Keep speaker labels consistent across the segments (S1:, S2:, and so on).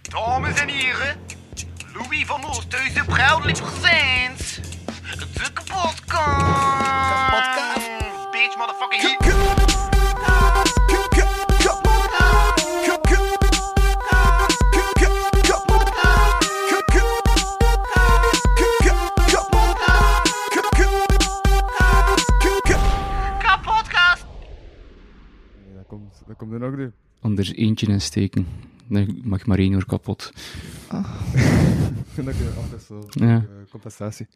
S1: Dames en heren, Louis van Oosthuizen, proudly presents de kapotkast.
S2: Kapotkast.
S1: Bitch, motherfucking heat. Kapotkast.
S3: Nee, dat komt, dat komt er nog door.
S4: Anders eentje in steken. Dan mag maar één uur kapot.
S3: Dat is altijd zo.
S4: Ja.
S3: eh, compensatie.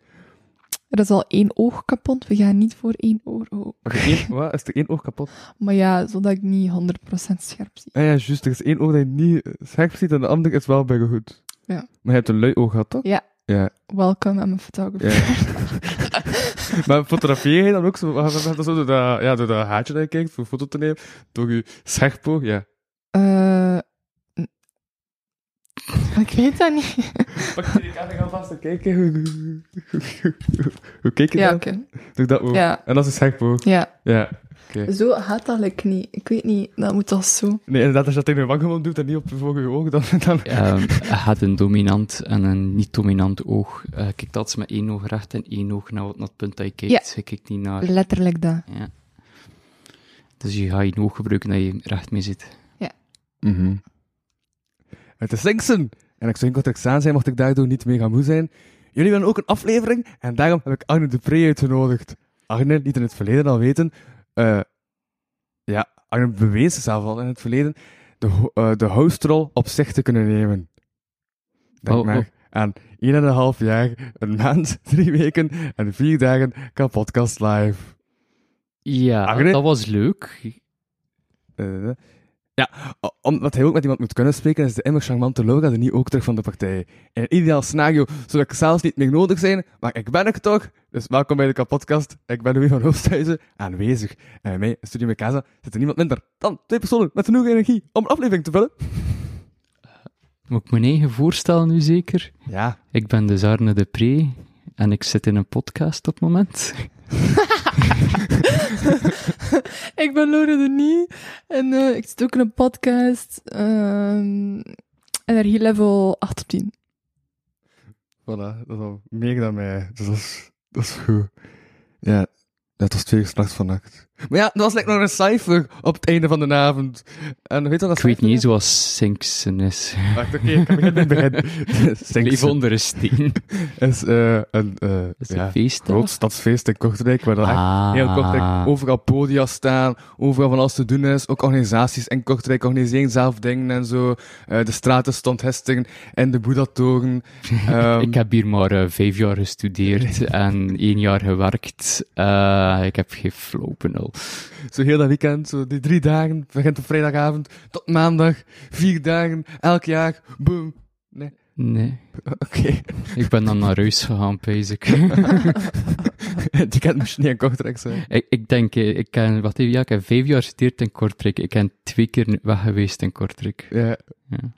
S5: Er is al één oog kapot, we gaan niet voor één oor ook.
S3: Wacht, er één, wat? Is er één oog kapot?
S5: Maar ja, zodat ik niet 100% scherp zie.
S3: Ah ja, juist. Er is één oog dat je niet eh, scherp ziet en de andere is wel bij goed.
S5: Ja.
S3: Maar je hebt een lui oog gehad, toch?
S5: Ja.
S3: Ja.
S5: Welkom aan mijn photographer.
S3: ja. maar fotografeer je dan ook zo, ah, dat is zo door, dat, ja, door dat haartje dat je kijkt voor een foto te nemen? Door je scherp oog? Ja.
S5: Eh, n- ik weet dat niet.
S3: Pak je die camera alvast en kijken. Hoe, hoe, hoe, hoe- hoe kijk je
S5: Ja,
S3: dan?
S5: oké.
S3: Door dat oog.
S5: Ja,
S3: En dat is een scherp oog.
S5: ja.
S3: Ja.
S5: Zo gaat dat like niet. Ik weet niet, dat moet toch zo.
S3: Nee, inderdaad, als je dat tegen je wang gewoon doet en niet op je volgende oog, dan... dan...
S4: Ehm, Hij had een dominant en een niet-dominant oog. Eh kijkt altijd met één oog recht en één oog naar, wat- naar het punt dat je kijkt.
S5: Ja.
S4: Je kijkt niet naar...
S5: Letterlijk dat.
S4: Ja. Dus je gaat je oog gebruiken dat je recht mee zit. Mhm.
S3: Het is Linksen. En ik zou in contract aan zijn, mocht ik daardoor niet mega moe zijn. Jullie willen ook een aflevering, en daarom heb ik Arne Dupré uitgenodigd. Arne liet in het verleden al weten... eh, ja, Arne bewees zelf al in het verleden de, ho- eh, de hostrol op zich te kunnen nemen. Denk
S4: Oh,
S3: maar
S4: oh.
S3: aan 1,5 jaar, een maand, drie weken en vier dagen kan podcast live.
S4: Ja,
S3: Agre-
S4: dat was leuk.
S3: Eh, ja, o- omdat hij ook met iemand moet kunnen spreken, is de immer charmante Laura er niet ook terug van de partij. In een ideaal scenario zou ik zelfs niet meer nodig zijn, maar ik ben er toch. Dus welkom bij de kapotcast. Ik ben Louis van Hoofdhuizen, aanwezig. En bij mij, in Studio Mekaza, zit er niemand minder dan twee personen met genoeg energie om een aflevering te vullen.
S4: Moet ik mijn eigen voorstellen nu zeker?
S3: Ja.
S4: Ik ben dus Arne de Pre en ik zit in een podcast op het moment.
S5: Ik ben Lore de Nie en eh, ik zit ook in een podcast. ehm energie level 8 op 10.
S3: Voilà, dat is al meer dan mij. Dus dat is, dat is goed. Ja, dat was twee uur 's nachts vannacht. Maar ja, dat was lekker nog een cijfer op het einde van de avond. En weet je wat dat
S4: Ik weet
S3: cijfer
S4: niet
S3: is?
S4: eens wat Sinksen is.
S3: Wacht, oké, ik kan beginnen bij het begin.
S4: Leef
S3: Stinkson
S4: onder een steen.
S3: is eh, een eh,
S4: Dat is
S3: ja,
S4: een feest. hè?
S3: groot stadsfeest in Kortrijk, waar dan echt
S4: Ah.
S3: heel Kortrijk overal podia staan, overal van alles te doen is. Ook organisaties in Kortrijk organiseren zelf dingen en zo. Eh, de straten stond gisteren en de Boeddha-toren. Ehm,
S4: Ik heb hier maar eh, vijf jaar gestudeerd en één jaar gewerkt. Eh, ik heb geen flow benul.
S3: Zo heel dat weekend, zo die drie dagen, begint op vrijdagavond tot maandag, vier dagen, elk jaar, boom.
S4: Nee,
S3: Oké,
S4: ik ben dan naar huis gegaan, pijs ik.
S3: die kan misschien niet in Kortrijk zijn.
S4: ik. Ik denk, eh, ik ken, wat, heb- ja, ik heb vijf jaar gestudeerd in Kortrijk. Ik ben twee keer weg geweest in Kortrijk.
S3: Ja.
S4: Ja.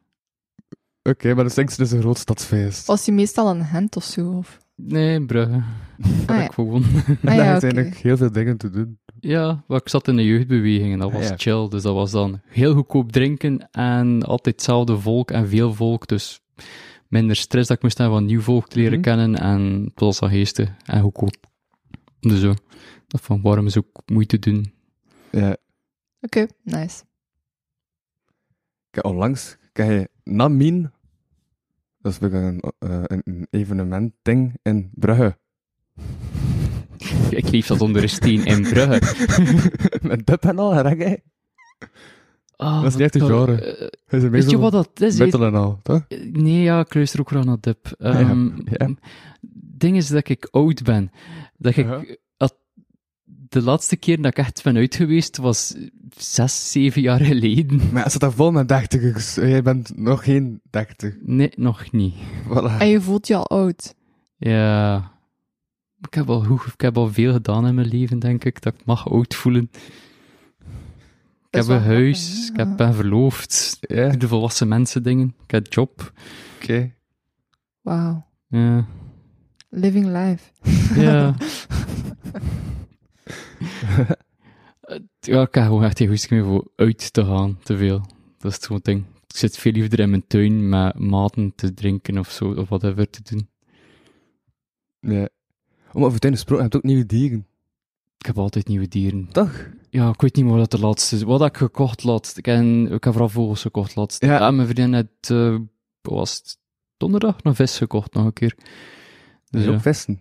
S3: Oké, maar de Stinksen is dus een groot stadsfeest.
S5: Was je meestal een hent of zo? Of?
S4: Nee, in Brugge.
S5: Ah, ja.
S4: Ik gewoon.
S3: En
S5: Ah,
S3: daar
S5: ja,
S3: zijn
S5: oké.
S3: er heel veel dingen te doen.
S4: Ja, maar ik zat in de jeugdbeweging en dat was
S3: Ah, Ja.
S4: chill. Dus dat was dan heel goedkoop drinken en altijd hetzelfde volk en veel volk. Dus minder stress dat ik moest hebben van nieuw volk te leren
S3: Mhm.
S4: kennen. En het was al geesten en goedkoop. Dus zo. Dat van waarom is dus ook moeite doen.
S3: Ja.
S5: Oké, nice.
S3: Kijk, onlangs krijg je Namin. Dat is weer een, eh, een, een evenement-ding in Brugge.
S4: Ik lief dat onder een steen in Brugge.
S3: Met dub en al, reggae.
S4: Ah,
S3: Dat is niet echt een
S4: wat-
S3: genre.
S4: eh,
S3: Hij is een
S4: weet je
S3: meestal
S4: wat dat is?
S3: Metal en al, toch?
S4: Nee, ja, ik luister ook graag naar dub. Ehm
S3: ja.
S4: ding is dat ik oud ben. Dat ik...
S3: Ja.
S4: dat- de laatste keer dat ik echt ben uit geweest was zes, zeven jaar geleden.
S3: Maar het staat daar vol met dertigers. Jij bent nog geen dertig.
S4: Nee, nog niet.
S3: Voilà.
S5: En je voelt je al oud.
S4: Ja... Ik heb, al goed, ik heb al veel gedaan in mijn leven, denk ik, dat ik mag oud voelen. Ik
S5: Dat is
S4: heb een
S5: wel
S4: huis, ik
S5: grappig, ja.
S4: heb, ben verloofd,
S3: Ja,
S4: ik
S3: oké.
S4: doe de volwassen mensen dingen, ik heb job.
S5: Wauw.
S4: Ja.
S5: Living life.
S4: Ja. ja, ik heb gewoon echt geen goesting meer voor uit te gaan, te veel. Dat is het gewoon ding. Ik zit veel liever in mijn tuin met maten te drinken of zo, of whatever te doen.
S3: Ja. Om over tuin gesproken, je hebt ook nieuwe dieren.
S4: Ik heb altijd nieuwe dieren.
S3: Toch?
S4: Ja, ik weet niet meer wat de laatste is. Wat heb ik gekocht laatst? Ik heb, ik heb vooral vogels gekocht laatst.
S3: Ja.
S4: Ja. En mijn vriendin had, eh, wat was het donderdag, een vis gekocht nog een keer. Dus
S3: Dus
S4: ja.
S3: ook vesten.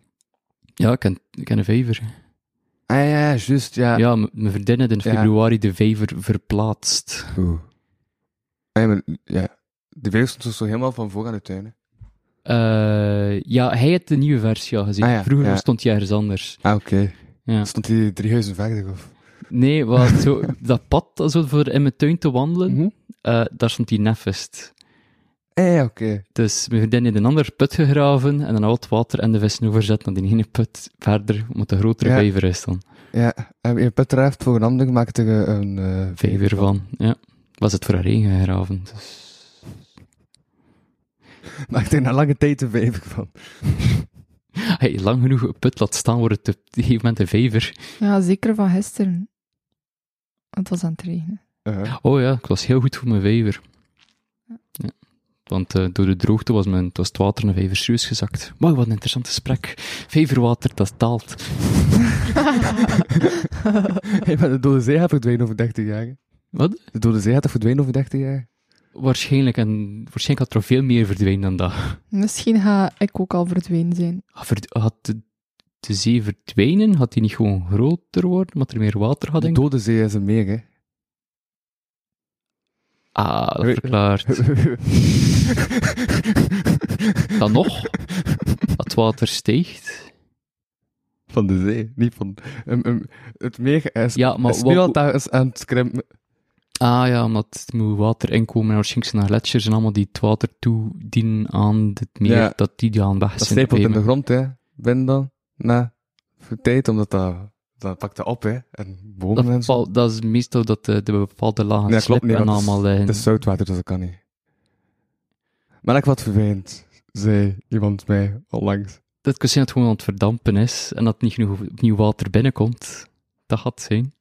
S4: Ja, ik ken, ik ken een vijver.
S3: Ah ja, ja, juist, ja.
S4: Ja, m- mijn vriendin had in
S3: Ja.
S4: februari de vijver verplaatst.
S3: Oeh. Ah, ja, maar, ja. De vijver stond dus zo helemaal van voor aan de tuin. hè.
S4: Eh, ja, hij had de nieuwe versie al gezien.
S3: Ah ja,
S4: Vroeger
S3: ja.
S4: stond hij ergens anders.
S3: Ah, oké.
S4: Ja.
S3: Stond die drie huizen verder, of?
S4: Nee, wat, zo, dat pad dat zo voor in mijn tuin te wandelen,
S3: Mhm.
S4: eh, daar stond die nefest.
S3: Eh, ja, oké.
S4: Dus mijn vriendin heeft een ander put gegraven en dan al het water en de vissen overzet naar die ene put verder, omdat de grotere
S3: Ja.
S4: vijver is dan.
S3: Ja, en Ah, je put raaft voor een ander, maakt er eh, een... eh,
S4: Vijver van, ja. Was het voor haar eigen gegraven, dus...
S3: Maakt er na lange tijd een vijver van.
S4: Hey, lang genoeg een put laat staan, wordt het op een gegeven moment een vijver.
S5: Ja, zeker van gisteren. Het was aan het regenen.
S3: Eh,
S4: Oh ja, ik was heel goed voor mijn vijver. Ja. Want eh, door de droogte was, mijn, het was het water in de vijver serieus gezakt. Maar wat een interessant gesprek. Vijverwater, dat daalt.
S3: hey, maar de Dode Zee gaat verdwijnen over 30 jaar.
S4: Wat?
S3: De Dode Zee gaat verdwijnen over 30 jaar.
S4: Waarschijnlijk, en waarschijnlijk had er al veel meer verdwenen dan dat.
S5: Misschien ga ik ook al verdwenen zijn.
S4: Had verd- Had de, de zee verdwijnen? Had die niet gewoon groter worden, omdat er meer water had?
S3: De
S4: in?
S3: Dode Zee is een meer, hè.
S4: Ah, dat
S3: Weet-
S4: verklaart. Dan nog, het water stijgt.
S3: Van de zee, niet van... ehm, ehm, het meer is,
S4: Ja, maar
S3: is nu
S4: wat-
S3: al daar is aan het krimpen.
S4: Ah ja, omdat er moet water inkomen en waarschijnlijk zijn er gletsjers en allemaal die het water toedienen aan het meer,
S3: Ja.
S4: dat die aan weg
S3: Dat
S4: zijn.
S3: stijpelt in de
S4: Ehm,
S3: grond, hè. Binnen dan, na voor tijd, omdat dat... Dat pakt dat op, hè. En bomen en
S4: dat,
S3: zo.
S4: val- dat is meestal dat eh, de, de bepaalde
S3: Nee,
S4: lagen
S3: klopt
S4: slippen
S3: niet,
S4: en
S3: want het is-
S4: allemaal liggen.
S3: Het is zoutwater, dus dat kan niet. Maar ik wat vervelend, zei iemand mij onlangs.
S4: Dat kan zijn dat het gewoon aan het verdampen is en dat niet genoeg nieuw water binnenkomt. Dat gaat zijn.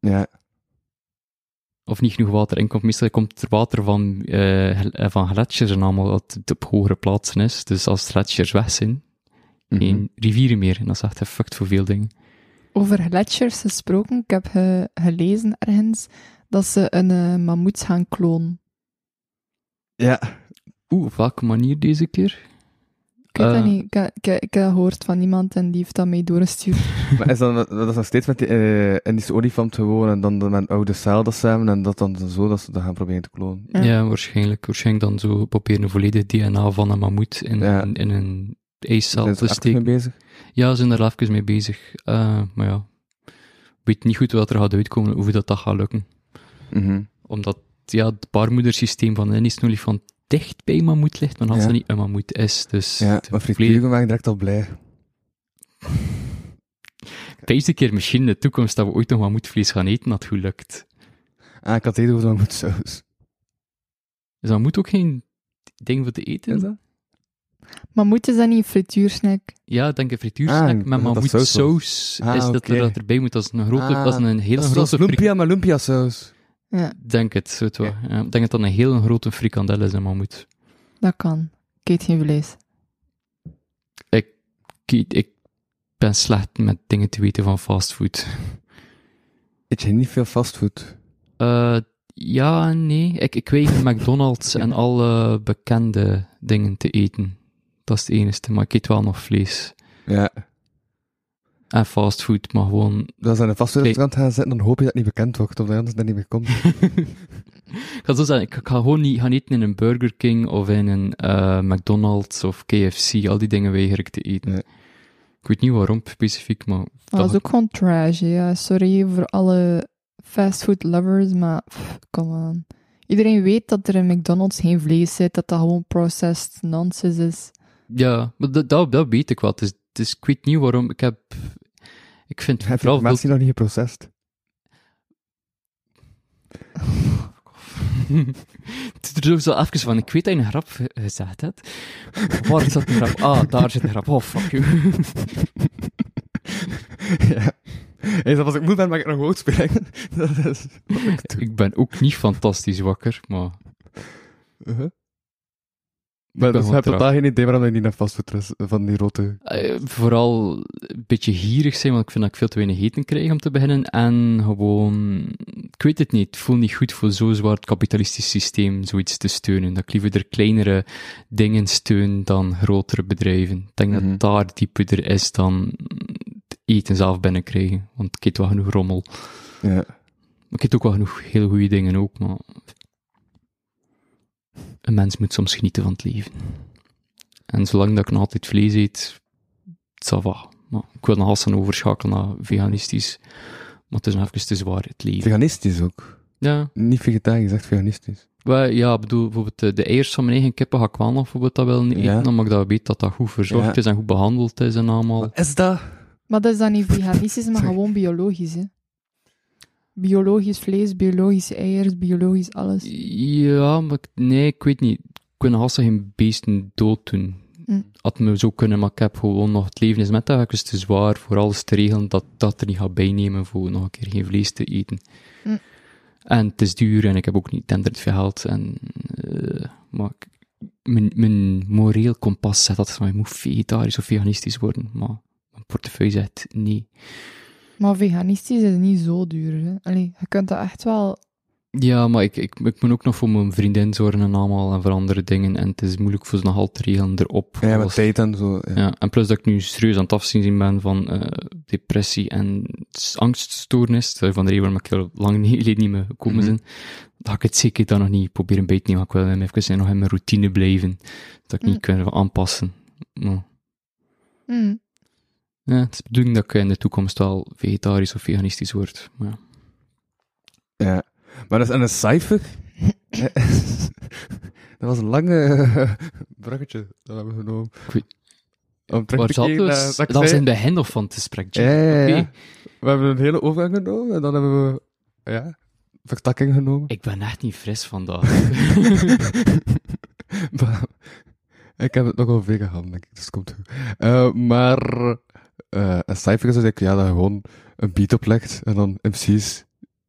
S3: Ja,
S4: Of niet genoeg water inkomt. Meestal komt er water van, eh, gl- eh, van gletsjers en allemaal dat het op hogere plaatsen is. Dus als gletsjers weg zijn,
S3: Mhm.
S4: geen rivieren meer. En dat is echt effect voor veel dingen.
S5: Over gletsjers gesproken, ik heb eh, gelezen ergens dat ze een eh, mammoet gaan klonen.
S3: ja.
S4: Oeh, op welke manier deze keer?
S5: Ik weet dat
S4: Eh.
S5: niet. Ik, heb- ik, heb- ik heb gehoord van iemand en die heeft dat mee doorgestuurd.
S3: maar is dan, dat is nog steeds met die eh Indische olifant gewoon en dan de- met een oude cel dat samen en dat dan zo dat ze dat gaan proberen te klonen.
S5: Ja.
S4: Ja, waarschijnlijk. Waarschijnlijk dan zo proberen een volledig DNA van een mammoet in,
S3: Ja.
S4: in, in een ijscel
S3: Zijn
S4: te
S3: ze actief mee
S4: steken.
S3: bezig?
S4: Ja, ze zijn daar even mee bezig. Eh, maar ja, weet niet goed wat er gaat uitkomen, hoe dat, dat gaat lukken.
S3: Mhm.
S4: Omdat ja, het baarmoedersysteem van een is olifant dicht bij mammoet ligt, maar als
S3: Ja.
S4: dat niet een mammoet is. Dus
S3: Ja,
S4: het
S3: maar Frits
S4: volledig-
S3: Bugen waren direct al blij.
S4: deze keer misschien in de toekomst dat we ooit nog mammoetvlees gaan eten, dat gelukt.
S3: Ah, ik had het over mammoet saus.
S4: Is dat moet ook geen ding voor te eten?
S3: Is dat?
S5: Mammoet is dat niet een frituursnack?
S4: Ja, ik denk een frituursnack
S3: Ah,
S4: met
S3: dat dat
S4: mammoetsaus.
S3: saus was.
S4: Saus
S3: Ah,
S4: is dat
S3: oké.
S4: er dat erbij moet. Dat is een, grote,
S3: Ah,
S4: dat is een hele
S3: Dat is zoals
S4: grote frik-
S3: lumpia, maar lumpia saus.
S5: Ja,
S4: Denk het, zo het wel. Ja, ik denk dat dat een hele grote frikandel is, een mammoet.
S5: dat kan. Ik eet geen vlees.
S4: Ik, ik ben slecht met dingen te weten van fastfood.
S3: Eet je niet veel fastfood?
S4: Eh ja, en nee. Ik, ik weet McDonald's en alle bekende dingen te eten. Dat is het enige, maar ik eet wel nog vlees.
S3: Ja,
S4: En fastfood, maar gewoon...
S3: als je in een fastfoodrestaurant gaan zitten, dan hoop je dat het niet bekend wordt, of dat je anders er niet meer komt.
S4: Ik ga, zo zeggen, ik ga gewoon niet gaan eten in een Burger King of in een eh, McDonald's of KFC. Al die dingen weiger ik te eten.
S3: Nee.
S4: Ik weet niet waarom specifiek, maar...
S5: Maar dat is ook gewoon trash, hè. ja. Sorry voor alle fastfood lovers, maar pff, come on. Iedereen weet dat er in McDonald's geen vlees zit, dat dat gewoon processed nonsense is.
S4: Ja, maar dat, dat, dat weet ik wel. Dus, dus ik weet niet waarom. Ik heb... Ik vind
S3: Heb je
S4: vooral...
S3: informatie nog niet geprocessed?
S4: Het is er zo even van, ik weet dat je een grap ge- gezegd hebt. Waar zat een grap? Ah, daar zit een grap. Oh, fuck you.
S3: ja. Eens dat als ik moe ben, mag ik nog woord spreken. dat is wat ik doe.
S4: Ik ben ook niet fantastisch wakker, maar...
S3: Uh-huh. Maar
S4: ben
S3: dus
S4: gewoon
S3: je hebt
S4: traag.
S3: totaal geen idee waarom je niet naar fastfoodrest van die rotte...
S4: Eh, vooral een beetje gierig zijn, want ik vind dat ik veel te weinig eten krijg om te beginnen. En gewoon, ik weet het niet, het voelt niet goed voor zo'n zwaar kapitalistisch systeem zoiets te steunen. Dat ik liever kleinere dingen steun dan grotere bedrijven. Ik denk
S3: Mhm.
S4: dat daar dieper is dan het eten zelf binnenkrijgen. Want ik eet wel genoeg rommel.
S3: Ja.
S4: Maar ik eet ook wel genoeg hele goede dingen ook, maar... Een mens moet soms genieten van het leven. En zolang dat ik nog altijd vlees eet, ça va. Maar ik wil nog altijd overschakelen naar veganistisch. Maar het is nog even te zwaar, het leven.
S3: Veganistisch ook.
S4: Ja,
S3: Niet vegetarisch, echt veganistisch.
S4: wel, ja, ik bedoel, bijvoorbeeld eh, de, de eiers van mijn eigen kippen ga ik wel nog bijvoorbeeld dat wel niet
S3: Ja.
S4: eten, omdat ik dat weet dat dat goed verzorgd
S3: Ja.
S4: is en goed behandeld is en allemaal.
S3: Is dat...
S5: Maar dat is dan niet veganistisch, maar
S3: Sorry.
S5: gewoon biologisch, hè. Biologisch vlees, biologische eiers, biologisch alles.
S4: Ja, maar ik- nee, ik weet niet. Ik wil haast geen beesten dood doen.
S5: Mm.
S4: Had me zo kunnen, maar ik heb gewoon nog het leven is met dat. Het is te zwaar voor alles te regelen dat dat er niet gaat bijnemen voor nog een keer geen vlees te eten.
S5: Mm.
S4: En het is duur en ik heb ook niet tender het geld. En, eh, maar ik- mijn, mijn moreel kompas zegt altijd van je moet vegetarisch of veganistisch worden. Maar mijn portefeuille zegt nee.
S5: Maar veganistisch is niet zo duur, hè. Allee, je kunt dat echt wel...
S4: Ja, maar ik, ik, ik moet ook nog voor mijn vriendin zorgen en allemaal en voor andere dingen. En het is moeilijk voor ze nog altijd te regelen erop.
S3: Ja, met
S4: Als-
S3: tijd en zo. Ja.
S4: ja, en plus dat ik nu serieus aan het afzien ben van eh, depressie en s- angststoornis. Dat is Van de reden waarom ik heel lang niet- geleden niet meer gekomen
S3: Mhm.
S4: ben. Dat ik het zeker dan nog niet proberen bij te nemen. maar Ik wil hem even nog in mijn routine blijven. Dat ik
S5: Mm.
S4: niet kan aanpassen. Maar,
S5: Hm.
S4: ja, het is de bedoeling dat ik in de toekomst wel vegetarisch of veganistisch word. Maar ja.
S3: Ja. Maar dat is aan een cijfer. dat was een lange eh, bruggetje dat we hebben genomen.
S4: Ik weet-
S3: Om terug
S4: Waar
S3: te
S4: zat
S3: keren naar-
S4: dus?
S3: dat
S4: Dat
S3: eh, ik
S4: was in
S3: zei-
S4: het begin nog van het gesprek,
S3: Ja, ja, ja,
S4: Oké.
S3: ja. We hebben een hele overgang genomen en dan hebben we ja, vertakking genomen.
S4: Ik ben echt niet fris vandaag.
S3: maar, ik heb het nogal vega gehad, denk ik, dus het komt goed. Eh, maar eh, een cijfer is dat ik ja, dat je gewoon een beat oplegt en dan MC's,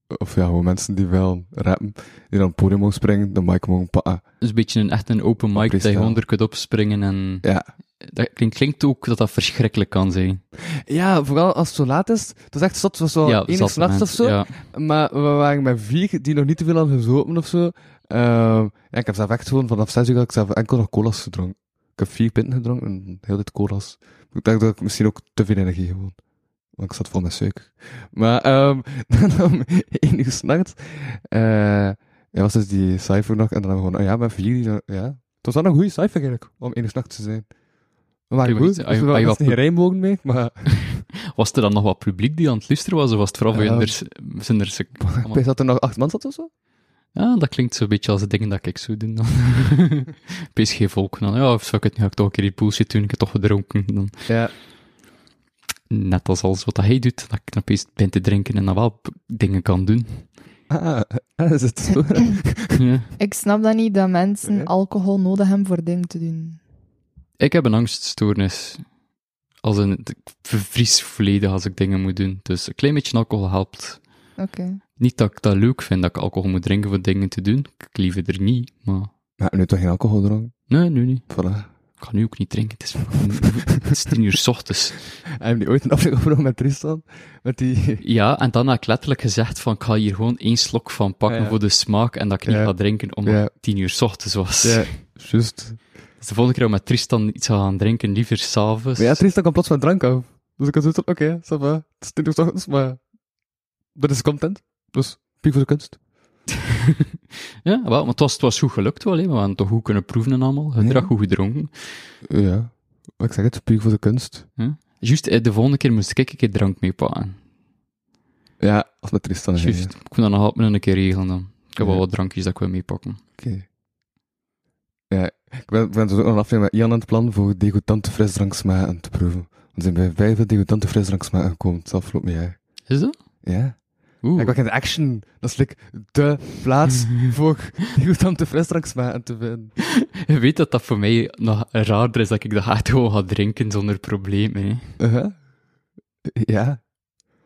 S3: of ja, gewoon mensen die wel rappen, die dan op het podium mogen springen, de mic mogen pakken.
S4: Dus een beetje een, echt een open mic dat je
S3: freestyle.
S4: gewoon er kunt opspringen en...
S3: Ja,
S4: Dat klinkt, klinkt ook dat dat verschrikkelijk kan zijn.
S3: Ja, vooral als het zo laat is. Het is echt zot, het was wel
S4: ja,
S3: één uur
S4: zat
S3: s'nachts of
S4: mensen,
S3: zo.
S4: Ja.
S3: Maar we waren met vier die nog niet te veel hadden gezopen of zo. Ehm, ja, ik heb zelf echt gewoon vanaf zes uur had ik zelf enkel nog cola's gedronken. Ik heb vier pinten gedronken en heel hele tijd cola's. Ik dacht dat ik misschien ook te veel energie gewoon. Want ik zat vol met suiker. Maar ehm dan om één uur s'nachts eh ja, was dus die cijfer nog. En dan hebben we gewoon, oh ja, met vier. Die, ja. Het was wel een goede cijfer eigenlijk, om één uur s'nachts te zijn. We waren
S4: Ja, maar
S3: goed.
S4: iets-
S3: Dus we
S4: ah, je-
S3: hadden
S4: ah, je-
S3: geen rijmbogen mee, maar...
S4: Was er dan nog wat publiek die aan het luisteren was, of was het vooral
S3: Ja.
S4: bij anders? Zijn er ze-
S3: Ik weet dat er nog acht man zat of zo?
S4: Ja, dat klinkt zo'n beetje als de dingen dat ik zou doen dan. Pees geen volk dan. Ja, of zou ik het nu ga ik toch een keer die bullshit doen, ik heb toch gedronken. Dan.
S3: Ja.
S4: Net als alles wat dat hij doet, dat ik dan opeens ben te drinken en dan wel p- dingen kan doen.
S3: Ah, ah, is het zo?
S4: Ja.
S5: Ik snap dat niet, dat mensen
S3: Oké.
S5: alcohol nodig hebben voor dingen te doen.
S4: Ik heb een angststoornis. Als een, ik vervries volledig als ik dingen moet doen. Dus een klein beetje alcohol helpt.
S5: Oké.
S4: Niet dat ik dat leuk vind dat ik alcohol moet drinken voor dingen te doen. Ik liever er niet, maar.
S3: nou, nu toch geen alcohol dronken?
S4: Nee, nu niet.
S3: Voilà.
S4: Ik ga nu ook niet drinken. Het is, het is tien uur 's ochtends.
S3: Hebben die ooit een aflevering opgenomen met Tristan? Met die...
S4: Ja, en dan heb ik letterlijk gezegd: van ik ga hier gewoon één slok van pakken
S3: Ja, ja.
S4: voor de smaak en dat ik niet
S3: Ja.
S4: ga drinken omdat
S3: Ja.
S4: het tien uur 's ochtends was.
S3: Ja, juist.
S4: Dus de volgende keer dat ik met Tristan iets ga gaan drinken, liever s'avonds.
S3: Maar ja, Tristan kwam plots van drank af. Dus ik had zoiets van, oké, ja, ça va. Het is tien uur 's ochtends, maar... Dat is content. Dus, piek voor de kunst.
S4: Ja, wel, maar het was, het was goed gelukt wel, hè. we hadden toch goed kunnen proeven en allemaal. Gedrag
S3: Ja.
S4: goed gedronken.
S3: Ja. Maar ik zeg het, piek voor de kunst.
S4: Juist, eh, de volgende keer moest ik een keer drank meepakken.
S3: Ja, als met Tristan. hè,
S4: Juist,
S3: ja.
S4: ik moet dat nog altijd een keer regelen dan. Ik heb
S3: Ja.
S4: wel wat drankjes dat ik wil meepakken.
S3: Oké. Ja, ik ben, ik ben dus ook nog een aflevering met Ian aan het plan voor degoutante frisdranksmaken te proeven. We zijn bij vijf degoutante frisdranksmaken gekomen het afgelopen jaar.
S4: Is dat?
S3: Ja.
S4: Oeh. Mhm.
S3: Ik wacht in de action. Dat is like de plaats voor degoutante frisdranksmaken te vinden.
S4: Je weet dat dat voor mij nog raarder is dat ik dat echt gewoon ga drinken zonder probleem. Hè.
S3: Uh-huh. Ja.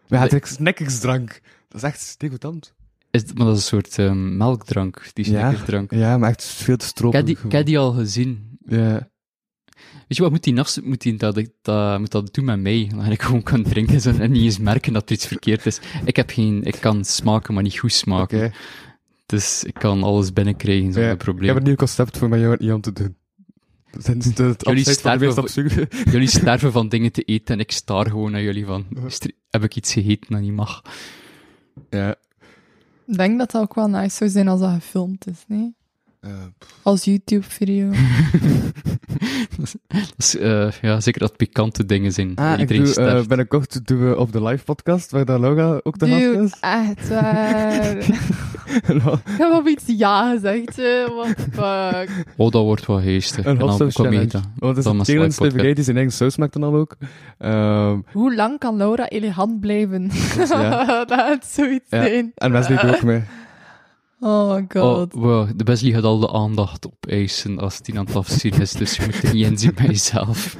S3: Maar ja, het
S4: Nee.
S3: is snackingsdrank. Dat is echt degoutant.
S4: Is, het- maar dat is een soort ehm, melkdrank,
S3: Ja.
S4: die snackerdrank. Ik
S3: Ja, maar echt veel te stroperig.
S4: heb die- Ik heb die al gezien.
S3: Ja.
S4: Weet je wat, moet die nafs, moet die dat, dat, moet dat doen met mij? Dat ik gewoon kan drinken zo- en niet eens merken dat er iets verkeerd is. Ik heb geen, ik kan smaken, maar niet goed
S3: Oké.
S4: smaken. Dus ik kan alles binnenkrijgen zonder
S3: Ja, Ik
S4: probleem.
S3: heb Ah, een nieuw concept voor mijn jongen Ian te doen. Sinds het het
S4: Jullie
S3: afscheid van de
S4: sterven
S3: meest absurde-
S4: Jullie sterven van dingen te eten en ik staar gewoon naar jullie van, is er- heb ik iets gegeten dat niet mag?
S3: Ja.
S5: Ik denk dat dat ook wel nice zou zijn als dat gefilmd is, nee?
S3: Eh,
S5: Als YouTube-video.
S4: Dat is- dat is, eh, ja, zeker dat het pikante dingen zijn.
S3: ah, ik
S4: Iedereen
S3: doe, eh,
S4: sterft.
S3: binnenkort doen we op de live podcast, waar dat Laura ook te gast
S5: Dude,
S4: dus.
S3: is.
S5: echt waar. Ik heb op iets ja gezegd, hè. What the fuck.
S4: Oh, dat wordt wel
S3: eh,
S4: geestig.
S3: een
S4: En
S3: hot
S4: dan
S3: sauce
S4: ook wat
S3: challenge.
S4: meta.
S3: Want het is
S4: Dan
S3: een
S4: een
S3: challenge
S4: slide
S3: die die zijn eigen saus maakt dan al ook. Ehm,
S5: Hoe lang kan Laura elegant blijven?
S3: ja.
S5: dat het zoiets
S3: Ja.
S5: zijn.
S3: en Wesley doet ook mee.
S5: Oh my
S4: Oh,
S5: god.
S4: wow, de Wesley gaat al de aandacht opeisen als die aan het afzien is, dus je moet er niet in zien bij jezelf.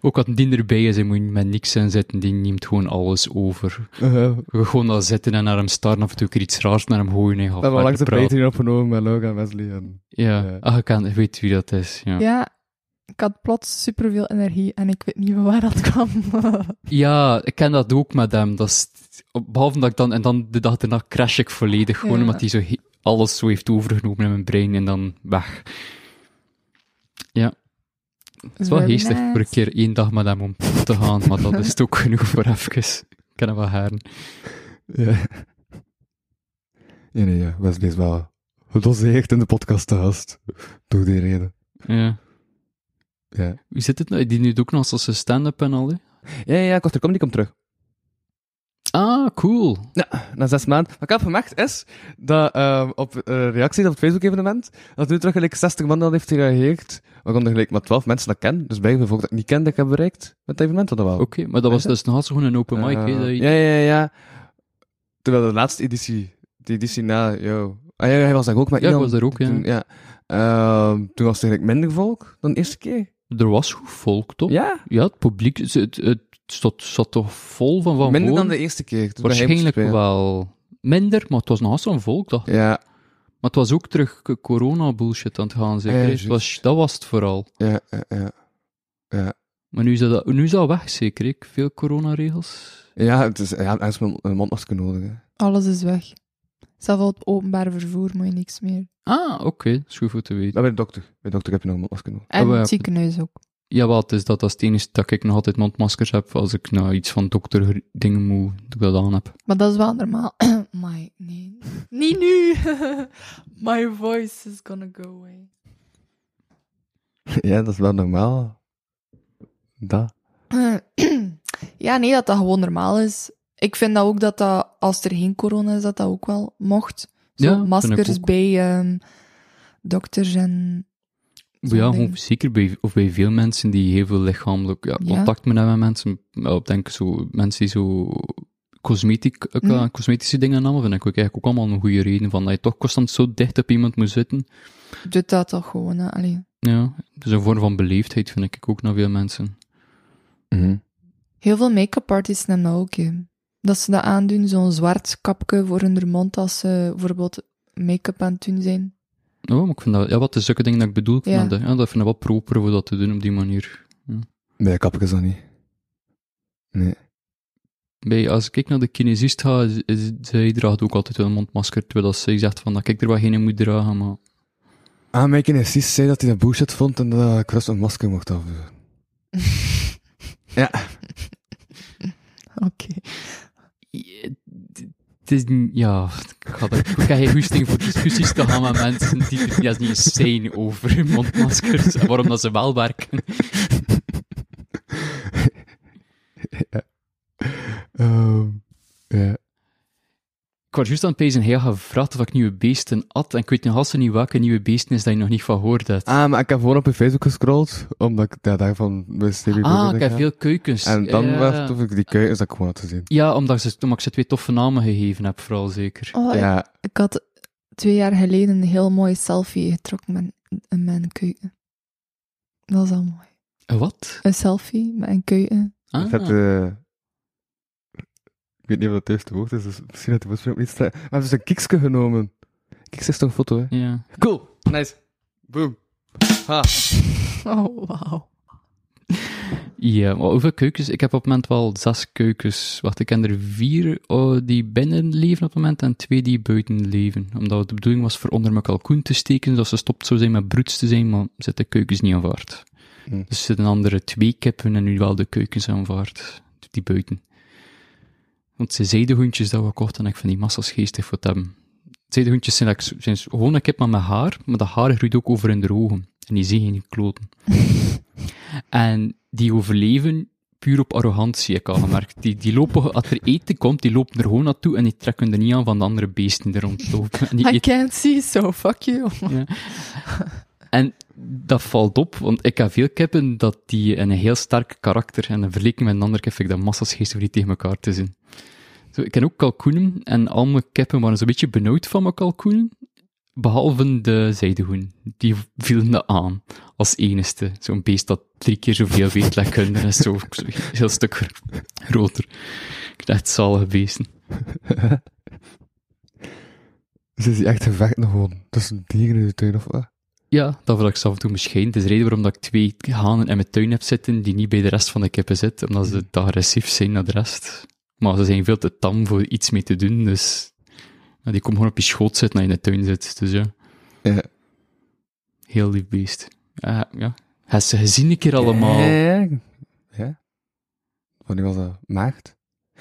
S4: Ook als die erbij is, hij moet met niks in zitten, die neemt gewoon alles over.
S3: Eh,
S4: Je gaat gewoon al zitten en naar hem staren, af en toe een keer iets raars naar hem gooien en
S3: We hebben al
S4: gaan
S3: langs de
S4: verder praten.
S3: Patreon opgenomen met Laura en Wesley. En...
S4: Ja,
S3: Ja.
S4: ah, ik kan, ik weet wie dat is, ja. Ja,
S5: Ja, ik had plots superveel energie en ik weet niet van waar dat kwam.
S4: ik ken dat ook met hem, dat is... Behalve dat ik dan, en dan de dag daarna crash ik volledig, gewoon
S5: Ja.
S4: omdat hij zo he- alles zo heeft overgenomen in mijn brein en dan weg. Het is wel
S5: Very
S4: geestig voor een
S5: nice.
S4: keer één dag met hem om te gaan, maar dat is het ook genoeg voor even. Ik ken hem wel haren.
S3: Ja. ja, nee, ja. Wesley is wel gedoseerd in de podcast te gast. Door die reden.
S4: Ja.
S3: Ja,
S4: Hoe zit het nou? Die nu ook nog eens als een stand-up en al, hè?
S3: ja, ja Koster Comedy komt terug.
S4: Ah, cool.
S3: na zes maanden. Wat ik heb gemerkt is dat ehm, op eh, reacties op het Facebook-evenement, dat nu terug gelijk 60 man al heeft gereageerd, waaronder gelijk maar 12 mensen dat ik ken. Dus bij volk dat ik niet kende, ik heb bereikt met het evenement dat wel.
S4: Oké, maar dat was
S3: Is dat-
S4: dus nog altijd gewoon een open mic, hè?
S3: Eh,
S4: dat je-
S3: Ja, ja, ja. Terwijl de laatste editie, die editie na, yo. Ah ja, hij was daar ook, maar
S4: Ja, ik was daar ook, ja.
S3: Toen, ja. Ehm, toen was het eigenlijk minder volk dan de eerste keer.
S4: Er was goed volk, toch? Ja,
S3: Ja,
S4: het publiek het, het, het zat, zat toch vol van van
S3: minder
S4: voren?
S3: dan de eerste keer. toen dat hij moest
S4: Waarschijnlijk
S3: spelen.
S4: wel minder, maar het was nog altijd een volk, dacht ik.
S3: Ja,
S4: Maar het was ook terug k- corona-bullshit aan het gaan, zeker?
S3: Ja,
S4: hè?
S3: Eh, juist.
S4: Het was, dat was het vooral.
S3: ja, ja, ja.
S4: Maar nu is dat, nu is dat weg, zeker? hè? Veel coronaregels.
S3: Ja, het is, ja, er is een een mondmasker nodig. hè.
S5: Alles is weg. Zelfs al het openbaar vervoer moet je niks meer.
S4: Ah, oké, dat is goed voor te weten.
S3: Maar bij de dokter. Bij de dokter heb je nog een mondmasker nodig.
S5: En
S4: Ah, wel,
S5: het
S4: ja.
S5: ziekenhuis ook.
S4: Jawel, het is dat als het enige dat ik nog altijd mondmaskers heb, als ik nou iets van dokter dingen moet, dat ik dat aan heb.
S5: Maar dat is wel normaal. My, nee. Niet nu! My voice is gonna go away.
S3: Ja, dat is wel normaal. Dat.
S5: ja, nee, dat dat gewoon normaal is. Ik vind dat ook dat dat, als er geen corona is, dat dat ook wel mocht. Zo,
S4: Ja, vind ik
S5: maskers
S4: ook.
S5: bij ehm, dokters en...
S4: Maar ja,
S5: zo'n
S4: gewoon
S5: dingen.
S4: zeker bij, of bij veel mensen die heel veel lichamelijk ja,
S5: Ja.
S4: contact met hebben met mensen. Ja, ik denk zo, mensen die zo cosmetic, eh,
S5: Mhm.
S4: cosmetische dingen namen, vind ik ook eigenlijk ook allemaal een goede reden van dat je toch constant zo dicht op iemand moet zitten.
S5: Doet dat toch gewoon, hè? Allee.
S4: Ja, dus een vorm van beleefdheid vind ik ook naar veel mensen.
S3: Mhm.
S5: Heel veel make-up artiesten hebben dat ook, hè. Dat ze dat aandoen, zo'n zwart kapje voor hun mond als ze bijvoorbeeld make-up aan het doen zijn.
S4: Oh, maar ik vind dat, ja, wat is zulke dingen dat ik bedoel? Ik vind
S5: Ja.
S4: dat, ja, dat vind ik wel proper om dat te doen op die manier.
S3: Nee, kap ik is dat niet. Nee.
S4: Bij, als ik naar de kinesist ga, is, is- zij draagt ook altijd wel een mondmasker, terwijl als zij zegt van dat ik er wel geen in moet dragen, maar...
S3: Ah, mijn kinesist zei dat hij dat bullshit vond en dat ik rust een masker mocht afdoen.
S5: Oké.
S4: Het is niet- ja, ik ga er- ik heb geen goesting voor discussies te gaan met mensen die er juist niet zijn over mondmaskers en waarom dat ze wel werken.
S3: Ehm, ja.
S4: Ik was juist aan het pezen, hij had gevraagd of ik nieuwe beesten at en ik weet nog als niet welke nieuwe beesten is dat je nog niet van hoort hebt.
S3: Ah, maar ik heb gewoon op je Facebook gescrolld, omdat ik ja, daarvan mijn serie
S4: Ah, ik heb veel keukens.
S3: En dan
S4: Ja.
S3: werd of ik die keu is dat ik gewoon had gezien.
S4: Ja, omdat, ze, omdat ik ze twee toffe namen gegeven heb, vooral zeker.
S5: Oh, ik,
S3: Ja,
S5: ik had twee jaar geleden een heel mooie selfie getrokken met een mijn keuken. Dat is al mooi.
S3: Oh.
S4: Wat?
S5: Een selfie met een keuken.
S4: Ah.
S3: dat had de eh, Ik weet niet of dat het juiste woord is, dus misschien had hij misschien ook niet staan. Maar we hebben ze een kiksje genomen. Kiks is toch een foto, hè?
S4: Ja.
S3: Cool. Nice. Boom. Ha.
S5: Oh, wauw.
S4: Ja, maar hoeveel keukens? Ik heb op het moment wel zes keukens. Wacht, ik ken er vier oh, die binnen leven op het moment en twee die buiten leven. Omdat het de bedoeling was voor onder mijn kalkoen te steken, zodat ze stopt zou zijn met broeds te zijn, maar zit de keukens niet aanvaard.
S3: Hm.
S4: Dus er zitten andere twee kippen en nu wel de keukens aanvaard. Die buiten. Want ze zijdehoentjes dat we kochten en ik vind die massas geestig voor het hebben. Zijdehoentjes zijn, like- zijn gewoon een kip maar met haar, maar dat haar groeit ook over in de ogen. En die zien geen kloten. En die overleven puur op arrogantie, heb ik al gemerkt. Die, die lopen, als er eten komt, die lopen er gewoon naartoe en die trekken er niet aan van de andere beesten die er rondlopen. En die
S5: I
S4: eten-
S5: can't see, so fuck you.
S4: en dat valt op, want ik heb veel kippen dat die een heel sterk karakter en een vergelijking met een ander kip vind ik dat massa's geesten voor die tegen elkaar te zien. Zo, ik ken ook kalkoenen en al mijn kippen waren zo'n beetje benauwd van mijn kalkoenen, behalve de zijdehoen. Die vielen dat aan als enigste. Zo'n beest dat drie keer zoveel weet lekkunde en is zo, zo een heel stuk gro- groter. Ik dacht, zalige beesten.
S3: Dus is die echt gevechten gewoon tussen dieren in de tuin of wat?
S4: Ja, dat wil ik zelf doen misschien. Het is de reden waarom dat ik twee hanen in mijn tuin heb zitten die niet bij de rest van de kippen zitten, omdat
S3: Hmm.
S4: ze te agressief zijn naar de rest. Maar ze zijn veel te tam voor iets mee te doen, dus ja, die komen gewoon op je schoot zitten als je in de tuin zit. Dus ja,
S3: Ja.
S4: heel lief beest. Ja, ja. Heb ze gezien een keer allemaal?
S3: Ja. ja. Wanneer was dat? Maagd?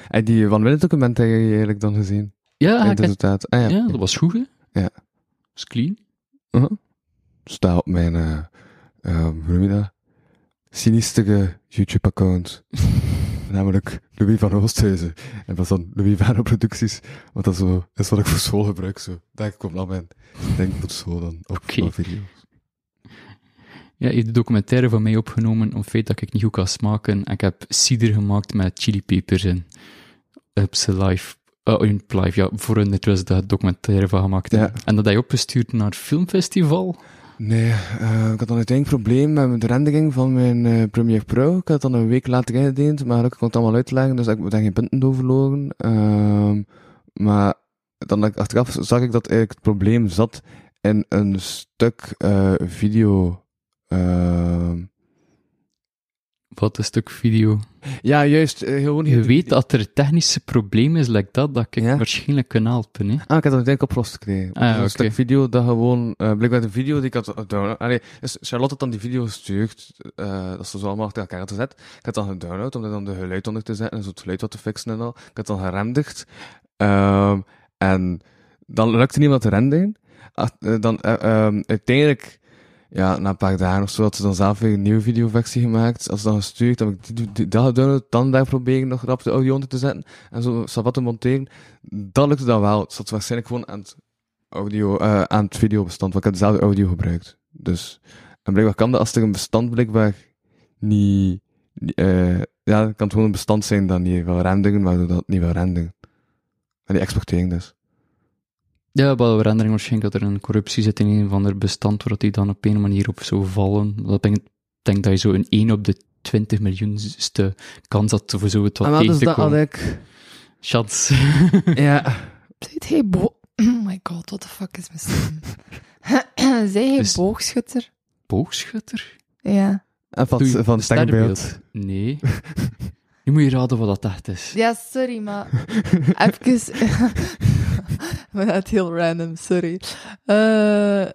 S3: En die Van Willen document heb je eigenlijk dan gezien?
S4: Ja,
S3: in het
S4: ik heb-
S3: resultaat. Ah, ja.
S4: ja, dat was goed, hè?
S3: Ja.
S4: was clean.
S3: Uh-huh. Sta op mijn, eh, ehm, hoe noem je dat? Sinistere YouTube-account. Namelijk Louis van Oosthuizen. En dat is dan Louis Vano Producties. Want dat is, zo, dat is wat ik voor school gebruik. Zo. Daar komt al mijn denk voor school dan op
S4: Oké.
S3: op video's.
S4: Ja, je hebt de documentaire van mij opgenomen om het feit dat ik niet goed kan smaken. En ik heb cider gemaakt met chilipepers in. Op zijn live. eh, in het live, ja. Voor een net was daar documentaire van gemaakt.
S3: Ja.
S4: En dat heb je opgestuurd naar het filmfestival.
S3: Nee, eh, ik had dan uiteindelijk een probleem met de rendering van mijn eh, Premiere Pro. Ik had dan een week later ingediend, maar gelukkig kon ik het allemaal uitleggen, dus ik heb daar geen punten door verloren. Ehm, maar dan had ik- achteraf zag ik dat eigenlijk het probleem zat in een stuk eh, video. Ehm,
S4: Wat een stuk video.
S3: Oh, ja, juist, eh, gewoon
S4: Je weet dat er technische probleem is, like dat, dat ik
S3: Ja.
S4: waarschijnlijk kan helpen. Hè?
S3: Ah, ik had dat uiteindelijk opgelost gekregen.
S4: Ah,
S3: Dus
S4: oké.
S3: Een stuk video dat gewoon... eh blijkbaar de video die ik had... gedownload- Allee, dus Charlotte had dan die video gestuurd, eh, dat ze zo allemaal achter elkaar had gezet. Ik had dan gedownload om er dan de geluid onder te zetten en zo het geluid wat te fixen en al. Ik had dan gerenderd. Ehm, en dan lukte niemand te renderen. Ah, eh, dan eh, ehm, uiteindelijk... Ja, na een paar dagen of zo had ze dan zelf weer een nieuwe videoversie gemaakt. Als ze dan gestuurd, dan heb ik die, die, die- dat gedownload, dan daar proberen nog rap de audio onder te zetten. En zo sabat te monteren. Dat lukte dan wel. Het zat waarschijnlijk gewoon aan het, audio, eh, aan het videobestand, want ik heb dezelfde audio gebruikt. Dus, en blijkbaar kan dat als er een bestand blijkbaar niet... niet, eh, ja, het kan gewoon een bestand zijn dat niet wil renderen, maar dat het niet wil renderen. En die exportering dus.
S4: Ja, bij de rendering waarschijnlijk dat er een corruptie zit in een van de bestand, waar die dan op een manier op zou vallen. Dat denk, ik denk dat je zo een 1 op de 20 miljoenste kans had voor zo het
S3: Ah,
S4: wat tegen
S3: dus
S4: te komen.
S3: ik...
S4: Chans.
S3: Ja.
S5: Zit hij bo... Oh my god, what the fuck is mijn stem? Zij hij
S4: Dus-
S5: boogschutter?
S4: Boogschutter?
S5: Ja.
S3: En van,
S4: Doe je
S3: van
S4: een
S3: sterrenbeeld.
S4: sterrenbeeld? Nee. Nu moet je raden wat dat echt is.
S5: Ja, sorry, maar... Eh, Even... maar dat is heel random, sorry. Eh,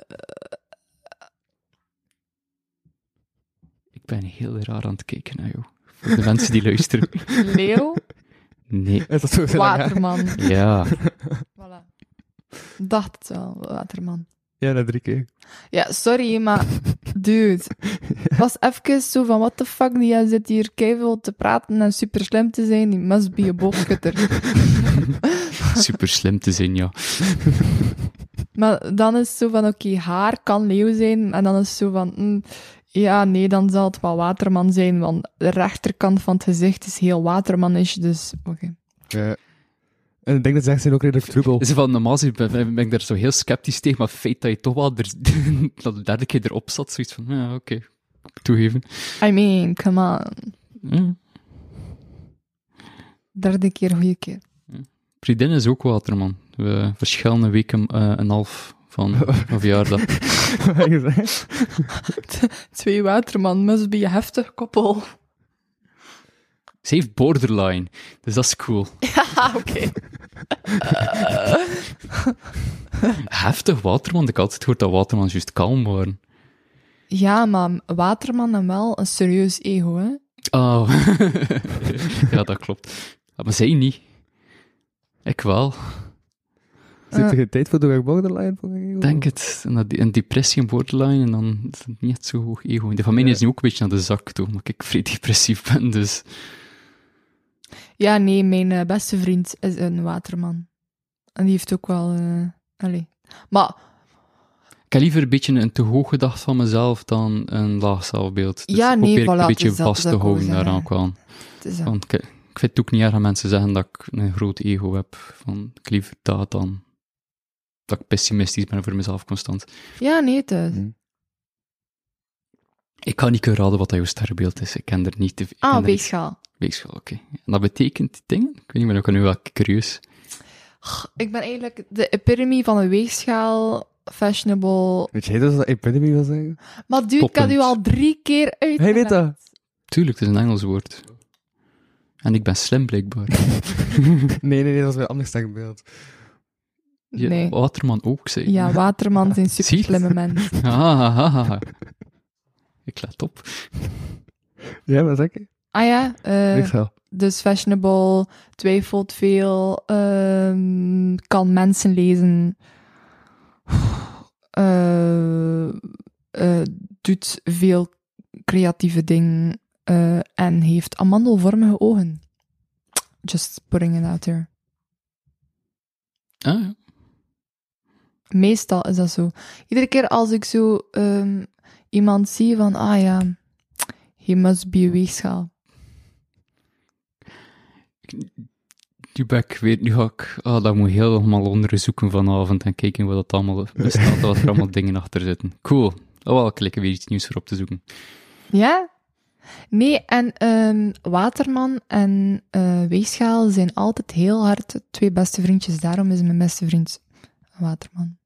S4: Ik ben heel raar aan het kijken naar jou. Voor de mensen die luisteren.
S5: leeuw?
S4: Nee.
S3: Is dat zo heel raar?
S5: Waterman.
S4: Ja.
S5: Voilà. Dacht het wel, waterman.
S3: Ja, na drie keer.
S5: Ja, sorry, maar dude. Was even zo van, what the fuck, die jij zit hier keiveel te praten en super slim te zijn, die must be a boogschutter.
S4: Super slim te zijn, ja.
S5: maar dan is het zo van, oké, haar kan leeuw zijn, en dan is het zo van, mm, ja, nee, dan zal het wel waterman zijn, want de rechterkant van het gezicht is heel watermanisch, dus, oké.
S3: Ja. En ik denk dat ze echt zijn ook redelijk troebel.
S4: Ze van, normaal gezien ben, ben ik daar zo heel sceptisch tegen, maar het feit dat je toch wel er, dat de derde keer erop zat, zoiets van, ja, oké. Toegeven.
S5: I mean, come on.
S4: Ja.
S5: Derde keer, goede keer.
S4: vriendin is ook Waterman. We verschillen een week en eh, een half van een verjaardag.
S3: Wat heb je gezegd?
S5: Twee waterman, must be a heftig koppel.
S4: Ze heeft borderline, dus dat is cool.
S5: Ah, oké.
S4: Heftig Waterman, ik had altijd gehoord dat Watermans juist kalm waren.
S5: Ja, maar waterman en wel een serieus ego, hè?
S4: Oh, ja, dat klopt. Ah, Maar zij niet. Ik wel,
S3: Zit er geen tijd voor door borderline? voor een ego?
S4: denk het. En dat- Een depressie en borderline, en dan is het niet zo hoog ego. De familie is nu ook een beetje aan de zak toe, omdat ik vrij depressief ben, dus...
S5: Ja, nee, mijn eh, beste vriend is een waterman. En die heeft ook wel... eh allee. Maar
S4: Ik heb liever een beetje een te hoog gedacht van mezelf dan een laag zelfbeeld. Dus
S5: Ja,
S4: ik
S5: nee,
S4: probeer ik
S5: voilà,
S4: een beetje
S5: dus dat-
S4: vast
S5: dat
S4: te
S5: wou ik
S4: houden
S5: zeggen.
S4: daaraan kwam.
S5: het is een...
S4: Want ik, ik vind het ook niet erg dat mensen zeggen dat ik een groot ego heb. Van, ik liever dat dan dat ik pessimistisch ben voor mezelf constant.
S5: Ja, nee, het is...
S4: Ik kan niet kunnen raden wat dat jouw sterrenbeeld is. Ik ken er niet te ik ken
S5: Ah,
S4: er niet-
S5: weegschaal.
S4: Weegschaal, oké. En dat betekent dingen? Ik weet niet, maar ik ben nu wel curieus.
S5: Ik ben eigenlijk de epitome van een weegschaal, fashionable...
S3: Weet jij dus wat epidemie wil zeggen?
S5: Maar dude, ik had
S4: Toppunt.
S5: u al drie keer uit.
S3: Hij weet dat.
S4: Tuurlijk, het is een Engels woord. En ik ben slim, blijkbaar.
S3: Nee, nee, nee, dat is een ander sterk beeld.
S4: Je-
S5: Nee.
S4: Waterman ook, zei
S5: Ja, waterman zijn super slimme mensen.
S4: Ah, ah, ah. Ik let op.
S3: Ja, maar zeg je?
S5: Ah ja, eh,
S3: Niks wel.
S5: dus fashionable, twijfelt veel, ehm, kan mensen lezen, eh, eh, doet veel creatieve dingen eh, en heeft amandelvormige ogen. Just putting it out there.
S4: Ah, ja.
S5: Meestal is dat zo. Iedere keer als ik zo ehm, iemand zie van, ah ja, he must be a weegschaal.
S4: Nu ben ik weer, nu ga ik, ah, dat moet ik helemaal onderzoeken vanavond en kijken wat dat allemaal bestaat, wat er allemaal dingen achter zitten. Cool. Oh, wel, ik lekker weer iets nieuws voor op te zoeken.
S5: Ja? Nee, en ehm, Waterman en eh, Weegschaal zijn altijd heel hard twee beste vriendjes. Daarom is mijn beste vriend Waterman.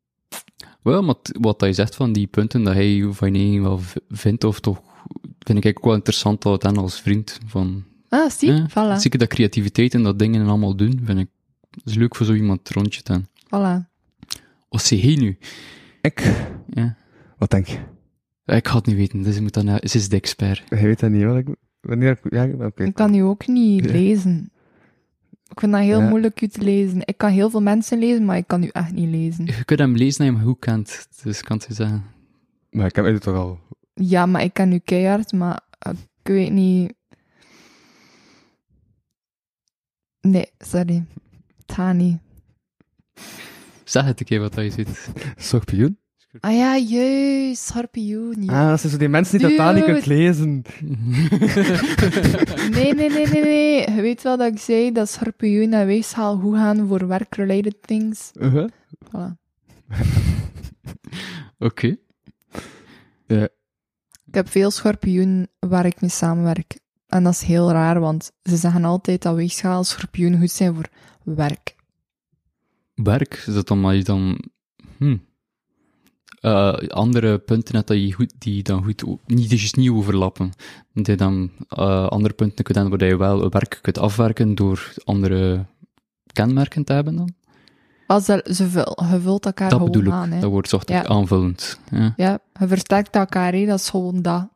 S4: Wel, maar t- wat hij zegt van die punten dat hij van je wel v- vindt, of toch, vind ik eigenlijk wel interessant dat dan als vriend van,
S5: Ah, zie?
S4: Ja,
S5: Voilà,
S4: zeker dat creativiteit en dat dingen en allemaal doen, vind ik, is leuk voor zo iemand rondje te hebben.
S5: voilà.
S4: Wat zie hij nu?
S3: Ik?
S4: Ja.
S3: Wat denk je?
S4: Ik ga het niet weten, dus ik moet dan, eh, ze is de expert.
S3: Hij weet dat niet, hoor. Ik- Wanneer ik... Ja, oké.
S5: Ik kan u ook niet
S3: Ja.
S5: lezen. Ik vind dat heel
S3: Ja.
S5: moeilijk u te lezen. Ik kan heel veel mensen lezen, maar ik kan u echt niet lezen.
S4: Je kunt hem lezen en hem goed kent, dus ik kan het je zeggen.
S3: Maar ik heb het toch al...
S5: Ja, maar ik kan u keihard, maar eh, ik weet niet... Nee, sorry. Het gaat niet.
S4: Zeg het een keer wat hij ziet.
S3: Schorpioen?
S5: Ah ja, juist, schorpioen. ja.
S3: Ah, dat zijn zo die mensen die totaal niet
S5: Dude.
S3: kunt lezen.
S5: Nee, nee, nee, nee, nee. Je weet wel dat ik zei dat schorpioen en weegschaal goed gaan voor work-related things.
S3: Uh-huh.
S5: Voilà.
S4: Oké.
S5: Ik heb veel schorpioen waar ik mee samenwerk. En dat is heel raar, want ze zeggen altijd dat weegschaal en schorpioen goed zijn voor werk.
S4: Werk, is dat dan maar je dan... Hm. Eh, andere punten hebt dat je goed, die dan goed, o- niet, die juist niet overlappen. Dat je dan eh, andere punten kunt hebben waar je wel werk kunt afwerken door andere kenmerken te hebben dan.
S5: Als er, ze vul, je vult elkaar
S4: dat
S5: gewoon
S4: bedoel ik.
S5: aan. Hè.
S4: Dat wordt zocht ik
S5: Ja.
S4: aanvullend. Ja.
S5: Ja, je versterkt elkaar, hè. dat is gewoon dat.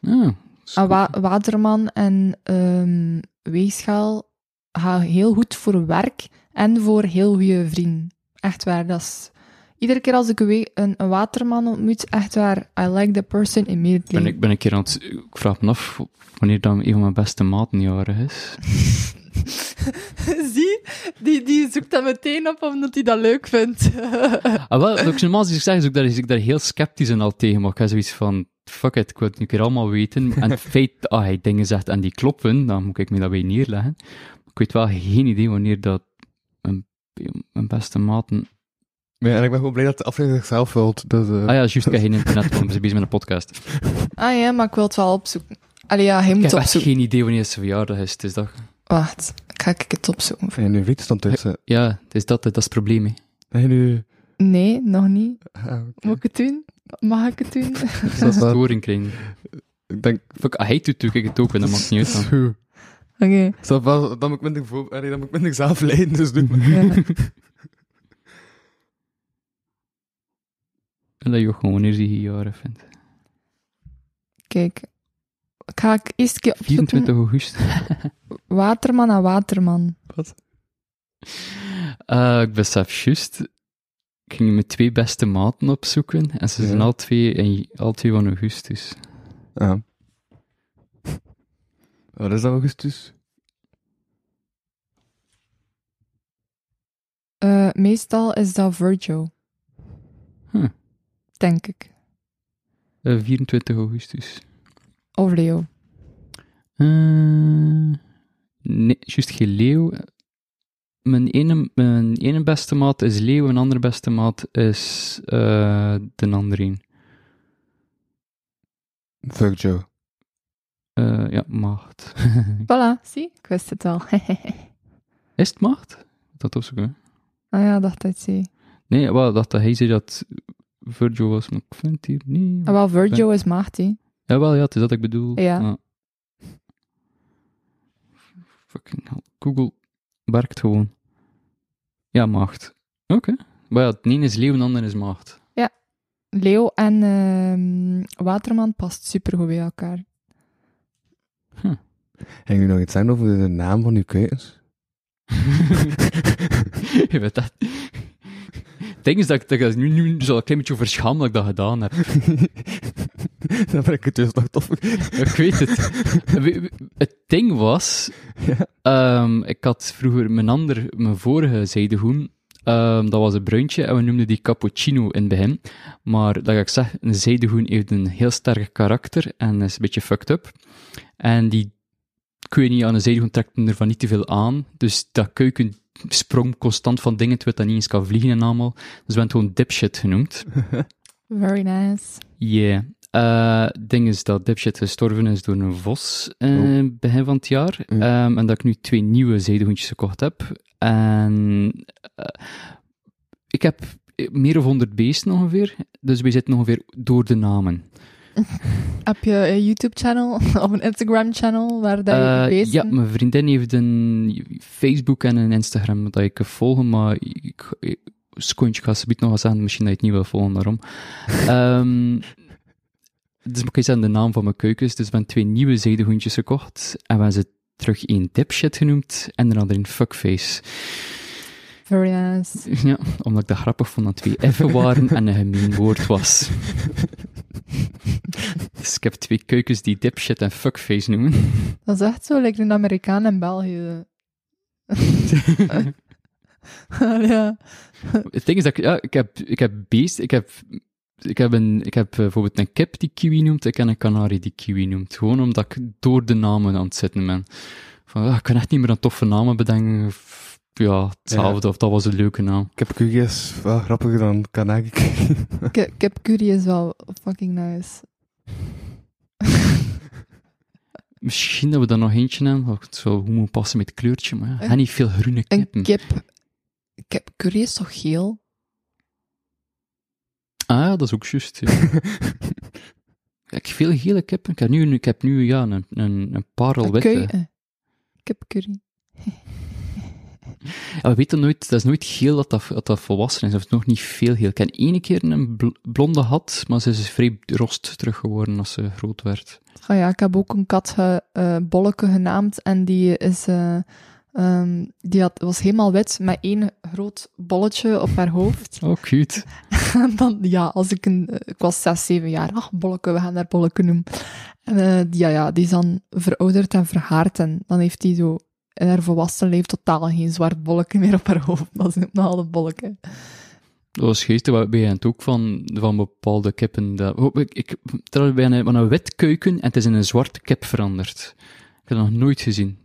S4: Ja, is
S5: En
S4: goed.
S5: Ah, Wa- Waterman en ehm, Weegschaal gaan heel goed voor werk en voor heel goede vrienden. Echt waar, dat is... Iedere keer als ik een, we- een, een waterman ontmoet, echt waar, I like the person immediately.
S4: ben ik, ben ik keer aan het, ik vraag me af wanneer dan een van mijn beste maten jarig is.
S5: Zie, die, die zoekt dat meteen op omdat hij dat leuk vindt.
S4: Ah, wel, ook normaal als ik zeg, is ook daar, is ik daar heel sceptisch in al tegen, maar ik heb zoiets van, fuck it, ik wil het nu een keer allemaal weten. En het feit dat hij dingen zegt en die kloppen, dan moet ik me dat weer neerleggen. Ik weet wel geen idee wanneer dat een, een beste maten...
S3: Ja, en ik ben gewoon blij dat de aflevering zichzelf vult. Dus, eh,
S4: Ah ja, juist, ik heb geen internet, want we zijn bezig met een podcast. Ik
S5: ah ja, maar ik wil het wel opzoeken. Allee, ja, hij moet
S4: heb echt
S5: opzoeken.
S4: geen idee wanneer zijn verjaardag is, het is dat...
S5: Wacht, ga ik het opzoeken?
S3: En uw vriend stond tussen.
S4: Ja, het is dat, dat is het probleem. Hè.
S3: En u...
S5: Nee, nog niet.
S3: Ah, oké.
S5: Moet ik het doen? Mag ik het doen?
S3: Dus dat is wel-
S4: Storing krijgen.
S3: Ik denk...
S4: Fuck, ah, hij doet natuurlijk het ook, en dat maakt niet uit dan.
S3: Phew.
S5: Oké.
S3: Snap wel, dan moet ik minder, voor... Allee, dan moet ik minder zelf leiden, dus doe maar.
S5: ja.
S4: En dat je ook gewoon wanneer ze hier jaren vindt.
S5: Kijk. Ik Ga ik eerst een keer opzoeken?
S4: 24 augustus.
S5: Waterman aan Waterman.
S3: Wat?
S4: Eh, ik besef juist, ik ging mijn twee beste maten opzoeken, en ze
S3: Ja.
S4: zijn al twee, in- al twee van augustus.
S3: Ah. Wat is dat, augustus?
S5: Eh, meestal is dat Virgil.
S4: Huh.
S5: Denk ik.
S4: Eh, 24 augustus.
S5: Of Leo.
S4: Eh, nee, juist geen leeuw. Mijn ene, mijn ene beste maat is leeuw, een andere beste maat is eh, de andere een.
S3: Virgil.
S4: Eh, ja, macht.
S5: Voilà, zie? Ik wist het al.
S4: is het macht? Dat was ook, hè?
S5: ah ja, dacht ik, zie.
S4: Nee, wel, dat hij zei dat Virgil was, maar ik vind het hier niet.
S5: Ah, wel, Virgil is maagd, hè.
S4: Jawel, ja, het is dat ik bedoel.
S5: Ja.
S4: Fucking hell. Google werkt gewoon. Ja, macht. Oké. Maar ja, het ene is leeuw en de ander is macht.
S5: Leo en ehm, Waterman past supergoed bij elkaar.
S3: Ging u nog iets zeggen over de naam van uw keukens?
S4: Je weet dat. Het ding is dat ik, dat ik dat nu, nu zo een klein beetje over schaam dat ik dat gedaan heb.
S3: dan ben ik het dus nog tof.
S4: Ik weet het. We- we- Het ding was,
S3: Ja.
S4: ehm, ik had vroeger mijn ander, mijn vorige zijdehoen, ehm, dat was een bruintje en we noemden die cappuccino in het begin. Maar dat ik zeg, een zijdehoen heeft een heel sterk karakter en is een beetje fucked up. En die, ik weet niet, aan een zijdehoen trekt men ervan niet te veel aan. Dus dat keuken sprong constant van dingen, terwijl dat niet eens kan vliegen en allemaal. Dus we hebben het gewoon dipshit genoemd.
S5: Very nice.
S4: Yeah. Eh, Het ding is dat Dipshit gestorven is door een vos eh,
S3: Oh.
S4: begin van het jaar.
S3: Ja.
S4: Ehm, en dat ik nu twee nieuwe zedehoentjes gekocht heb. En eh, ik heb meer of honderd beesten ongeveer. Dus we zitten ongeveer door de namen.
S5: Heb je een YouTube-channel of een Instagram-channel waar dat je
S4: Eh,
S5: die beesten...
S4: ja, mijn vriendin heeft een Facebook en een Instagram dat ik kan volgen, maar ik, ik, Skontje gaat ze nog eens aan, misschien dat je het niet wil volgen, daarom. Ehm, dus ik eens aan de naam van mijn keukens. Dus we hebben twee nieuwe zedehoentjes gekocht en we hebben ze terug één dipshit genoemd en de andere een fuckface.
S5: Very nice.
S4: Ja, omdat ik dat grappig vond dat twee F'en waren en een gemeen woord was. Dus ik heb twee keukens die dipshit en fuckface noemen.
S5: Dat is echt zo, lijkt een Amerikaan in België. ja.
S4: Het ding is dat ik, ja, ik heb, ik heb beest, ik heb, ik heb, een, ik heb eh, bijvoorbeeld een kip die kiwi noemt, ik heb een kanarie die kiwi noemt. Gewoon omdat ik door de namen aan het zitten ben. Van, ah, ik kan echt niet meer een toffe namen bedenken. F- Ja, hetzelfde, of dat was een leuke naam.
S3: Ik heb kugjes wel grappiger dan kanaki.
S5: Ki- Kipcurry is wel fucking nice.
S4: Misschien dat we daar nog eentje hebben, want het zou hoe moet passen met het kleurtje, maar ja,
S5: Een-
S4: en niet veel groene
S5: Een
S4: kippen.
S5: kip... Kipcurry is toch geel?
S4: Ah ja, dat is ook juist. ja. ik heb veel gele kippen. Ik heb nu, ik heb nu ja, een, een, een
S5: Een
S4: parelwitte.
S5: kui- eh, Kipcurry.
S4: Ja, we weten nooit, dat is nooit geel dat dat, dat, dat volwassen is, of nog niet veel geel. Ik heb ene keer een bl- blonde had, maar ze is dus vrij rost terug geworden als ze groot werd.
S5: Ah ja, ik heb ook een kat ge, eh, Bolleke genaamd en die is... eh, ehm, die had, was helemaal wit met één groot bolletje op haar hoofd.
S4: Oh, cute.
S5: En dan, ja, als ik een, eh, ik was zes, zeven jaar, ach, bolleke, we gaan daar bolleke noemen. En eh, die, ja, ja, die is dan verouderd en verhaard en dan heeft die zo in haar volwassen leven totaal geen zwart bolleke meer op haar hoofd. Dat is een bepaalde bolleke.
S4: Dat was geestig, waar ben je het ook van, van bepaalde kippen. Dat, oh, ik, ik, trouwens, bij een, van een wit keuken en het is in een zwarte kip veranderd. Ik heb dat nog nooit gezien.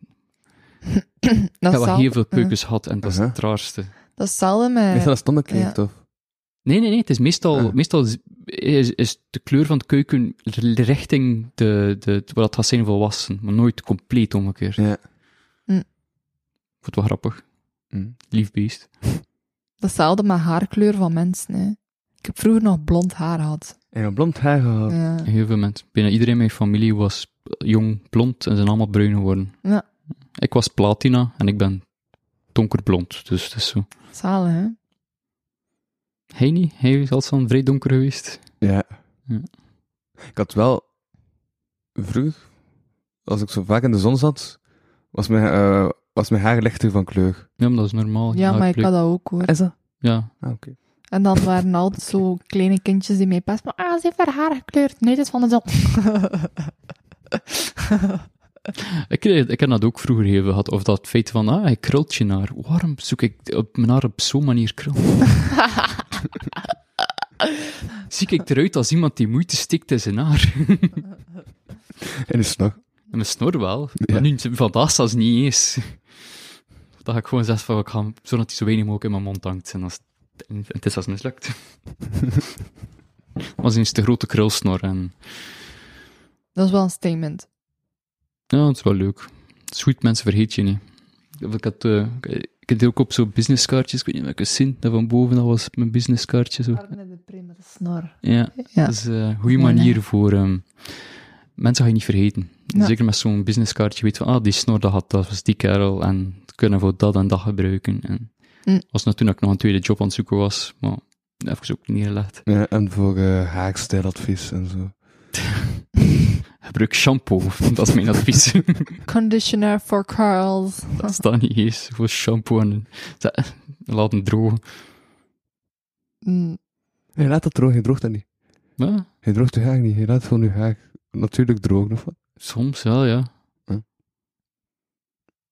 S4: Ik
S5: Dat
S4: heb
S5: is,
S4: wel
S5: zelf-
S4: heel veel keukens gehad en dat is
S3: Aha.
S4: het raarste.
S5: dat is hetzelfde
S3: Is dat
S5: met...
S3: een stomme keek,
S5: Eh, ja.
S3: toch?
S4: Nee, nee, nee. Het is meestal,
S3: Ah.
S4: meestal is- is, is de kleur van het keuken r- richting de, de, wat het gaat zijn volwassen, maar nooit compleet omgekeerd.
S3: Ja.
S5: Hm.
S4: vond het wel grappig.
S3: Hm.
S4: Lief beest.
S5: Datzelfde met haarkleur van mensen. Hè. Ik heb vroeger nog blond haar gehad.
S3: En een blond haar gehad.
S5: Ja.
S4: Heel veel mensen. Bijna iedereen in mijn familie was jong blond en zijn allemaal bruin geworden.
S5: Ja.
S4: Ik was platina en ik ben donkerblond, dus het is zo.
S5: Zalig, hè?
S3: Oh,
S4: Hij niet, hij is altijd zo'n vrij donker geweest.
S3: Ja.
S4: Ja.
S3: Ik had wel vroeg, als ik zo vaak in de zon zat, was mijn, eh, was mijn haar lichter van kleur.
S4: Ja, maar dat is normaal.
S5: Ja, maar ik
S4: plek-
S5: had dat ook, hoor.
S3: Is dat?
S4: Ja,
S3: Ah, oké.
S5: En dan waren altijd zo kleine kindjes die mij pas maar ah, ze heeft haar haar gekleurd. Nee, dat is van de zon.
S4: Ik, kreeg- ik heb dat ook vroeger heel veel gehad, of dat feit van, ah, hij krult je naar. Waarom zoek ik op mijn haar op zo'n manier krul? Zie ik eruit als iemand die moeite stikt in zijn haar?
S3: En is het nog?
S4: En mijn snor wel.
S3: Ja.
S4: Maar nu, vandaag zelfs niet eens. Dan ga ik gewoon zeggen van, ik ga, hem- zodat hij zo weinig mogelijk in mijn mond hangt. En, als, en het is als mislukt. Maar ze is de grote krulsnor en...
S5: Dat is wel een statement.
S4: Ja, het is wel leuk. Het is goed, mensen vergeet je niet. Ik had, eh, ik ik had ook op zo'n businesskaartjes, ik weet niet welke zin, dat van boven, dat was mijn businesskaartje. Zo.
S5: de prima snor.
S4: Ja,
S5: Ja.
S4: dat is eh, een goede
S5: Ja,
S4: manier voor... ehm, mensen ga je niet vergeten.
S5: Ja.
S4: Zeker met zo'n businesskaartje, weet van, ah, die snor dat had, dat was die kerel, en het kunnen we dat en dat gebruiken. En
S5: Hm.
S4: was natuurlijk nog een tweede job aan het zoeken was, maar even ook niet gelegd.
S3: Ja, en voor eh, haarstijladvies en zo.
S4: Gebruik shampoo, dat is mijn advies.
S5: Conditioner for curls.
S4: Dat staat niet eens. Gewoon shampoo en ze- laat hem drogen.
S5: Mm,
S3: Nee, laat dat droog, je droogt dat niet.
S4: Ja,
S3: Je droogt je haar niet, je laat gewoon je haar natuurlijk drogen of wat.
S4: soms wel, ja.
S3: Hm.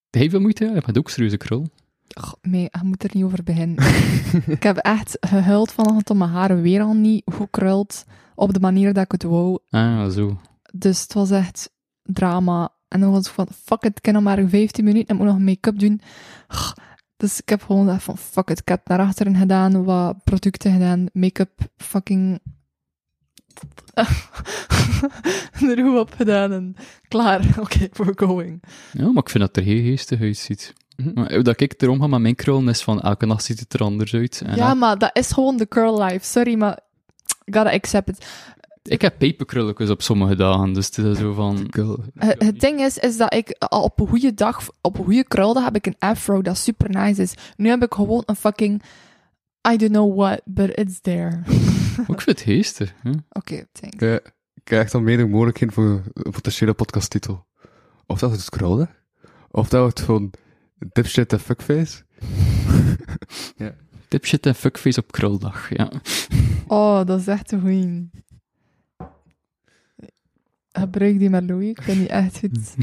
S4: Heb je veel moeite? Ja, je hebt ook serieuze krul.
S5: goh, nee, je moet er niet over beginnen. ik heb echt gehuild vanochtend om mijn haar weer al niet goed krult. Op de manier dat ik het wou.
S4: Ah, zo.
S5: Dus het was echt drama. En dan was ik van, fuck it, ik heb nog maar 15 minuten en ik moet nog make-up doen. Ugh. Dus ik heb gewoon gedacht van, fuck it, ik heb naar achteren gedaan, wat producten gedaan, make-up fucking... er goed op gedaan en klaar. Oké, we're going.
S4: Ja, maar ik vind dat er heel geestig uitziet.
S3: Mhm.
S4: Maar hoe dat ik erom ga met mijn krullen is van elke nacht ziet het er anders uit. En eh,
S5: ja,
S4: elke-
S5: maar dat is gewoon de curl life. Sorry, maar gotta accept it.
S4: Ik heb peperkrulletjes op sommige dagen, dus het is zo van...
S3: Girl.
S5: Eh, Het- het ding is, is dat ik al op een goede dag, op een goede kruldag heb ik een afro dat super nice is. Nu heb ik gewoon een fucking, I don't know what, but it's there.
S4: Maar Ik vind het geestig. hè.
S5: Oké, thanks.
S3: Ja, ik krijg dan meerdere mogelijkheden voor een potentiële podcasttitel. Of dat wordt scrollen, of dat wordt gewoon dipshit en fuckface.
S4: Dipshit en fuckface op kruldag, ja.
S5: Oh, dat is echt een goeie. Gebruik die maar, Louis. Ik vind die echt goed.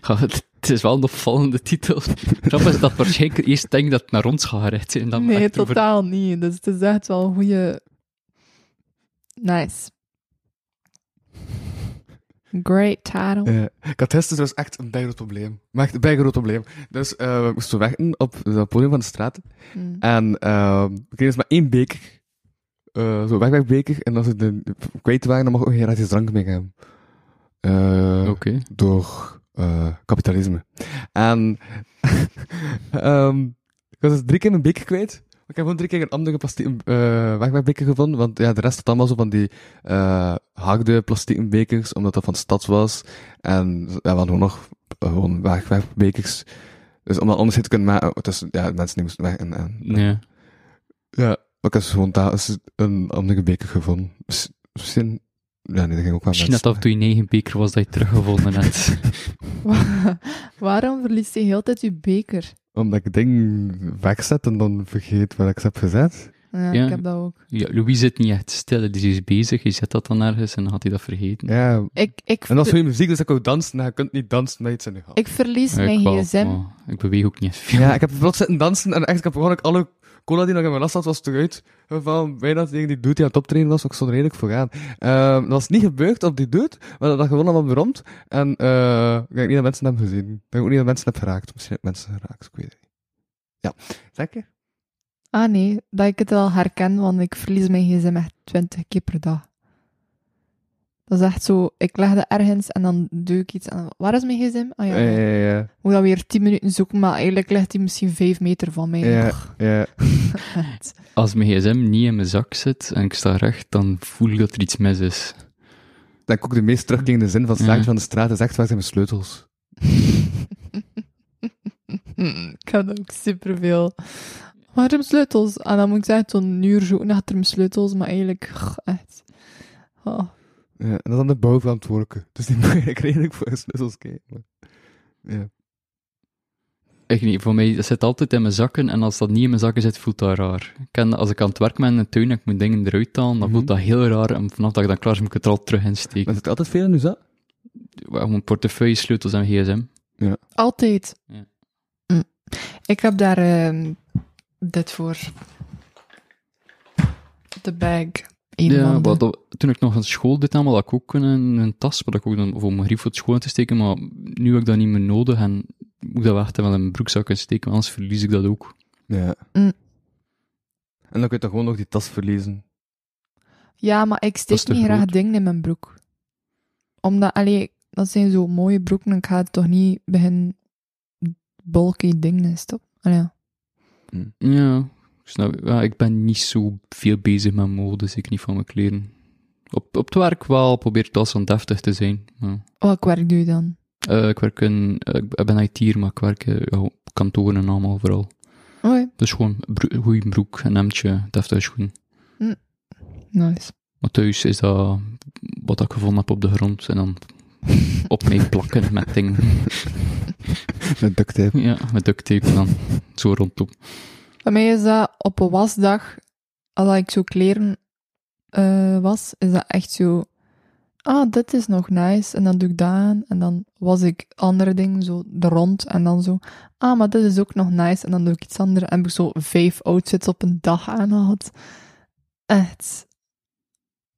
S4: Ja, het het is wel een opvallende titel. Grap is dat waarschijnlijk eerst denk dat het naar ons gaat gerecht zijn. en Dan
S5: nee,
S4: echt over-
S5: totaal niet. Dus het is echt wel een goede. Nice. Great title.
S3: Ja. Ik had gisteren dus echt een bijgroot probleem. Maar echt een bijgroot probleem. Dus eh we moesten wachten op het podium van de straat.
S5: Mm.
S3: En ehm we kregen dus maar één beker. Eh Zo'n wegwegbeker. En als we de kwijt waren, dan mocht ook geen gratis drank mee gaan. Eh,
S4: Oké.
S3: door eh, kapitalisme. En ehm, ik was dus drie keer mijn beker kwijt. Maar Ik heb gewoon drie keer een andere plastie- eh wegwerpbeker gevonden, want ja, de rest had allemaal zo van die eh hakde plastieke bekers, omdat dat van de stad was. En ja, we hadden gewoon nog eh, gewoon wegwerpbekers. Dus om dat onderscheid te kunnen maken tussen ja, mensen die moesten weg en... en
S4: Ja.
S3: ja, maar ik heb dus gewoon daar eens een andere beker gevonden. Miss- Misschien... Ja, nee, dat ging ook wel
S4: Misschien dat dat af en toe je eigen beker was dat je teruggevonden hebt.
S5: Waarom verliest je heel de tijd je beker?
S3: Omdat ik het ding wegzet en dan vergeet wat ik ze heb gezet.
S5: Ja,
S4: Ja.
S5: ik heb dat ook.
S4: Ja, Louis zit niet echt stil, die is dus bezig. Je zet dat dan ergens en dan had hij dat vergeten.
S3: Ja.
S5: Ik, ik,
S3: En als je muziek, dus ik ook dansen. En je kunt niet dansen met iets in je hand.
S5: ik verlies
S4: Ja, ik
S5: mijn
S4: wel,
S5: gsm.
S4: maar ik beweeg ook niet veel.
S3: Ja, ik heb plots zitten dansen en echt, ik heb gewoon ook alle cola die nog in mijn last zat, was eruit. Van bijna tegen die dude die aan het optreden was, want ik stond er redelijk voor aan. Ehm, dat was niet gebeurd op die dude, maar dat had gewoon allemaal beroemd. En eh ik denk niet dat mensen hem gezien. Ik denk ook niet dat mensen hebben geraakt. Misschien heb ik mensen geraakt, ik weet het niet. Ja, zeker.
S5: Ah nee, dat ik het wel herken, want ik verlies mijn gsm echt 20 keer per dag. Dat is echt zo, ik leg dat ergens en dan doe ik iets en waar is mijn gsm? Ah ja,
S3: Ja,
S4: Eh.
S3: ja, ja.
S5: moet dat weer 10 minuten zoeken, maar eigenlijk ligt hij misschien 5 meter van mij.
S3: Ja, ja.
S5: Echt.
S4: Als mijn gsm niet in mijn zak zit en ik sta recht, dan voel ik dat er iets mis is.
S3: Dat ik ook de meest terugkerende zin van het
S4: Ja.
S5: Mhm.
S3: straatje van de straat is echt waar zijn mijn sleutels.
S5: Hm, ik had ook superveel. Waarom sleutels? En dan moet ik zeggen, tot een uur zoeken achter mijn sleutels, maar eigenlijk, goh, echt. Oh.
S3: Ja, en dat is dan de bouwverantwoordelijke. Dus die moet eigenlijk redelijk voor hun sleutels kijken. Ja.
S4: Echt niet, voor mij dat zit altijd in mijn zakken en als dat niet in mijn zakken zit, voelt dat raar. Ik ken dat als ik aan het werk ben in de tuin en ik moet dingen eruit halen, dan
S3: Mhm.
S4: voelt dat heel raar en vanaf dat ik dan klaar is, moet ik het er al terug in steken.
S3: Maar zit er altijd veel in uw zak?
S4: Waarom Mijn portefeuille, sleutels en gsm.
S5: Altijd.
S4: Ja.
S5: Hm. Ik heb daar ehm, dit voor. De bag. Een
S4: Ja,
S5: van de-
S4: wat, dat- toen ik nog aan school deed, dan had ik ook een, een tas, waar ik ook dan voor mijn grief voor school in te steken, maar nu heb ik dat niet meer nodig en moet ik dat wel echt wel in mijn broekzak in steken, want anders verlies ik dat ook.
S3: Ja.
S5: Mm.
S3: En dan kun je toch gewoon nog die tas verliezen.
S5: Ja, maar
S4: Dat
S5: ik
S4: is
S5: steek
S4: te
S5: niet graag
S4: groot.
S5: dingen in mijn broek. Omdat, allee, dat zijn zo mooie broeken en ik ga het toch niet beginnen bulky dingen in stoppen. Allee, ja.
S4: Ja, ik snap, ja, ik ben niet zo veel bezig met mode, zeker niet van mijn kleren. Op, op het werk wel, probeer ik wel zo'n deftig te zijn. Ja.
S5: Welk Oh, werk doe je dan?
S4: Eh, ik werk in, eh, ik ben IT'er, maar ik werk eh, ja, op kantoren en allemaal vooral.
S5: Oei,
S4: Dus gewoon een broek- een goede broek, een hemdje, deftige schoenen.
S5: nice.
S4: Maar thuis is dat wat ik gevonden heb op de grond en dan op mij plakken met dingen.
S3: Met duct tape.
S4: Ja, met duct tape dan. Zo rondom.
S5: Bij mij is dat op een wasdag, als ik zo kleren eh, was, is dat echt zo... Ah, dit is nog nice. En dan doe ik dat aan. En dan was ik andere dingen, zo er rond. En dan zo... Ah, maar dit is ook nog nice. En dan doe ik iets anders. En heb ik zo vijf outfits op een dag aan gehad. Echt.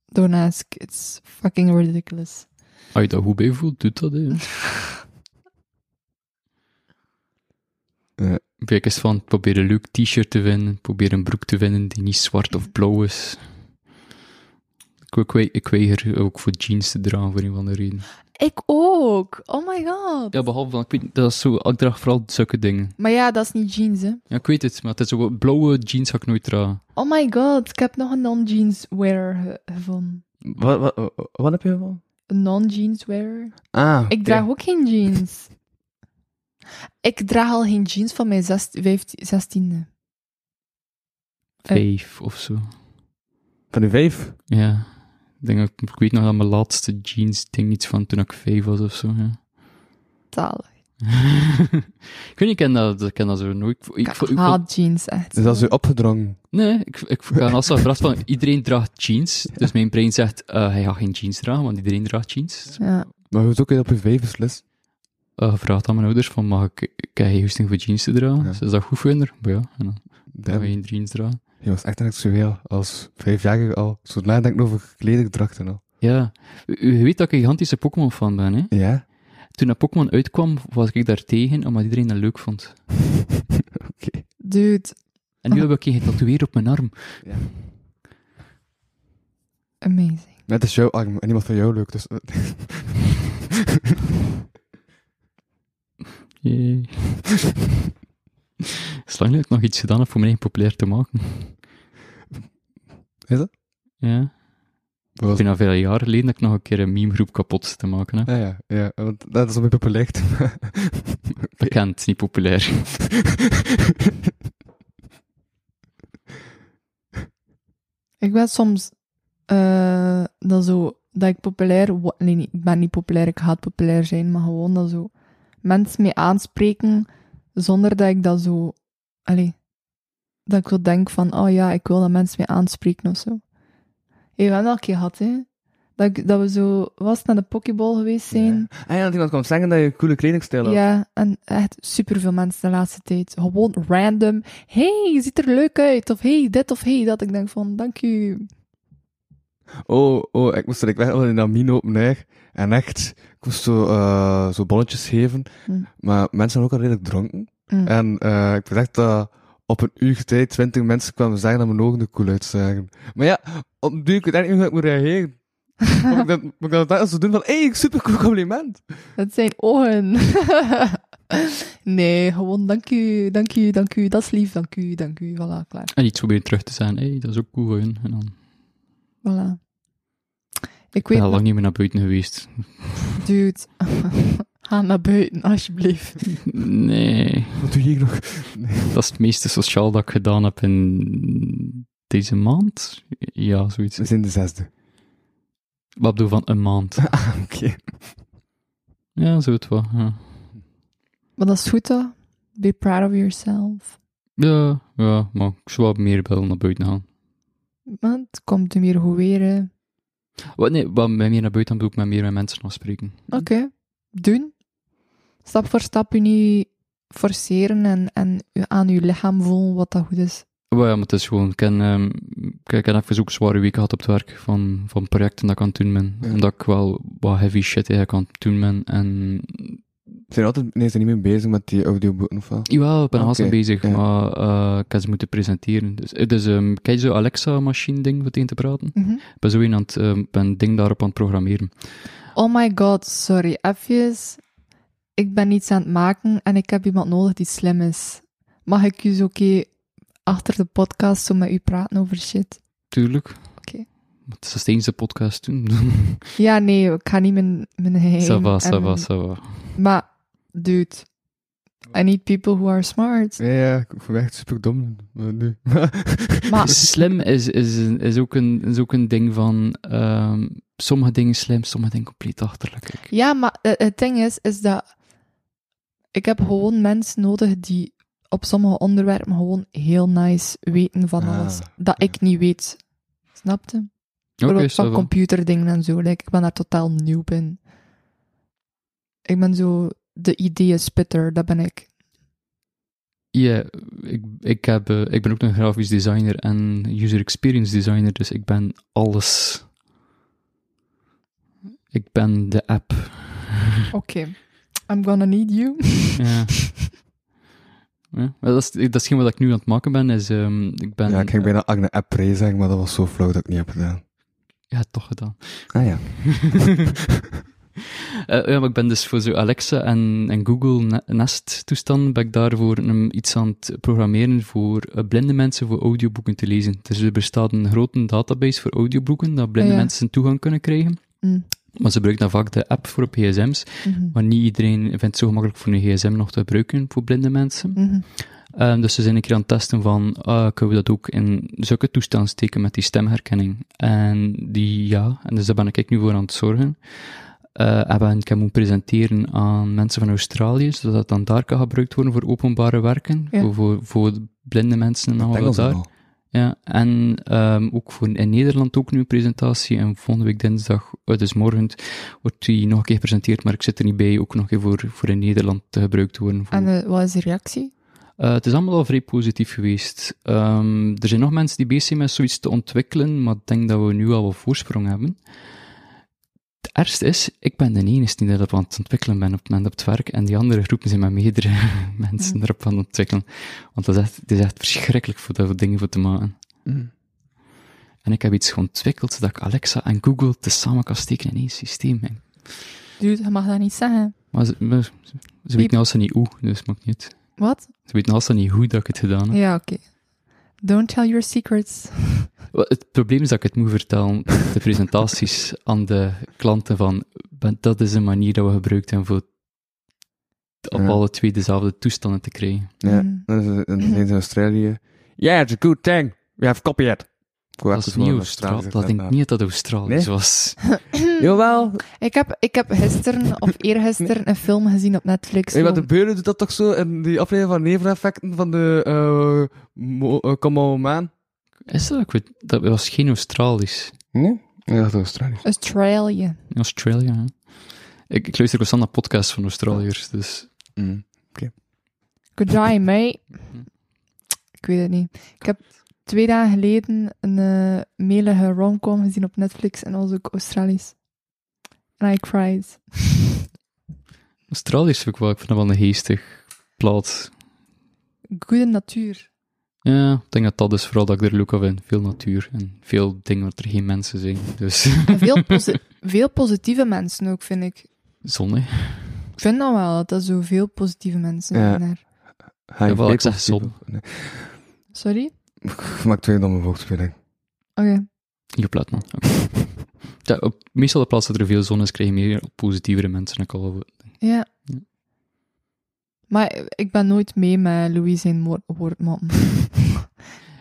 S5: Don't ask. It's fucking ridiculous.
S4: Als je dat goed bij voelt, doet dat. Hè.
S3: Ja.
S4: Kijk eens van, probeer een leuk t-shirt te vinden, probeer een broek te vinden die niet zwart of blauw is. Ik, ik, we- ik weiger ook voor jeans te dragen voor een van de reden.
S5: Ik ook. Oh my god.
S4: Ja, behalve van, ik weet, dat is zo, ik draag vooral zulke dingen.
S5: Maar ja, dat is niet jeans, hè.
S4: Ja, ik weet het, maar het is ook, blauwe jeans ga ik nooit dragen.
S5: Oh my god. Ik heb nog een non-jeans wearer ge- gevonden.
S3: Wat, wat, wat, heb je ervan?
S5: Een non-jeans wearer.
S3: Ah, oké.
S5: Ik draag ook geen jeans. ik draag al geen jeans van mijn 16e. Eh.
S4: Vijf of zo.
S3: Van de vijf?
S4: Ja. Ik, denk, dat ik, ik weet nog dat mijn laatste jeans, ik denk iets van toen ik vijf was of zo. Ja.
S5: Zalig.
S4: ik weet niet, ik ken dat, ik ken dat zo nooit. Ik, vo- ik,
S5: Ik
S4: vo- ik, vo-
S5: haat jeans echt.
S3: Dus dat is u opgedrongen.
S4: nee, ik, ik ben als verrast van iedereen draagt jeans. Dus mijn brein zegt, eh, hij gaat geen jeans dragen, want iedereen draagt jeans.
S5: Ja.
S3: Maar hoe ook je op je vijf beslis?
S4: Eh gevraagd aan mijn ouders van, mag ik, ik heb geen goesting voor jeans te dragen.
S3: Ja.
S4: Ze is dat goed voor hen? Maar ja, en dan
S3: Damn.
S4: gaan we geen jeans dragen.
S3: Je was echt seksueel als vijfjarige al. Zo nadenken over kledingdrachten al.
S4: Ja, u, u weet dat ik een gigantische Pokémon-fan ben, hè?
S3: Ja?
S4: Toen dat Pokémon uitkwam, was ik daar tegen, omdat iedereen dat leuk vond.
S3: Oké.
S5: Dude,
S4: En nu heb ik geen tatoeëer op mijn arm.
S5: amazing.
S3: Net is jouw arm Ah, en iemand van jou leuk, dus... eh,
S4: Jee. Is lang dat ik nog iets gedaan heb om mij populair te maken.
S3: Is dat?
S4: Ja.
S3: wat
S4: Ik
S3: was-
S4: vind al vele jaren geleden dat ik nog een keer een memegroep kapot zit te maken. Hè.
S3: Ja, ja, ja, want dat is op je puppen ligt.
S4: Bekend, niet populair.
S5: Ik ben soms eh, dat zo dat ik populair wo- nee, nee, ik ben niet populair, ik haat populair zijn, maar gewoon dat zo mensen mee aanspreken zonder dat ik dat zo allee, dat ik zo denk van oh ja, ik wil dat mensen mee aanspreken of zo. Je hebt dat een keer gehad, hè? Dat, ik- dat we zo was naar de Pokéball geweest zijn.
S3: En dat Ah iemand kwam zeggen dat je een coole kledingstijl
S5: Ja,
S3: had.
S5: en echt superveel mensen de laatste tijd. Gewoon random. hey, je ziet er leuk uit. Of hey, dit of hey, dat. Ik denk van, dank u.
S3: Oh, oh, ik moest er ik weg wel in dat mine open air. En echt, ik moest zo, eh, zo bonnetjes geven.
S5: Hm.
S3: Maar mensen waren ook al redelijk dronken.
S5: Hm.
S3: En eh, ik dacht dat op een uur tijd twintig mensen kwamen zeggen dat mijn ogen er cool uitzagen. Maar ja, op duur, ik weet eigenlijk niet hoe ik moet reageren. Moet ik dat, moet ik dat, dat zo doen van, hé, hey, supercool compliment.
S5: Het zijn ogen. nee, gewoon dank u, dank u, dank u. Dat is lief, dank u, dank u. Voilà, klaar.
S4: En iets proberen terug te zeggen. Hé, hey, dat is ook cool. Hein? En dan
S5: Voilà. Ik
S4: ben
S5: weet
S4: al
S5: nog,
S4: lang niet meer naar buiten geweest.
S5: dude. Ga naar buiten, alsjeblieft.
S4: Nee.
S3: Wat doe je hier nog?
S4: Dat is het meeste sociaal dat ik gedaan heb in deze maand. Ja, zoiets.
S3: We zijn de zesde.
S4: Wat bedoel van een maand?
S3: Oké.
S4: Ja, zo het wel. Ja,
S5: Maar dat is goed, toch? Be proud of yourself.
S4: ja, ja, maar ik zou wel meer willen naar buiten gaan.
S5: Want het komt hem hier goed weer, hè.
S4: Wat, nee, wat met meer naar buiten gaan bedoel ik met meer met mensen afspreken.
S5: Oké, doen. Stap voor stap je niet forceren en, en u- aan je lichaam voelen wat dat goed is.
S4: Wel ja, maar het is gewoon, ik heb, ehm, ik ik heb even ook zware weken gehad op het werk van, van projecten dat ik aan het doen ben.
S3: Ja.
S4: Omdat ik wel wat heavy shit eigenlijk aan het doen ben. En
S3: Zijn we altijd, nee, zijn niet meer bezig met die audioboeken of wat?
S4: jawel, ik ben haast
S3: Oké,
S4: bezig,
S3: ja.
S4: maar eh, ik heb ze moeten presenteren. Dus, eh, dus ehm, ken je zo'n Alexa-machine-ding wat tegen te praten?
S5: Mhm.
S4: Ik ben zo een aan het, ehm, ik ben een ding daarop aan het programmeren.
S5: Oh my god, sorry. Even, ik ben iets aan het maken en ik heb iemand nodig die slim is. Mag ik dus oké achter de podcast zo met u praten over shit?
S4: Tuurlijk.
S5: Oké.
S4: Maar Het is dat steeds de podcast doen.
S5: Ja, nee, ik ga niet mijn, mijn geheim...
S4: Ça va, ça
S5: en
S4: va,
S5: mijn-
S4: ça va.
S5: Maar, dude, I need people who are smart.
S3: Ja, ja, ik vond het echt super dom. Maar nu.
S5: Maar,
S4: Dus Slim is, is, een- is, ook een, is ook een ding van... ehm, sommige dingen slim, sommige dingen compleet achterlijk. Ik-
S5: ja, maar eh, het ding is, is dat ik heb gewoon mensen nodig die op sommige onderwerpen gewoon heel nice weten van
S3: Ah,
S5: alles. Dat ik niet weet. Snapte?
S4: Oké,
S5: Bijvoorbeeld
S4: ça
S5: van
S4: va.
S5: computerdingen en zo. Like, ik ben daar totaal nieuw in. Ik ben zo de ideeën spitter, dat ben ik.
S4: Ja, ik, ik, heb, eh, ik ben ook een grafisch designer en user experience designer, dus ik ben alles. Ik ben de app.
S5: Oké. I'm gonna need you.
S4: Ja. Ja, maar dat is dat is hetgeen wat ik nu aan het maken ben. Is, ehm, ik ben
S3: Ja, ik ging bijna Agne app zeggen, maar dat was zo flauw dat ik niet heb gedaan.
S4: ja, toch gedaan.
S3: Ah ja.
S4: Eh, ja, maar ik ben dus voor zo Alexa en, en Google Ne- Nest toestand, ben ik daarvoor een, iets aan het programmeren voor eh, blinde mensen voor audioboeken te lezen. Dus er bestaat een grote database voor audioboeken, dat blinde
S5: Oh Ja.
S4: mensen toegang kunnen krijgen.
S5: Mm.
S4: Maar ze gebruiken dan vaak de app voor op gsm's,
S5: Mhm.
S4: maar niet iedereen vindt het zo gemakkelijk voor een gsm nog te gebruiken voor blinde mensen.
S5: Mhm.
S4: Ehm, dus ze zijn een keer aan het testen van, ah, kunnen we dat ook in zulke toestand steken met die stemherkenning? En die, ja, en dus daar ben ik nu voor aan het zorgen. Eh, en ben- ik heb moeten presenteren aan mensen van Australië, zodat dat dan daar kan gebruikt worden voor openbare werken,
S5: Ja.
S4: voor, voor, voor blinde mensen en al
S3: Engels
S4: wat daar.
S3: al.
S4: Ja, en ehm, ook voor in Nederland ook nu een presentatie. En volgende week dinsdag, eh, dus morgen, wordt die nog een keer gepresenteerd, maar ik zit er niet bij, ook nog een keer voor, voor in Nederland te gebruikt te worden. voor-
S5: En eh, wat is de reactie?
S4: eh, het is allemaal al vrij positief geweest. Ehm, er zijn nog mensen die bezig zijn met zoiets te ontwikkelen, maar ik denk dat we nu al wat voorsprong hebben. Het ergste is, ik ben de enige die dat op aan het ontwikkelen ben op het moment op het werk, en die andere groepen zijn met meerdere mensen
S5: Mm.
S4: erop aan het ontwikkelen. Want dat is echt, het is echt verschrikkelijk voor daar dingen voor te maken. En ik heb iets ontwikkeld zodat ik Alexa en Google tezamen kan steken in één systeem. hè.
S5: Dude, je mag dat niet zeggen.
S4: Maar ze, maar ze- ze weten als ze niet hoe, dus maakt niet uit.
S5: Wat?
S4: Ze weten als ze niet hoe dat ik het gedaan heb.
S5: Ja, oké. Don't tell your secrets.
S4: Wel, Het probleem is dat ik het moet vertellen, op de presentaties aan de klanten van, "Ben- dat is een manier dat we gebruikt hebben voor t- op
S3: Ja.
S4: alle twee dezelfde toestanden te krijgen.
S3: Ja,
S5: Mm.
S3: dan is het- dan zijn ze in Australië. Yeah, it's a good thing. We have copied. Ik wou
S4: Dat is
S3: even
S4: niet
S3: gewoon
S4: Australië,
S3: Australisch
S4: dat denk ik
S3: accent
S4: niet dat dat Australisch
S3: Nee?
S4: was.
S3: aan. Jawel.
S5: Ik heb, ik heb gisteren of eergisteren een film gezien op Netflix.
S3: Hey, maar de
S5: gewoon-
S3: Beulen doet dat toch zo in die aflevering van Neveneffecten van de eh Mo- eh, Come On Man?
S4: Is dat ook? weer- Dat was geen Australisch.
S3: Nee? Ja, dat is Australië.
S5: Australië.
S4: In Australië, hè? Ik, ik luister constant naar podcasts van Australiërs, dus...
S3: Mm.
S5: Good day, mate. Ik weet het niet. Ik heb twee dagen geleden een eh, melige romcom gezien op Netflix en was ook Australisch. En I cried.
S4: Australiërs vind ik wel, ik vind dat wel een geestig plaats.
S5: Goede natuur.
S4: Ja, ik denk dat dat is vooral dat ik er leuk aan vind. Veel natuur en veel dingen waar er geen mensen zijn. Dus
S5: En veel, posi- veel positieve mensen ook, vind ik.
S4: zon, hè.
S5: Ik vind dat wel, dat er zoveel positieve mensen
S3: Ja.
S5: zijn daar.
S3: Ga je
S4: Ja, wel, ik zeg
S3: positief
S4: zon.
S3: op- Nee.
S5: Sorry?
S3: Pff, Maak twee domme woordspeling.
S5: Oké.
S4: Je plaat, man. Oké. Ja, op, meestal de plaats dat er veel zon is, krijg je meer positievere mensen. Ik al,
S5: Ja.
S4: Ja.
S5: Maar ik ben nooit mee met Louis zijn woord- woordmap.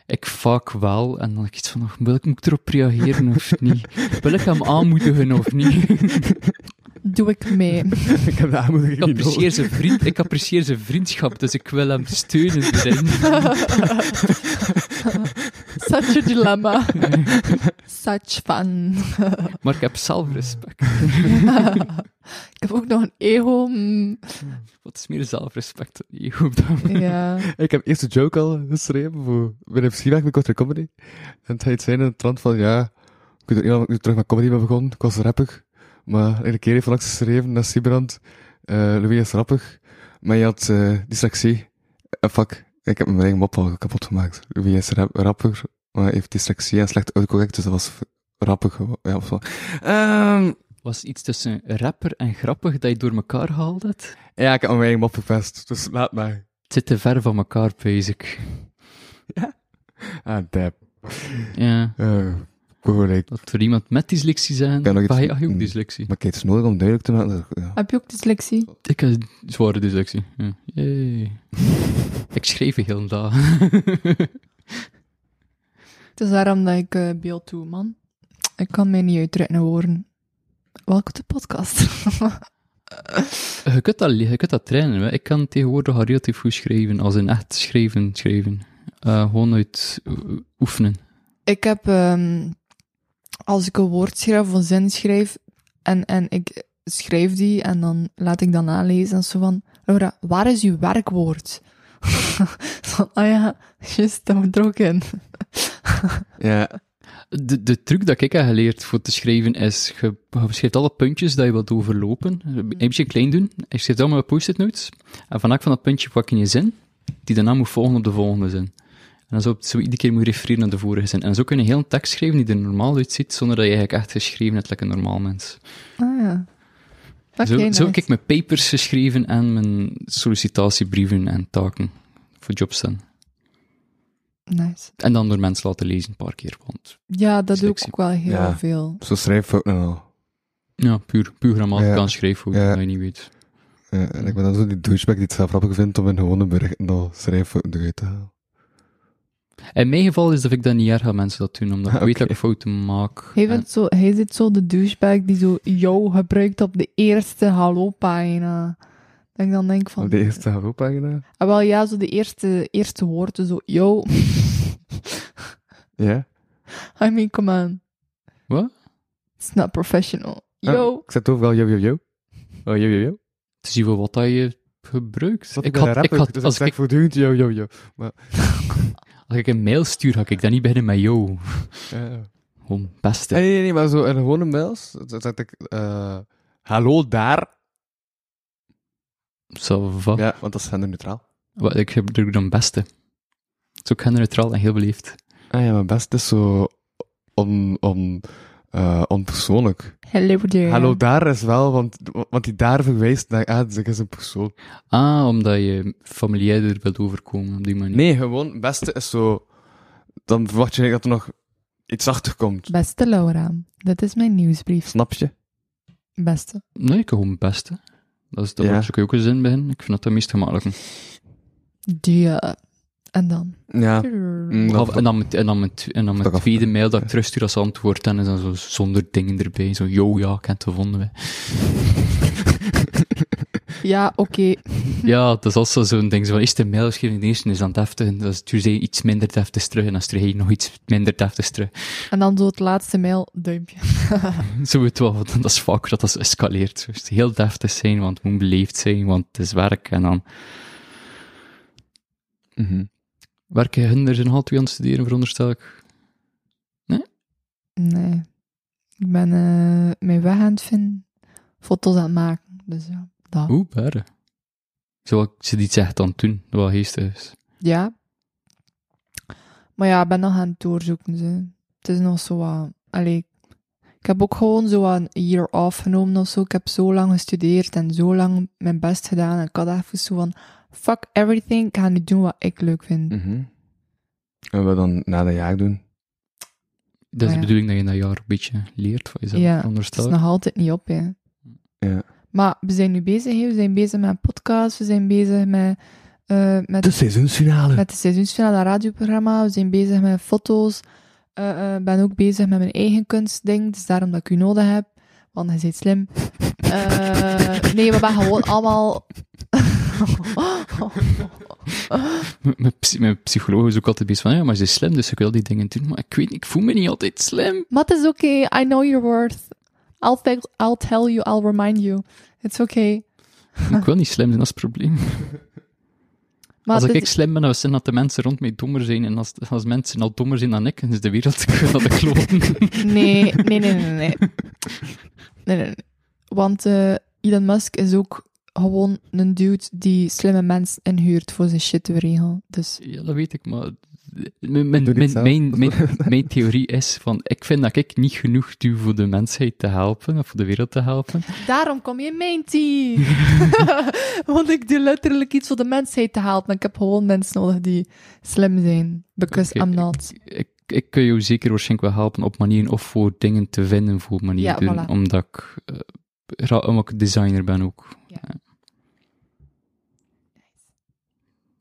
S4: ik vaak wel. En dan heb ik iets van, nog, wil ik moet ik erop reageren of niet? Wil ik hem aanmoedigen of niet?
S5: Doe ik mee.
S3: ik heb de
S4: Ik
S3: aanmoediging niet
S4: apprecieer
S3: nodig.
S4: zijn, vriend, ik apprecieer zijn vriendschap, dus ik wil hem steunen erin.
S5: Such a dilemma. Such fun.
S4: Maar ik heb zelf respect.
S5: ik heb ook nog een ego. mm,
S4: Wat is meer zelfrespect dan ego op dat moment?
S5: ja.
S3: Ik heb eerst de joke al geschreven voor Willem Schieberg bij Kortere Comedy. En het heet zijn in het land van, ja, ik weet ook niet waarom ik nu terug met comedy ben begonnen. Ik was rappig. Maar een keer heeft langs geschreven naar Siebrand, eh Louis is rappig. Maar je had eh dyslexie. En fuck, ik heb mijn eigen mop al kapot gemaakt. Louis is rap, rapper, maar heeft dyslexie en slecht autocorrect, dus dat was f- rappig. Ja, of zo. Ehm,
S4: Was iets tussen rapper en grappig dat je door elkaar haalde? Het
S3: ja, ik heb mijn eigen mop verpest, dus laat mij.
S4: zit te ver van elkaar, basic.
S3: Ah, dap.
S4: Ja.
S3: Eh, cool, ik-
S4: Dat voor iemand met dyslexie zijn,
S3: Ja, nog iets-
S4: maar hij had ook
S3: mm.
S4: dyslexie.
S3: Maar kijk, het is nodig om duidelijk te maken. dat- eh, Ja.
S5: Heb je ook dyslexie?
S4: Ik heb zware dyslexie. Ja. Yay. ik schreef een hele dag.
S5: Het is daarom dat ik eh, beeld doe, man. Ik kan mij niet uitdrukken in woorden. Welke de podcast?
S4: je, kunt dat, je kunt dat trainen. Hè. Ik kan tegenwoordig al relatief goed schrijven, als in echt schrijven, schrijven. Eh, gewoon uit o- oefenen.
S5: ik heb, ehm, als ik een woord schrijf of een zin schrijf, en, en ik schrijf die en dan laat ik dat nalezen en zo van, Laura, waar is uw werkwoord? Zo, ah ja, juist, dat moet er ook in.
S3: ja,
S4: De, de truc dat ik heb geleerd voor te schrijven is, je, je schrijft alle puntjes dat je wilt overlopen. Een beetje klein doen. En Je schrijft allemaal post-it notes. En vanaf van dat puntje pak je een zin, die daarna moet volgen op de volgende zin. En dan zo, zo iedere keer moet je refereren naar de vorige zin. En zo kun je heel een tekst schrijven die er normaal uitziet, zonder dat je eigenlijk echt geschreven hebt, lekker een normaal mens.
S5: Ah ja. Oké,
S4: zo, zo
S5: nice.
S4: heb ik mijn papers geschreven en mijn sollicitatiebrieven en taken voor jobs dan.
S5: Nice.
S4: En dan door mensen laten lezen een paar keer, want
S5: Ja, dat doe ik
S4: Dyslexie.
S5: ook wel heel
S3: Ja.
S5: veel.
S3: zo schrijf ik nou al.
S4: ja, puur, puur grammatica
S3: Ja.
S4: en schrijffouten,
S3: Ja.
S4: dat je niet weet.
S3: Ja, en ik ben dan zo die douchebag die het zelf grappig vindt om in gewone berichten al schrijffouten eruit te halen.
S4: In mijn geval is dat ik dat niet erg aan mensen dat doen, omdat ik
S3: Ah,
S4: weet
S3: oké.
S4: dat ik fouten maak.
S5: Hij,
S4: En-
S5: vindt zo, hij zit zo de douchebag die zo yo gebruikt op de eerste hallo-pagina. Dat ik dan denk van...
S3: Op de eerste hallo-pagina?
S5: Ah, wel ja, zo de eerste, eerste woorden, zo yo.
S3: Ja.
S5: I mean, come on.
S4: Wat?
S5: It's not professional.
S3: Ah,
S5: Yo.
S3: ik zet overal yo, yo, yo. Oh, yo, yo, yo.
S4: te zien voor wat dat je gebruikt.
S3: Want
S4: ik
S3: ben een
S4: had, ik
S3: rapper,
S4: had,
S3: dus
S4: als,
S3: ik
S4: ik,
S3: zeg voortdurend yo, yo, yo.
S4: als ik een mail stuur, ga ik dan niet beginnen met yo.
S3: Ja.
S4: Gewoon beste.
S3: Nee, nee, nee, maar zo in gewone mails z- zet ik... eh, hallo daar.
S4: Zo va.
S3: Ja, want dat is genderneutraal.
S4: Wat, ik gebruik dan beste. Het is ook genderneutraal en heel beleefd.
S3: Ah ja, maar best is zo on, on, eh, onpersoonlijk.
S5: Hello there.
S3: Hallo daar is wel, want, want die daar verwijst naar... Ah, ze is een persoon.
S4: Ah, omdat je familiairder wilt overkomen op die manier.
S3: Nee, gewoon, het beste is zo... Dan verwacht je eigenlijk dat er nog iets achter komt.
S5: Beste Laura, dit is mijn nieuwsbrief.
S3: Snap je?
S5: Beste.
S4: Nee, ik gewoon beste. Dat is, dat
S3: Ja.
S4: kun je ook een zin beginnen. Ik vind dat het meest gemakkelijke.
S5: Dia. En dan.
S3: Ja. Mm, dat-
S4: Of- en dan met, en dan met, en dan met
S3: Dat af-
S4: tweede mail dat ik terugstuur als antwoord, dan is dan zo zonder dingen erbij. Zo, yo, ja, ik heb het gevonden. hè.
S5: Ja, oké.
S4: Ja, dat is also zo'n ding. Zo, eerst de mail schrijven, de eerste is aan het heftig, en dan stuur je iets minder deftigs terug, en dan stuur je nog iets minder deftigs terug.
S5: En dan zo het laatste mail, duimpje.
S4: Zo weet wel, want dat is vaak dat dat escaleert. Zo, eerst heel deftig zijn, want het moet beleefd zijn, want het is werk, en dan
S3: Mhm.
S4: werken hun er zijn half twee aan het studeren, veronderstel ik.
S5: Nee. Ik ben eh, mijn weg aan het vinden. Foto's aan het maken. Dus ja. Dat.
S4: Oeh, berre. Zo, ik- ze die zegt dan toen, wat geestig is.
S5: Ja. Maar ja, ik ben nog aan het doorzoeken. Ze. Het is nog zo wat... Allee, ik heb ook gewoon zo wat een year off genomen of zo. Ik heb zo lang gestudeerd en zo lang mijn best gedaan. En ik had even zo van... Fuck everything, ik ga nu doen wat ik leuk vind.
S3: Mm, En Mhm. we dan na dat jaar doen.
S4: Dat is
S5: Ah,
S4: de
S5: ja.
S4: bedoeling dat je in dat jaar een beetje leert van jezelf.
S5: Ja,
S4: anders
S5: Het is nog altijd niet op, hè.
S3: Ja.
S5: Maar we zijn nu bezig, hè. We zijn bezig met een podcast. We zijn bezig met... eh, met
S3: De seizoensfinale.
S5: met de seizoensfinale radioprogramma. We zijn bezig met foto's. Ik ben ook bezig met mijn eigen kunstding. Dus daarom dat ik u nodig heb. Want je bent slim. Eh, nee, we hebben gewoon allemaal...
S4: M- Mijn, psy- mijn psycholoog is ook altijd bezig van, ja, maar ze is slim, dus ik wil die dingen doen. Maar ik weet niet, ik voel me niet altijd slim.
S5: maar het is oké. I know your worth. I'll, te- I'll tell you, I'll remind you. It's oké.
S4: Ik wil niet slim zijn, dat is het probleem.
S5: Maar
S4: als
S5: het
S4: ik,
S5: is-
S4: ik slim ben, dan zijn dat de mensen rond mij dommer zijn. En als, als mensen al dommer zijn dan ik, dan is de wereld ik wil dat de kloten.
S5: Nee, nee, nee, nee, nee. Nee, nee, nee. Want eh, Elon Musk is ook gewoon een dude die slimme mensen inhuurt voor zijn shit te regelen. Dus
S4: ja, dat weet ik, maar... eh, Mijn, mijn,
S3: Doe dit
S4: mijn,
S3: zelf.
S4: mijn, mijn- mijn theorie is van, ik vind dat ik niet genoeg doe voor de mensheid te helpen, of voor de wereld te helpen.
S5: daarom kom je in mijn team. Want ik doe letterlijk iets voor de mensheid te halen. Maar ik heb gewoon mensen nodig die slim zijn. Because
S4: Oké,
S5: I'm not.
S4: Ik, ik kun jou zeker waarschijnlijk wel helpen op manieren, of voor dingen te vinden voor manieren,
S5: Ja, voilà.
S4: omdat ik... eh, ra- omdat ik designer ben ook.
S5: Ja.
S4: Ja.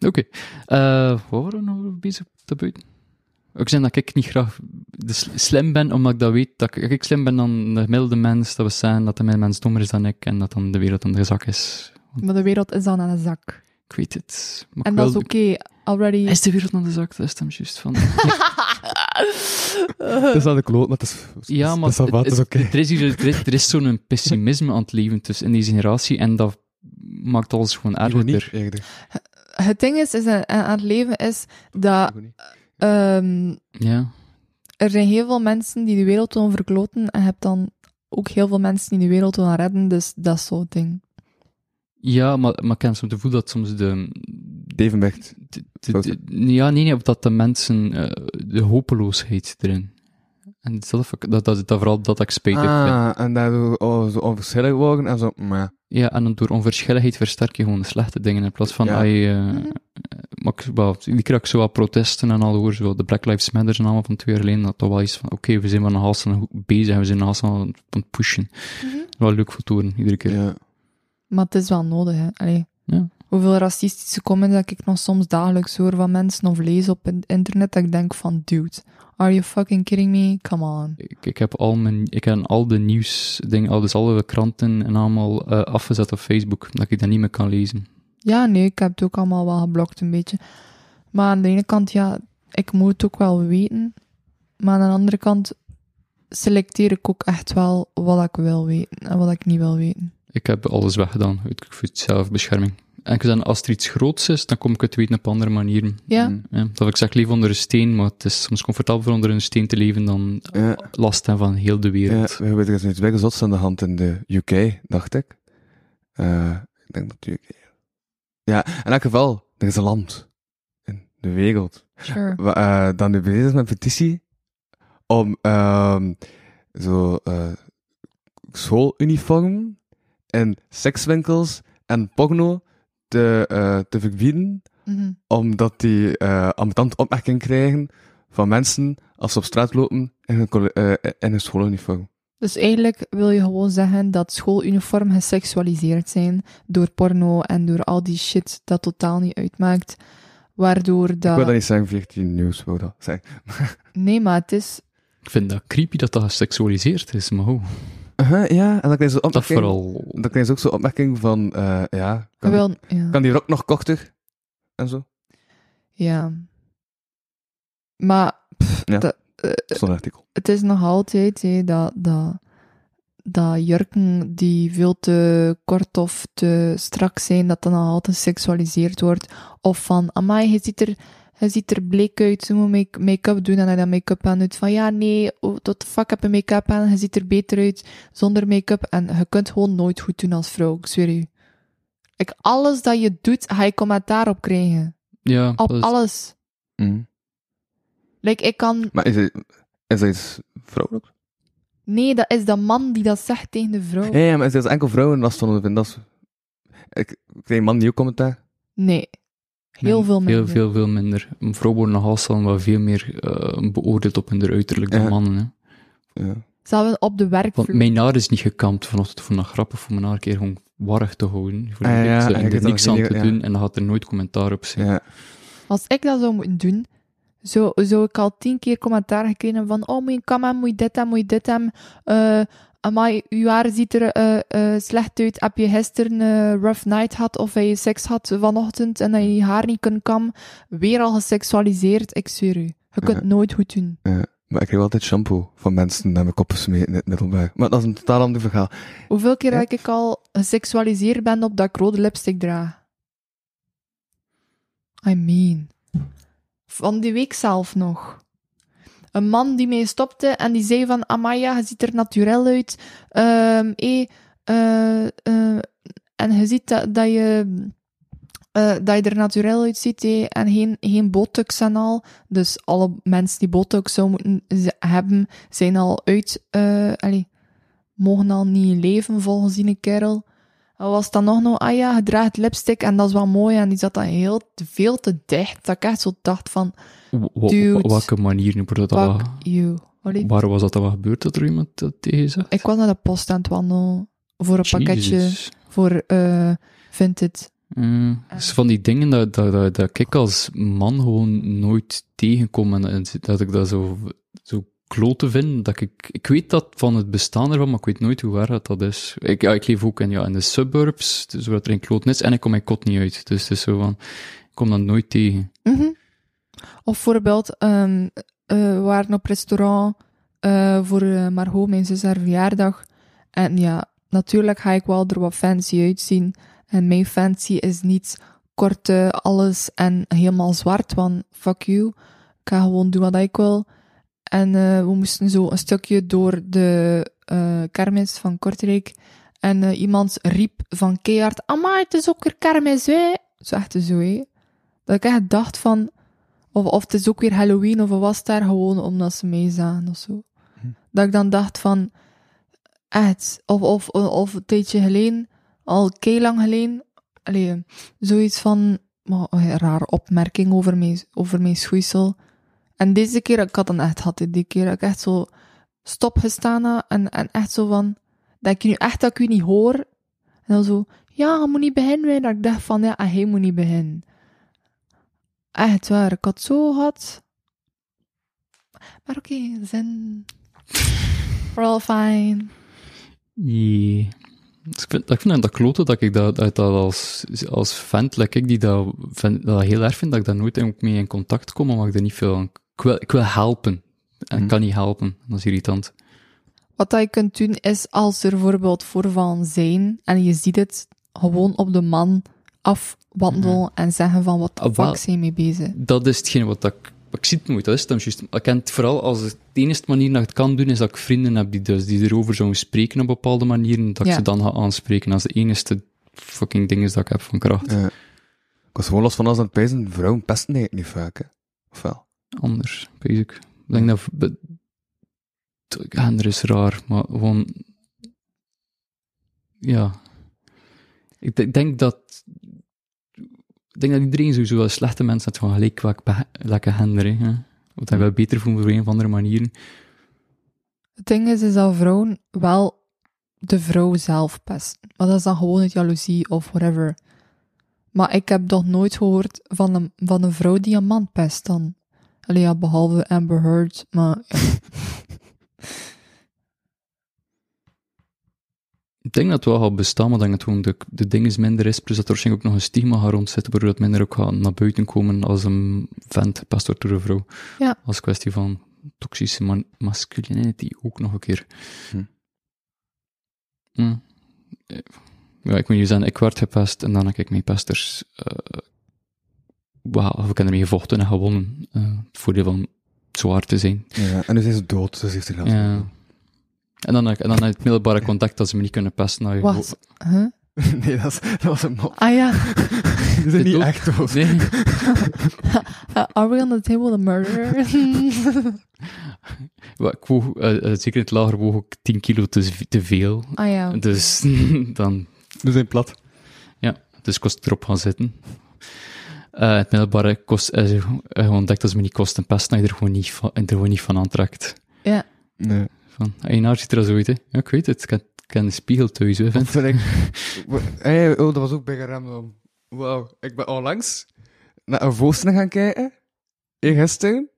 S4: Oké. Eh, Waar waren we nog over bezig te buiten? Ik zei dat ik niet graag de sl- slim ben, omdat ik dat weet. Dat ik, als ik slim ben dan de gemiddelde mens, dat we zijn dat de gemiddelde mens dommer is dan ik en dat dan de wereld aan de zak is.
S5: Maar de wereld is dan aan de zak.
S4: Ik weet het. Maar
S5: En
S4: ik
S5: dat is
S4: wil-
S5: oké. Already.
S4: Is de wereld aan de zak? Dat is hem juist van.
S3: Het is aan de kloot, maar het is...
S4: Ja, maar
S3: Het is al wat, het is
S4: het-
S3: oké.
S4: er is, hier- er is, er is zo'n pessimisme aan het leven tussen in deze generatie en dat maakt alles gewoon
S3: Ironie,
S4: erger.
S3: eerder.
S5: Het ding is, is aan, aan het leven is dat
S3: Ironie.
S4: Ah.
S5: ehm,
S4: Ja.
S5: er zijn heel veel mensen die de wereld willen verkloten. En je hebt dan ook heel veel mensen die de wereld willen redden. Dus dat is zo'n ding.
S4: Ja, maar, maar ik heb soms het gevoel dat soms de...
S3: Devenbecht.
S4: de- de- de- ja, nee, nee, dat de mensen eh, de hopeloosheid erin. En zelf, ook- dat, dat, dat vooral dat ik spijtig vind.
S3: Ah, en daardoor oh, zo onverschillig worden en zo. Maar
S4: Ja, en dan door onverschilligheid versterk je gewoon de slechte dingen in plaats van...
S3: Ja.
S4: ah, je, eh,
S5: Mhm.
S4: maar ik, wel, die krijg ik zo wat protesten en al hoor, zo wat de Black Lives Matter en allemaal van twee jaar geleden, dat toch wel iets van, oké, we zijn wel nog haast goed bezig, we zijn nog haast aan aan het pushen. Wel leuk voor toren, iedere keer.
S3: ja.
S5: Maar het is wel nodig, hè. Allee.
S4: Ja.
S5: Hoeveel racistische comments dat ik nog soms dagelijks hoor van mensen of lees op in- internet, dat ik denk van, dude, are you fucking kidding me? Come on.
S4: Ik, ik heb al mijn, ik heb al de nieuwsdingen, al dus alle kranten en allemaal eh, afgezet op Facebook, dat ik dat niet meer kan lezen.
S5: Ja, nee, ik heb het ook allemaal wel geblokt een beetje. Maar aan de ene kant, ja, ik moet het ook wel weten. Maar aan de andere kant selecteer ik ook echt wel wat ik wil weten en wat ik niet wil weten.
S4: Ik heb alles weggedaan, uit voor zelfbescherming. En ik zeg, als er iets groots is, dan kom ik het weten op andere manieren.
S5: Ja,
S3: Mm.
S4: Ja, dat ik zeg, leef onder een steen, maar het is soms comfortabeler onder een steen te leven dan
S3: Ja,
S4: last hebben van heel de
S3: ja,
S4: wereld.
S3: we hebben er iets weg zots aan de hand in de UK, dacht ik. Eh, ik denk dat de UK. Ja, in elk geval, er is een land in de wereld.
S5: sure.
S3: wa- eh, dat nu bezig is met een petitie om ehm, zo eh, schooluniform en sekswinkels en porno te, eh, te verbieden
S5: Mhm.
S3: omdat die eh ambetant opmerking krijgen van mensen als ze op straat lopen in hun, colle- eh, in hun schooluniform.
S5: Dus eigenlijk wil je gewoon zeggen dat schooluniform geseksualiseerd zijn door porno en door al die shit dat totaal niet uitmaakt. Waardoor
S3: Ik
S5: dat...
S3: wil dat niet zeggen, 14 nieuws wil dat zeggen.
S5: Nee, maar het is...
S4: Ik vind dat creepy dat dat geseksualiseerd is, maar oh,
S3: Uh-huh, ja, en dan krijgen ze
S4: dat
S3: opmerking,
S4: vooral.
S3: Dan krijgen ze ook zo'n opmerking van, eh, ja, kan,
S5: Wel, ja.
S3: kan die rok nog korter? En zo.
S5: ja. Maar
S3: Ja.
S5: dat- eh,
S3: Zo'n artikel.
S5: het is nog altijd hè, dat, dat, dat jurken die veel te kort of te strak zijn, dat dat nog altijd geseksualiseerd wordt. Of van, amai, je ziet er, je ziet er bleek uit, ze moet make- make-up doen en hij dat make-up aan doet. Van ja, nee, oh, tot de fuck heb je make-up aan, je ziet er beter uit zonder make-up. En je kunt gewoon nooit goed doen als vrouw, ik zweer u. Ik, alles dat je doet, ga je commentaar op krijgen.
S4: Ja,
S5: Op
S4: dat is-
S5: alles.
S3: Mm.
S5: Like, ik kan...
S3: Maar is, het- is dat iets vrouwelijks?
S5: Nee, dat is de man die dat zegt tegen de vrouw.
S3: Ja, ja, maar is er enkel vrouwen last van vinden? Dat is... Ik kreeg een man nieuw commentaar.
S5: Nee. Heel veel
S4: Veel,
S5: minder.
S4: veel, veel minder. Een vrouw wordt nog altijd wel veel meer eh, beoordeeld op hun uiterlijk dan
S3: Ja.
S4: mannen. Hè.
S3: Ja.
S5: Zelfs op de
S4: Want
S5: werkvloer.
S4: mijn haar is niet gekamd vanochtend voor een grappen, voor mijn haar een keer gewoon warrig te houden. Voor
S3: Ah, ja,
S4: niks,
S3: ja, ik
S4: en
S3: heb
S4: er
S3: dat
S4: niks aan
S3: gezien,
S4: te
S3: ja.
S4: doen en dan gaat er nooit commentaar op zijn.
S3: ja.
S5: Als ik dat zou moeten doen, zou, zou ik al tien keer commentaar gekregen hebben van oh, moet je kam aan, moet je dit aan, moet je dit aan. eh amai, uw haar ziet er eh, eh, slecht uit. Heb je gisteren een rough night gehad of heb je seks had vanochtend en dat je je haar niet kunt kammen? Weer al geseksualiseerd, ik zweer u. Je kunt
S3: Ja.
S5: nooit goed doen.
S3: Maar ik kreeg altijd shampoo van mensen naar mijn koppen smeten in het middelbaar. Maar dat is een totaal ander verhaal.
S5: Hoeveel keer
S3: Ja.
S5: dat ik al geseksualiseerd ben op dat ik rode lipstick draag? I mean. Van die week zelf nog. Een man die mee stopte en die zei van... Amaya, je ziet er naturel uit. Ehm eh, eh, eh, en je ziet dat, dat je... eh, dat je er naturel uitziet hé, en geen, geen botox en al. Dus alle mensen die botox zou moeten z- hebben, zijn al uit... eh allee, mogen al niet leven volgens die kerel. En was dan nog nou, ah ja, je draagt lipstick en dat is wel mooi. En die zat dan heel te- veel te dicht. Dat ik echt zo dacht van,
S4: Wa- wa-
S5: Dude.
S4: wa- welke manier nu wordt dat
S5: fuck
S4: al-
S5: you. Allee,
S4: Waar was dat dan wel gebeurd dat er iemand dat tegen zegt?
S5: ik was naar de post aan het wandelen voor een pakketje,
S4: Jezus.
S5: voor eh Vinted.
S4: Mm, het is van die dingen dat, dat, dat, dat ik als man gewoon nooit tegenkom en, en dat ik dat zo, zo klote vind. Dat ik, ik weet dat van het bestaan ervan, maar ik weet nooit hoe waar dat, dat is. Ik, ja, ik leef ook in, ja, in de suburbs, dus waar er een kloten is, en ik kom mijn kot niet uit. Dus het is zo van, ik kom dat nooit tegen.
S5: Mhm. Of bijvoorbeeld, ehm, eh, we waren op restaurant eh, voor eh, Margot, mijn zus, haar verjaardag. En ja, natuurlijk ga ik wel er wat fancy uitzien. En mijn fancy is niet korte alles en helemaal zwart, want fuck you. Ik ga gewoon doen wat ik wil. En eh, we moesten zo een stukje door de eh kermis van Kortrijk. En eh, iemand riep van keihard, amai, het is ook weer kermis, hè. Zo echt zo, hè. Dat ik echt dacht van... Of, of het is ook weer Halloween, of was het daar gewoon omdat ze mee zagen of zo. Dat ik dan dacht van... Echt, of, of, of een tijdje geleden, al kei lang geleden... Allee, zoiets van... Maar, een rare opmerking over mijn, over mijn schoeisel. En deze keer, ik had dan echt gehad, hè, die keer, dat ik echt zo stopgestaan had en, en echt zo van... Dat ik nu echt dat ik u niet hoor. En dan zo... Ja, je moet niet beginnen. hè. Dat ik dacht van, ja, hij moet niet beginnen. Echt Ah, waar, ik had zo gehad. Maar oké, zen. We're all fine.
S4: Yeah. Dus ik, vind, ik vind dat dat klote dat ik dat, dat, dat als, als vent, like ik, die dat, vind, dat heel erg vind, dat ik daar nooit ook mee in contact kom, omdat ik er niet veel aan... Ik wil, ik wil helpen. En ik kan niet helpen. Dat is irritant.
S5: Wat dat je kunt doen is, als er bijvoorbeeld voorvallen zijn en je ziet het, gewoon op de man afwandelen en zeggen van wat de
S4: Mhm. Ah, wel.
S5: fuck zijn je mee bezig.
S4: Dat is hetgene wat ik... Ik zie het nooit, dat is het dan juist. Ik ken het vooral als het de enige manier dat ik het kan doen, is dat ik vrienden heb die, dus, die erover zouden spreken op bepaalde manieren, dat ik
S5: Ja.
S4: ze dan ga aanspreken. Dat is de enige fucking ding is dat ik heb van kracht.
S3: Ja. Ik was gewoon los van alles aan het pijzen. Vrouwen pesten eigenlijk niet vaak, hè. Of wel?
S4: anders, basic. Ik denk dat... be- t- ja, er is raar, maar gewoon... Ja. Ik de- denk dat... Ik denk dat iedereen sowieso wel slechte mensen heeft van gelijk wat lekker henderen, hè. Of dat wel beter voelen voor een of andere manier.
S5: Het ding is, is dat vrouwen wel de vrouw zelf pesten. Maar dat is dan gewoon uit jaloezie of whatever. Maar ik heb nog nooit gehoord van een, van een vrouw die een man pest dan. Allee, ja, behalve Amber Heard, maar...
S4: Ik denk dat het wel gaat bestaan, maar ik denk dat gewoon de, de ding is minder is, plus dat er waarschijnlijk ook nog een stigma gaat rondzitten, waardoor dat minder ook gaat naar buiten komen als een vent gepest wordt door een vrouw.
S5: Ja.
S4: Als kwestie van toxische man- masculinity ook nog een keer.
S3: Hm.
S4: Hm. Eh, Ja, ik moet je zeggen, ik werd gepest en dan heb ik mijn pesters... eh wauw, we kunnen ermee gevochten en gewonnen. Eh, het voordeel van zwaar te zijn.
S3: Ja. En nu zijn ze dood, ze heeft er geld.
S4: Ja. En dan, en dan het middelbare contact dat ze me niet kunnen pesten. nou,
S5: Wat? Huh?
S3: Nee, dat, is, dat was een mop.
S5: Ah ja,
S3: Die
S4: De
S3: zijn niet
S4: dood.
S3: echt dood.
S4: Nee.
S5: eh, are we on the table of murder?
S4: Wel, Ik woog, eh, eh, zeker in het lager woog ik 10 kilo te, z- te veel.
S5: ah ja.
S4: Dus dan
S3: We zijn plat.
S4: dus ik kost erop gaan zitten. Eh, het middelbare kost, eh, ze- eh, ontdekt dat ze me niet kost en pest, dat je er gewoon niet van, er gewoon niet van aantrekt.
S5: ja.
S3: Nee.
S4: Van, "Ah, Einaar ziet er zo uit, hè. Ja, ik weet het. Ik heb, ik heb een spiegel thuis, hè,
S3: Of
S4: vind.
S3: vind ik... we- hey, oh, dat was ook bij Ramdam. Wauw. Ik ben onlangs naar een voorstelling gaan kijken. Eergisteren.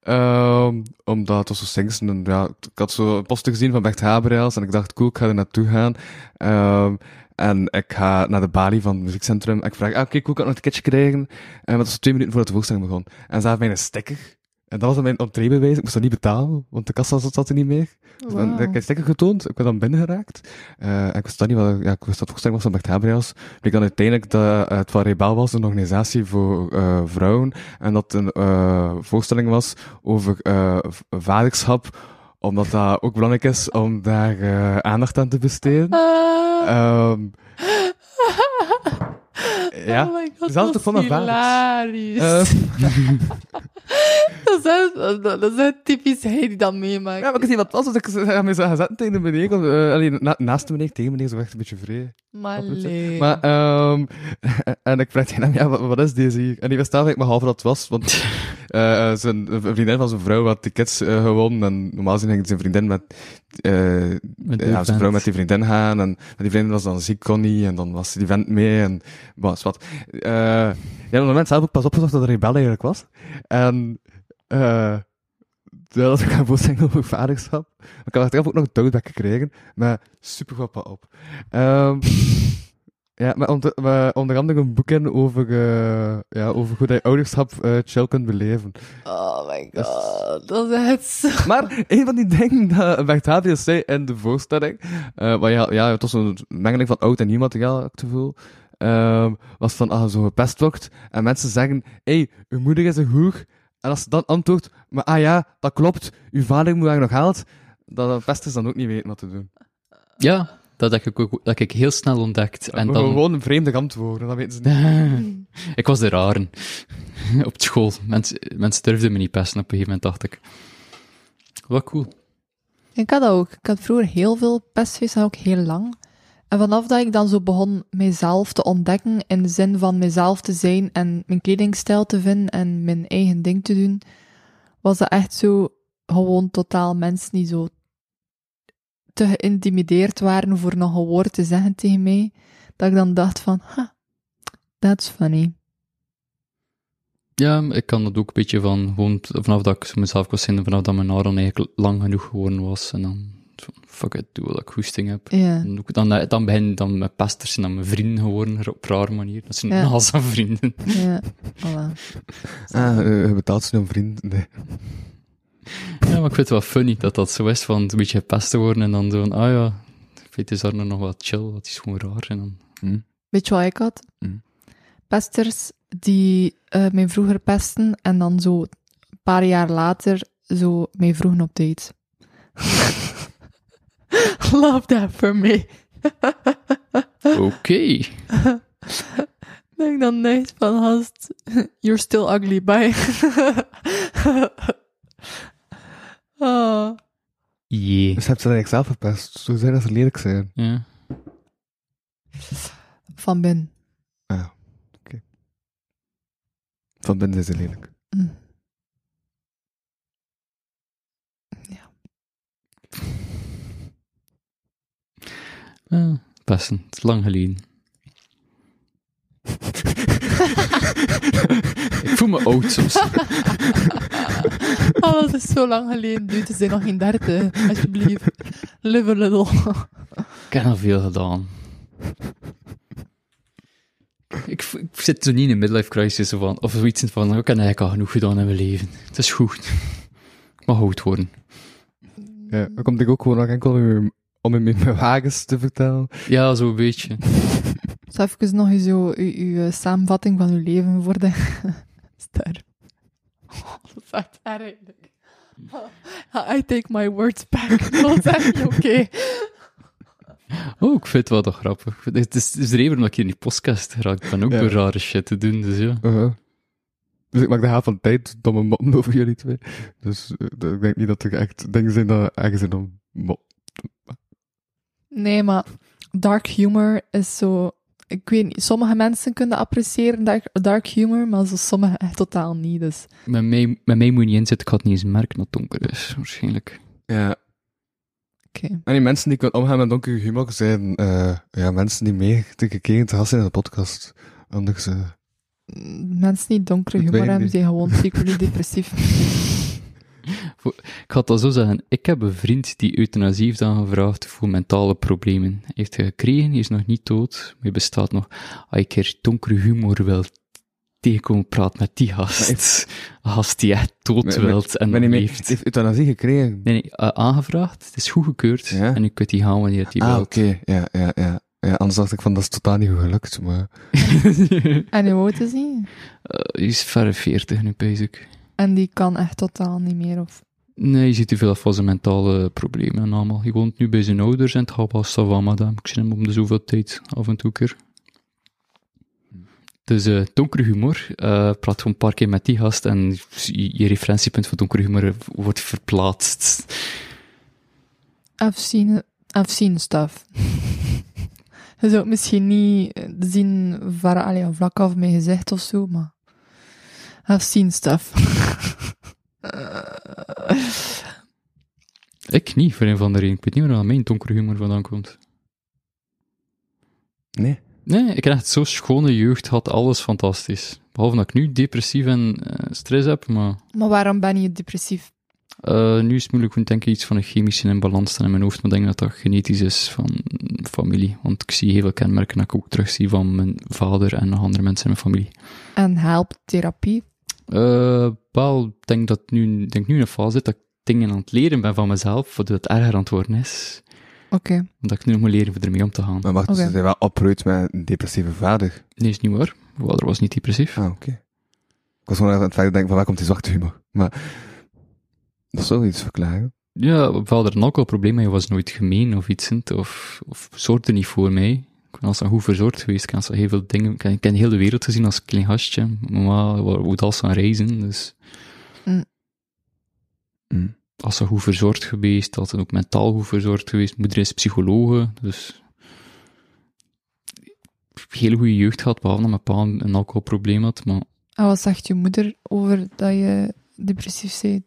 S3: Ehm omdat het was zo Singsten. en Ja, ik had zo een poster gezien van Bert Haberels. En ik dacht, cool, ik ga er naartoe gaan. Ehm, en ik ga naar de balie van het muziekcentrum. En ik vraag, ah, oké, cool, kan ik nog een ticketje krijgen? En dat was twee minuten voordat de voorstelling begon. En ze hadden mij een sticker. En dat was dan mijn entreebewijs. Ik moest dat niet betalen, want de kassa zat zat er niet meer. Dus dan-
S5: Wauw.
S3: Ik heb sticker getoond, ik ben dan binnengeraakt. Eh, en ik wist dat niet, wat, ja, ik wist dat het was van Bert Habriels. Ik dan uiteindelijk dat eh, het van Rebel was, een organisatie voor eh, vrouwen. En dat een eh, voorstelling was over eh, v- vaderschap. Omdat dat ook belangrijk is om daar eh, aandacht aan te besteden.
S5: Ah.
S3: Ehm,
S5: Oh
S3: ja.
S5: my god,
S3: Zelfs de
S5: dat
S3: Van
S5: is
S3: der Vaart.
S5: hilarisch.
S3: Eh,
S5: dat, is echt, dat is echt typisch hij die dat meemaakt.
S3: ja, maar ik zie wat was, dus ik zei- hem is gaan zetten tegen de meneer. eh, alleen na- naast de meneer, tegen de meneer, zo echt een beetje vreemd.
S5: maar
S3: Absoluut, hè.
S5: leuk.
S3: Maar, ehm en ik vraag tegen hem, ja, wat, wat is deze hier? En die wist eigenlijk maar half dat het was, want eh, eh, zijn een vriendin van zijn vrouw had tickets eh, gewonnen en normaal gezien ging zijn vriendin met, eh,
S4: Met die
S3: ja, zijn
S4: vent.
S3: vrouw met die vriendin gaan en maar die vriendin was dan ziek, kon niet, en dan was die vent mee en was wat. Eh, ja, op het moment zelf ook pas opgezocht dat er rebel eigenlijk was. En, eh dat was ook een voorstelling over vaderschap. Ik had achteraf ook nog een toadback gekregen, maar super guapa op. Ehm, ja, maar onder, maar onder andere een boek in over, eh, ja, over hoe dat je ouderschap eh, chill kunt beleven.
S5: Oh my
S3: Dat is-
S5: god, dat is echt zo...
S3: Maar een van die dingen dat Bert Havius zei in de voorstelling, eh maar ja, ja, het was een mengeling van oud en nieuw materiaal, heb ik het gevoel, ehm, was van, als je zo gepest wordt, en mensen zeggen, hé, hey, uw moeder is een hoer, en als ze dan antwoordt, maar ah ja, dat klopt, uw vader moet haar nog haalt, dat de pesters dan ook niet weten wat te doen.
S4: Ja, dat heb ik, ook, dat heb ik heel snel ontdekt. En
S3: Maar
S4: dan,
S3: Gewoon een vreemde antwoorden, dat weten ze niet.
S4: ik was de rare. op school. Mensen, mensen durfden me niet pesten op een gegeven moment, dacht ik. Wat cool.
S5: Ik had dat ook. Ik had vroeger heel veel pestfeesten, ook heel lang. En vanaf dat ik dan zo begon mezelf te ontdekken, in de zin van mezelf te zijn en mijn kledingstijl te vinden en mijn eigen ding te doen, was dat echt zo gewoon totaal mensen die zo te geïntimideerd waren voor nog een woord te zeggen tegen mij, dat ik dan dacht van, ha, that's funny.
S4: Ja, ik kan dat ook een beetje van, gewoon t- vanaf dat ik mezelf kon zien, vanaf dat mijn haar dan eigenlijk lang genoeg geworden was. En dan, zo, fuck it, doe wat ik goesting heb.
S5: Ja.
S4: En ook Dan, eh, dan begin dan mijn pesters zijn dan mijn vrienden geworden, op een rare manier. Dat zijn
S5: Ja.
S4: naast aan vrienden.
S5: Ja, voilà.
S3: Ah, eh, je betaalt ze een vriend. Nee.
S4: Ja, maar ik vind het wel funny dat dat zo is, van een beetje gepest te worden en dan zo van, ah ja, ik weet is daar nog wat chill, dat is gewoon raar. En dan,
S5: Weet je wat ik had?
S3: Mm.
S5: Pesters die eh, mij vroeger pesten en dan zo een paar jaar later zo mij vroegen op date. Love that for me.
S4: oké.
S5: Denk dan niks van hast. You're still ugly, bye. oh.
S4: Yeah.
S3: Dus je hebt ze dan eigenlijk zelf gepest, zo zijn dat ze lelijk zijn.
S4: Ja.
S5: Van binnen.
S3: Van binnen zijn ze lelijk.
S5: Mm.
S4: Eh, pesten, het is lang geleden. Ik voel me oud soms.
S5: Oh, dat is zo lang geleden, dude. Het zijn nog geen derde. Alsjeblieft. Live a little.
S4: Ik heb al veel gedaan. Ik, v- ik zit zo niet in een midlife crisis of, van, of zoiets van, "Oh, ik heb eigenlijk al genoeg gedaan in mijn leven. Het is goed. Ik mag oud worden.
S3: Ja, dan komt ik ook gewoon nog enkel om u- om hem in mijn wagens te vertellen.
S4: Ja, zo'n beetje.
S5: Zo even nog eens uw, uw, uw, eh, samenvatting van uw leven voor de ster. Oh, dat is echt erg. eigenlijk. I take my words back. Dat is echt niet oké.
S4: Oh, ik vind het wel toch grappig. Het is, het is de reden waarom ik hier in die podcast raak. Ik ben ook
S3: Ja.
S4: door rare shit te doen, dus ja.
S3: Uh-huh. Dus ik maak de haal van de tijd domme moppen over jullie twee. Dus eh, dat- ik denk niet dat er echt dingen zijn dat ergens in om mop.
S5: Nee, maar dark humor is zo. Ik weet niet, sommige mensen kunnen appreciëren dark, dark humor, maar zo sommige echt totaal niet. Dus
S4: Met mij, met mij moet je niet inzetten, ik had niet eens merken dat het donker is, waarschijnlijk.
S3: Ja.
S5: oké.
S3: En die mensen die kunnen omgaan met donkere humor zijn eh, ja, mensen die meer tegen keren te gast zijn in de podcast. Anders... eh,
S5: Mm, Mensen die donkere
S3: Ik weet het
S5: humor hebben,
S3: niet.
S5: zijn gewoon secretly depressief.
S4: Ik ga het al zo zeggen. Ik heb een vriend die euthanasie heeft aangevraagd voor mentale problemen. Hij heeft het gekregen, hij is nog niet dood, maar hij bestaat nog. Als ik er donkere humor wil tegenkomen, praat met die gast. Een gast die echt dood
S3: Maar-
S4: wilt en
S3: ben je
S4: nog
S3: mee-
S4: leeft.
S3: heeft euthanasie gekregen?
S4: Nee, nee, eh, aangevraagd. Het is goedgekeurd.
S3: Ja?
S4: En nu kunt hij gaan wanneer hij
S3: ah,
S4: wil.
S3: oké. Ja, ja, ja. ja. Anders dacht ik van, dat is totaal niet goed gelukt, maar...
S5: en hoe oud is hij?
S4: Eh, hij is verre 40 nu, basic.
S5: En die kan echt totaal niet meer. Of...
S4: Nee, je ziet te veel van zijn mentale problemen en allemaal. Hij woont nu bij zijn ouders en het gaat wel savan, madame. Ik zie hem om de zoveel tijd, af en toe een keer. Dus eh donkere humor, eh, praat gewoon een paar keer met die gast en je, je referentiepunt van donkere humor wordt verplaatst.
S5: I've seen, I've seen stuff. Je zou het misschien niet eh, zien van allee, vlak af mijn gezicht of zo, maar. I've seen stuff.
S4: Ik niet, voor een van de reden. Ik weet niet waar mijn donkere humor vandaan komt.
S3: Nee.
S4: Nee, ik heb echt zo'n schone jeugd gehad, alles fantastisch. Behalve dat ik nu depressief en eh, stress heb, maar
S5: maar waarom ben je depressief?
S4: eh, nu is het moeilijk, want ik denk ik iets van een chemische imbalans staan in mijn hoofd, maar ik denk dat dat genetisch is van familie. Want ik zie heel veel kenmerken dat ik ook terug zie van mijn vader en nog andere mensen in mijn familie.
S5: En helpt therapie?
S4: Eh, wel, ik denk dat ik nu, ik denk nu in een fase zit dat ik dingen aan het leren ben van mezelf, waardoor het erger aan het worden is.
S5: Oké.
S4: Omdat ik nu moet leren om ermee om te gaan.
S3: Maar wacht,
S5: Oké.
S3: ze zijn wel opgeruimd met een depressieve vader.
S4: Nee, is niet waar. Mijn vader was niet depressief.
S3: Ah, oké. Ik was gewoon aan het verder denken van, waar komt die zwarte humor? Maar... Dat zou iets verklaren.
S4: Ja, we hadden een alcoholprobleem, maar je was nooit gemeen of iets, hint, of, of zorgde niet voor mij. Ik ben als een goed verzorgd geweest, ik heb als een heel veel dingen, ik heb- ik heb heel de wereld gezien als klein gastje. Mama moet als aan reizen, dus...
S5: Mm.
S4: Mm. Als een goed verzorgd geweest, altijd ook mentaal goed verzorgd geweest. Moeder is psychologe, dus... Heel goede jeugd gehad, behalve dat mijn pa een een alcoholprobleem had, maar...
S5: En wat zegt je moeder over dat je depressief bent?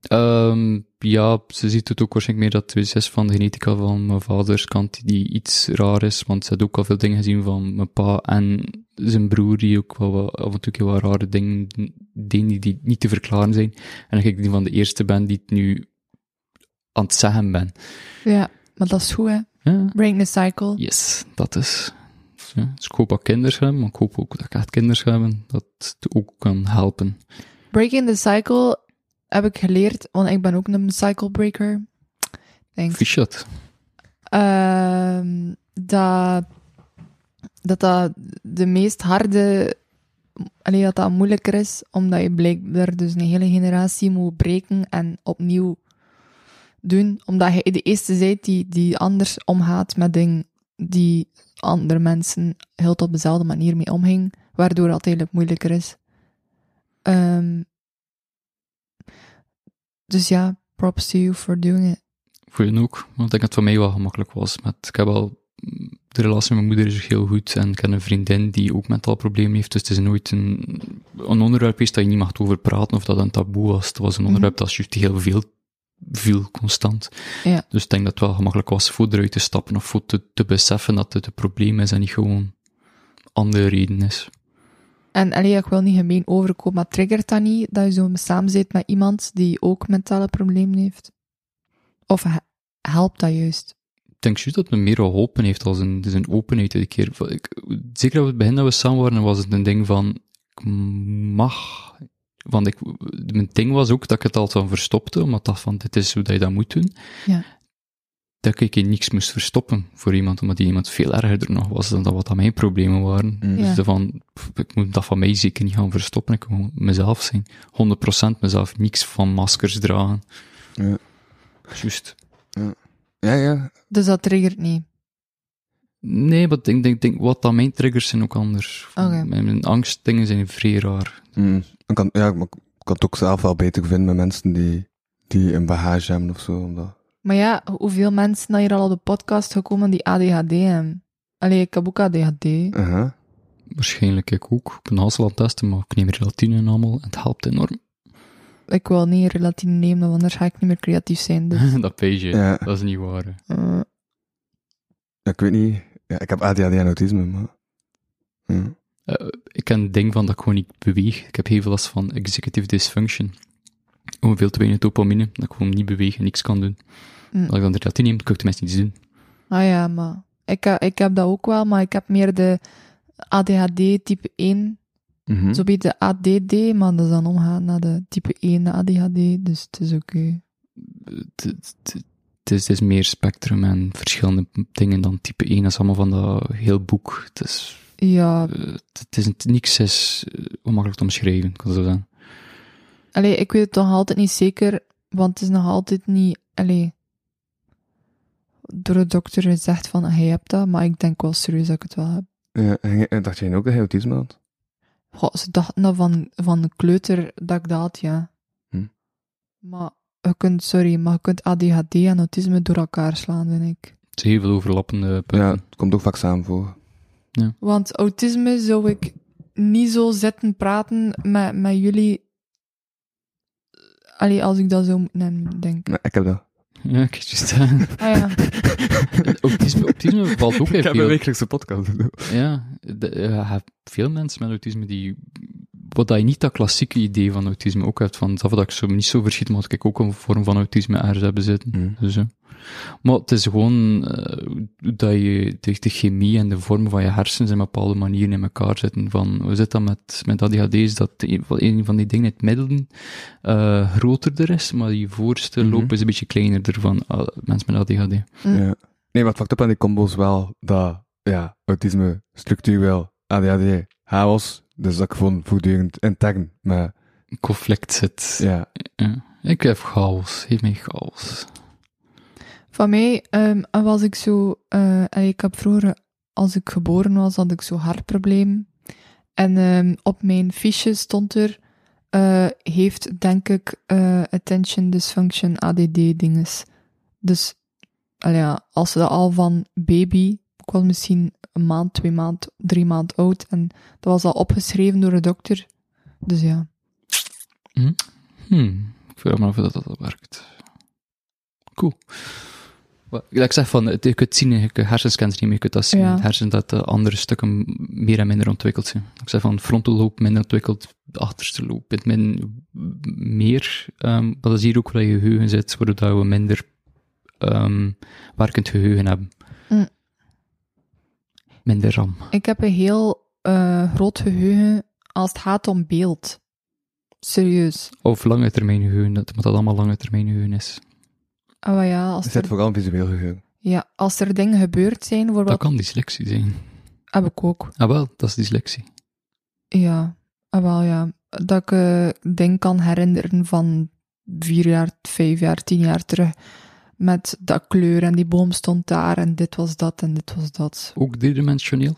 S4: Ehm, ja, ze ziet het ook waarschijnlijk meer dat de zus van de genetica van mijn vaders kant die iets raar is, want ze had ook al veel dingen gezien van mijn pa en zijn broer die ook wel wat, af en toe heel wat rare dingen deed die, die niet te verklaren zijn. En dat ik die van de eerste ben die het nu aan het zeggen ben.
S5: Ja, maar dat is goed, hè?
S4: Ja,
S5: Break the cycle.
S4: yes, dat is. Ja, dus ik hoop dat kinderen hebben, maar ik hoop ook dat ik echt kinderen hebben, dat het ook kan helpen.
S5: Breaking the cycle heb ik geleerd, want ik ben ook een cycle breaker. Thanks.
S4: Fischut.
S5: Ehm, dat, dat dat de meest harde, alleen dat dat moeilijker is, omdat je blijkbaar dus een hele generatie moet breken en opnieuw doen, omdat je de eerste bent die, die anders omgaat met dingen die andere mensen heel op dezelfde manier mee omgingen, waardoor het eigenlijk moeilijker is. Ehm, dus ja, props to you for doing it.
S4: Voor hen ook. Want ik denk dat het voor mij wel gemakkelijk was. Met, ik heb al, de relatie met mijn moeder is ook heel goed. En ik heb een vriendin die ook mentaal problemen heeft. Dus het is nooit een, een onderwerp is dat je niet mag over praten of dat een taboe was. Het was een onderwerp dat je heel veel viel constant.
S5: Ja.
S4: Dus ik denk dat het wel gemakkelijk was voor eruit te stappen of voor te, te beseffen dat het een probleem is en niet gewoon andere reden is.
S5: En allee, ik wil niet gemeen overkomen, maar triggert dat niet dat je zo samen zit met iemand die ook mentale problemen heeft? Of he- helpt dat juist?
S4: Ik denk juist dat het me meer geholpen heeft als een, dus een openheid die keer. Van, ik- Zeker op het begin dat we samen waren, was het een ding van, ik mag... Want ik, mijn ding was ook dat ik het altijd verstopte, omdat dat van, dit is hoe dat je dat moet doen.
S5: Ja.
S4: Dat ik hier niks moest verstoppen voor iemand, omdat die iemand veel erger nog was dan dat wat dat mijn problemen waren.
S3: Mm.
S5: Ja.
S4: Dus dat van, pff, ik moet dat van mij zeker niet gaan verstoppen, ik moet mezelf zijn. 100% mezelf, niks van maskers dragen.
S3: Ja.
S4: Juist.
S3: Ja, ja.
S5: Dus dat triggert niet.
S4: Nee, maar ik denk, denk, denk, wat dan mijn triggers zijn ook anders.
S5: Oké.
S4: Mijn, mijn angstdingen zijn vrij raar.
S3: Mm. Ik kan, ja, maar ik kan het ook zelf wel beter vinden met mensen die, die een bagage hebben of zo. Omdat...
S5: Maar ja, hoeveel mensen zijn hier al op de podcast gekomen die ADHD hebben? Allee, ik heb ook ADHD.
S3: Uh-huh.
S4: Waarschijnlijk ik ook. Ik ben Hassel aan het testen, maar ik neem relatine en allemaal. En het helpt enorm.
S5: Ik wil niet relatine nemen, want anders ga ik niet meer creatief zijn. Dus,
S4: dat peesje,
S3: Ja.
S4: dat is niet waar. hè.
S5: eh,
S3: Ja, ik weet niet. Ja, ik heb ADHD en autisme, maar... Hmm. Ja.
S4: Ik ken een ding van dat ik gewoon niet beweeg. Ik heb heel veel last van executive dysfunction. Gewoon veel te weinig dopamine, dat ik gewoon niet beweeg en niks kan doen.
S5: Mm.
S4: Als ik dan de relatine neem, kan ik tenminste niets doen.
S5: ah ja, maar ik, eh, ik heb dat ook wel, maar ik heb meer de ADHD type 1.
S3: Mhm.
S5: Zo beetje de ADD, maar dat is dan omgaan naar de type 1 ADHD, dus het is oké.
S4: het- het- het- het is, het is meer spectrum en verschillende dingen dan type 1. Dat is allemaal van dat heel boek. Het is,
S5: Ja,
S4: eh, het- het is niet- niks is eh, onmakkelijk te omschrijven, kan ik zo zeggen.
S5: Allee, ik weet het nog altijd niet zeker, want het is nog altijd niet... Allee, door de dokter gezegd van, hij hebt dat, maar ik denk wel serieus dat ik het wel heb.
S3: Ja, en jij- en dacht jij ook dat je autisme had?
S5: Goh, ze dachten dat van, van de kleuter dat ik dat had, ja.
S3: Hm.
S5: Maar je kunt, sorry, maar je kunt ADHD en autisme door elkaar slaan, vind ik.
S4: Het is heel veel overlappende punten.
S3: Ja, het komt ook vaak samen voor.
S5: Want autisme zou ik niet zo zitten praten met, met jullie... Allee, als ik dat zo moet nemen, denk ik.
S3: Nee, ik heb dat.
S4: Ja, ik weet het, ja.
S5: Ah ja.
S4: autisme, autisme valt ook in
S3: ik heb een
S4: veel.
S3: wekelijkse podcast.
S4: Ja, de- eh, je hebt veel mensen met autisme die... Wat dat je niet dat klassieke idee van autisme ook hebt, van dat ik zo niet zo verschiet, maar dat ik ook een vorm van autisme ergens heb bezitten.
S3: Mm.
S4: Dus, ja. Maar het is gewoon eh, dat je de, de chemie en de vorm van je hersens in bepaalde manieren in elkaar zitten. Van, hoe zit dat met, met ADHD? Is dat een van- een van die dingen, het midden, eh, groterder is, maar die voorste
S3: Mhm.
S4: loop is een beetje kleinerder van ah, mensen met ADHD.
S5: Mm.
S3: Ja. Nee, maar het fucked up aan die combo's wel dat ja, autisme, structureel, ADHD, chaos. Dus dat ik gewoon voortdurend intern met
S4: Conflict zit.
S3: ja,
S4: Ik heb chaos, geef mij chaos.
S5: Van mij ehm, was ik zo... eh, allee, ik heb vroeger, als ik geboren was, had ik zo hartprobleem. En ehm, op mijn fiche stond er... eh, heeft, denk ik, eh, attention dysfunction ADD dinges. Dus allee, ja, als ze dat al van baby... Ik was misschien een maand, twee maand, drie maand oud. En dat was al opgeschreven door de dokter. Dus ja.
S4: Hmm. Ik vraag me af of dat, dat werkt. Cool. Wat- Like ik zeg van, het- je kunt zien, je kunt hersenscans niet meer, je kunt dat zien.
S5: Ja.
S4: Het hersen dat de andere stukken meer en minder ontwikkeld zijn. Like ik zeg van, frontal loop minder ontwikkeld, de achterste loop in het min meer. ehm, maar dat is hier ook waar je geheugen zit, waardoor we minder ehm werkend geheugen hebben.
S5: Mm.
S4: Minder RAM.
S5: Ik heb een heel eh, groot geheugen als het gaat om beeld. Serieus.
S4: Of lange termijn geheugen, dat, maar dat allemaal lange termijn geheugen is.
S5: Ah, maar ja,
S3: het
S5: als
S3: zit
S5: er,
S3: vooral visueel geheugen.
S5: ja, als er dingen gebeurd zijn,
S4: Dat
S5: bijvoorbeeld,
S4: kan dyslexie zijn.
S5: heb ik ook.
S4: Ah wel, dat is dyslexie.
S5: Ja, ah, wel ja. Dat ik eh dingen kan herinneren van vier jaar, vijf jaar, tien jaar terug. Met dat kleur en die boom stond daar en dit was dat en dit was dat.
S4: Ook
S5: Eh,
S4: driedimensioneel.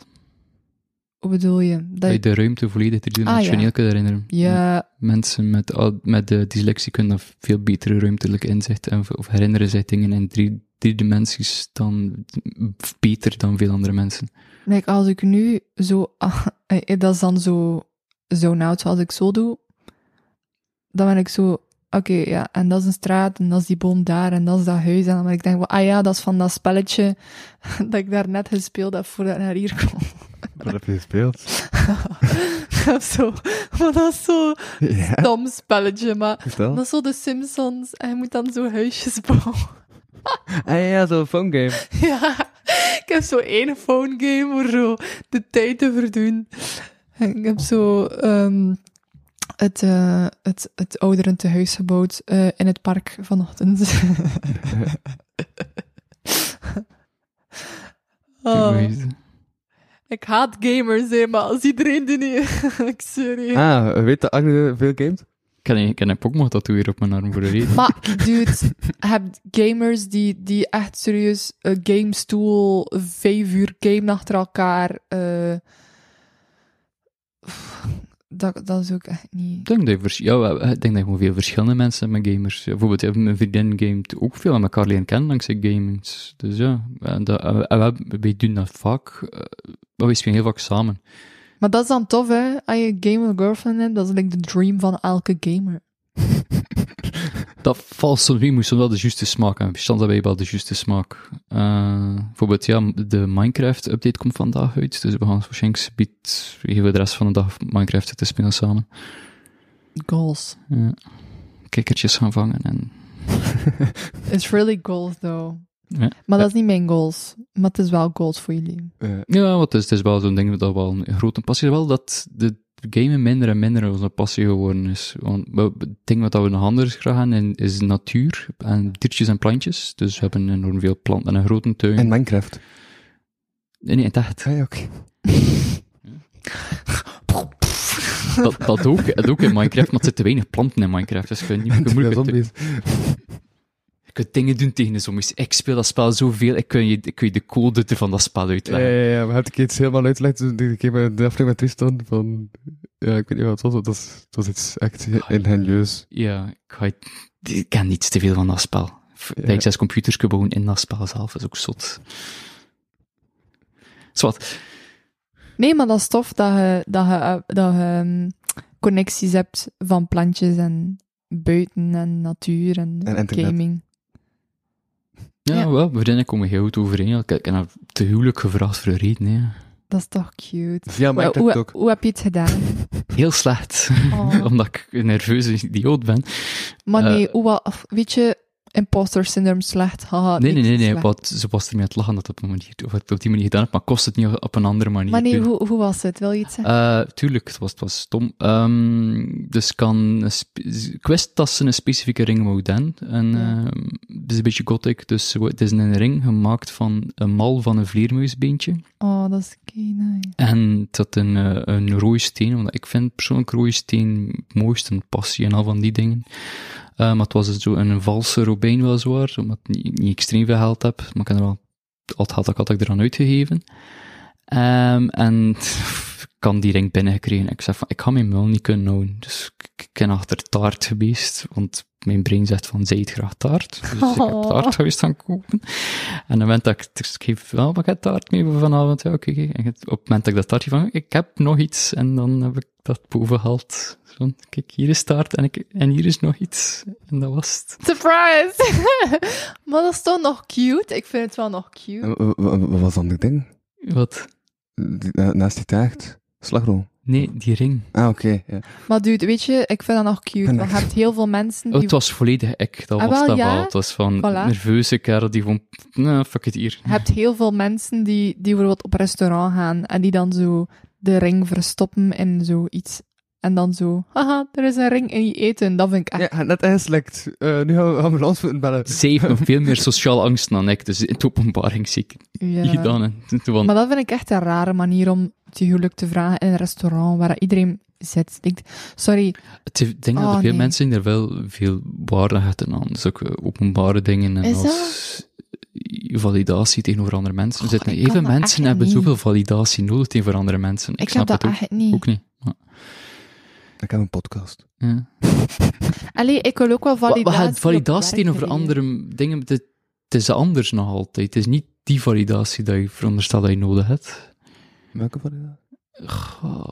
S5: Hoe bedoel je? Dat
S4: Dat je
S5: je
S4: de ruimte volledig driedimensioneel
S5: Ah, ja.
S4: kunt herinneren.
S5: ja,
S4: Mensen met, al- met de dyslexie kunnen dan veel betere ruimtelijk inzicht en, of herinneren zich dingen in drie, drie dimensies dan beter dan veel andere mensen.
S5: like, als ik nu zo... ah, eh, dat is dan zo zo'n out. Als ik zo doe, dan ben ik zo... Oké, ja, en dat is een straat, en dat is die boom daar, en dat is dat huis. En dan ben ik denk, van, ah ja, dat is van dat spelletje dat ik daar net gespeeld heb voordat ik naar hier kwam.
S3: Wat heb je gespeeld?
S5: Dat is zo, maar dat is zo'n
S3: ja,
S5: dom spelletje, maar dat
S3: vertel.
S5: is zo de Simpsons en je moet dan zo huisjes bouwen.
S3: Ah ja, zo'n phone game.
S5: ja, ik heb zo één phone game voor zo de tijd te verdoen. En ik heb zo ehm, het, eh het, het ouderentehuis gebouwd eh, in het park vanochtend. Oh, ik haat gamers, hè, maar als iedereen die niet... ik sorry.
S3: Ah, weet dat Agne veel games?
S4: Ik heb een, ik heb een Pokémon-tattoo hier op mijn arm voor een reden.
S5: Maar, dude, je hebt gamers die, die echt serieus een gamestoel, vijf uur game achter elkaar. eh, pff, dat, dat is ook echt
S4: Ik
S5: niet.
S4: denk dat je, vers- ja, wel, eh, ik denk dat je gewoon veel verschillende mensen hebt met gamers. Ja, Bijvoorbeeld, ja, mijn vriendin gamet ook veel aan elkaar leren kennen dankzij gamings. Dus ja, en dat, en we- en we- wij doen dat vaak. eh, Maar we spelen heel vaak samen.
S5: Maar dat is dan tof, hè? Als je een game of girlfriend hebt, dat is like de dream van elke gamer.
S4: Dat valt soms niet, moet soms wel de juiste smaak hebben. Soms hebben wij wel de juiste smaak. Eh, bijvoorbeeld, ja, de Minecraft-update komt vandaag uit. Dus we gaan waarschijnlijk biedt heel de rest van de dag Minecraft te spelen samen.
S5: Goals.
S4: Ja. Kikkertjes gaan vangen en...
S5: It's really goals, though.
S4: Ja.
S5: Maar dat is niet mijn goals. Maar het is wel goals voor jullie.
S3: Eh,
S4: Ja, want het is, het is wel zo'n ding dat wel een grote passie is. Wel dat de gamen minder en minder onze passie geworden is. Want we- het ding wat we nog anders graag gaan in- is natuur en diertjes en plantjes. Dus we hebben enorm veel planten en een grote tuin.
S3: En Minecraft.
S4: Nee, nee, het echt.
S3: Ah, ja, oké.
S4: Dat, dat, ook, dat ook in Minecraft, maar er zitten weinig planten in Minecraft. Dus je kunt, niet, je,
S3: En
S4: kunt
S3: twee
S4: moeilijk-
S3: zombies.
S4: je kunt dingen doen tegen de zombies. Ik speel dat spel zoveel, ik kun je, ik kun je de code van dat spel
S3: Ja,
S4: uitleggen.
S3: ja, ja. Maar heb ik iets helemaal uitgelegd toen ik keer bij de aflevering met Tristan van... Ja, ik weet niet wat het was, want dat is- dat was iets echt ingenieus.
S4: Ja, ik, ga het- ik ken niets te veel van dat spel. F-
S3: Ja.
S4: Dat ik zes computers kan bouwen in dat spel zelf, is ook zot. Zwat.
S5: Nee, maar dat is tof dat je, dat je, eh, dat je ehm, connecties hebt van plantjes en buiten en natuur en,
S3: En internet.
S5: gaming.
S4: Ja,
S5: Ja.
S4: wel, we zijn komen heel goed overeen. ja. Ik ik heb haar te huwelijk gevraagd voor een reden, hè.
S5: Dat is toch cute.
S3: Via
S5: Wel,
S3: Minecraft
S5: Hoe,
S3: ook.
S5: hoe heb je het gedaan?
S4: Heel slecht,
S5: Oh.
S4: omdat ik een nerveuze idioot ben.
S5: Maar
S4: Eh.
S5: nee, hoe, wa- of, weet je, imposter syndrome slecht. Haha,
S4: Nee, nee,
S5: niks
S4: nee,
S5: is
S4: nee,
S5: slecht.
S4: wat, ze was ermee aan het lachen dat op, een manier, of ik het op die manier gedaan heb, maar kost het niet op een andere manier.
S5: Maar nee,
S4: doen.
S5: hoe, hoe was het? Wil je iets zeggen?
S4: Eh, tuurlijk, het was, het was stom. Ehm, dus kan een spe- quest tassen een specifieke ring mogen. En
S5: Ja.
S4: ehm, het is een beetje gothic, dus ze wo- het is een ring gemaakt van een mal van een vleermuisbeentje.
S5: Oh, dat is kei nice.
S4: En het had een, eh, een rode steen, want ik vind persoonlijk rode steen het mooiste, een passie en al van die dingen. Eh, maar het was zo een valse robijn weliswaar, omdat ik niet, niet extreem veel geld heb, maar ik heb er wel, al het geld dat ik had, had ik eraan uitgegeven. Ehm, en ik kan die ring binnengekregen. Ik zeg van, ik ga mijn mul niet kunnen houden. Dus ik- ik ben achter taart geweest, want mijn brein zegt van, zij eet graag taart. Dus ik heb
S5: Oh.
S4: taart geweest gaan kopen. En op het moment dat ik, dus ik geef wel wat ik taart mee voor vanavond, ja, oké. oké. En het- op het moment dat ik dat taartje van, ik heb nog iets, en dan heb ik dat boven gehaald. Zo van, kijk, hier is taart en, ik, en hier is nog iets. En dat was het.
S5: Surprise! maar dat is toch nog cute? Ik vind het wel nog
S3: En
S5: cute.
S3: wa- wa- wa- Wat was dan dat ding?
S4: Wat?
S3: Die- na- Naast die taart? Slagroom.
S4: Nee, die ring.
S3: Ah, oké. ja.
S5: Maar dude, weet je, ik vind dat nog cute. Want je
S3: Connect.
S5: hebt heel veel mensen
S4: Oh,
S5: die
S4: het was volledig ik, dat
S5: Ah,
S4: was
S5: wel,
S4: dat
S5: ja.
S4: wel. Het was van
S5: Voilà.
S4: nerveuze kerel die van, nou, fuck it hier.
S5: Je hebt heel veel mensen die, die bijvoorbeeld op restaurant gaan en die dan zo de ring verstoppen in zoiets. En dan zo, haha, er is een ring in je eten. Dat vind ik echt...
S3: Ja, net ingeslikt. Eh, nu gaan we ambulance moeten bellen.
S4: Zij heeft nog veel meer sociale angst dan ik, dus in het openbaar ging ze ik
S5: Ja.
S4: niet gedaan. hè. Toen- toen van,
S5: eh, Maar dat vind ik echt een rare manier om te huwelijk te vragen in een restaurant waar iedereen zit. Ik, sorry,
S4: het- ik denk dat
S5: Oh,
S4: er veel
S5: nee.
S4: mensen er wel veel waarde hechten aan. Dus ook eh, openbare dingen en
S5: Is dat?
S4: als validatie tegenover andere mensen. Er
S5: Goh,
S4: zitten
S5: Oh, ik
S4: even
S5: kan dat
S4: mensen
S5: echt
S4: hebben
S5: niet.
S4: zoveel validatie nodig tegenover andere mensen. Ik,
S5: ik, heb
S4: snap
S5: dat
S4: het ook,
S5: echt niet.
S4: ook niet. Maar,
S3: Ik heb een podcast.
S4: ja.
S5: Allee, ik wil ook wel
S4: Wa- wa-
S5: validatie. op
S4: validatie
S5: werk
S4: tegenover
S5: leren.
S4: andere dingen, het, het is anders nog altijd. Het is niet die validatie dat je veronderstelt dat je nodig hebt.
S3: Welke van die?
S4: Goh,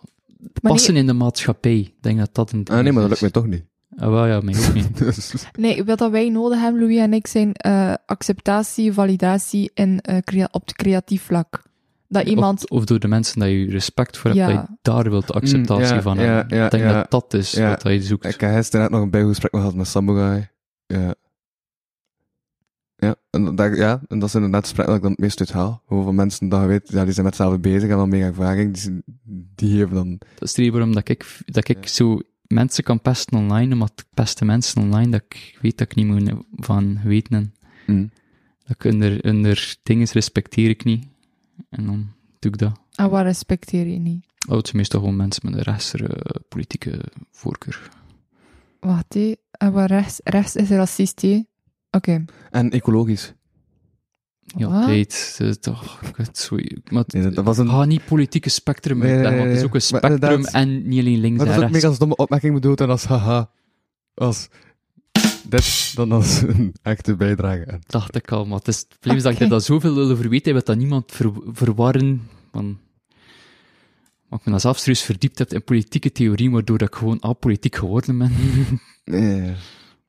S5: Maar
S4: Passen in de maatschappij. Ik denk dat dat een ding
S3: Ah, nee, maar dat
S4: is.
S3: lukt mij toch niet.
S4: Ah, wel, ja, mij ook niet.
S3: Dus-
S5: Nee, wat dat wij nodig hebben, Louis en ik, zijn eh, acceptatie, validatie en, eh, crea- op het creatief vlak. Dat iemand
S4: Of, of door de mensen dat je respect voor hebt,
S5: Ja.
S4: dat je daar wilt de acceptatie
S3: Mm, ja,
S4: van
S3: ja,
S4: hebben.
S3: ja,
S4: ik denk
S3: ja.
S4: dat dat is
S3: Ja.
S4: wat dat je zoekt.
S3: ik heb gisteren net nog een bijgesprek gehad met Samurai. Ja. Ja, en dat, ja, en dat is inderdaad het gesprek dat ik dan het meest uithaal. Hoeveel mensen dat je weet, ja, die zijn met hetzelfde bezig en dan mega ervaring. Die, zijn- die geven dan...
S4: Dat is de reden waarom dat ik, dat ik
S3: Ja.
S4: zo mensen kan pesten online, omdat ik pesten mensen online dat ik weet dat ik niet moet van weten.
S3: Mm.
S4: Dat ik onder, onder dingen respecteer ik niet. En dan doe ik dat.
S5: En ah, wat respecteer je niet?
S4: Oh, het zijn meestal gewoon mensen met een rechtser eh, politieke voorkeur.
S5: Wacht, hé. En waar rechts, rechts is racist, hé. Oké.
S3: En ecologisch.
S4: Ja,
S5: Wat?
S4: tijd. eh, Toch, ik weet het zo- maar het-
S3: Nee, dat, dat was een...
S4: Ga niet politieke spectrum
S3: Nee,
S4: uitleggen,
S3: nee,
S4: want het is
S3: nee,
S4: ook
S3: maar
S4: een spectrum
S3: inderdaad-
S4: en niet alleen links
S3: Maar dat
S4: en
S3: is ook meer
S4: rechts.
S3: als domme opmerking bedoeld en als haha. Als dit, dan als een echte bijdrage. En
S4: dacht ik al, maar het, is, het probleem is dat ik
S5: Oké.
S4: er daar zoveel wil over weten, dat dat niemand ver, verwarren. Van, maar ik me dan zelf serieus verdiept heb in politieke theorie, waardoor dat ik gewoon apolitiek geworden ben.
S3: Nee,
S4: Ik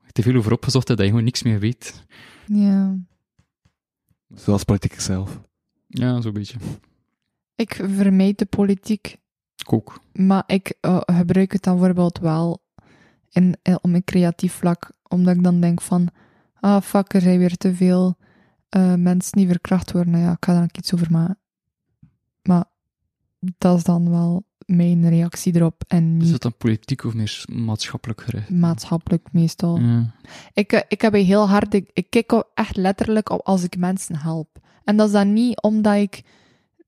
S4: heb te veel over opgezocht heb dat je gewoon niks meer weet.
S5: Ja.
S3: zoals politiek zelf.
S4: Ja, zo'n beetje.
S5: Ik vermijd de politiek,
S4: Ik ook.
S5: maar ik eh, gebruik het dan bijvoorbeeld wel in, in- op mijn creatief vlak. Omdat ik dan denk van, ah fuck, er zijn weer te veel eh, mensen die verkracht worden. Nou Ja, ik ga daar ook iets over maken. Maar dat is dan wel mijn reactie erop en
S4: Is
S5: niet
S4: dat dan politiek of meer maatschappelijk gericht?
S5: maatschappelijk meestal.
S4: Ja.
S5: Ik, eh, ik heb een heel hard. Ik, ik kijk ook echt letterlijk op als ik mensen help. En dat is dan niet omdat ik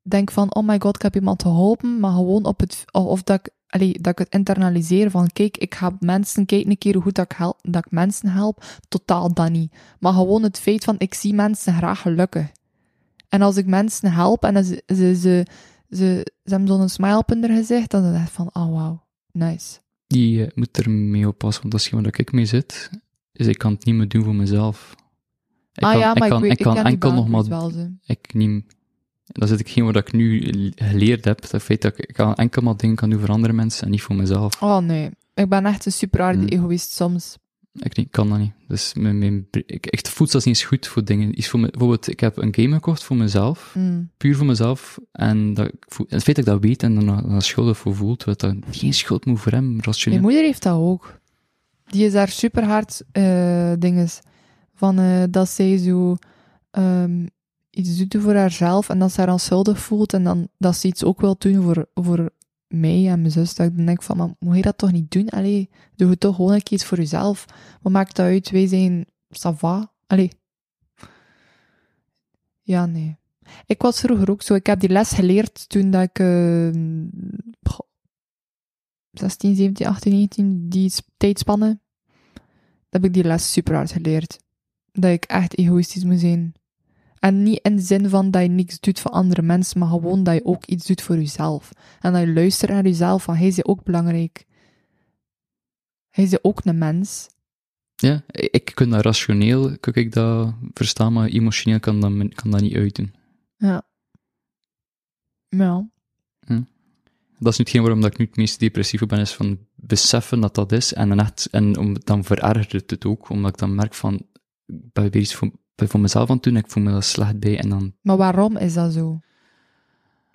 S5: denk van oh my god, ik heb iemand geholpen, maar gewoon op het of, of dat ik allee, dat ik het internaliseer van kijk, ik ga mensen kijk een keer hoe dat ik help, dat ik mensen help, totaal dat niet. Maar gewoon het feit van ik zie mensen graag gelukkig. En als ik mensen help en ze ze ze, ze, ze, hebben zo'n smile op hun gezicht, dan is het echt van oh wow, nice.
S4: Die eh, moet er mee oppassen, want dat is gewoon waar ik mee zit. Is ik kan het niet meer doen voor mezelf. Ik
S5: ah
S4: kan,
S5: ja, maar ik,
S4: kan,
S5: weet, ik,
S4: kan
S5: ken die
S4: enkel nog maar
S5: boundaries wel zo.
S4: ik neem... Dan zit ik geen wat ik nu geleerd heb. Dat feit dat ik, ik kan enkel maar dingen kan doen voor andere mensen en niet voor mezelf.
S5: Oh nee, ik ben echt een super harde
S3: Hmm.
S5: egoïst soms.
S4: Ik niet- kan dat niet. Dus mijn, mijn, ik, echt voedsel is niet eens goed voor dingen. Is voor me, bijvoorbeeld, ik heb een game gekocht voor mezelf.
S5: Hmm.
S4: Puur voor mezelf. En, dat, ik voel- en het feit dat ik dat weet en er dan- dan schuldig voor voel, terwijl dat geen schuld moet voor hem,
S5: Mijn
S4: rationeel.
S5: moeder heeft dat ook. Die is daar super hard eh dinges van eh, dat zij zo ehm, iets doet voor haarzelf en dat ze haar dan schuldig voelt en dan dat ze iets ook wil doen voor, voor mij en mijn zus. Dat ik dan denk van, maar moet je dat toch niet doen? Allee, doe het toch gewoon een keer iets voor jezelf. Wat maakt dat uit? Wij zijn sava. Allee. Ja, nee. Ik was vroeger ook zo. Ik heb die les geleerd toen dat ik ehm, goh, 16, 17, 18, 19, die s- tijdspannen, heb ik die les super hard geleerd. Dat ik echt egoïstisch moet zijn. En niet in de zin van dat je niks doet voor andere mensen, maar gewoon dat je ook iets doet voor jezelf. En dat je luistert naar jezelf, van hij is ook belangrijk. Hij is ook een mens.
S4: Ja, ik ik kan dat rationeel kan ik dat verstaan, maar emotioneel kan dat, men- kan dat niet uitdoen.
S5: Ja.
S4: Dat is nu hetgeen waarom dat ik nu het meest depressief op ben, is van beseffen dat dat is. En dan, echt, en om, dan verergert het het ook, omdat ik dan merk van, ik ben weer iets voor, ben voor mezelf aan het doen, en ik voel me daar slecht bij. En dan,
S5: Maar waarom is dat zo?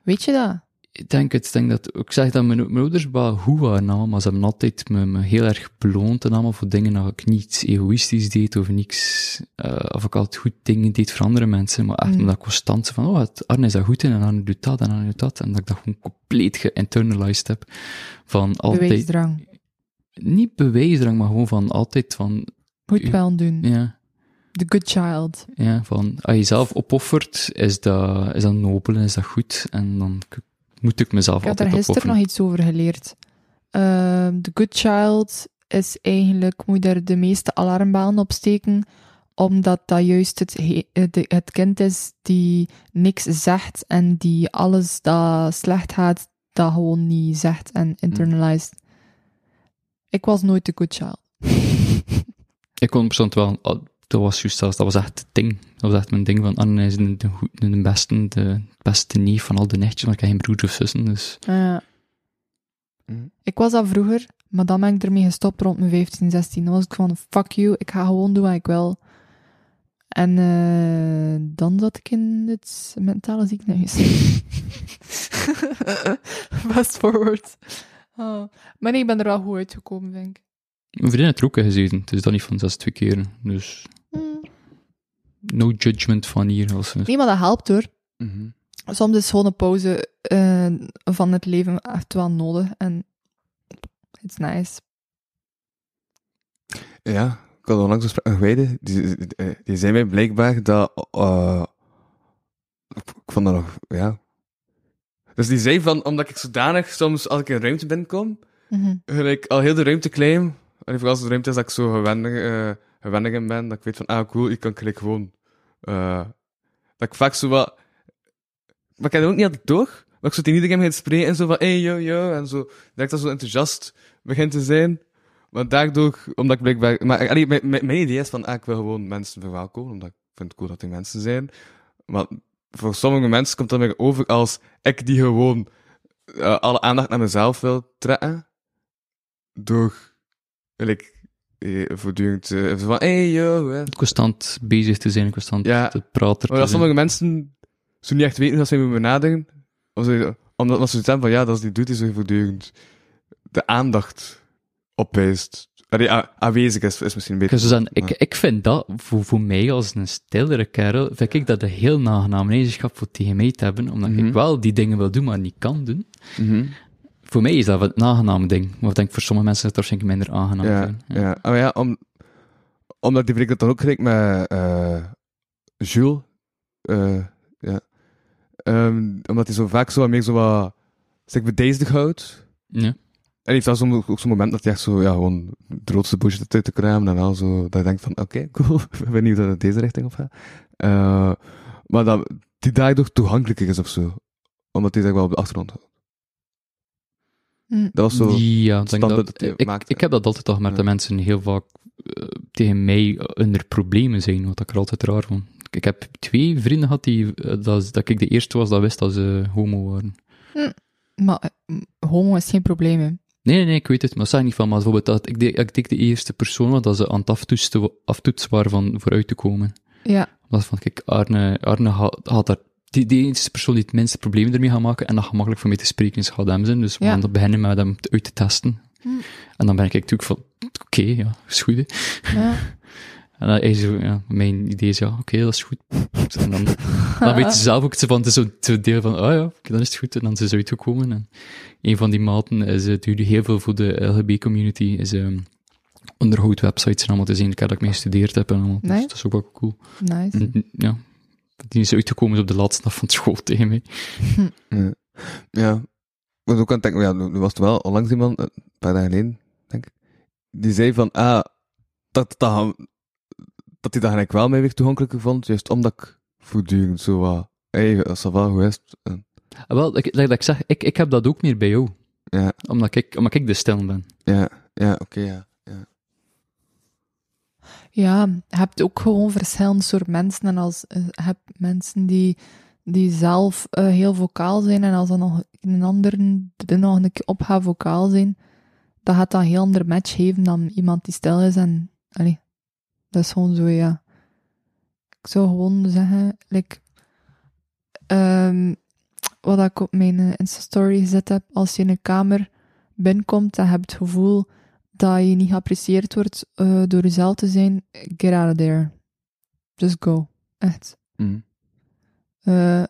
S5: Weet je dat?
S4: ik denk het, ik denk dat, ik zeg dat mijn, mijn ouders wel goed waren allemaal, maar ze hebben altijd me, me heel erg beloond en allemaal voor dingen dat ik niet egoïstisch deed of niks, eh, of ik altijd goed dingen deed voor andere mensen, maar echt
S5: Mm.
S4: omdat constante van, oh, het- Arne is daar goed in en Arne doet dat en Arne doet dat. En dat ik dat gewoon compleet geïnternalized heb. Van altijd,
S5: Bewijsdrang.
S4: niet bewijsdrang, maar gewoon van altijd van,
S5: Moet wel doen.
S4: ja,
S5: The good child.
S4: ja, van, als je zelf opoffert, is dat, is dat nobel en is dat goed. En dan k- moet ik mezelf
S5: Ik heb
S4: altijd
S5: daar gisteren
S4: opofferen.
S5: nog iets over geleerd. Ehm, The Good Child is eigenlijk, moet je er de meeste alarmbellen op steken, omdat dat juist het, he- het- het kind is die niks zegt en die alles dat slecht gaat, dat gewoon niet zegt en internalized. Ik was nooit de good child.
S4: Ik kon persoonlijk wel, ah, dat was juist zelfs, dat was echt het ding. Dat was echt mijn ding van, ah, Anne is de, de, goed- de beste, de beste neef van al de nichtjes, maar ik heb geen broers of zussen, dus
S5: Ja.
S3: Mm.
S5: Eh, Ik was dat vroeger, maar dan ben ik ermee gestopt rond mijn 15, 16. Dan was ik van, fuck you, ik ga gewoon doen wat ik wil. En eh, dan zat ik in het mentale ziekenhuis. Fast forward. Oh. Maar nee, ik ben er wel goed uitgekomen, denk ik.
S4: mijn vriendin heeft er ook in gezeten, dus dat niet van zes twee keer. Dus
S5: Hmm.
S4: no judgment van hier. Als,
S5: Nee, maar dat helpt hoor.
S3: Mhm.
S5: soms is gewoon een pauze eh, van het leven echt wel nodig. En it's nice.
S3: Ja, ik had onlangs een gesprek met Weide. Die, die, eh, die zei mij blijkbaar dat... eh, ik, ik vond dat nog... Ja. Dus die zei van, omdat ik zodanig soms als ik in een ruimte binnenkom,
S5: Mhm.
S3: gelijk al heel de ruimte claim. En vooral als het ruimte is dat ik zo gewendig, eh, gewendig in ben, dat ik weet van, ah cool, ik kan gelijk gewoon... eh, dat ik vaak zo wat... Maar ik heb dat ook niet altijd door. Maar ik zo tegen iedereen begin te spreken en zo van, hey, yo, yo, en zo. Dat ik dat zo enthousiast begin te zijn. Maar daardoor, omdat ik blijkbaar... Maar eh, allee, mijn, mijn, mijn idee is van, ah, ik wil gewoon mensen verwelkomen, omdat ik vind het cool dat er mensen zijn. Maar voor sommige mensen komt dat mij over als ik die gewoon eh, alle aandacht naar mezelf wil trekken. Door, wil ik eh, voortdurend eh, even van, hey, yo, hè. Dus,
S4: Constant bezig te zijn, constant
S3: Ja.
S4: te praten.
S3: Maar
S4: te
S3: dat
S4: zijn.
S3: sommige mensen zo niet echt weten hoe ze moeten benaderen. Of ze, omdat omdat ze het van ja, dat is die doet, is er voortdurend de aandacht op wijst. Allee, a- aanwezig is, is misschien een
S4: Ik zou
S3: beetje.
S4: zo zeggen, Dus ik,
S3: Maar-
S4: ik vind dat, voor, voor mij als een stillere kerel, vind ik dat een heel nagename eigenschap voor tegen mij te hebben, omdat
S3: Mhm.
S4: ik wel die dingen wil doen, maar niet kan doen. Voor mij is dat wel een aangename ding, maar ik denk voor sommige mensen dat het waarschijnlijk minder aangenaam
S3: Ja,
S4: zijn.
S3: ja. Oh ja, om, omdat die breek dat dan ook kreeg met eh Jules. eh, ja. Ehm, omdat hij zo vaak zo wat meer zo wat. Zeg, bedeesdig houdt.
S4: Ja.
S3: En heeft dan soms ook- ook zo'n moment dat je echt zo, ja, gewoon de roodste busje uit de kraam en al zo, dat je denkt van, oké, cool, ik ben benieuwd dat het deze richting op gaat. Eh, maar dat die daardoor toegankelijker is of zo. Omdat die zich wel op de achtergrond houdt.
S5: Hm.
S3: Dat was zo...
S4: ja, ik denk
S3: standaard
S4: dat,
S3: dat hij
S4: ik,
S3: maakt,
S4: ik
S3: hè.
S4: heb dat altijd al gemerkt,
S3: Ja.
S4: dat mensen heel vaak eh, tegen mij onder problemen zijn, wat ik er altijd raar vond. Ik- Ik heb twee vrienden gehad die, eh, dat, dat ik de eerste was dat wist dat ze homo waren.
S5: Maar eh, homo is geen probleem. hè.
S4: Nee, nee, nee, ik weet het, maar zeg niet van, maar bijvoorbeeld dat ik, de, ik denk de eerste persoon was dat ze aan het aftoetsen, aftoetsen waren van vooruit te komen.
S5: Ja,
S4: Dat van, kijk, Arne, Arne had, had daar, die, die eerste persoon die het minste probleem ermee gaat maken en dat gemakkelijk voor mij te spreken is, gaat hem zijn. Dus we
S5: Ja. Hmm.
S4: gaan dat beginnen met hem te- uit te testen. En dan ben ik natuurlijk van, oké, ja, is goed, hè.
S5: ja.
S4: En dan is zo, ja, mijn idee is, ja, oké, dat is goed. En dan, dan weet ze zelf ook zo van, het is zo'n zo'n deel van, ah ja, oké, dan is het goed. En dan zijn ze uitgekomen. En een van die maten is het jullie heel veel voor de LGB-community, is ehm onderhoud websites en allemaal te zien. Ik heb dat ik mee gestudeerd heb en allemaal. Dus
S5: Nee.
S4: dat is ook wel cool.
S5: nice.
S4: En, ja. Die is uitgekomen op de laatste dag van school tegen mij.
S3: Ja. ja. Ik was ook aan het denken, ja, nu- nu was het wel onlangs iemand, eh, een paar dagen geleden, denk ik, die zei van, ah, dat, dat, hem- dat hij dat eigenlijk wel mij weer toegankelijker vond, juist omdat ik voortdurend zo wat, hé, hey, ça va, hoe is het? En-
S4: Ah, wel, ik, dat ik zeg, ik, ik heb dat ook meer bij jou.
S3: Ja.
S4: Omdat ik, omdat ik de stil ben.
S3: Ja, ja, oké, ja.
S5: Ja, je hebt ook gewoon verschillend soort mensen. En als eh, je hebt mensen die, die zelf eh, heel vocaal zijn, en als dan nog een ander er nog een keer op gaat vocaal zijn, dat gaat dat een heel ander match geven dan iemand die stil is. En allee, dat is gewoon zo, ja. Ik zou gewoon zeggen, like, ehm, wat ik op mijn eh, Insta-story gezet heb, als je in een kamer binnenkomt en je hebt het gevoel dat je niet geapprecieerd wordt eh, door jezelf te zijn, get out of there. Just go. Echt. Eh, je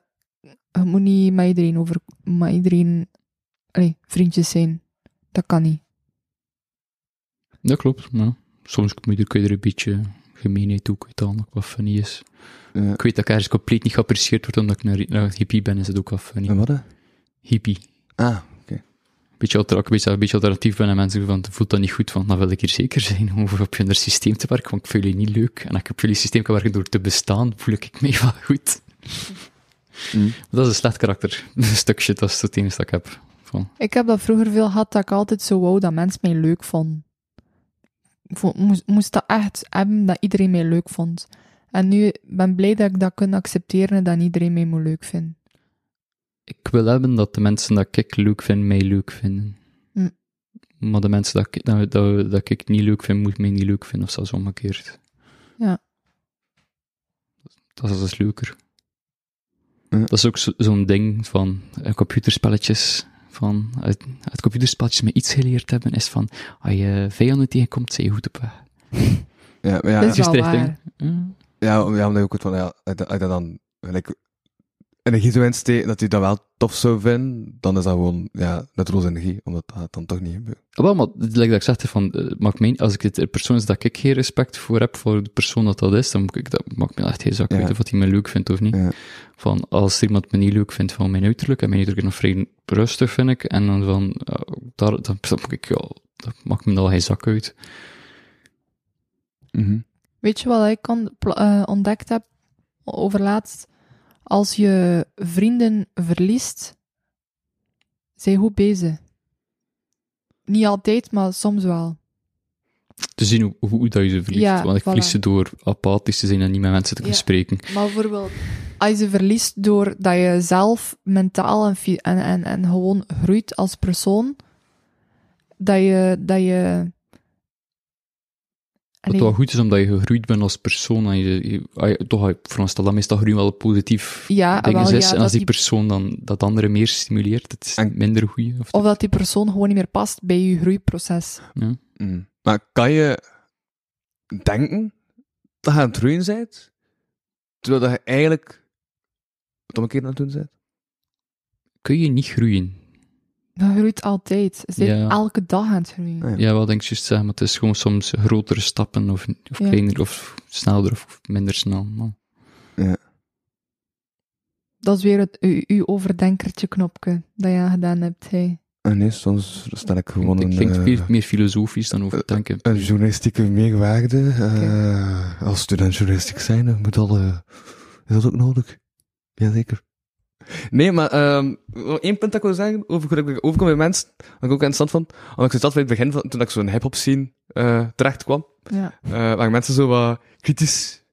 S5: moet niet met iedereen over... Met iedereen... Allee, vriendjes zijn. Dat kan niet.
S4: Dat klopt, ja. Soms kun je er- kun je er een beetje gemeenheid toe uithalen, ook wat funny is.
S3: Ja.
S4: Ik weet dat ik ergens compleet niet geapprecieerd word omdat ik een, een hippie ben, is het ook wel funny.
S3: En wat? hè?
S4: Hippie.
S3: Ah,
S4: Beetje, alter, ook een beetje, een beetje alternatief ben en mensen van, voelt dat niet goed, want dan wil ik hier zeker zijn om op je systeem te werken, want ik vind jullie niet leuk. En als ik op jullie systeem kan werken door te bestaan, voel ik me wel goed.
S3: Mm.
S4: Dat is een slecht karakter. Een stukje, dat is het enige dat ik heb. Van,
S5: Ik heb dat vroeger veel gehad, dat ik altijd zo wou dat mensen mij leuk vonden. Ik vo- moest, moest dat echt hebben, dat iedereen mij leuk vond. En nu ben ik blij dat ik dat kan accepteren en dat niet iedereen mij moet leuk vinden.
S4: ik wil hebben dat de mensen dat ik leuk vind, mij leuk vinden.
S5: Hm.
S4: Maar de mensen dat ik, dat, dat, dat ik niet leuk vind, moet mij niet leuk vinden, of zelfs omgekeerd.
S5: Ja.
S4: Dat is, dat is leuker.
S3: Ja.
S4: Dat is ook zo- zo'n ding van eh, computerspelletjes. Van, uit, uit computerspelletjes me iets geleerd hebben, is van, als je vijanden tegenkomt, zijn je goed op weg.
S3: ja, maar ja,
S5: dat is
S4: juist
S5: wel
S4: richting.
S5: waar.
S4: Hm.
S3: ja, om- ja, omdat je ook het van, ja, als je als je dan gelijk energie zou insteken, dat je dat wel tof zou vinden, dan is dat gewoon, ja, net roze energie, omdat dat dan toch niet gebeurt.
S4: Ah, Wel, maar like dat ik zeg, hè, van, eh, maakt mij, niet- als ik het de persoon is dat ik geen respect voor heb, voor de persoon dat dat is, dan moet ik, dat maakt me echt geen zak
S3: Ja.
S4: uit of dat hij me leuk vindt of niet.
S3: Ja.
S4: Van, als iemand me niet leuk vindt van mijn uiterlijk, en mijn uiterlijk is nog vrij rustig, vind ik, en dan van, eh, daar, dan, dan moet ik, ja, dat maakt me dan geen zak uit.
S3: Mhm.
S5: Weet je wat ik on- pla- eh, ontdekt heb overlaatst? Als je vrienden verliest, zijn goed bezig. Niet altijd, maar soms wel.
S4: Te zien hoe, hoe dat je ze verliest.
S5: Ja,
S4: Want ik verlies
S5: voilà.
S4: ze door apathisch te zijn en niet met mensen te kunnen
S5: Ja.
S4: spreken.
S5: Maar bijvoorbeeld, als je ze verliest doordat je zelf mentaal en, fi- en, en, en gewoon groeit als persoon, dat je... Dat je
S4: Dat het wel goed is omdat je gegroeid bent als persoon. En je, je, ah ja, toch, ik veronderstel dat meestal groeien wel positief
S5: Ja, ah,
S4: dingen
S5: wel,
S4: is.
S5: ja,
S4: en
S5: dat
S4: als die
S5: die-
S4: persoon dan dat andere meer stimuleert, het is
S3: En-
S4: minder goeie. Of,
S5: of dat die persoon gewoon niet meer past bij je groeiproces.
S3: Mm. Maar kan je denken dat je aan het roeien bent, terwijl dat je eigenlijk het omgekeerde aan het doen bent?
S4: kun je niet groeien.
S5: Dat groeit altijd. Ze zijn
S4: Ja.
S5: elke dag aan het groeien.
S3: Ja.
S4: Ja, wel denk ik juist zeggen, maar het is gewoon soms grotere stappen of, of
S5: Ja.
S4: kleiner of sneller of minder snel. Maar
S5: Dat is weer het u- uw overdenkertje knopje dat je gedaan hebt. Hey.
S3: Ah, nee, soms stel ik gewoon
S4: het
S3: een,
S4: klinkt
S3: eh,
S4: veel meer filosofisch dan over denken.
S3: een journalistieke meerwaarde. eh, Als student journalistiek zijn, dan moet al, eh, is dat ook nodig? Jazeker. Nee, maar ehm, nog één punt dat ik wil zeggen over hoe ik overkom bij mensen, daar ben ik ook aan stand van. Omdat ik zat bij het begin, van, toen ik zo'n hip-hop scene eh, terecht kwam,
S5: Ja.
S3: Eh, waar mensen zo wat kritisch.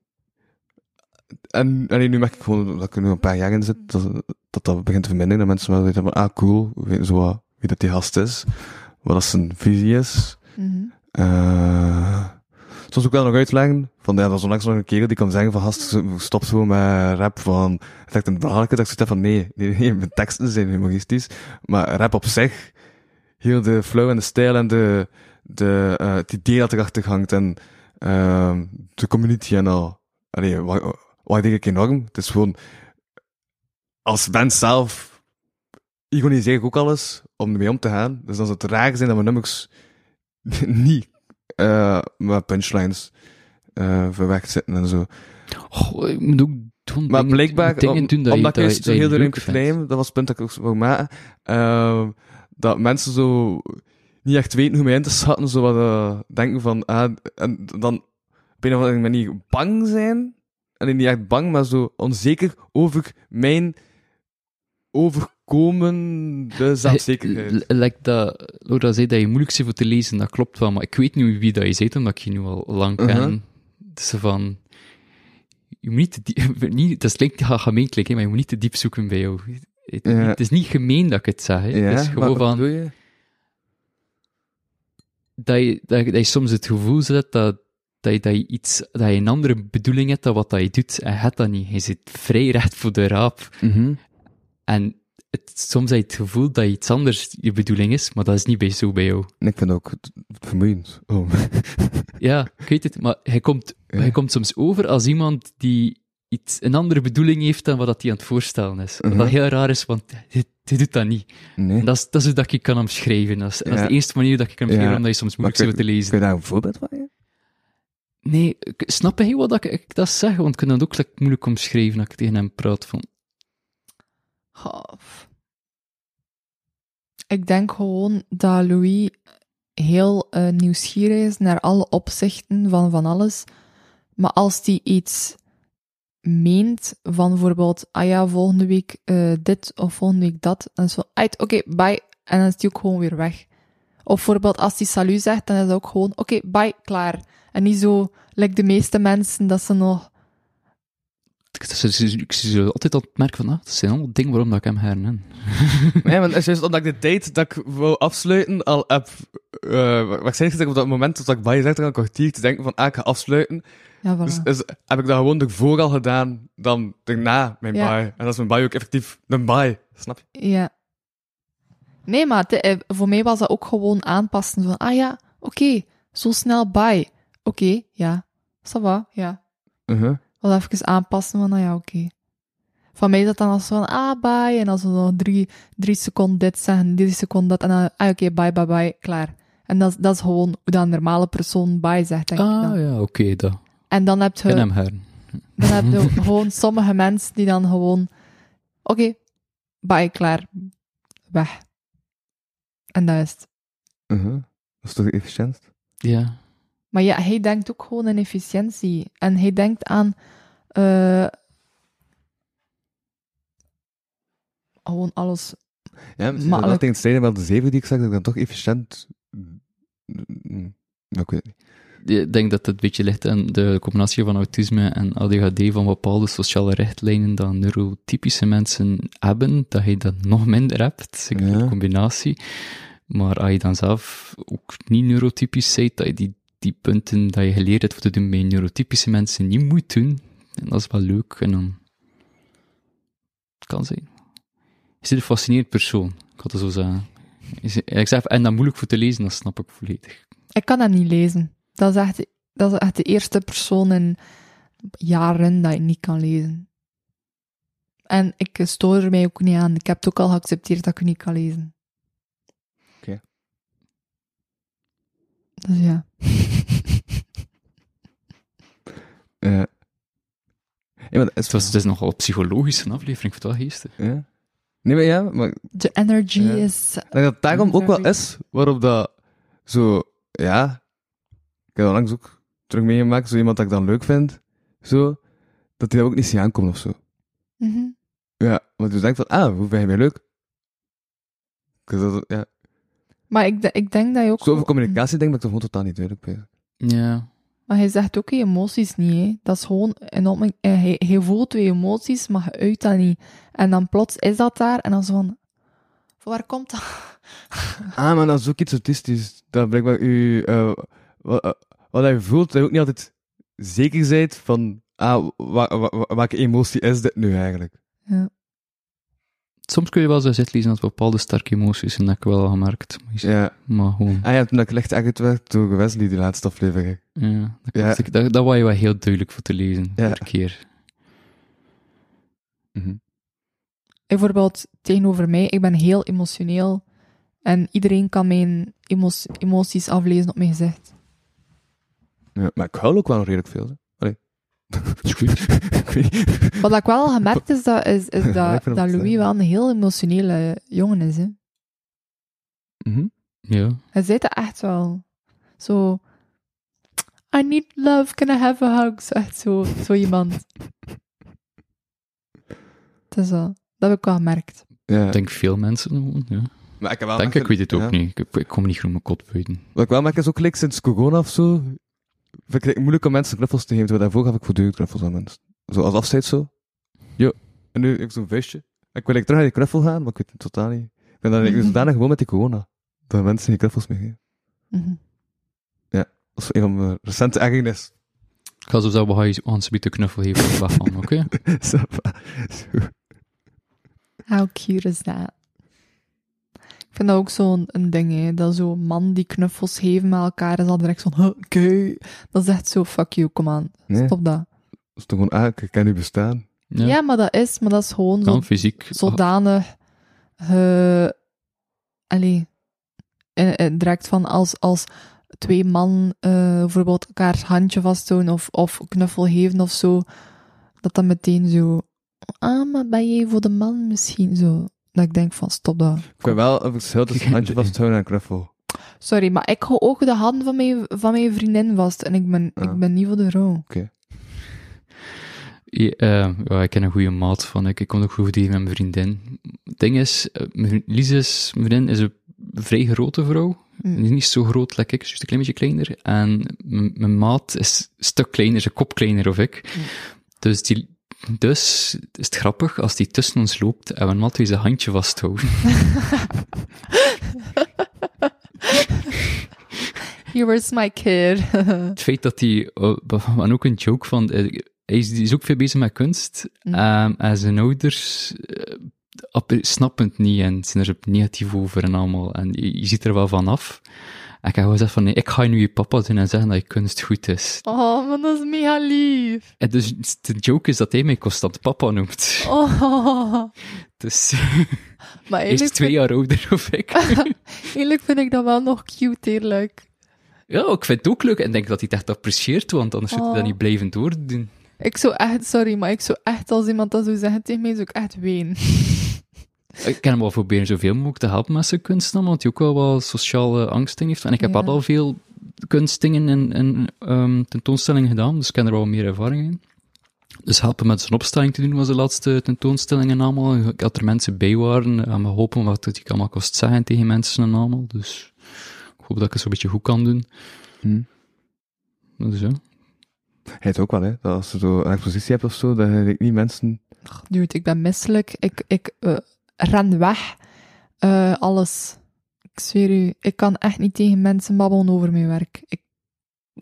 S3: En alleen nu merk ik gewoon dat ik er nu een paar jaar in zit, dat dat, dat begint te verminderen. Dat mensen wel weten van, ah cool, weten zo wat, wie dat die gast is, wat dat zijn visie is.
S5: Mhm.
S3: Eh, soms ook wel nog uitleggen, van ja, dat is onlangs nog een kerel die kan zeggen van, gast, stop zo met rap van, het is echt een belangrijke, dat ik zoiets heb van, nee, nee, nee, mijn teksten zijn humoristisch, maar rap op zich, heel de flow en de stijl en de, de, eh, het idee dat erachter hangt en ehm, de community en al. Allee, wa- waardeer ik enorm. Het is gewoon, als mens zelf, ironiseer ik ook alles om ermee om te gaan. Dus dan zou het raar zijn dat mijn nummers niet eh met punchlines eh, verwerkt zitten en zo.
S4: Goh, ik moet ook doen
S3: Maar
S4: dingen,
S3: blijkbaar,
S4: dingen
S3: om-
S4: doen dat
S3: omdat
S4: je,
S3: ik
S4: dat,
S3: juist
S4: dat
S3: zo
S4: je
S3: heel erin
S4: leuk
S3: te
S4: vindt.
S3: claimen, dat was het punt dat ik ook wou maken, ehm, dat mensen zo niet echt weten hoe mee in te schatten, zo wat eh, denken van, ah, en dan op een of andere manier bang zijn, en niet echt bang, maar zo onzeker over mijn
S4: Eh,
S3: overkomende zelfzekerheid.
S4: L- Like dat, Laura zei dat je moeilijk bent voor te lezen, dat klopt wel, maar ik weet niet wie dat je bent, omdat ik je nu al lang ken.
S3: Mhm.
S4: Het is zo van... Je moet niet, te diep, niet dat klinkt ga- gemeen klinken, maar je moet niet te diep zoeken bij jou. Het,
S3: Ja.
S4: het is niet gemeen dat ik het zeg. hè. het eh, is gewoon
S3: maar wat
S4: van,
S3: bedoel je?
S4: dat, je, dat, je- dat je soms het gevoel zet dat, dat, je, dat, je iets, dat je een andere bedoeling hebt dan wat dat je doet. En je hebt dat niet. Je zit vrij recht voor de raap. En het, soms heb je het gevoel dat iets anders je bedoeling is, maar dat is niet bij zo bij jou.
S3: En ik vind het ook vermoeiend. Oh.
S4: Ja, ik weet het, maar hij komt,
S3: Ja.
S4: hij komt soms over als iemand die iets, een andere bedoeling heeft dan wat dat hij aan het voorstellen is. Wat
S3: Mhm.
S4: dat heel raar is, want hij, hij doet dat niet.
S3: Nee.
S4: En dat is, dat is hoe dat ik kan omschrijven. Dat is, dat is
S3: Ja.
S4: de eerste manier dat ik kan omschrijven,
S3: Ja.
S4: omdat je soms moeilijk
S3: Maar
S4: zit te lezen.
S3: Kun je daar een voorbeeld van geven?
S4: Nee, ik- snap je wat ik, ik dat zeg? Want ik kan dat ook like, moeilijk omschrijven als ik tegen hem praat van...
S5: Goh, pff. Ik denk gewoon dat Louis heel eh, nieuwsgierig is naar alle opzichten van van alles. Maar als hij iets meent van bijvoorbeeld, ah ja, volgende week eh, dit of volgende week dat, dan is het van, uit, oké, bye, en dan is hij ook gewoon weer weg. Of bijvoorbeeld als hij salut zegt, dan is het ook gewoon, oké, bye, klaar. En niet zo, like de meeste mensen, dat ze nog...
S4: Ik zie ze- ik zie ze altijd aan het merken van, ah, dat zijn allemaal dingen waarom dat ik hem hernen.
S3: Nee, want het is juist omdat ik de date dat ik wou afsluiten al heb... eh, waarschijnlijk zit ik op dat moment dat ik bij je zegt, een kwartier te denken van, ah, ik ga afsluiten.
S5: Ja, voilà.
S3: Dus, dus heb ik dat gewoon ervoor al gedaan dan daarna mijn
S5: Ja.
S3: baai. En dat is mijn baai ook effectief een baai. Snap je?
S5: Ja. Nee, maar het- eh, voor mij was dat ook gewoon aanpassen van, ah ja, oké, zo snel bye. Oké, ja, ça va, ja.
S3: Uh-huh,
S5: Wel even aanpassen van, ah ja, oké. Van mij is dat dan als van, ah, bye, en als we nog drie, drie seconden dit zeggen, drie seconden dat, en dan, ah, oké, bye, bye, bye, klaar. En dat, is- dat is gewoon hoe dat een normale persoon bye zegt, denk ik
S4: Ah,
S5: dan.
S4: ja, oké, dat. Ik
S5: En dan heb
S4: ken
S5: je,
S4: hem hernen.
S5: dan heb je gewoon sommige mensen die dan gewoon, oké, bye, klaar, weg. En dat is het.
S3: uh-huh. Dat is toch de efficiëntst?
S4: Ja.
S5: Maar ja, hij denkt ook gewoon in efficiëntie. En hij denkt aan... eh, gewoon alles.
S3: Ja, misschien
S5: Maar
S3: maar, dat
S5: ook-
S3: tegen het strijden wel de zeven die ik zag, dat ik dan toch efficiënt... Mm, Ik weet het niet.
S4: Ik denk dat het een beetje ligt aan de combinatie van autisme en ADHD van bepaalde sociale richtlijnen dat neurotypische mensen hebben, dat je dat nog minder hebt. Ik bedoel,
S3: Ja.
S4: de combinatie. Maar als je dan zelf ook niet neurotypisch bent, dat je die, die punten dat je geleerd hebt voor te doen bij neurotypische mensen niet moet doen, en dat is wel leuk. En dan... Het kan zijn. Je zit een fascinerend persoon, ik had het zo zeggen. Je zit- Ik zeg, en dat moeilijk voor te lezen, dat snap ik volledig.
S5: Ik kan dat niet lezen. Dat is echt, dat is echt de eerste persoon in jaren dat ik niet kan lezen. En ik stoor er mij ook niet aan. Ik heb het ook al geaccepteerd dat ik het niet kan lezen.
S3: Oké.
S5: Dus ja.
S3: Ja. Ja, maar dat is
S4: Het, was, het is nogal psychologisch een aflevering, ik vind het wel geestig.
S3: Ja. Nee, maar ja, maar
S5: De energy
S3: Ja.
S5: is...
S3: Ik denk dat het daarom ook wel is waarop dat zo, ja, ik heb onlangs ook terug meegemaakt, zo iemand dat ik dan leuk vind, zo, dat die dat ook niet zien aankomen of zo.
S5: Mhm.
S3: Ja, want dus denk ik van, ah, hoe vind je mij leuk? Dus dat, ja.
S5: Maar ik, de- ik denk dat je ook...
S3: Zo over communicatie denk ik dat ik toch gewoon totaal niet duidelijk ben.
S4: Ja.
S5: Maar hij zegt ook je emoties niet, hè. Dat is gewoon... Een opmerking- eh, hij, hij voelt je emoties, maar je uit dat niet. En dan plots is dat daar, en dan zo van... Van waar komt dat?
S3: Ah, maar dat is ook iets autistisch. Dat blijkbaar u, eh, wat, eh, wat hij voelt, dat je ook niet altijd zeker bent van, ah, wa- wa- wa- welke emotie is dit nu eigenlijk?
S4: Soms kun je wel zo uitlezen dat bepaalde sterke emoties en dat heb ik wel al gemerkt. Maar, je-
S3: Ja.
S4: maar gewoon,
S3: Ah ja, toen ik licht eigenlijk werd door Wesley, die laatste aflevering.
S4: ja. Dat,
S3: Ja.
S4: dat, dat, wou je wel heel duidelijk voor te lezen,
S3: Ja.
S4: elke keer.
S5: Bijvoorbeeld tegenover mij, ik ben heel emotioneel. En iedereen kan mijn emo- emoties aflezen op mijn gezicht.
S3: Ja, maar ik huil ook wel nog redelijk veel. Hè. Allee. Is goed. ik weet niet.
S5: Wat ik wel al gemerkt is dat, is, is
S3: Ja, ik
S5: dat,
S3: vind
S5: dat
S3: het,
S5: Louis
S3: eh,
S5: wel een heel emotionele jongen is, hè.
S4: Ja.
S5: Hij zei dat echt wel. Zo... I need love, can I have a hug? Zo, echt zo, zo iemand. Het is wel... Dat heb ik wel gemerkt.
S3: Ja.
S4: Ik denk veel mensen gewoon, ja.
S3: Maar ik heb wel
S4: denk
S3: merken-
S4: ik, weet het ook
S3: ja.
S4: niet. Ik, ik kom niet groen mijn kot buiten.
S3: Wat ik wel merk is ook like, sinds corona of zo, vind ik het moeilijk om mensen knuffels te geven. Terwijl daarvoor gaf ik voortdurend knuffels aan mensen. Zo als afscheid zo. Jo. En nu heb ik zo'n visje. Ik wil like, terug naar die knuffel gaan, maar ik weet het totaal niet. Ik ben dan ik ben zodanig gewoon met die corona. Dat mensen geen knuffels meer geven.
S5: Mhm.
S3: Dat is een van mijn recente ergernis.
S4: Ik ga zo zelf wel eens aan de knuffel geven, ik lach van, oké?
S3: Zo.
S5: How cute is dat? Ik vind dat ook zo'n een ding, hè. Dat zo'n man die knuffels geven met elkaar is al direct zo'n... "Huh, gay." Dat is echt zo, fuck you, kom aan.
S3: Nee, dat
S5: Stop dat.
S3: is toch gewoon, ah, ik kan nu bestaan.
S4: Ja,
S5: Ja, maar dat is... Maar dat is gewoon zo
S4: kan fysiek.
S5: zodanig eh allee, eh, eh, direct van als, als twee man eh, bijvoorbeeld elkaars handje vastdoen of, of knuffel geven of zo, dat dan meteen zo, ah, maar ben jij voor de man misschien zo? Dat ik denk van, stop dat.
S3: Ik weet wel een verschil tussen een handje vasthouden en een knuffel.
S5: Sorry, maar ik hou ook de hand van mijn, van mijn vriendin vast en ik ben,
S3: Ah.
S5: ik ben niet voor de rouw.
S4: Ja, eh, ja, ik ken een goede maat van. Ik, ik kom ook goed verdelen met mijn vriendin. Het ding is, eh, mijn vriend- Lies is, mijn vriendin is een vrij grote vrouw.
S5: Mm.
S4: Die is Niet zo groot, like ik, dus een klein beetje kleiner. En m- mijn maat is een stuk kleiner, zijn kop kleiner of ik. Dus, die, dus is het grappig als die tussen ons loopt en mijn maat wil zijn handje vasthouden.
S5: Here is my kid.
S4: het feit dat hij, eh, en ook een joke van, eh, hij is, die is ook veel bezig met kunst,
S5: Mm.
S4: ehm, en zijn ouders eh, app- snappen het niet en zijn er negatief over en allemaal, en je, je ziet er wel van af. En ik heb gewoon gezegd van, nee, ik ga nu je papa doen en zeggen dat je kunst goed is.
S5: Oh, maar dat is mega lief.
S4: En dus de joke is dat hij mij constant papa noemt.
S5: Oh.
S4: Dus
S5: Maar
S4: hij is
S5: eigenlijk
S4: twee jaar ouder of ik.
S5: Eerlijk vind ik dat wel nog cute, eerlijk.
S4: ja, ik vind het ook leuk en ik denk dat hij het echt apprecieert, want anders zou hij dat
S5: Oh.
S4: niet blijven doordoen.
S5: Ik zou echt, sorry, maar ik zou echt als iemand dat zou zeggen tegen mij, zou ik echt ween.
S4: Ik kan hem wel proberen zoveel mogelijk te helpen met zijn kunsten, want hij ook wel wat sociale angstdingen heeft. En ik heb
S5: Ja.
S4: al al veel kunstdingen en, en ehm, tentoonstellingen gedaan, dus ik ken er wel meer ervaring in. Dus helpen met zijn opstelling te doen was de laatste tentoonstelling en allemaal. Ik had er mensen bij waren en me hopen wat het ik allemaal kost zeggen tegen mensen en allemaal. Dus ik hoop dat ik het zo'n beetje goed kan doen.
S3: Hm.
S4: Dus ja.
S3: Hij het ook wel, hè? Dat als je zo een expositie hebt of zo, dat je niet mensen.
S5: Dude, ik ben misselijk. Ik, ik eh, ren weg. Eh, alles. Ik zweer u, ik kan echt niet tegen mensen babbelen over mijn werk. Ik,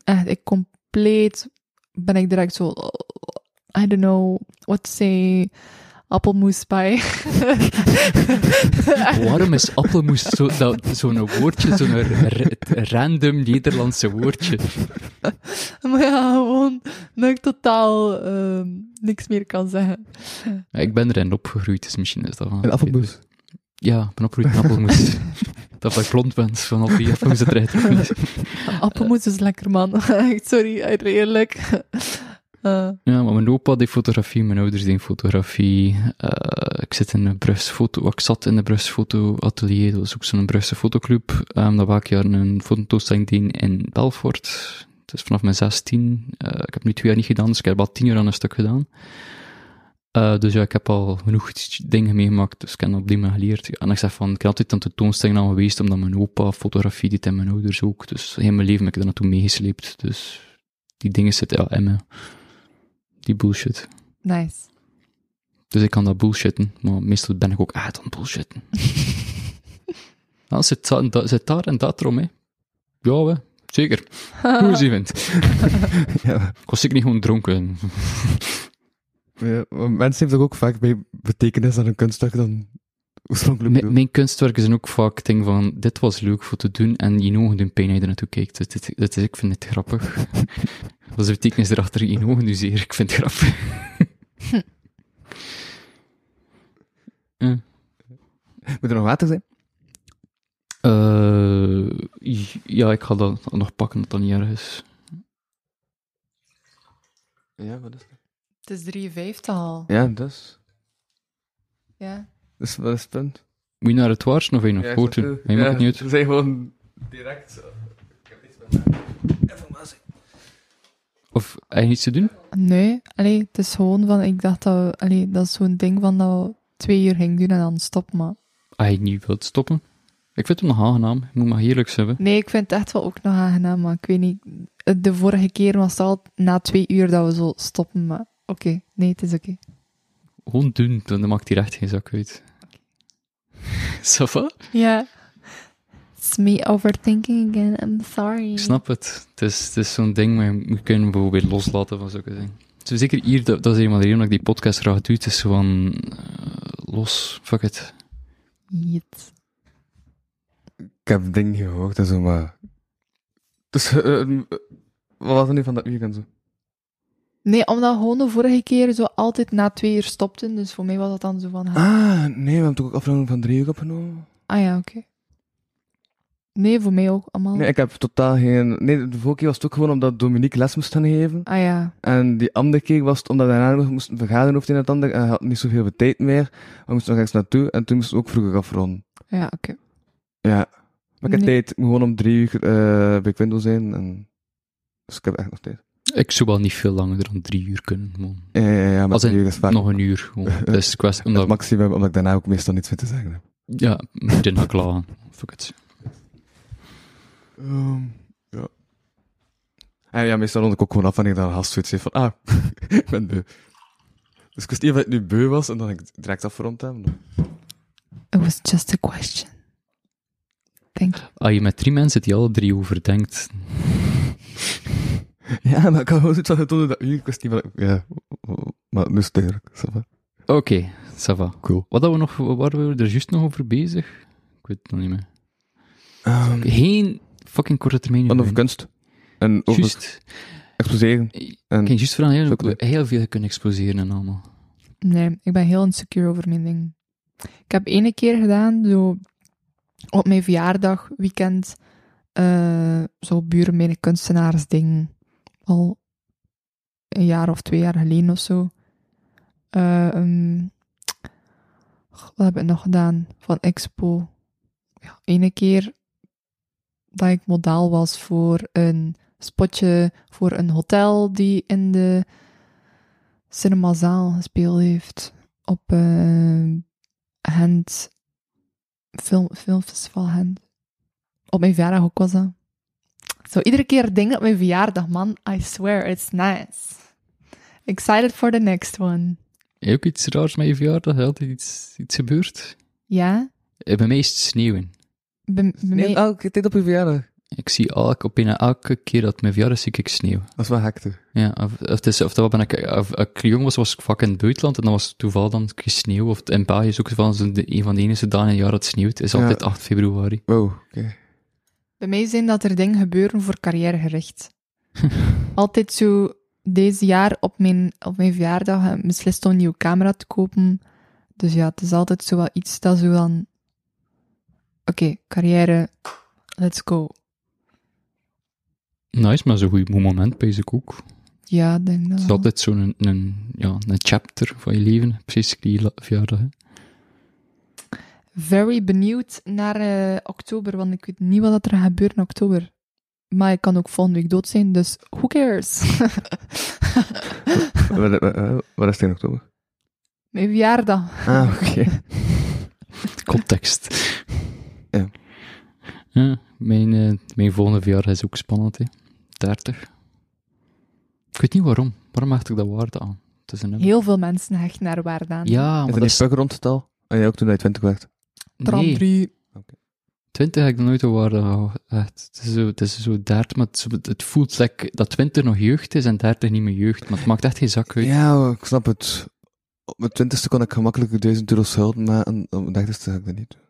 S5: echt, ik compleet ben ik direct zo... eh, I don't know what to say. Appelmoespij.
S4: Waarom is appelmoes zo- dat- zo'n woordje, zo'n ra- random Nederlandse woordje?
S5: maar ja, gewoon dat ik totaal ehm, niks meer kan zeggen.
S4: Ja, ik ben erin opgegroeid, dus misschien is dat wel...
S3: Een appelmoes.
S4: Ja, ik ben opgegroeid in appelmoes. dat ik blond ben, dus van al die appelmoes het rijdt ook niet.
S5: Appelmoes is lekker, man. Echt, Sorry, echt eerlijk. Eh,
S4: Ja, maar mijn opa deed fotografie, mijn ouders deden fotografie. eh, ik zit in een Brugse foto... oh, Ik zat in de Brugse fotoatelier, dat was ook zo'n Brugse fotoclub. Ehm dat waar ik jaar een fototoestelling deed in Belfort. Dus vanaf mijn 16. eh, ik heb nu twee jaar niet gedaan, dus ik heb al tien jaar aan een stuk gedaan. Eh, dus ja, ik heb al genoeg dingen meegemaakt, dus ik heb op die manier geleerd. En ik zeg van, ik ben altijd aan tentoonstellingen aan geweest, omdat mijn opa fotografie deed en mijn ouders ook. Dus heel mijn leven heb ik daar naartoe meegesleept. Dus die dingen zitten ja, in me. Die bullshit.
S5: nice.
S4: Dus ik kan dat bullshitten, maar meestal ben ik ook uit aan het bullshitten. Dan zit, dat- dat- zit daar en dat erom, hè. Ja, hè. Zeker. Hoe is even?
S3: Ja.
S4: Ik was zeker niet gewoon dronken.
S3: Ja, maar mensen hebben toch ook vaak bij betekenis aan hun kunstwerk dan oorspronkelijk
S4: M-
S3: bedoeld.
S4: mijn kunstwerken zijn ook vaak ding van, dit was leuk voor te doen en je ogen doen pijn als je er naartoe kijkt. Dus dit, dit is, ik vind het grappig. Wat is de betekenis erachter in je ogen nu zeer? Ik vind het grappig.
S3: Moet er nog water zijn?
S4: Eh, ja, ik ga dat nog pakken, dat dat niet erg is.
S3: Ja, wat is dat?
S5: Het is 53 al.
S3: Ja, dus.
S5: Ja.
S3: Dus wat is het punt?
S4: Moet je naar het waars of wil je nog voort doen? Maar Je mag het niet uit.
S3: We zijn gewoon direct. Ik heb niets met informatie.
S4: Of heb je iets te doen?
S5: Nee, allee, het is gewoon van, ik dacht dat, we- allee, dat is zo'n ding van dat we twee uur ging doen en dan stop maar.
S4: Als je niet wilt stoppen. Ik vind het nog aangenaam. Ik moet maar heerlijks hebben.
S5: Nee, ik vind het echt wel ook nog aangenaam, maar ik weet niet, de vorige keer was het al na twee uur dat we zo stoppen, maar oké, nee, het is oké.
S4: Gewoon doen, dan dan maakt hij echt geen zak uit. Ça va?
S5: Ja. It's me overthinking again, I'm sorry.
S4: Ik snap het. Het is, het is zo'n ding, maar we kunnen hem bijvoorbeeld loslaten van zulke dingen. Dus zeker hier, dat, dat is eenmaal de reden dat ik die podcast graag doe. Het is gewoon eh, los, fuck it.
S5: Jeet.
S3: Ik heb dingen gehoord en zo, maar. Dus, eh, eh, wat was er nu van dat weekend zo?
S5: Nee, omdat we gewoon de vorige keer zo altijd na twee uur stopten, dus voor mij was dat dan zo van... ha-
S3: Ah, nee, we hebben toch ook aflevering van drie uur opgenomen?
S5: Ah ja, oké. Nee, voor mij ook allemaal.
S3: Nee, ik heb totaal geen. Nee, de vorige keer was het ook gewoon omdat Dominique les moest gaan geven.
S5: Ah ja,
S3: En die andere keer was het omdat we daarna nog moesten vergaderen over het een en het ander. En hij had niet zoveel tijd meer. We moesten nog ergens naartoe. En toen moesten we ook vroeger afronden.
S5: ja, oké.
S3: Ja. Maar ik heb
S5: Nee.
S3: tijd. Ik moet gewoon om drie uur eh bij Quindo zijn. En... Dus ik heb echt nog tijd.
S4: Ik zou wel niet veel langer dan drie uur kunnen. man.
S3: Ja, ja, ja, maar
S4: Als in
S3: drie uur is vaak
S4: Nog een uur. Gewoon. Het is kwestie,
S3: het
S4: omdat,
S3: maximum, omdat ik daarna ook meestal niets meer te zeggen heb.
S4: ja, moet je nog klagen. Fuck it.
S3: ja. En ja, meestal rond ik ook gewoon af wanneer dan een gast zoiets heeft van, ah, ik ben beu. Dus ik wist niet of het nu beu was en dan ik direct afgerond heb.
S5: It was just a question. Thank you.
S4: Als je met drie mensen zit die alle drie overdenkt,
S3: Ja, maar ik had gewoon zoiets van getoond dat uur, ik wist niet wat ik... Ja, maar nu is het duidelijk. ça va.
S4: Oké, ça va.
S3: Cool.
S4: Wat hadden we nog, waar waren we er juist nog over bezig? Ik weet het nog niet meer.
S3: Ehm,
S4: Geen fucking korte termijn.
S3: En over kunst. En over
S4: Juist.
S3: exposeren.
S4: Ik
S3: En...
S4: kan juist vragen, heel,
S3: Zo kan het.
S4: heel veel kunnen exposeren en allemaal.
S5: Nee, ik ben heel insecure over mijn ding. Ik heb ene keer gedaan, zo op mijn verjaardag, weekend, eh, zo buren met een kunstenaarsding. Al een jaar of twee jaar geleden of zo. Eh, ehm, Goh, Wat heb ik nog gedaan van Expo? Ja, ene keer dat ik modaal was voor een spotje voor een hotel die in de cinemazaal gespeeld heeft op eh Gent film, filmfestival Gent. Op mijn verjaardag ook was dat. Zo, iedere keer dingen op mijn verjaardag, man. I swear, it's nice. Excited for the next one.
S4: Heb je ook iets raars met je verjaardag? Is Altijd iets, iets gebeurd?
S5: Ja?
S4: Eh, Bij mij is het sneeuwen.
S5: Bij, bij mij-
S3: Neem elke tijd op je verjaardag.
S4: Ik zie elke, op bijna elke keer dat het mijn verjaardag is, zie ik sneeuw.
S3: Dat is wel hectisch.
S4: Ja, of, of, het is- of dat ben ik, of, als ik jong was, was ik vaak in het buitenland en dan was het toevallig dan een keer sneeuw. Of het- in België is ook van zo de, een van de enige dagen in het jaar dat het sneeuwt. is
S3: Ja.
S4: altijd 8 februari.
S3: Wow, oké.
S5: Bij mij zijn dat er dingen gebeuren voor carrièregericht. Altijd zo deze jaar op mijn, op mijn verjaardag eh, beslist om een nieuwe camera te kopen. Dus ja, het is altijd zo wel iets dat zo dan... Oké, carrière, let's go.
S4: Nice, maar zo'n goed moment bij ik ook.
S5: Ja, ik denk dat
S4: Het is
S5: wel.
S4: altijd zo'n een, een, ja, een chapter van je leven, precies die la- verjaardag. hè.
S5: Very benieuwd naar eh, oktober, want ik weet niet wat dat er gaat gebeuren in oktober. Maar ik kan ook volgende week dood zijn, dus who cares?
S4: Ah.
S3: Wat- wat- wat- Wat is het in oktober?
S5: Mijn verjaardag.
S3: Ah, oké.
S4: Context.
S3: Ja.
S4: Ja, mijn, eh, mijn volgende verjaardag is ook spannend, hè. 30. Ik weet niet waarom. Waarom hecht ik dat waarde aan? Het is een nummer.
S5: Heel veel mensen hechten naar waarde aan.
S4: Ja,
S3: Is
S4: maar
S3: er
S4: dat
S3: niet
S4: is...
S3: puk rond het al? En jij ook toen hij 20 werd?
S5: Tram
S4: Nee.
S5: 3.
S4: 20 heb ik nog nooit een waarde gehouden. Echt, Het is zo, het is zo 30, maar het, is- het voelt like dat 20 nog jeugd is en 30 niet meer jeugd. Maar het maakt echt geen zak uit.
S3: Ja, ik snap het. Op mijn twintigste kon ik gemakkelijk 1000 euro schuld, maar aan- op mijn dertigste ga ik dat niet doen.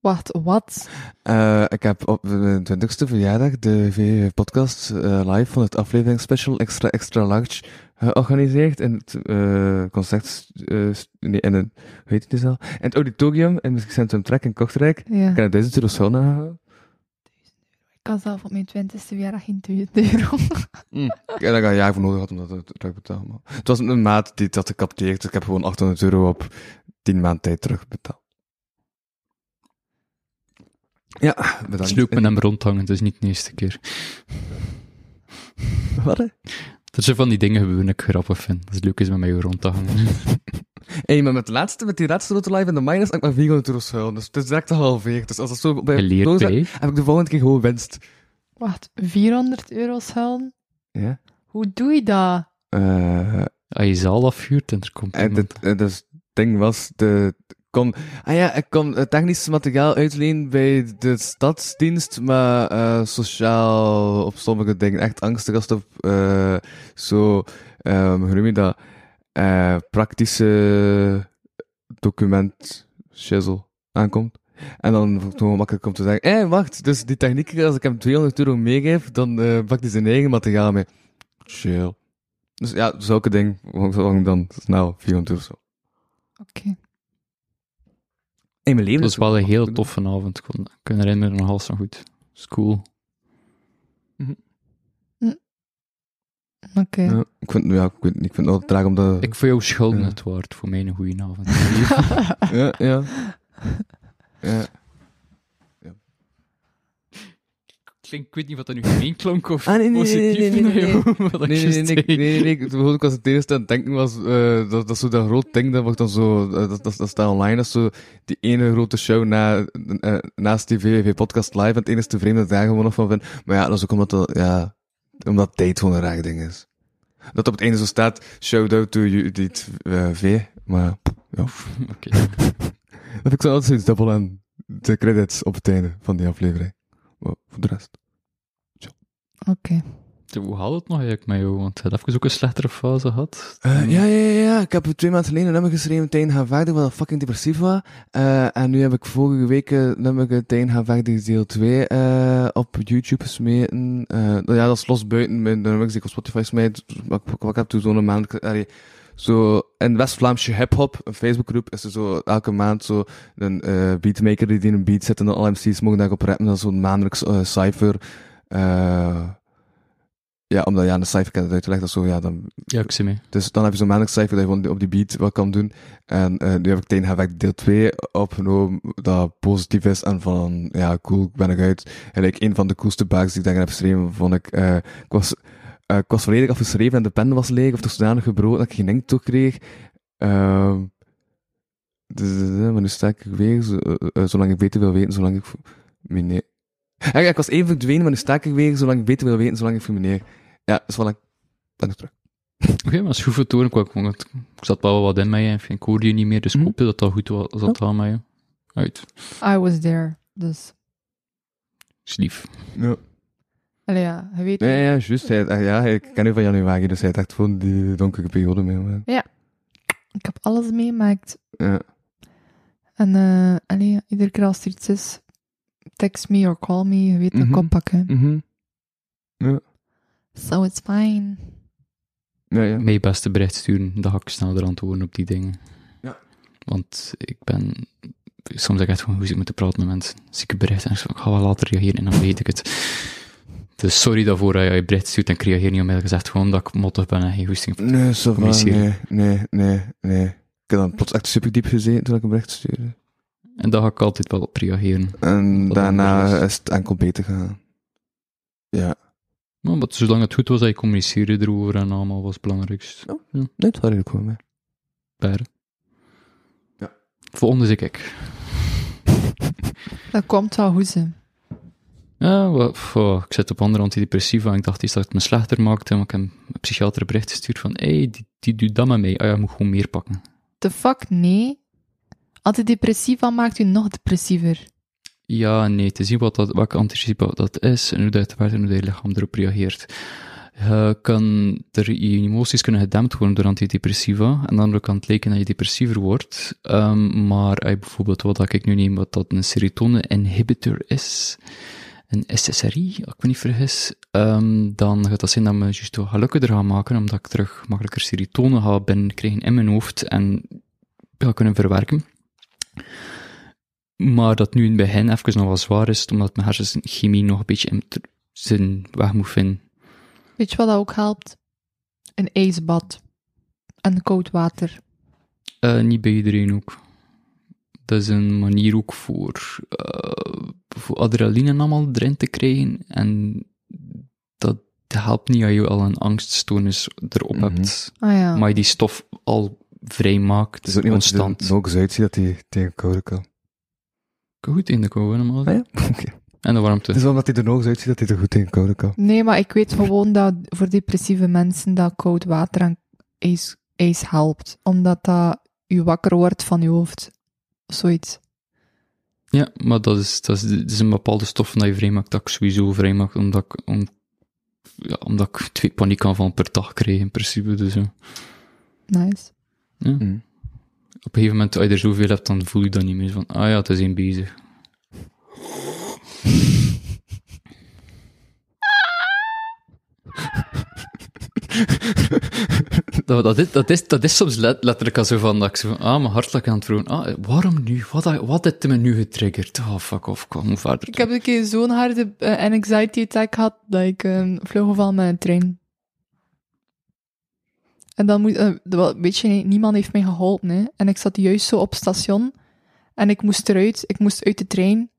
S5: Wacht, wat?
S3: Eh, ik heb op mijn twintigste verjaardag de VV podcast eh, live van het aflevering special Extra Extra Large georganiseerd in het eh, concert, eh, st- nee, in een, hoe heet het dus al? In het auditorium in het Centrum Trek in Kortrijk. Ik
S5: Ja.
S3: heb 1000 euro schuld aangehouden.
S5: Ik kan zelf op mijn twintigste verjaardag geen 1000 euro.
S3: Mm. Ik heb daar een jaar voor nodig gehad om dat te- terug te betalen. Maar het was een maat die dat gecapteerd. Dus ik heb gewoon 800 euro op 10 maand tijd terugbetaald. Ja, bedankt.
S4: Het is leuk met hem rondhangen, het is niet de eerste keer.
S3: Wat? hè?
S4: Er zijn van die dingen gebeuren die ik grappig vind. Dat het leuk is met mij rondhangen.
S3: Hé, maar met, de laatste, met die laatste route live in de minus heb ik maar 400 euro schulden. Dus het is direct al halveerd. Dus als dat zo bij
S4: Geleerd
S3: heb,
S4: bij.
S3: heb ik de volgende keer gewoon winst.
S5: Wacht, 400 euro schuilen?
S3: Ja.
S5: Hoe doe je dat?
S3: Eh,
S4: Als je zaal afvuurt en er komt
S3: En
S4: iemand.
S3: dit, eh, dus het ding was, de, kon, ah ja, ik kon het technisch materiaal uitleen bij de stadsdienst, maar eh, sociaal op sommige dingen echt angstig als het op eh, zo, ehm hoe noem je dat, eh, praktische document shizzle aankomt. En dan vond ik het gewoon makkelijk om te zeggen, hé, wacht, dus die techniek, als ik hem 200 euro meegeef, dan eh pakt hij zijn eigen materiaal mee. Chill. Dus ja, zulke dingen, zolang dan snel 400 euro zo.
S5: Oké.
S3: In mijn leven.
S4: Dat was wel een heel
S3: doen.
S4: toffe avond. Ik kon- ik kan herinneren nog alles nog goed. Dat is cool.
S5: Oké.
S3: Ja, ik vind, ja, ik weet niet, ik vind het altijd traag om dat...
S4: Ik voor jou schulden
S3: Ja.
S4: het waard. Voor mij een goede avond.
S3: Ja, ja. ja.
S4: Klink, ik weet niet wat dat nu gemeen klonk of
S3: Ah, nee, nee, nee,
S4: positief.
S3: nee, nee, nee, nee. Nee,
S4: Wat ik
S3: nee, nee,
S4: juist
S3: nee, nee,
S4: zei.
S3: nee, nee. Ik bedoel, ik was het eerste aan het denken was, eh, dat, dat zo dat groot ding, dat wordt dan zo, eh, dat, dat, dat staat online, dat is zo die ene grote show na, eh, naast die VVV Podcast Live, en het enige vreemde dat ik daar gewoon nog van vind. Maar ja, dat is ook omdat, dat, ja, omdat tijd gewoon een raar ding is. Dat op het ene zo staat, shout-out to Judith eh, V, maar ja.
S4: Oké.
S3: Dat vind ik zo altijd zoiets dubbel aan de credits op het einde van die aflevering. Maar voor de rest.
S4: Zo, Hoe haal het nog eigenlijk met jou? Want je hebt even ook een slechtere fase gehad.
S3: Eh, ja, ja, ja, ja. Ik heb twee maanden geleden een nummer geschreven tegen haar verder, wat fucking depressief was. Eh, en nu heb ik vorige week een nummer tegen haar verder deel 2 eh, op YouTube gesmeten. Eh, nou ja, dat is los buiten mijn nummers die ik op Spotify smijt. Wat ik- wat ik heb toen zo'n maand... allee, zo, in West-Vlaamse hip-hop, een Facebookgroep, is er zo elke maand zo een eh, beatmaker die een beat zet en dan alle MC's mogen daarop rappen. Dat is zo'n maandelijks eh, cijfer. Eh, Ja, omdat ja, aan de cijfer kan uitgelegd of zo, ja, dan,
S4: Ja, ik zie mee.
S3: dus dan heb je zo'n maandelijk cijfer dat je gewoon op die beat wat kan doen. En eh, nu heb ik tegen Havek deel 2 opgenomen, dat positief is en van, ja, cool, ik ben eruit. En like, een van de coolste bugs die ik daarin heb geschreven, vond ik, eh, ik was, eh, ik was volledig afgeschreven en de pen was leeg of dusdanig gebroken dat ik geen inkt toe kreeg. Ehm, dus, eh, maar nu sta ik weer, zo- eh, eh, zolang ik beter wil weten, zolang ik... vo- Meneer... Ja, ja, ik was even verdwenen, maar nu sta ik weer, zolang ik beter wil weten, zolang ik voor meneer... Ja, dus voilà, ben ik terug.
S4: Oké, maar schroeventoren kwam ik, want ik zat wel wat in mij en ik hoorde je niet meer, dus ik
S3: Mhm.
S4: hoopte dat dat goed was, zat aan mij. Uit.
S5: I was there. Dus,
S4: Is lief.
S3: Ja.
S5: allee, ja, je weet
S3: Nee, ja, juist. Hij, ah, ja, ik ken u van januari, dus hij dacht gewoon die donkere periode mee. Maar,
S5: Ik heb alles meemaakt.
S3: ja.
S5: En eh, allee, ja, iedere keer als er iets is, text me or call me. Je weet dat ik
S3: Mhm.
S5: oppak, hè. So it's fine.
S3: ja, ja.
S4: Mij beste bericht sturen, dan ga ik sneller antwoorden op die dingen.
S3: Ja.
S4: Want ik ben... Soms denk ik echt van, hoe zit ik moeten praten met mensen? Zie ik een bericht en ik zeg, ik ga wel later reageren en dan weet ik het. Dus sorry daarvoor dat je je bericht stuurt en ik reageer niet onmiddellijk. Gezegd gewoon dat ik mottig ben en geen goesting. heb.
S3: Nee, ça va,
S4: Communiceren.
S3: nee, nee, nee, nee. Ik heb dan plots echt super diep gezeten toen ik een bericht stuurde.
S4: En daar ga ik altijd wel op reageren.
S3: En
S4: Wat
S3: daarna
S4: anders.
S3: is het enkel beter gaan. Ja,
S4: Maar, maar zolang het goed was dat je communiceerde erover en allemaal was het belangrijkst.
S3: nee, het had ik gewoon mee.
S4: Daar.
S3: Ja.
S4: Volgende zit ik.
S5: Dat komt wel goed, ze.
S4: Ja, wel, pff, oh, ik zit op andere antidepressiva en ik dacht iets dat het me slechter maakte. Maar ik heb een psychiater een bericht gestuurd van, hé, hey, die, die doet dat met mij. Ah ja, ik moet gewoon meer pakken.
S5: The fuck, nee. Antidepressiva maakt u nog depressiever.
S4: Ja, en nee, te zien wat dat, welke anticipa dat is en hoe dat werkt en hoe dat je lichaam erop reageert. Je kan er, je emoties kunnen gedempt worden door antidepressiva en aan de andere kant lijken dat je depressiever wordt. Ehm, maar eh, bijvoorbeeld wat dat ik nu neem, wat dat een serotonine-inhibitor is, een SSRI, als ik me niet vergis, ehm, dan gaat dat zijn dat me juist wat gelukkiger gaan maken, omdat ik terug makkelijker serotonine ga binnenkrijgen in mijn hoofd en ga kunnen verwerken. Maar dat nu in het begin even nog wel zwaar is, omdat mijn hersenchemie nog een beetje in ter- zijn weg moet vinden.
S5: Weet je wat dat ook helpt? Een ijsbad. En koud water.
S4: Eh, niet bij iedereen ook. Dat is een manier ook voor, eh, voor adrenaline en allemaal erin te krijgen. En dat helpt niet als je al een angststoornis erop
S3: Mhm.
S4: hebt.
S5: Ah ja.
S4: Maar je die stof al vrij maakt,
S3: Het is ook niet
S4: constant.
S3: constant. Nog eens uitzien dat hij tegen koude kan.
S4: Goed in de kou, normaal.
S3: Ah ja? Oké.
S4: En de warmte.
S3: Het is wel omdat hij er nog eens uitziet dat hij er goed tegen koude kan.
S5: Nee, maar ik weet gewoon dat voor depressieve mensen dat koud water en ijs, ijs helpt. Omdat dat u wakker wordt van uw hoofd. Zoiets.
S4: Ja, maar dat is, dat is, dat is een bepaalde stof dat je vrijmaakt, dat ik sowieso vrijmaak, omdat ik, om, ja, omdat ik twee paniekaanvallen per dag kreeg, in principe. Dus ja.
S5: Nice.
S4: op een gegeven moment, als je er zoveel hebt, dan voel je dat niet meer. Van, ah ja, het is één bezig. Dat, dat, is, dat, is, dat is soms let- letterlijk al zo van, dat ik zo van, ah, mijn hart lag aan het vroegen. Ah, waarom nu? Wat, wat heeft me nu getriggerd? Oh, fuck off, kom, hoe verder.
S5: Ik heb een keer zo'n harde eh, anxiety attack gehad dat ik um, vloggeval met een trein. En dan moet, eh, wel, weet je, niemand heeft mij geholpen. Hè. En ik zat juist zo op station en ik moest eruit, ik moest uit de trein.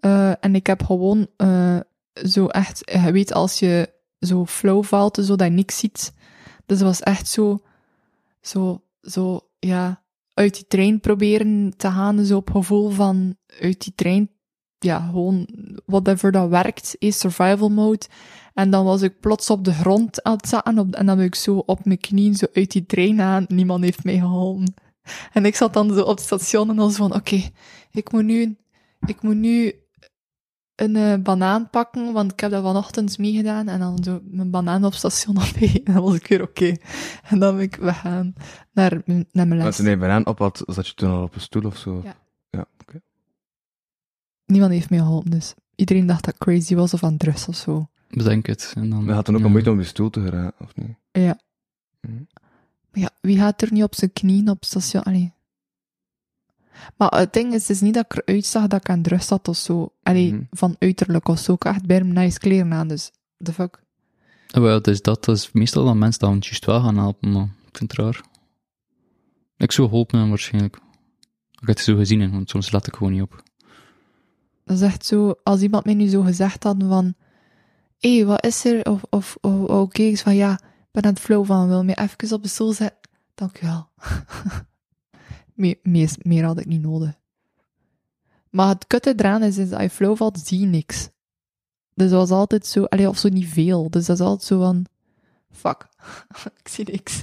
S5: Eh, en ik heb gewoon eh, zo echt, je weet als je zo flow valt, zo dat je niks ziet. Dus het was echt zo, zo, zo, ja, uit die trein proberen te gaan, zo op gevoel van uit die trein ja, gewoon whatever dat werkt, is survival mode. En dan was ik plots op de grond aan het zaten op, en dan ben ik zo op mijn knieën, zo uit die trein aan. Niemand heeft mij geholpen. En ik zat dan zo op het station en dan zo van, oké, ik moet nu, ik moet nu een eh, banaan pakken, want ik heb dat vanochtend meegedaan. En dan zo mijn banaan op het station opeten en dan was ik weer oké. En dan ben ik weggaan naar, mijn- naar mijn
S3: Als
S5: les.
S3: ze een banaan op had, zat je toen al op een stoel of zo.
S5: Ja.
S3: Ja, oké.
S5: Niemand heeft mij geholpen, dus iedereen dacht dat ik crazy was of aan drugs of zo.
S4: Bedenk het. En dan,
S3: Maar je had dan ook
S4: ja.
S3: al moeite om je stoel te geraken, of niet?
S5: Maar Ja, wie gaat er niet op zijn knieën op het station? Allee. Maar het ding is, het is niet dat ik eruit zag dat ik aan drugs zat of zo. Allee,
S3: Mhm.
S5: van uiterlijk of zo. Ik had echt bij hem nice kleren aan, dus the fuck.
S4: Wel, het is dat. Dat is meestal dat mensen dat juist wel gaan helpen, maar ik vind het raar. Ik zou geholpen hebben waarschijnlijk. Ik had het zo gezien, want soms let ik gewoon niet op.
S5: Dat is echt zo, als iemand mij nu zo gezegd had van, hé, wat is er? Of, of, of oké, ik zeg van ja, ik ben aan het flow van, wil me even op de stoel zetten? Dankjewel. meer, meer, meer had ik niet nodig. Maar het kutte eraan is, is dat je flow valt, zie je niks. Dus dat was altijd zo, allee, of zo niet veel. Dus dat is altijd zo van, fuck, ik zie niks.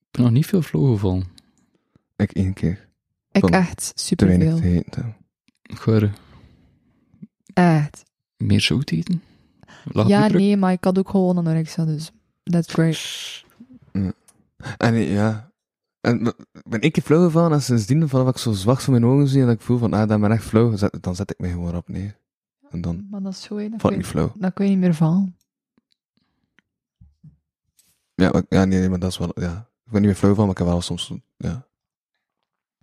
S4: Ik ben nog niet veel flow gevallen.
S3: Ik één keer.
S5: Ik
S3: Van
S5: echt
S3: Te weinig
S5: superveel.
S3: te eten. heb.
S4: Ik ga er
S5: Echt.
S4: meer zout eten. Laat
S5: Ja,
S4: me druk.
S5: nee, maar ik had ook gewoon anorexia, dus that's great.
S3: En eh, ja. En b- ben ik flauw gevallen en sindsdien, vanaf ik zo zwart voor mijn ogen zie en dat ik voel van, ah, dat ben echt flauw, zet- dan zet ik me gewoon op neer. En dan
S5: Maar dat is zo, hè, dan
S3: val ik
S5: kun
S3: niet
S5: je-
S3: flauw.
S5: dan kun je niet meer vallen.
S3: Ja, maar, ja nee, nee, maar dat is wel, ja. Ik ben niet meer flauw van, maar ik heb wel soms, ja.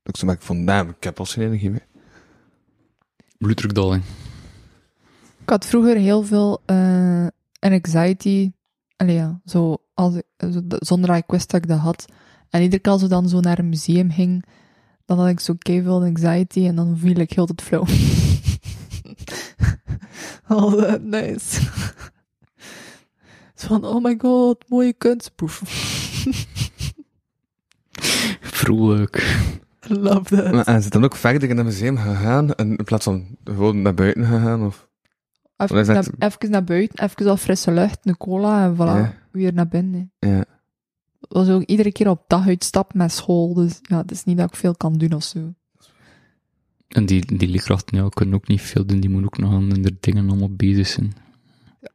S3: Dat ik zo merk van, nou, ik heb al geen energie meer.
S4: Bloeddrukdaling.
S5: Ik had vroeger heel veel eh, anxiety. Allee, ja, zo als ik, zo- d- zonder dat ik wist dat ik dat had. En iedere keer als we dan zo naar een museum ging, dan had ik zo veel anxiety en dan viel ik heel het flow. Al eh, nice. Zo van, oh my god, mooie kunstproef.
S4: Vrolijk.
S5: Love that.
S3: Maar, en ze dan ook verder in het museum gegaan, en in plaats van gewoon naar buiten gegaan, of...
S5: Even,
S3: dat is
S5: naar,
S3: echt-
S5: even naar buiten, even al frisse lucht, een cola en voilà,
S3: Ja.
S5: weer naar binnen. hè.
S3: Ja.
S5: was ook iedere keer op dag uitstap met school. Dus ja, het is niet dat ik veel kan doen of zo.
S4: En die, die leerkrachten ja, kunnen ook niet veel doen. Die moeten ook nog aan hun dingen allemaal bezig zijn.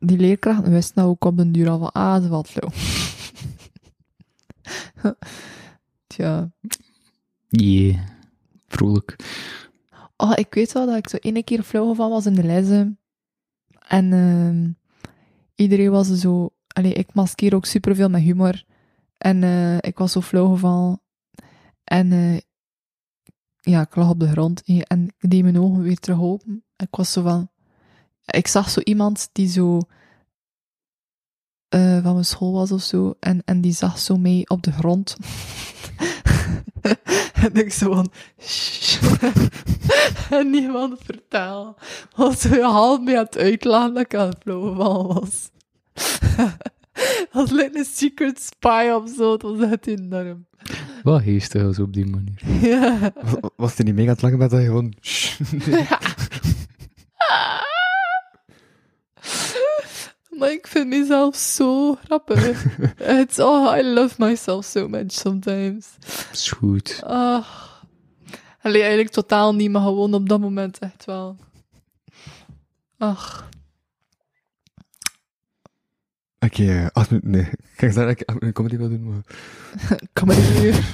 S5: Die leerkrachten wisten nou ook op den duur al van, ah, ze valt low. Tja.
S4: Yeah. Vrolijk.
S5: Oh, ik weet wel dat ik zo ene keer flauw gevallen was in de lessen. En ehm, iedereen was er zo... Allee, ik maskeer ook superveel met humor. En eh, ik was zo flauw gevallen. En eh, ja, ik lag op de grond. eh, En ik deed mijn ogen weer terug open. Ik was zo van... Ik zag zo iemand die zo... eh, van mijn school was of zo. En, en die zag zo mee op de grond. en ik zo van... en niemand vertel. Want ze half mee aan het uitlachen dat ik aan het flauwval was. Dat lijkt een secret spy of zo. Het was echt enorm.
S4: Wat geestig als op die manier.
S5: Ja.
S3: Was- Was die niet mega te lachen met dat je gewoon...
S5: Maar ik vind mezelf zo grappig. It's, oh, I love myself so much sometimes.
S4: Is goed.
S5: Ah. Allee, eigenlijk totaal niet, maar gewoon op dat moment echt wel. Ach,
S3: Oké, eh, acht minuten, nee. Ik ga zeggen dat ik acht minuten comedy wil doen, maar...
S5: kan maar niet
S4: Ah,
S5: meer.
S4: op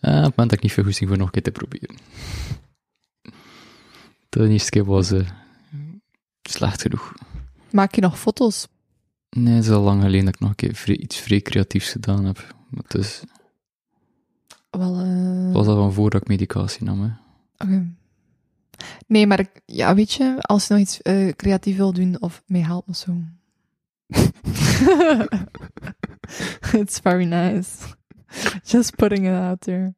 S4: het moment dat ik niet veel goesting voor nog een keer te proberen. De eerste keer was eh, slecht genoeg.
S5: Maak je nog foto's?
S4: Nee, het is al lang geleden dat ik nog een keer vrij- iets vrij creatiefs gedaan heb. Maar het is,
S5: Wel, eh,
S4: het was al van voordat ik medicatie nam. Hè.
S5: Oké. Nee, maar ik- ja, weet je, als je nog iets eh, creatief wil doen of mee helpt of zo. It's very nice. Just putting it out there.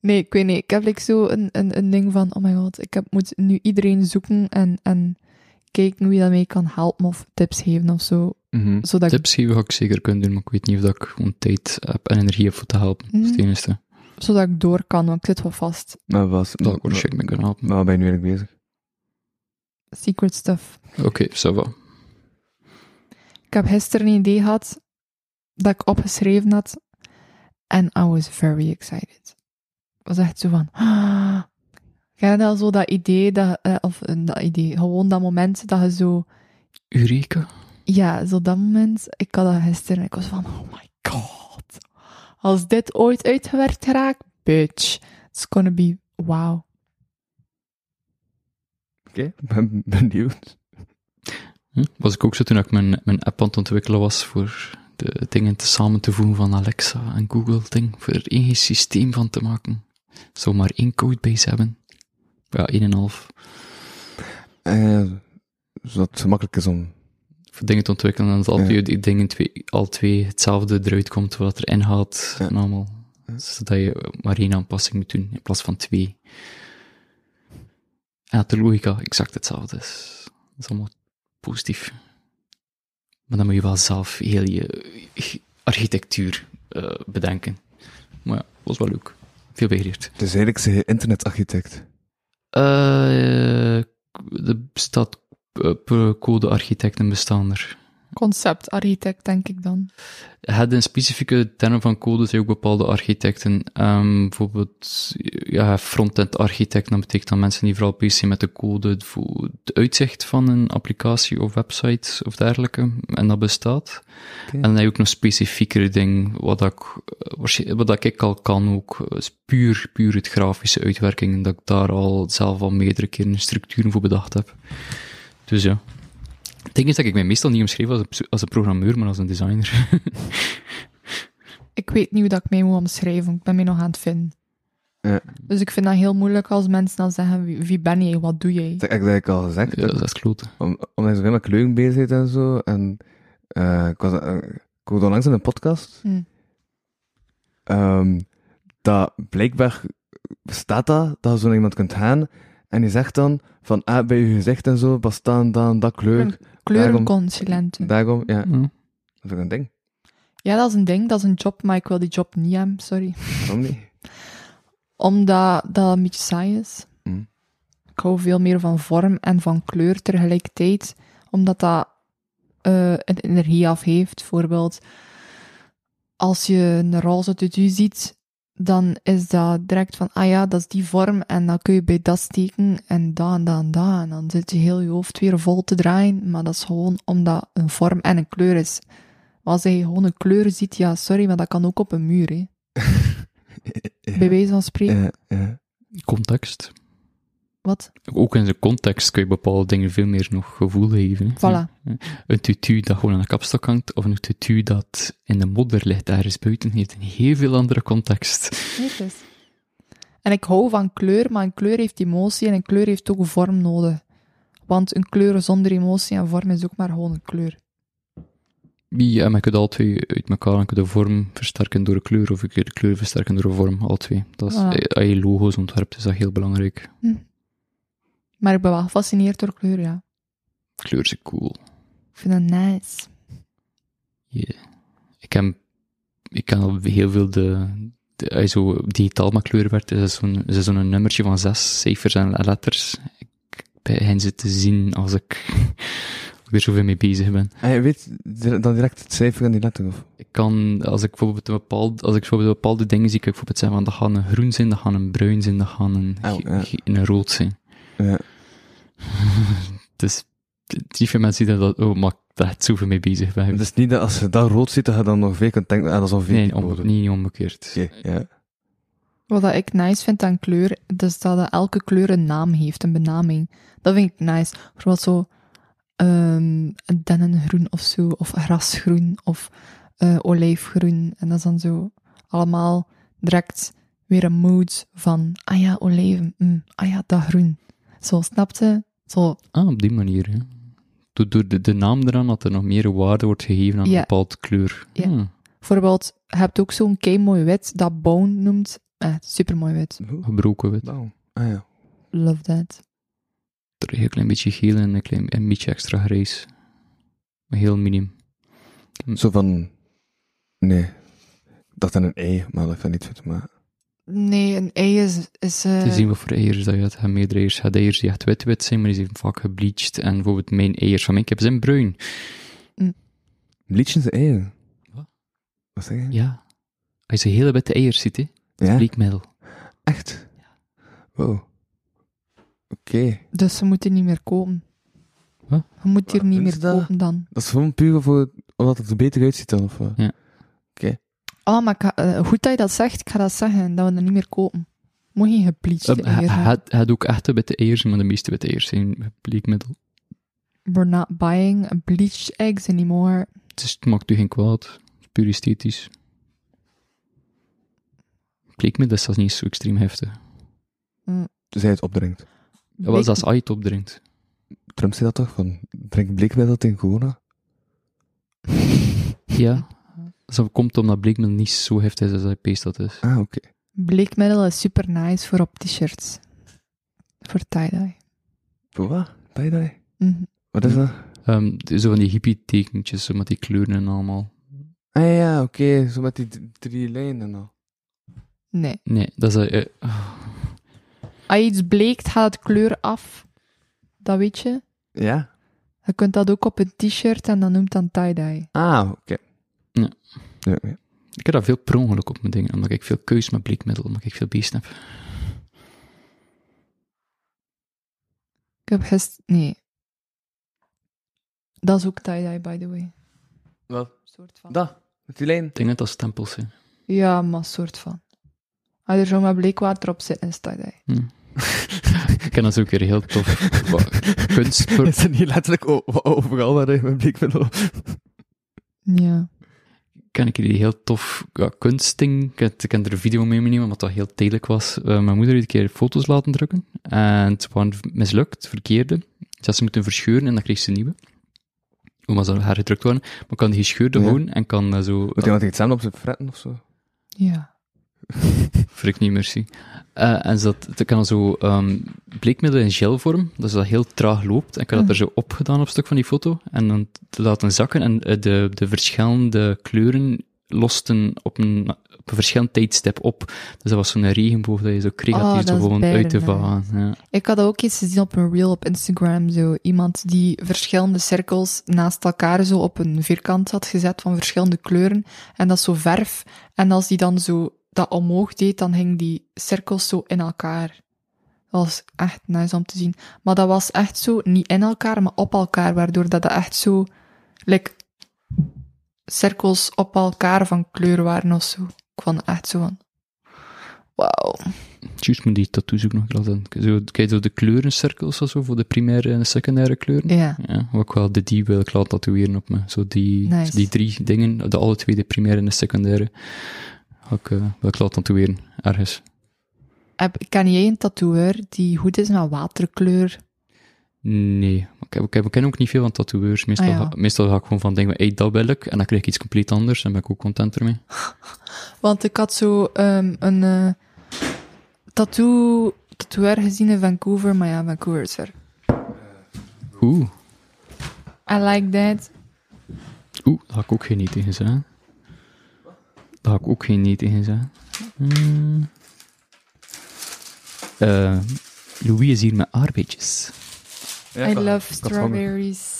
S5: Nee, ik weet niet. Ik heb like zo een, een, een ding van, oh my god, ik heb, moet nu iedereen zoeken en, en kijken wie dat mij kan helpen of tips geven of zo. Zodat ik,
S4: Tips geven ga ik zeker kunnen doen, maar ik weet niet of dat ik gewoon tijd heb en energie heb voor te helpen. Dat is het
S5: Mm.
S4: enige.
S5: zodat ik door kan, want ik zit wel vast.
S3: Maar was...
S4: Dat oh, ik waarschijnlijk mee kan helpen.
S3: Maar waar ben je nu eigenlijk bezig?
S5: Secret stuff.
S4: Oké, ça va.
S5: Ik heb gisteren een idee gehad dat ik opgeschreven had. En I was very excited. Ik was echt zo van... Ah. Ken je dat zo, dat idee, dat, eh, of eh, dat idee, gewoon dat moment dat je zo...
S4: Eureka.
S5: Ja, zo dat moment, ik had dat gisteren en ik was van, oh my god. Als dit ooit uitgewerkt raakt, bitch, it's gonna be wow.
S3: Oké, ben benieuwd.
S4: Hm? Was ik ook zo toen ik mijn, mijn app aan het ontwikkelen was voor de dingen te samen te voegen van Alexa en Google ding, voor er één systeem van te maken. Zou maar één codebase hebben. Ja, één en een half.
S3: Eh, zodat het gemakkelijk is om...
S4: Voor dingen te ontwikkelen en dat al
S3: Ja.
S4: twee, die dingen twee, al twee hetzelfde eruit komt, wat erin gaat
S3: Ja.
S4: en allemaal. Zodat je maar één aanpassing moet doen in plaats van twee. En dat de logica exact hetzelfde is. Dat is allemaal positief. Maar dan moet je wel zelf heel je architectuur eh, bedenken. Maar ja, was wel leuk. Veel begeerd.
S3: Dus eigenlijk zeg je internetarchitect.
S4: Eh, er bestaat eh, per code architect en bestander.
S5: Conceptarchitect, denk ik dan.
S4: Het in specifieke termen van code zijn ook bepaalde architecten. Ehm, bijvoorbeeld ja, frontend architect, dat betekent dan mensen die vooral bezig zijn met de code voor het uitzicht van een applicatie of website of dergelijke. En dat bestaat. En dan heb je ook nog specifiekere dingen, wat, ik, eh, waarsch- wat dat ik al kan ook. eh, is puur, puur het grafische uitwerking, dat ik daar al zelf al meerdere keren structuren voor bedacht heb. Dus ja. Het ding is dat ik mij meestal niet omschreef als een, pso- als een programmeur, maar als een designer.
S5: Ik weet niet hoe dat ik mij moet omschrijven. Ik ben mij nog aan het vinden.
S3: Ja.
S5: Dus ik vind dat heel moeilijk als mensen dan zeggen, wie, wie ben jij, wat doe jij?
S3: Dat heb ik eigenlijk al gezegd.
S4: ja, dat is kloten.
S3: Om, omdat ik zoveel met kleuren bezig ben en zo. En eh, ik was eh, ik hoorde onlangs in een podcast.
S5: Hm.
S3: ehm, dat blijkbaar bestaat dat, dat je zo naar iemand kunt gaan. En die zegt dan van, ah, bij je gezicht en zo, bestaan dan dat kleur.
S5: Kleurenconsulenten.
S3: Daarom, ja,
S4: Ja.
S3: dat is ook een ding.
S5: Ja, dat is een ding, dat is een job, maar ik wil die job niet hebben, sorry.
S3: Waarom niet?
S5: Omdat dat een beetje saai is.
S3: Hm.
S5: Ik hou veel meer van vorm en van kleur tegelijkertijd, omdat dat eh, een energie afgeeft. Bijvoorbeeld, als je een roze tutu ziet, dan is dat direct van, ah ja, dat is die vorm, en dan kun je bij dat steken, en dat en dat en dat, en dan zit je heel je hoofd weer vol te draaien, maar dat is gewoon omdat een vorm en een kleur is. Maar als je gewoon een kleur ziet, ja, sorry, maar dat kan ook op een muur, hè. Bij wijze van spreken,
S3: Ja, ja.
S4: Context.
S5: wat?
S4: Ook in zijn context kun je bepaalde dingen veel meer nog gevoel geven. hè.
S5: Voilà.
S4: Een tutu dat gewoon aan de kapstok hangt, of een tutu dat in de modder ligt ergens buiten, heeft een heel veel andere context.
S5: Nee, het is. dus. En ik hou van kleur, maar een kleur heeft emotie en een kleur heeft ook een vorm nodig. Want een kleur zonder emotie en vorm is ook maar gewoon een kleur.
S4: Ja, maar eh, je kunt al twee uit elkaar en je kunt de vorm versterken door de kleur, of je kunt de kleur versterken door de vorm, al twee. Dat is,
S5: Ah.
S4: eh, Als je logo's ontwerpt, is dat heel belangrijk.
S5: Maar ik ben wel gefascineerd door kleur, ja.
S4: Kleur is cool.
S5: Ik vind dat nice.
S4: Yeah. Ik, heb, ik ken al heel veel de, de als je zo digitaal met kleur werd, is dat zo'n is dat zo'n nummertje van zes cijfers en letters. Ik begin ze te zien als ik weer zoveel mee bezig ben.
S3: En je weet dir- dan direct het cijfer en die letter, of?
S4: Ik kan, als ik bijvoorbeeld een bepaald, als ik bijvoorbeeld bepaalde dingen zie, kan ik bijvoorbeeld zeggen van, dat gaan een groen zijn, dat gaan een bruin zijn, dat gaan een,
S3: Oh,
S4: ge-
S3: ja.
S4: ge- een rood zijn.
S3: Ja.
S4: Dus, die veel mensen die dat, oh, maar daar het zoveel mee bezig ben.
S3: Het is dus niet dat als je dat rood ziet, dat je dan nog veel kunt denken, ah, dat is al
S4: nee,
S3: veel
S4: om,
S3: rode.
S4: niet omgekeerd.
S3: Oké, ja.
S5: Wat dat ik nice vind aan kleur, is dat elke kleur een naam heeft, een benaming. Dat vind ik nice. Bijvoorbeeld zo ehm dennengroen of zo, of grasgroen, of eh, olijfgroen. En dat is dan zo allemaal direct weer een mood van, ah ja, olijven, mm, ah ja, dat groen. Zo, snapte? Zo,
S4: Ah, op die manier, hè. Door, door de, de naam eraan dat er nog meer waarde wordt gegeven aan
S5: Ja.
S4: een bepaald kleur.
S5: Ja.
S4: Hmm.
S5: bijvoorbeeld, je hebt ook zo'n mooi wit, dat Bone noemt. Eh, supermooi wit.
S4: Gebroken wit.
S3: Blauw. Ah ja.
S5: Love that.
S4: Er is een klein beetje geel en een, klein, een beetje extra grijs. Maar heel minim.
S3: Zo van... Nee. Ik dacht aan een ei, maar dat vind ik niet fit, maar...
S5: Nee, een ei is... is eh,
S4: Te zien wat voor eiers dat je hebt. Je hebt meerdere eiers. Je hebt eiers die echt wit-wit zijn, maar die zijn vaak gebleached. En bijvoorbeeld mijn eiers van mijn kip zijn bruin.
S3: Liedjes en eieren.
S4: Wat?
S3: Wat zeg je?
S4: Ja. Als je hele witte eiers ziet, hè.
S3: Ja?
S4: Bleekmiddel.
S3: Echt? Wow. Oké.
S5: Dus ze moeten niet meer kopen.
S4: Wat?
S5: Je moet hier
S3: Waarom
S5: niet
S3: doen
S5: meer
S3: ze dat?
S5: kopen dan.
S3: Dat is gewoon puur voor, omdat het er beter uitziet dan, of eh, wat?
S5: Oh, maar ik ga- eh, goed dat je dat zegt. Ik ga dat zeggen, dat we dat niet meer kopen. Moet je gepleached
S4: Eh,
S5: eieren
S4: je-
S5: hebben.
S4: je- Je hebt ook echte witte eiers, maar de meeste witte eiers zijn bleekmiddel.
S5: We're not buying bleached eggs anymore.
S4: Het, is, het maakt u geen kwaad. Het is puur esthetisch. Bleek me dat is zelfs niet zo extreem heftig.
S3: Zij het opdringt.
S4: Dat was als je het opdrinkt.
S3: Trump zei dat toch? Van, drink bleekmiddel tegen corona?
S4: Ja. Dat komt omdat Bleekman niet zo heftig is als hij peest dat is.
S3: Ah, oké.
S5: Bleekmiddel is super nice voor op t-shirts. Voor tie-dye.
S3: Voor wat? Hm. Tie-dye?
S5: Mhm.
S3: Wat is dat?
S4: Ehm, zo van die hippie-tekentjes, zo met die kleuren en allemaal.
S3: Ah ja, oké. Zo met die d- drie lijnen en al.
S5: Nee.
S4: Nee, dat is... eh,
S5: Als je iets bleekt, gaat het kleur af. Dat weet je.
S3: Ja?
S5: Je kunt dat ook op een t-shirt en dat noemt dan tie-dye.
S3: Ah, oké.
S4: Ja.
S3: Ja, ja.
S4: ik heb daar veel per ongeluk op mijn dingen, omdat ik veel keus met bleekmiddel, omdat ik veel beest heb.
S5: Ik heb gisteren... Nee. Dat is ook tie-dye, by the way.
S3: Wat?
S5: Soort van.
S3: Dat. Met die lijn.
S4: Ik denk net als stempels zijn.
S5: Ja, maar soort van. Als je er zo met bleekwater op zit, is tie-dye.
S4: Ik ken dat ook weer heel tof. Wat- Kunst...
S3: Is dat niet letterlijk o- o- overal waar je met bleekmiddel...
S5: Ja.
S4: ken ik jullie heel tof ja, kunstding. Ik heb, ik heb er een video mee genomen, wat dat heel tijdelijk was. Eh, mijn moeder heeft een keer foto's laten drukken. En het waren v- mislukt, verkeerde. Ze had ze moeten verscheuren en dan kreeg ze een nieuwe. Omdat ze haar gedrukt waren. Maar kan die gescheurde
S3: Ja.
S4: gewoon en kan eh, zo...
S3: Moet iemand iets samen op zijn fretten of zo?
S5: Ja.
S4: Frik niet, merci. Eh, en ze had- het kan zo ehm, bleekmiddel in gelvorm, dus dat heel traag loopt. En ik had dat er
S5: Mm.
S4: zo op gedaan op een stuk van die foto. En dan t- laten zakken en eh, de, de verschillende kleuren losten op een, op een verschillend tijdstip op. Dus dat was zo'n regenboog dat je zo kreeg,
S5: Oh,
S4: had die
S5: dat
S4: zo
S5: is
S4: gewoon
S5: bijna
S4: uit te
S5: nice.
S4: varen. Ja.
S5: Ik had ook iets gezien op een reel op Instagram. Zo iemand die verschillende cirkels naast elkaar zo op een vierkant had gezet van verschillende kleuren. En dat zo verf. En als die dan zo dat omhoog deed, dan hingen die cirkels zo in elkaar. Dat was echt nice om te zien. Maar dat was echt zo, niet in elkaar, maar op elkaar. Waardoor dat, dat echt zo, like, cirkels op elkaar van kleur waren of zo. Ik vond het echt zo van, wauw.
S4: Juist moet die tattoos ook nog laten. Zo, kijk, zo de kleurencirkels of zo, voor de primaire en de secundaire kleuren.
S5: Ja,
S4: Ja, ook wel de die wil ik laten tatoeëren op me. Zo die,
S5: Nice.
S4: die drie dingen, de alle twee, de primaire en de secundaire, ga ik, eh, wil ik laten tatoeëren, ergens.
S5: Heb, ken jij een tatoeër die goed is met waterkleur?
S4: Nee, maar ik, heb, ik, heb, ik ken ook niet veel van tatoeërs. Meestal,
S5: Ah, ja.
S4: ga, meestal ga ik gewoon van denken, hey, dat wil ik, en dan krijg ik iets compleet anders, en ben ik ook content ermee.
S5: Want ik had zo ehm, een eh tattoo, tatoeër gezien in Vancouver, maar ja, Vancouver is er.
S4: Oeh,
S5: I like that.
S4: oeh, daar ga ik ook geen nee tegen zijn. Daar ga ik ook geen nee tegen zijn. Hmm. Eh, Louis is hier met arbeidjes.
S5: I love strawberries.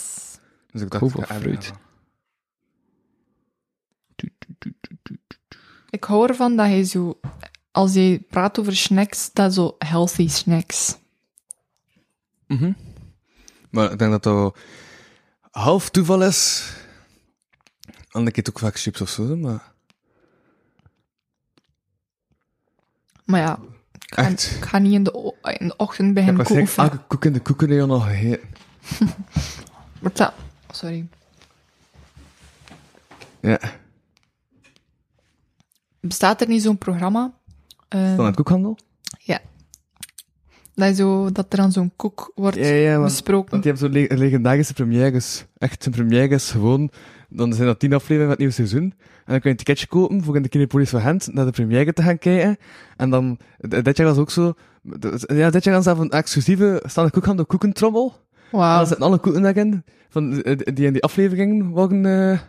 S3: Dus ik dacht...
S4: Hoeveel
S3: ik ga
S4: fruit?
S3: even-
S5: Ik hoor ervan dat hij zo, als hij praat over snacks, dat zo healthy snacks.
S3: Mhm. Maar ik denk dat dat half toeval is. En ik eet ook vaak chips of zo, maar...
S5: Maar ja, ik ga,
S3: Echt?
S5: ik ga niet in de, o- in de ochtend
S3: Ik heb Ah.
S5: beginnen
S3: waarschijnlijk elke
S5: koken.
S3: koek in de koekenreel al gegeten.
S5: Maar dat- Sorry.
S3: Ja.
S5: Bestaat er niet zo'n programma? ehm,
S3: Van het koekhandel?
S5: dat, je zo, dat er dan zo'n koek wordt
S3: Ja, ja, want-
S5: besproken.
S3: Want die hebben zo'n le- legendarische premières. Echt, een première is gewoon... Dan zijn dat tien afleveringen van het nieuwe seizoen. En dan kun je een ticketje kopen voor in de Kinepolis van Gent naar de première te gaan kijken. En dan... d- Dit jaar was ook zo... d- Ja, dit jaar was zelf een exclusieve staande koekhandel koekentrommel. En
S5: Wauw.
S3: daar zitten alle koeken daarin, van, eh, die in die aflevering worden, eh,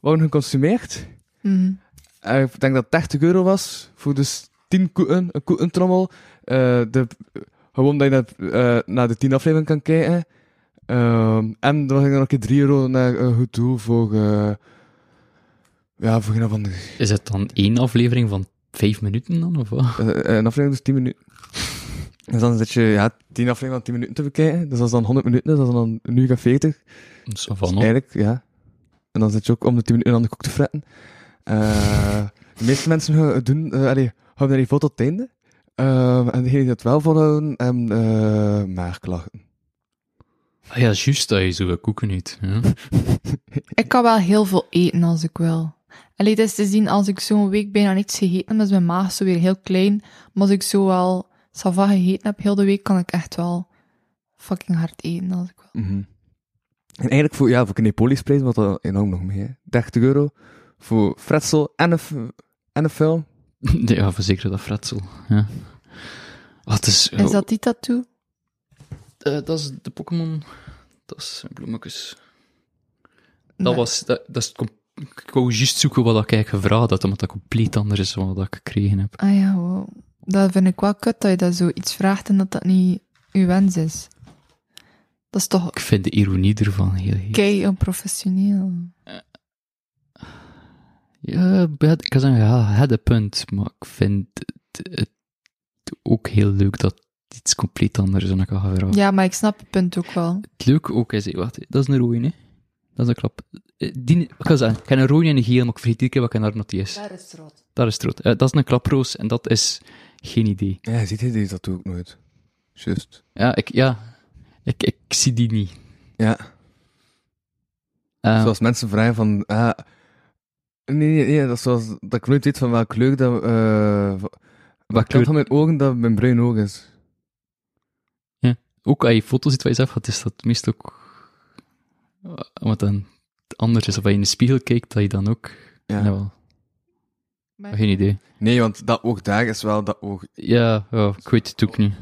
S3: worden geconsumeerd.
S5: Mhm.
S3: En Eh, ik denk dat het 80 euro was voor dus 10 koeken, een koekentrommel. Eh, de, gewoon dat je naar, eh, naar de 10 aflevering kan kijken. Ehm, en dan ging er nog een keer 3 euro naar eh, goed doel voor... eh, ja, voor een, van de,
S4: Is het dan één aflevering van vijf minuten dan, of wat?
S3: een aflevering dus 10 minuten. Dus dan zit je ja, 10 afleveringen van 10 minuten te bekijken. Dus dat is dan 100 minuten, dus dat is dan een uur en 40.
S4: Zo van,
S3: Dus
S4: hoor.
S3: Eigenlijk, ja. En dan zit je ook om de 10 minuten aan de koek te fretten. Eh, de meeste mensen gaan- doen, eh allee, houden die vol tot het einde. Ehm, en degenen die dat wel volhouden, hebben eh maagklachten.
S4: Ah ja, juist dat je zo wat koeken eet. Ja.
S5: Ik kan wel heel veel eten als ik wil. Allee, het is te zien als ik zo'n week bijna niks gegeten heb, is mijn maag zo weer heel klein. Maar als ik zo wel sava gegeten heb heel de week, kan ik echt wel fucking hard eten als ik wil.
S3: Mhm. En eigenlijk voor, ja, voor Knepolisprijs wat dat enorm nog mee. Hè. 30 euro voor fretsel en een, f- en een film.
S4: Ja, verzeker dat fretsel. Ja. Wat is...
S5: Is dat die tattoo?
S4: Eh, dat is de Pokémon... Dat is bloemetjes. Dat
S5: Nee.
S4: was... Dat, dat is... het com- Ik wou juist zoeken wat ik eigenlijk gevraagd had, omdat dat compleet anders is dan wat ik gekregen heb.
S5: Ah ja, wow. Dat vind ik wel kut dat je dat zoiets vraagt en dat dat niet uw wens is. Dat is toch
S4: Ik vind de ironie ervan heel... heel...
S5: kei onprofessioneel.
S4: Ja, ik ben- ik kan zeggen, ja, het een punt, maar ik vind het, het ook heel leuk dat het iets compleet anders is dan ik had gevraagd.
S5: Ja, maar ik snap het punt ook wel.
S4: Het leuke ook is, wat, dat is een rode, hè. Dat is een klap. Eh, Die, ik kan zeggen, ik heb een rode en een geel, maar ik vergeet iedere keer wat ik naar not is. Daar is rood. Daar is het rood. Eh, dat is een klaproos en dat is geen idee.
S3: Ja, je ziet hij deze tattoo ook nooit. Just.
S4: Ja, ik, ja, ik, ik zie die niet.
S3: Ja.
S4: Eh,
S3: Zoals mensen vragen van... ah, nee, nee, nee, dat is zoals... Dat ik nooit weet van welke kleur dat... eh wa- welke kleur
S4: kleur-
S3: van mijn ogen dat mijn bruin oog is.
S4: ook als je foto's ziet van jezelf, wat is dat meestal ook... eh, Wat dan anders is, of als je in de spiegel kijkt, dat je dan ook...
S3: Ja.
S4: Nou, wel. Geen idee.
S3: Nee, want dat oog daar is wel dat oog...
S4: Ja, ja, ik weet het ook niet.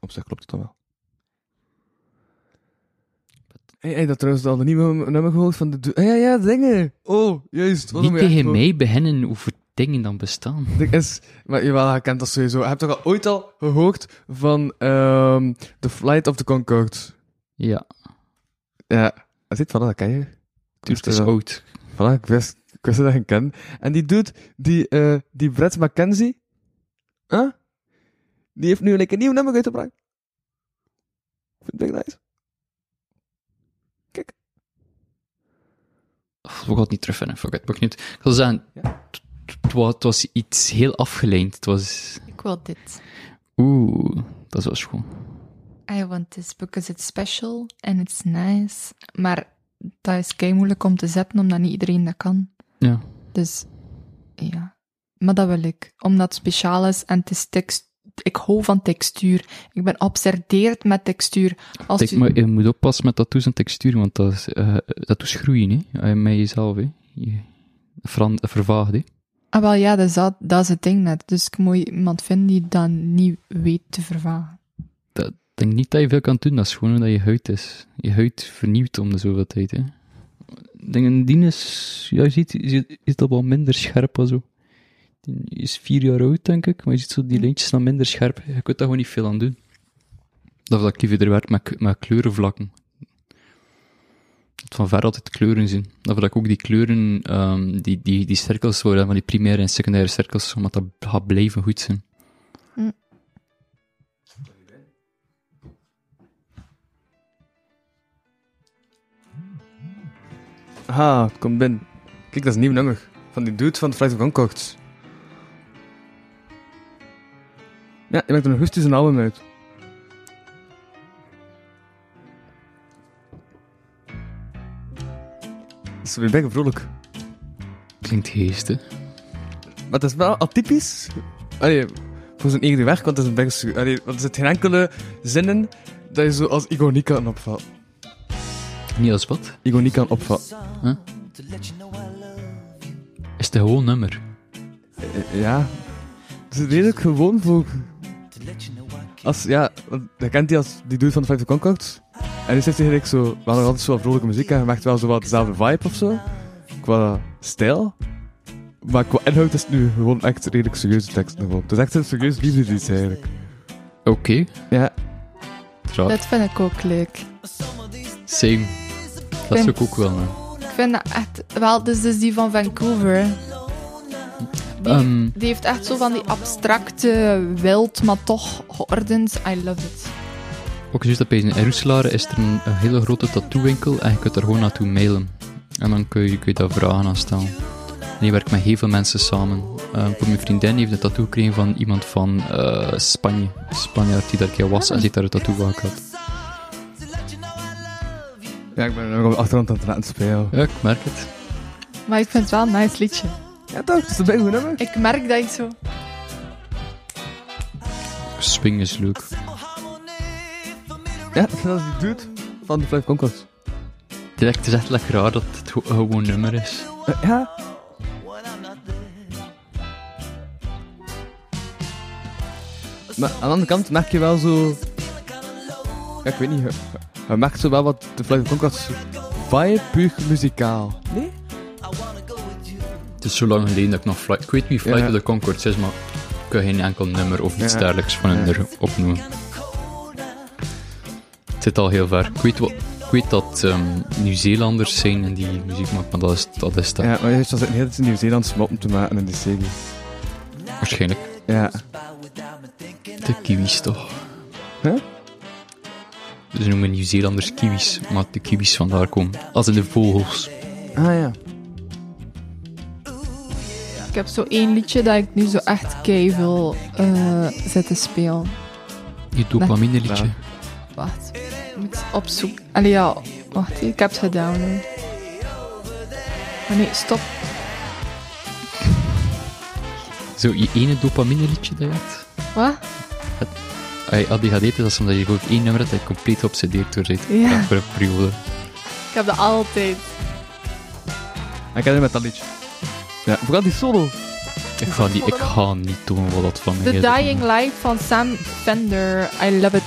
S3: Op zich klopt het dan wel. Hey, hey, dat trouwens al een nieuwe nummer gehoord van de... do- Ah, ja, ja, dingen. Oh, juist. wat
S4: niet
S3: moet je echt
S4: tegen
S3: voor-
S4: mij beginnen over dingen dan bestaan.
S3: Er is, maar jawel, je kent dat sowieso. Je hebt toch al ooit al gehoord van ehm The Flight of the Concorde?
S4: Ja,
S3: Ja, dat zit van dat ken je.
S4: tuurlijk,
S3: dat
S4: het is oud.
S3: Voilà, ik wist, ik wist dat je hem kende. En die dude, die, eh die Brett McKenzie, huh? die heeft nu like, een nieuw nummer uitgebracht. Ik vind het big nice.
S4: Of, We gaan het niet terugvinden, fuck it, maakt niet. uit. Ik wil zeggen, t- t- het wa- het was iets heel afgeleid. Het was...
S5: Ik wil dit.
S4: Oeh, dat was gewoon...
S5: I want this because it's special and it's nice. Maar dat is kei moeilijk om te zetten, omdat niet iedereen dat kan.
S4: Ja.
S5: Dus ja. Maar dat wil ik. Omdat het speciaal is en het is tekst. Ik hou van textuur. Ik ben obsedeerd met textuur. Als
S4: Kijk,
S5: je-
S4: maar je moet oppassen met tattoos en textuur, want dat, is, eh, dat doet groeien, hè. Eh, met jezelf, hè. Je veran- vervaagt, hè.
S5: Ah, wel ja, dat is, dat, dat is het ding net. Dus ik moet iemand vinden die dat niet weet te vervagen.
S4: Dat, ik denk niet dat je veel kan doen, dat is gewoon hoe dat je huid is. Je huid vernieuwt om de zoveel tijd, hè. Ik denk, een dien is... Ja, je ziet, je ziet- is dat wel minder scherp als zo. Die is vier jaar oud, denk ik, maar je ziet zo die lijntjes dan minder scherp. Je kunt daar gewoon niet veel aan doen. Dat dat ik liever werk met, met kleurenvlakken. Dat van ver altijd kleuren zien. Dat ik ook die kleuren, ehm, die, die, die cirkels worden, van die primaire en secundaire cirkels, omdat dat gaat blijven goed zijn.
S3: Ha, het komt binnen. Kijk, dat is een nieuw nummer. Van die dude van The Flight of the Concorde. Ja, je maakt er nog rustig een album uit. Dat is weer bijna vrolijk.
S4: Klinkt geest, hè?
S3: Maar het is wel atypisch. Allee, voor zijn eigen werk, want het is een beetje... Allee, want er zit geen enkele zin in dat je zo als igonie kan opvatten.
S4: Niet als wat?
S3: Igonie kan opvatten.
S4: Is het een gewoon nummer?
S3: Eh, Ja. Het is redelijk gewoon voor... Als, ja, want je kent die als die dude van de Flight of Concorde. En dus heeft hij eigenlijk zo... We hadden nog altijd zo wat vrolijke muziek en je maakt wel zo wat dezelfde vibe of zo. Qua stijl. Maar qua inhoud is het nu gewoon echt redelijk serieuze tekst. Gewoon. Het is echt een serieus liefdeslied eigenlijk.
S4: Oké.
S3: Ja.
S4: Ja.
S5: Dat vind ik ook leuk.
S4: Same. Dat
S5: Ben-
S4: zou ik ook wel. hè.
S5: Ik vind dat echt... Wel, dus, dus die van Vancouver. Die,
S4: Ehm.
S5: die heeft echt zo van die abstracte, wild, maar toch geordend. I love it.
S4: Ook juist dat bij in Roeselare is er een, een hele grote tattoo-winkel en je kunt er gewoon naartoe mailen. En dan kun je, kun je daar vragen aan stellen. En je werkt met heel veel mensen samen. Eh, voor mijn vriendin die heeft een tattoo gekregen van iemand van eh, Spanje. Een Spanjaard die daar een keer was en die heeft daar een tattoo van gehad.
S3: Ja, ik ben nog op de achtergrond aan het laten spelen.
S4: Ja, ik merk het.
S5: Maar ik vind het wel een nice liedje.
S3: Ja toch, het is een bijna goed nummer.
S5: Ik merk dat ik zo...
S4: Swing is leuk.
S3: Ja, dat is die dude van de Flight Concords.
S4: Het is echt- het is echt lekker raar dat het ho- een gewoon nummer is.
S3: Eh, ja, maar aan de andere kant merk je wel zo... Ja, ik weet niet. je- Je merkt zo wel wat de Flight Concords vibe puur muzikaal. Nee?
S4: Het is zo lang geleden dat ik nog Flight... Ik weet niet Flight
S3: Ja.
S4: of the Concords is, maar ik kan geen enkel nummer of iets
S3: Ja.
S4: dergelijks van hen
S3: Ja.
S4: erop noemen. Het zit al heel ver. Ik weet, wat, ik weet dat ehm, Nieuw-Zeelanders zijn en die muziek maken, maar dat is dat. Is dat.
S3: Ja, maar juist als het heel in Nieuw-Zeeland smoppen te maken in de serie.
S4: Waarschijnlijk
S3: Ja.
S4: de kiwis toch.
S3: Huh?
S4: Ze noemen Nieuw-Zeelanders kiwis, maar de kiwis vandaar komen. Als in de vogels.
S3: Ah ja.
S5: Ik heb zo één liedje dat ik nu zo echt kei wil eh, zitten spelen.
S4: Je dopamine liedje.
S3: Ja.
S5: Wacht, ik moet opzoeken. Allee, ja, wacht, ik heb het gedownload. Oh nee, stop.
S4: Zo, je ene dopamine liedje dat je had.
S5: Wat?
S4: Hey, ADHD is dat is omdat je ook één nummer hebt dat je compleet geobsedeerd door zit.
S5: Ja.
S4: Voor een periode.
S5: Ik heb dat altijd.
S3: Ik ken hem met dat liedje. Ja, vooral die solo.
S4: Ik ga, die, ik ga niet doen wat dat van mij
S5: The
S4: is.
S5: Dying Life van Sam Fender. I love it.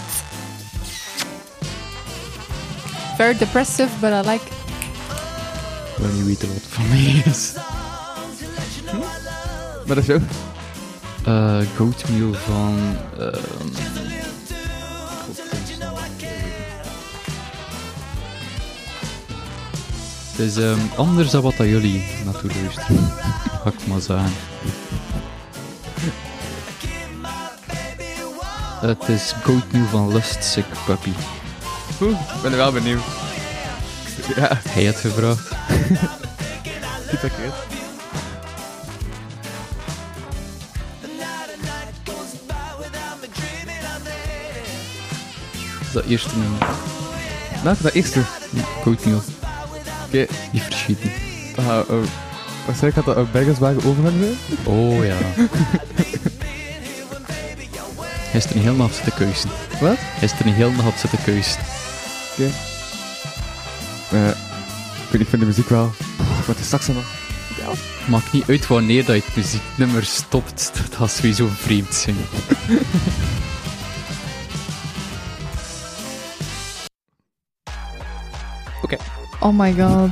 S5: Very depressive, but I like it.
S4: Ik wil niet weten wat het van mij is.
S3: Maar dat is jou.
S4: Eh goat meal van... ehm, Het is ehm, anders dan wat dat jullie naartoe luisteren. Ga ik maar zeggen. Het is Goat Meal van Lust Sick Puppy.
S3: Oeh, ik ben er wel benieuwd. Ja,
S4: Hij had gevraagd.
S3: die pakket.
S4: Dat is dat eerste nummer.
S3: Nou, dat eerste.
S4: Ja, Goat Meal.
S3: Oké,
S4: Die verschieten.
S3: ah, eh, wat zei ik, had dat een baggerswagen äh, overhang zijn?
S4: Oh ja. Hij is er een hele nacht op zitten keuzen.
S3: Wat?
S4: Hij is er een hele nacht op zitten keuzen.
S3: Eh, ik, weet, ik vind de muziek wel. Wat is straks nog?
S4: Maakt niet uit wanneer dat je het muzieknummer stopt. Dat gaat sowieso vreemd zijn.
S5: Oh my god.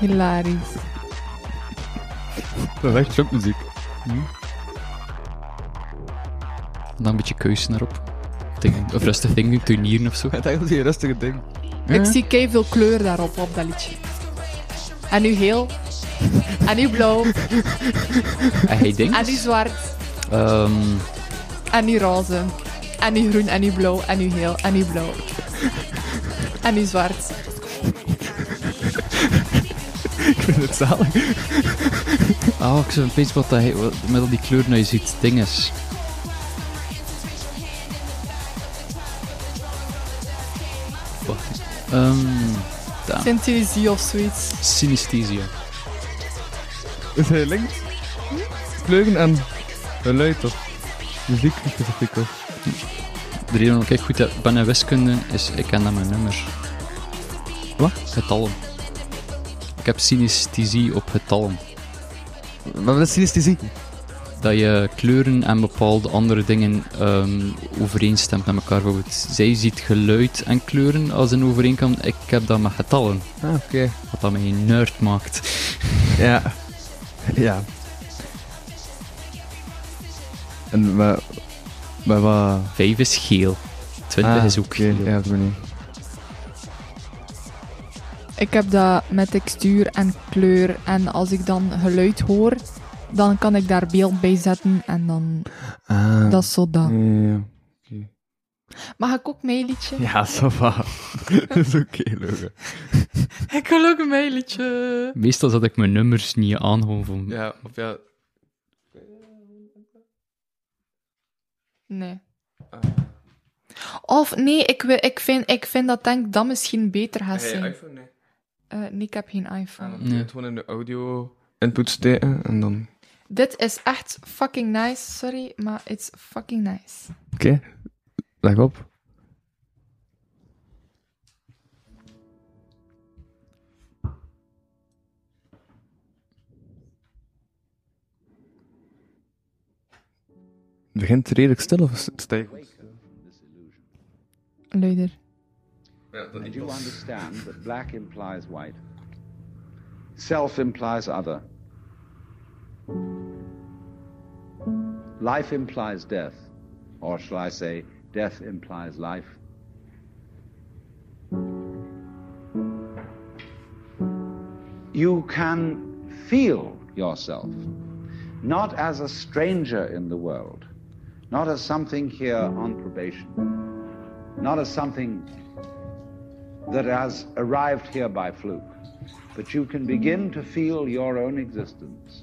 S5: Hilarisch.
S3: Dat is echt jumpmuziek.
S4: En dan een beetje keuzen erop. Ding- Of rustig ding doen, turnieren of zo.
S3: Het is eigenlijk die rustige ding.
S5: Ik zie kei veel kleur daarop, op dat liedje. En nu heel. En nu blauw.
S4: En hij denkt...
S5: En nu zwart.
S4: ehm,
S5: En nu roze. En nu groen. En nu blauw. En nu heel. En nu blauw. En nu zwart.
S3: Ik vind het zalig.
S4: Ah, ik zag opeens wat dat hij, wat- met al die kleuren dat je ziet, ding is. Wacht. Ehm
S5: Synthésie of zoiets.
S4: synesthesia.
S3: Is hij links? Äh, Kleuren en geluid of muziek specifiek hoor.
S4: De reden dat ik goed heb- ben in wiskunde is, ik ken dat mijn nummers.
S3: Wat?
S4: Getallen. Ik heb synesthesie op getallen.
S3: Maar wat is synesthesie?
S4: Dat je kleuren en bepaalde andere dingen ehm, overeenstemt met elkaar. Bijvoorbeeld, zij ziet geluid en kleuren als een overeenkomst. Ik heb dat met getallen.
S3: Ah, oké.
S4: Wat dat mij een nerd maakt.
S3: Ja. Ja. En maar... Maar wat...
S4: 5 is geel. 20 is ook
S3: oké,
S4: geel.
S3: Ah, Ja, op die manier.
S5: Ik heb dat met textuur en kleur. En als ik dan geluid hoor, dan kan ik daar beeld bij zetten. En dan,
S3: Ah.
S5: dat is zo dat.
S3: Ja, ja, ja.
S5: Mag ik ook mijn liedje?
S3: Ja, ça va. dat is oké, Logan.
S5: Ik wil ook mijn liedje.
S4: Meestal zat ik mijn nummers niet aanhouden van...
S3: Ja, of ja...
S5: Nee. Eh. Of nee, ik, wil, ik, vind, ik vind dat denk ik dat misschien beter gaat zijn.
S3: iPhone? Nee. Ah,
S5: Eh, nee, ik heb geen iPhone.
S4: kun je het
S3: gewoon in de audio input steken en dan...
S5: Dit is echt fucking nice, sorry, maar it's fucking nice.
S3: Oké. Leg op. Het Begint redelijk stil of is het stijgt?
S5: Luider.
S2: And you understand that black implies white. Self implies other. Life implies death. Or shall I say, death implies life. You can feel yourself not as a stranger in the world, not as something here on probation, not as something that has arrived here by fluke, but you can begin to feel your own existence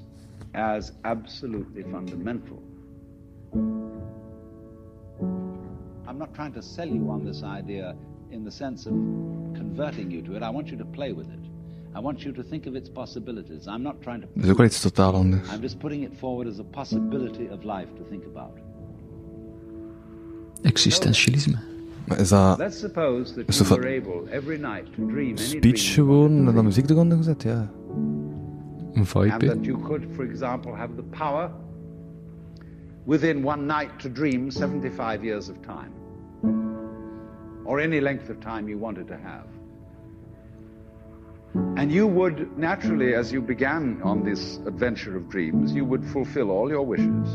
S2: as absolutely fundamental. I'm not trying to sell you on this idea in the sense of converting you to it. I want you to play with it. I want you to think of its possibilities. I'm not trying to.
S3: Dat is ook wel iets totaal anders.
S2: I'm just putting it forward as a possibility of life to think about.
S4: Existentialisme.
S3: Maar is dat
S2: Let's suppose that
S3: Is
S2: you
S3: dat-
S2: were able every night to dream any
S3: speech
S2: dream
S3: gewoon en dan muziek eronder gezet? Ja.
S4: Een
S2: and
S4: vibe. hè.
S2: that you could, for example, have the power within one night to dream 75 years of time, or any length of time you wanted to have. And you would naturally, as you began on this adventure of dreams, you would fulfill all your wishes.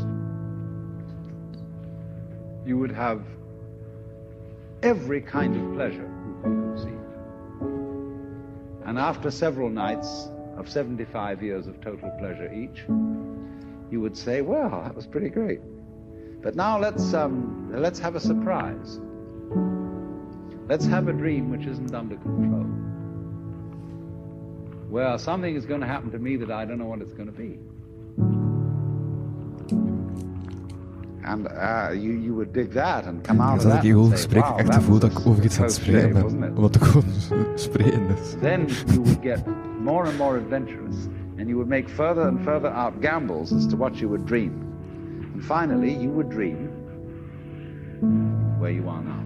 S2: You would have every kind of pleasure you could conceive. And after several nights of 75 years of total pleasure each, you would say, "Well, that was pretty great." But now let's um, let's have a surprise. Let's have a dream which isn't under control. Well, something is going to happen to me that I don't know what it's going to be. And uh, you, you would dig that and come
S3: Dan
S2: out of
S3: zat
S2: that.
S3: ik hier gewoon
S2: and
S3: het
S2: say,
S3: gesprek
S2: "Wow,
S3: echt
S2: that
S3: gevoel
S2: was
S3: dat
S2: a
S3: ik over iets aan het
S2: close
S3: spreken
S2: shave, wasn't
S3: ben.
S2: it?"
S3: Omdat ik gewoon spreken is.
S2: then you would get more and more adventurous, and you would make further and further out gambles as to what you would dream. And finally, you would dream where you are now.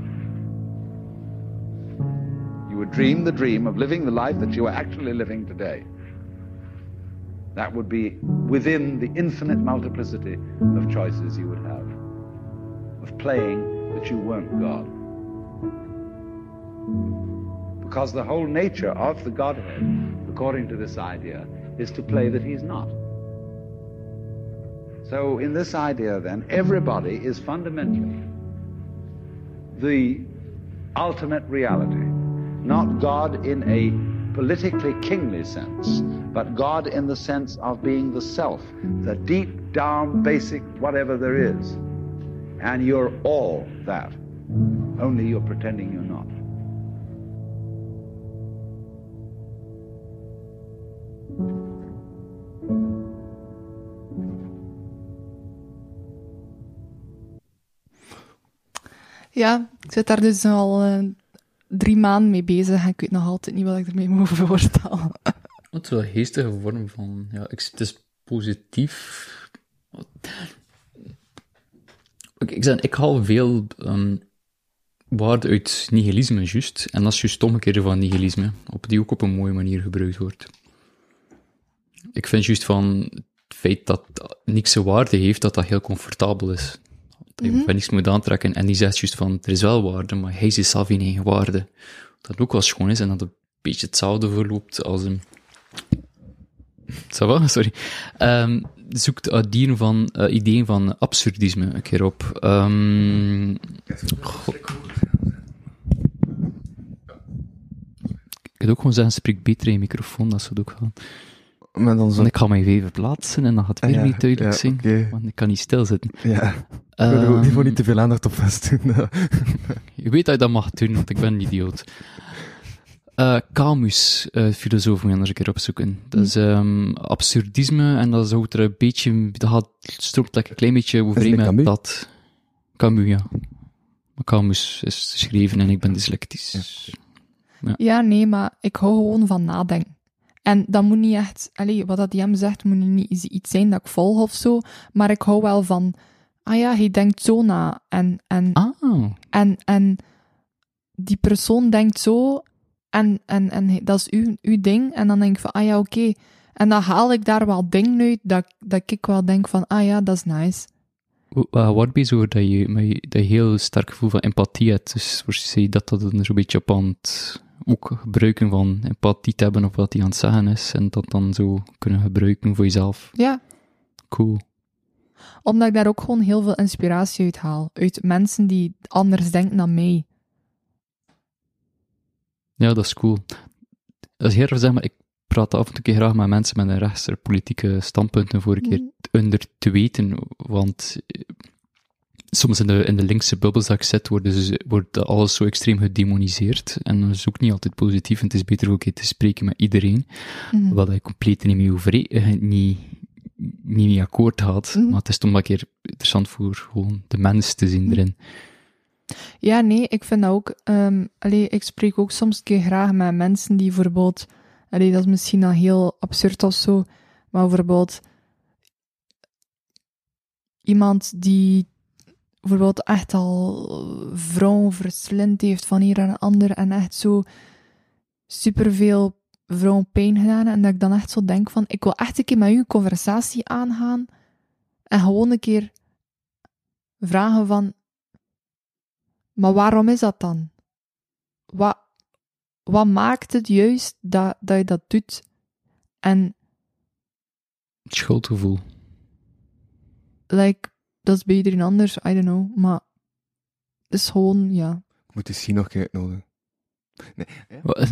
S2: You would dream the dream of living the life that you are actually living today. That would be within the infinite multiplicity of choices you would have, of playing that you weren't God because the whole nature of the Godhead, according to this idea, is to play that he's not. So, in this idea, then, everybody is fundamentally the ultimate reality, not God in a politically kingly sense, but God in the sense of being the self, the deep down basic whatever there is. And you're all that, only you're pretending you're not.
S5: Ja, ik zit daar dus al eh, drie maanden mee bezig en ik weet nog altijd niet wat ik ermee moet voorstellen.
S4: Wat wel een geestige vorm van... Ja, ik, het is positief. Wat- Oké, ik, zeg, ik haal veel ehm, waarde uit nihilisme, juist. En dat is juist het omgekeerde van nihilisme. Op, die ook op een mooie manier gebruikt wordt. Ik vind juist van het feit dat niks zijn waarde heeft, dat dat heel comfortabel is. Dat je van niks moet aantrekken. En die zegt juist van, er is wel waarde, maar hij ziet zelf in eigen waarde. Dat ook wel schoon is en dat het een beetje hetzelfde verloopt als een... Ça va? Sorry. Ehm, zoekt ideeën van, eh, ideeën van absurdisme een keer op. Ehm, goh. ik kan ook gewoon zeggen, spreek beter in je microfoon, dat zou het ook gaan.
S3: Maar dan zo...
S4: Want ik ga mij weer verplaatsen en dan gaat het
S3: Ah,
S4: weer
S3: ja.
S4: niet duidelijk
S3: Ja,
S4: zijn.
S3: oké.
S4: Want eh, ehm, ik kan niet stilzitten.
S3: Ja. Ik wil er ook niet voor niet te veel aandacht op vestigen.
S4: Je weet dat je dat mag doen, want ik ben een idioot. Eh, Camus, eh, filosoof, moet je anders een keer opzoeken. Dat is ehm, absurdisme en dat zou er een beetje... Dat gaat, strookt like een klein beetje overeen
S3: dat
S4: met
S3: Camus?
S4: dat... Camus, ja. Maar Camus is geschreven en ik ben dyslectisch.
S5: Ja, nee, maar ik hou gewoon van nadenken. En dat moet niet echt, allee, wat dat die hem zegt, moet niet iets zijn dat ik volg of zo. Maar ik hou wel van ah ja, hij denkt zo na. En, en,
S4: Ah,
S5: en, en die persoon denkt zo, en, en, en hij- dat is uw, uw ding. En dan denk ik van, ah ja, oké. En dan haal ik daar wel dingen uit dat, dat ik wel denk van, ah ja, dat is nice.
S4: Wa- wa- wat eh, ben je zo dat je, met je- dat je heel sterk gevoel van empathie hebt? Dus voor je dat dat dan zo'n beetje op aan het ook gebruiken van empathie te hebben of wat die aan het zeggen is. En dat dan zo kunnen gebruiken voor jezelf.
S5: Ja,
S4: Cool.
S5: omdat ik daar ook gewoon heel veel inspiratie uit haal. Uit mensen die anders denken dan mij.
S4: Ja, dat is cool. Dat is heel erg, zeg maar, ik praat af en toe keer graag met mensen met een rechtser politieke standpunten voor een
S5: Mhm.
S4: keer onder te weten, want eh, soms in de, in de linkse bubbels dat ik zit, worden ze- wordt alles zo extreem gedemoniseerd en dat is ook niet altijd positief en het is beter ook een keer te spreken met iedereen,
S5: Mhm.
S4: wat ik compleet niet mee, overeen, eh, niet, niet mee akkoord had,
S5: Mhm.
S4: maar het is toch wel een keer interessant voor gewoon de mens te
S5: Mhm.
S4: zien erin.
S5: Ja, nee, ik vind dat ook. ehm, allee, ik spreek ook soms een keer graag met mensen die bijvoorbeeld. Allee, dat is misschien al heel absurd of zo. Maar bijvoorbeeld. Iemand die bijvoorbeeld echt al vrouw verslind heeft van hier naar ander. En echt zo superveel vrouwen pijn gedaan. En dat ik dan echt zo denk van, ik wil echt een keer met u een conversatie aangaan. En gewoon een keer vragen van, maar waarom is dat dan? Wat, wat maakt het juist dat, dat je dat doet? En
S4: Het schuldgevoel.
S5: like, dat is bij iedereen anders, I don't know. Maar het is gewoon, ja.
S3: Ik moet die misschien nog een keer uitnodigen.
S4: Wa-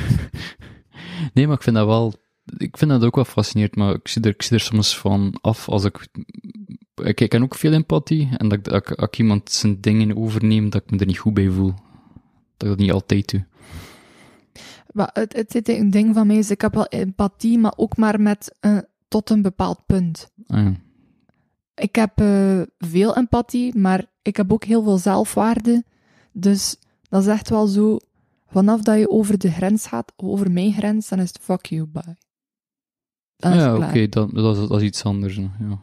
S4: nee, maar ik vind dat wel. Ik vind dat ook wel fascinerend, maar ik zie er, ik zie er soms van af als ik. Ik, ik ken ook veel empathie en dat, ik- dat, ik- als ik iemand zijn dingen overneem, dat ik me er niet goed bij voel. Dat ik dat niet altijd doe.
S5: Maar het, het, het een ding van mij is, ik heb wel empathie, maar ook maar met eh, tot een bepaald punt.
S4: Ah, ja.
S5: Ik heb eh, veel empathie, maar ik heb ook heel veel zelfwaarde. Dus dat is echt wel zo, vanaf dat je over de grens gaat, over mijn grens, dan is het fuck you, bye. Dan is
S4: ja,
S5: het
S4: oké,
S5: klaar.
S4: dat, dat, is- dat is iets anders. hè, Ja.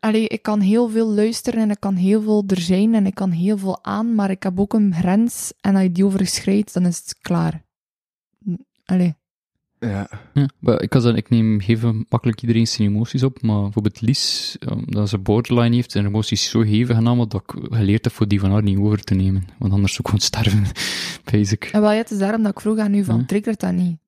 S5: Allee, ik kan heel veel luisteren en ik kan heel veel er zijn en ik kan heel veel aan, maar ik heb ook een grens en als je die overschrijdt, dan is het klaar. N- Allee.
S3: Ja.
S4: Ja, maar ik, kan zeggen, ik neem even makkelijk iedereen zijn emoties op, maar bijvoorbeeld Lies, ehm, dat ze borderline heeft, zijn emoties zo hevig en allemaal, dat ik geleerd heb voor die van haar niet over te nemen. Want anders zou ik gewoon sterven, basic.
S5: En wel, ja, het is daarom dat ik vroeg aan u van,
S4: Ja.
S5: triggert dat niet?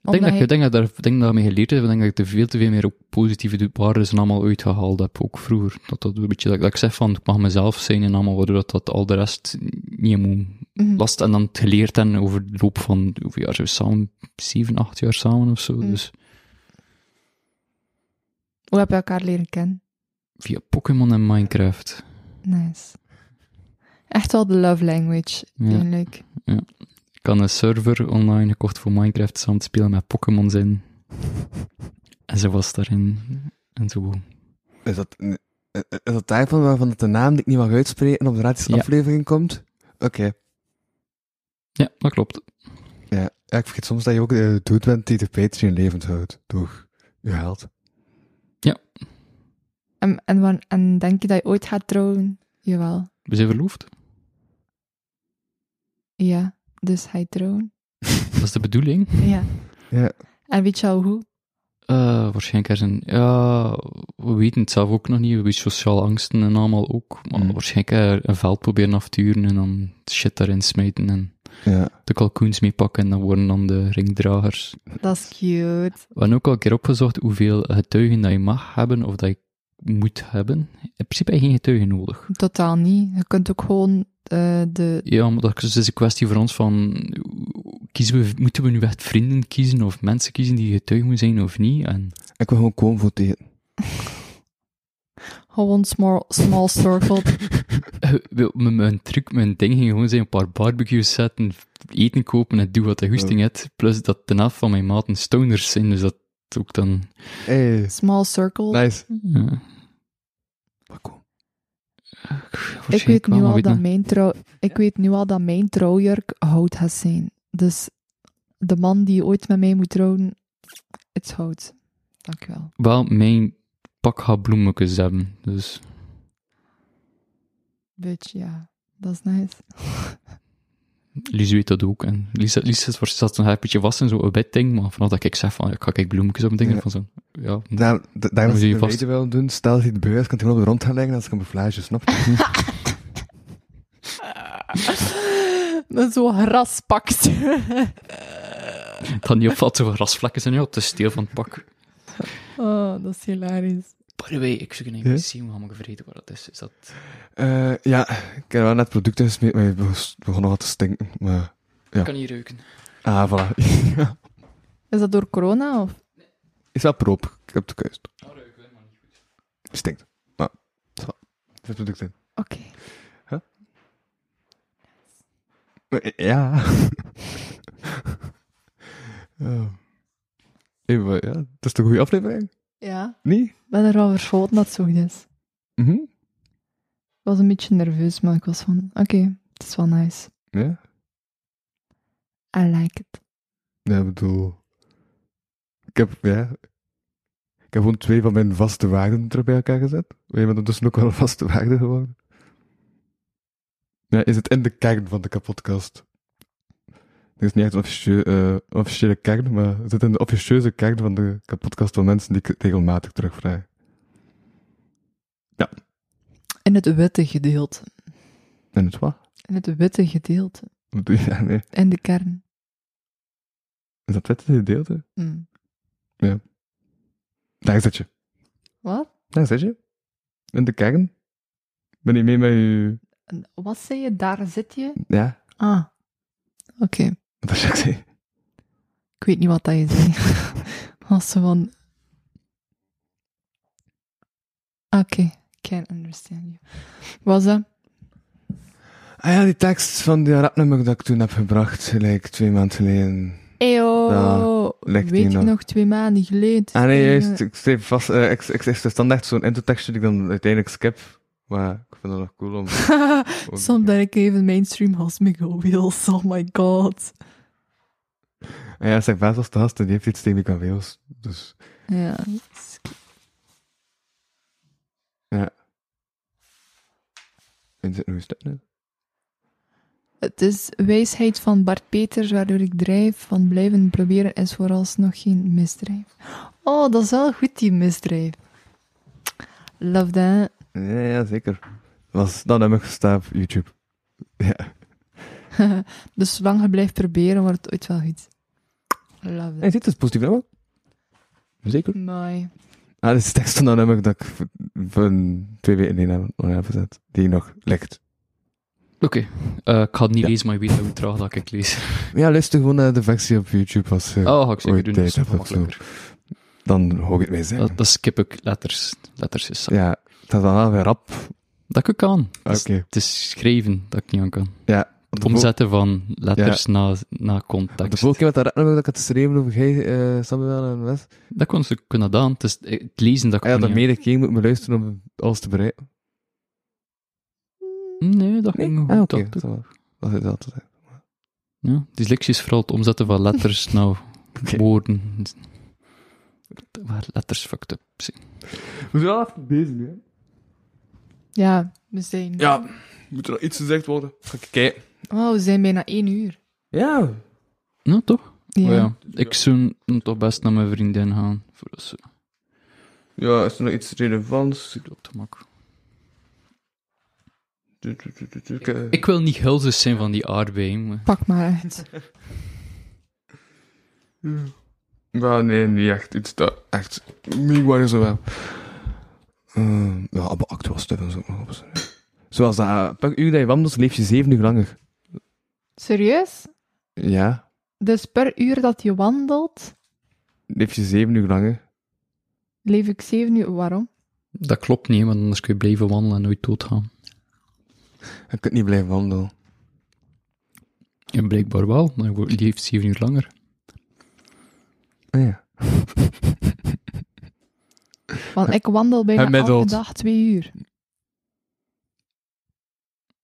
S4: Hm. Ik denk
S5: Omdat
S4: dat ik
S5: je-
S4: ik denk dat, daar, ik denk dat mee geleerd heb, ik denk dat ik er veel te veel meer ook positieve waarden en allemaal uitgehaald heb, ook vroeger. Dat, dat, een beetje, dat, dat ik zeg van, ik mag mezelf zijn en allemaal, waardoor dat, dat al de rest niet moet
S5: Mhm.
S4: last. En dan het geleerd en over de loop van, hoeveel jaar zijn we samen? Zeven, acht jaar samen of zo.
S5: Mm.
S4: Dus
S5: Hoe heb je elkaar leren kennen?
S4: via Pokémon en Minecraft.
S5: Nice. Echt wel de love language,
S4: Ja.
S5: eigenlijk.
S4: Ik had een server online gekocht voor Minecraft samen te spelen met Pokémon in. En ze was daarin. En zo.
S3: Is dat, eh, is dat daarvan waarvan dat de naam die ik niet mag uitspreken op de raadjes
S4: Ja.
S3: aflevering komt? Oké.
S4: Ja, dat klopt.
S3: Ja. Ja, ik vergeet soms dat je ook de dude bent die de Patreon levend houdt. Door je held.
S5: En, en, wan- en denk je dat je ooit gaat trouwen? Jawel.
S4: We zijn verloofd.
S5: Ja. Dus hij trouwen?
S4: Dat is de bedoeling.
S5: Ja.
S3: Ja.
S5: En weet je al hoe?
S4: Eh, waarschijnlijk er zijn, ja, we weten het zelf ook nog niet, we hebben sociale angsten en allemaal ook, maar
S3: Mm.
S4: waarschijnlijk eh, een veld proberen af te huren en dan shit daarin smijten en
S3: Ja.
S4: de kalkoens meepakken en dan worden dan de ringdragers.
S5: Dat is cute.
S4: We hebben ook al een keer opgezocht hoeveel getuigen dat je mag hebben of dat je moet hebben. In principe heb je geen getuigen nodig.
S5: Totaal niet. Je kunt ook gewoon eh, de...
S4: Ja, maar dat is dus een kwestie voor ons van, kiezen we, moeten we nu echt vrienden kiezen of mensen kiezen die getuigen zijn of niet? En
S3: Ik wil gewoon komen voor die.
S5: Gewoon small, small circle.
S4: Eh, wel, Mijn, mijn truc, mijn ding ging gewoon zijn: een paar barbecues zetten, eten kopen en doe wat de goesting hebt. Plus dat de helft van mijn maten stoners zijn, dus dat ook dan. eh,
S3: Hey.
S5: Small circle.
S3: Nice.
S5: Hmm.
S4: ja,
S3: Maar kom.
S5: ik
S4: waarschijnlijk
S5: weet
S4: wel,
S5: nu
S4: maar
S5: al
S4: weet
S5: dat
S4: nog-
S5: mijn trouw... Ik weet nu al dat mijn trouwjurk hout gaat zijn. Dus de man die ooit met mij moet trouwen, het is hout. Dankjewel.
S4: Wel, mijn pak gaat bloemetjes hebben. Dus
S5: Bitch, ja. Dat is nice.
S4: Lies weet dat ook. En Lies, Lies zat- zat nog een beetje vast in zo'n wit ding, maar vanaf dat ik zeg van, ik ga kijk bloemetjes op mijn ding,
S3: Ja.
S4: van zo, ja,
S3: Daar, da- daarom
S4: zie je
S3: moet je
S4: vast-
S3: vast... wel doen. Stel dat hij het beurt, kan hij gewoon op de rond gaan leggen als camouflage, snap je?
S5: Dat is zo'n graspak.
S4: het gaat niet opvalt dat er rasvlekken zijn, ja, het is stil van het pak.
S5: oh, dat is hilarisch.
S4: By the way, ik zoek een
S3: Ja?
S4: zien hoe allemaal gevreten waar dat is. Is dat...
S3: Eh, ja, ik heb wel net producten gesmeed, maar je begon- begon nog wat te stinken. Maar... Ja.
S4: kan niet ruiken.
S3: Ah, voilà.
S5: Is dat door corona? Of?
S3: Is wel proop. Ik heb de keus. Stinkt. Maar, zo. Er zit product in.
S5: Oké.
S3: Eh, Ja. oh. Even, eh, ja. Dat is toch een goede aflevering?
S5: Ja.
S3: Niet?
S5: Ik ben er al verschoten dat het zo goed is.
S3: Mhm.
S5: Ik was een beetje nerveus, maar ik was van... Oké, het is wel nice.
S3: Ja?
S5: I like it.
S3: Ja, ik bedoel... Ik heb, ja... Ik heb gewoon twee van mijn vaste waarden er bij elkaar gezet. Maar je bent ondertussen ook wel een vaste waarde geworden. Ja, is het in de kern van de kapotkast. Het is niet echt een officieu- eh, officiële kern, maar het zit in de officieuze kern van de kapotkast van mensen die ik regelmatig terugvraag.
S5: In het witte gedeelte.
S3: En het wat?
S5: In het witte gedeelte.
S3: Wat doe je daar? Nee.
S5: In de kern.
S3: Is dat witte gedeelte?
S5: Mm.
S3: Daar zit je.
S5: Wat?
S3: Daar zit je. In de kern. Ben je mee met je...
S5: En Wat zei je? Daar zit je?
S3: Ja,
S5: Ah. Oké.
S3: wat was ik zeggen?
S5: Ik weet niet wat dat je zei. Als ze van... Oké, can't understand you. Was dat?
S3: Ah ja, die tekst van die rapnummer dat ik toen heb gebracht, gelijk twee maanden geleden.
S5: Eyo,
S3: Ja, ligt
S5: weet
S3: niet
S5: je
S3: Ah, nog.
S5: nog twee maanden geleden?
S3: Ah nee,
S5: Eh,
S3: juist, ik schreef vast, eh, ik, ik schreef standaard zo'n introtekstje die ik dan uiteindelijk skip. Maar ik vind dat nog cool om... om-
S5: Soms ben ik even mainstream als Miguel Wheels, oh my god.
S3: Ah ja, zeg, Baas was de gast en die heeft iets tegen Mikan Wales, dus...
S5: Ja, dat is-
S3: En zit nog eens dat nu?
S5: het is wijsheid van Bart Peters, waardoor ik drijf van blijven proberen is vooralsnog geen misdrijf. Oh, dat is wel goed, die misdrijf. Love that.
S3: Ja, ja, zeker. Was dat nummer gestaan op YouTube. Ja.
S5: dus zolang je blijft proberen, wordt het ooit wel goed. Love
S3: En ziet,
S5: that.
S3: het is positief nummer. Zeker.
S5: Mooi.
S3: Ah, dit is de tekst van dat nummer dat ik v- van twee weken geleden nog heb gezet, die nog ligt.
S4: Oké, Eh, ik ga het niet
S3: Ja.
S4: lezen, maar je weet hoe traag dat ik lees.
S3: Ja, luister gewoon naar de versie op YouTube als eh,
S4: Oh, ga ik zeker
S3: ooit
S4: doen, dat
S3: tijd
S4: is nog
S3: hebt of zo.
S4: makkelijker.
S3: Dan hoor ik het mee zeggen.
S4: Dat, dat skip ik letters. Letters is
S3: Ja, dat is dan wel weer rap. Ah,
S4: Dat ik kan.
S3: Oké.
S4: Het is schrijven dat ik niet aan kan.
S3: Ja.
S4: Het omzetten van letters na, na context.
S3: De vorige keer met dat rapnummer dat ik had geschreven over jij, eh, Samuel en Wes.
S4: Dat kon ze kunnen doen. Het is het lezen dat ik
S3: Ah, ja,
S4: niet
S3: dat
S4: aan-
S3: meerdere keer moet me luisteren om alles te bereiken.
S4: Nee, dat ging goed.
S3: Ah, oké.
S4: dat,
S3: dat is wel- Dat is altijd. hè.
S4: ja. Dyslexie is vooral het omzetten van letters naar
S3: Oké.
S4: woorden. Waar letters fucked up zijn.
S3: We zijn wel even bezig, hè.
S5: Ja, we zijn...
S3: Ja, moet er nog iets gezegd worden? Ga ik kijken.
S5: Oh, we zijn bijna één uur.
S3: Ja.
S4: Nou, toch?
S5: Ja.
S4: Oh ja. Ik zou toch best naar mijn vriendin gaan. Voor dat ze
S3: Ja, is er nog iets relevants?
S4: op te maken.
S3: Ik...
S4: Ik wil niet gulzes zijn van die aardbei. maar-
S5: Pak maar uit.
S3: Ja, nee, niet echt. Iets dat echt... Niet waar is er wel. Ehm, ja, maar actueel stuff is ook nog op. Zoals dat... eh, Per uur dat je wandelt, leef je zeven uur langer.
S5: Serieus?
S3: Ja,
S5: Dus per uur dat je wandelt,
S3: leef je zeven uur langer.
S5: leef ik zeven uur. Waarom?
S4: Dat klopt niet, want anders kun je blijven wandelen en nooit doodgaan.
S3: Je kunt niet blijven wandelen.
S4: En blijkbaar wel, maar je wordt- je leeft zeven uur langer.
S3: Ah ja.
S5: Want ik wandel bijna elke
S3: Gemiddeld.
S5: dag twee uur.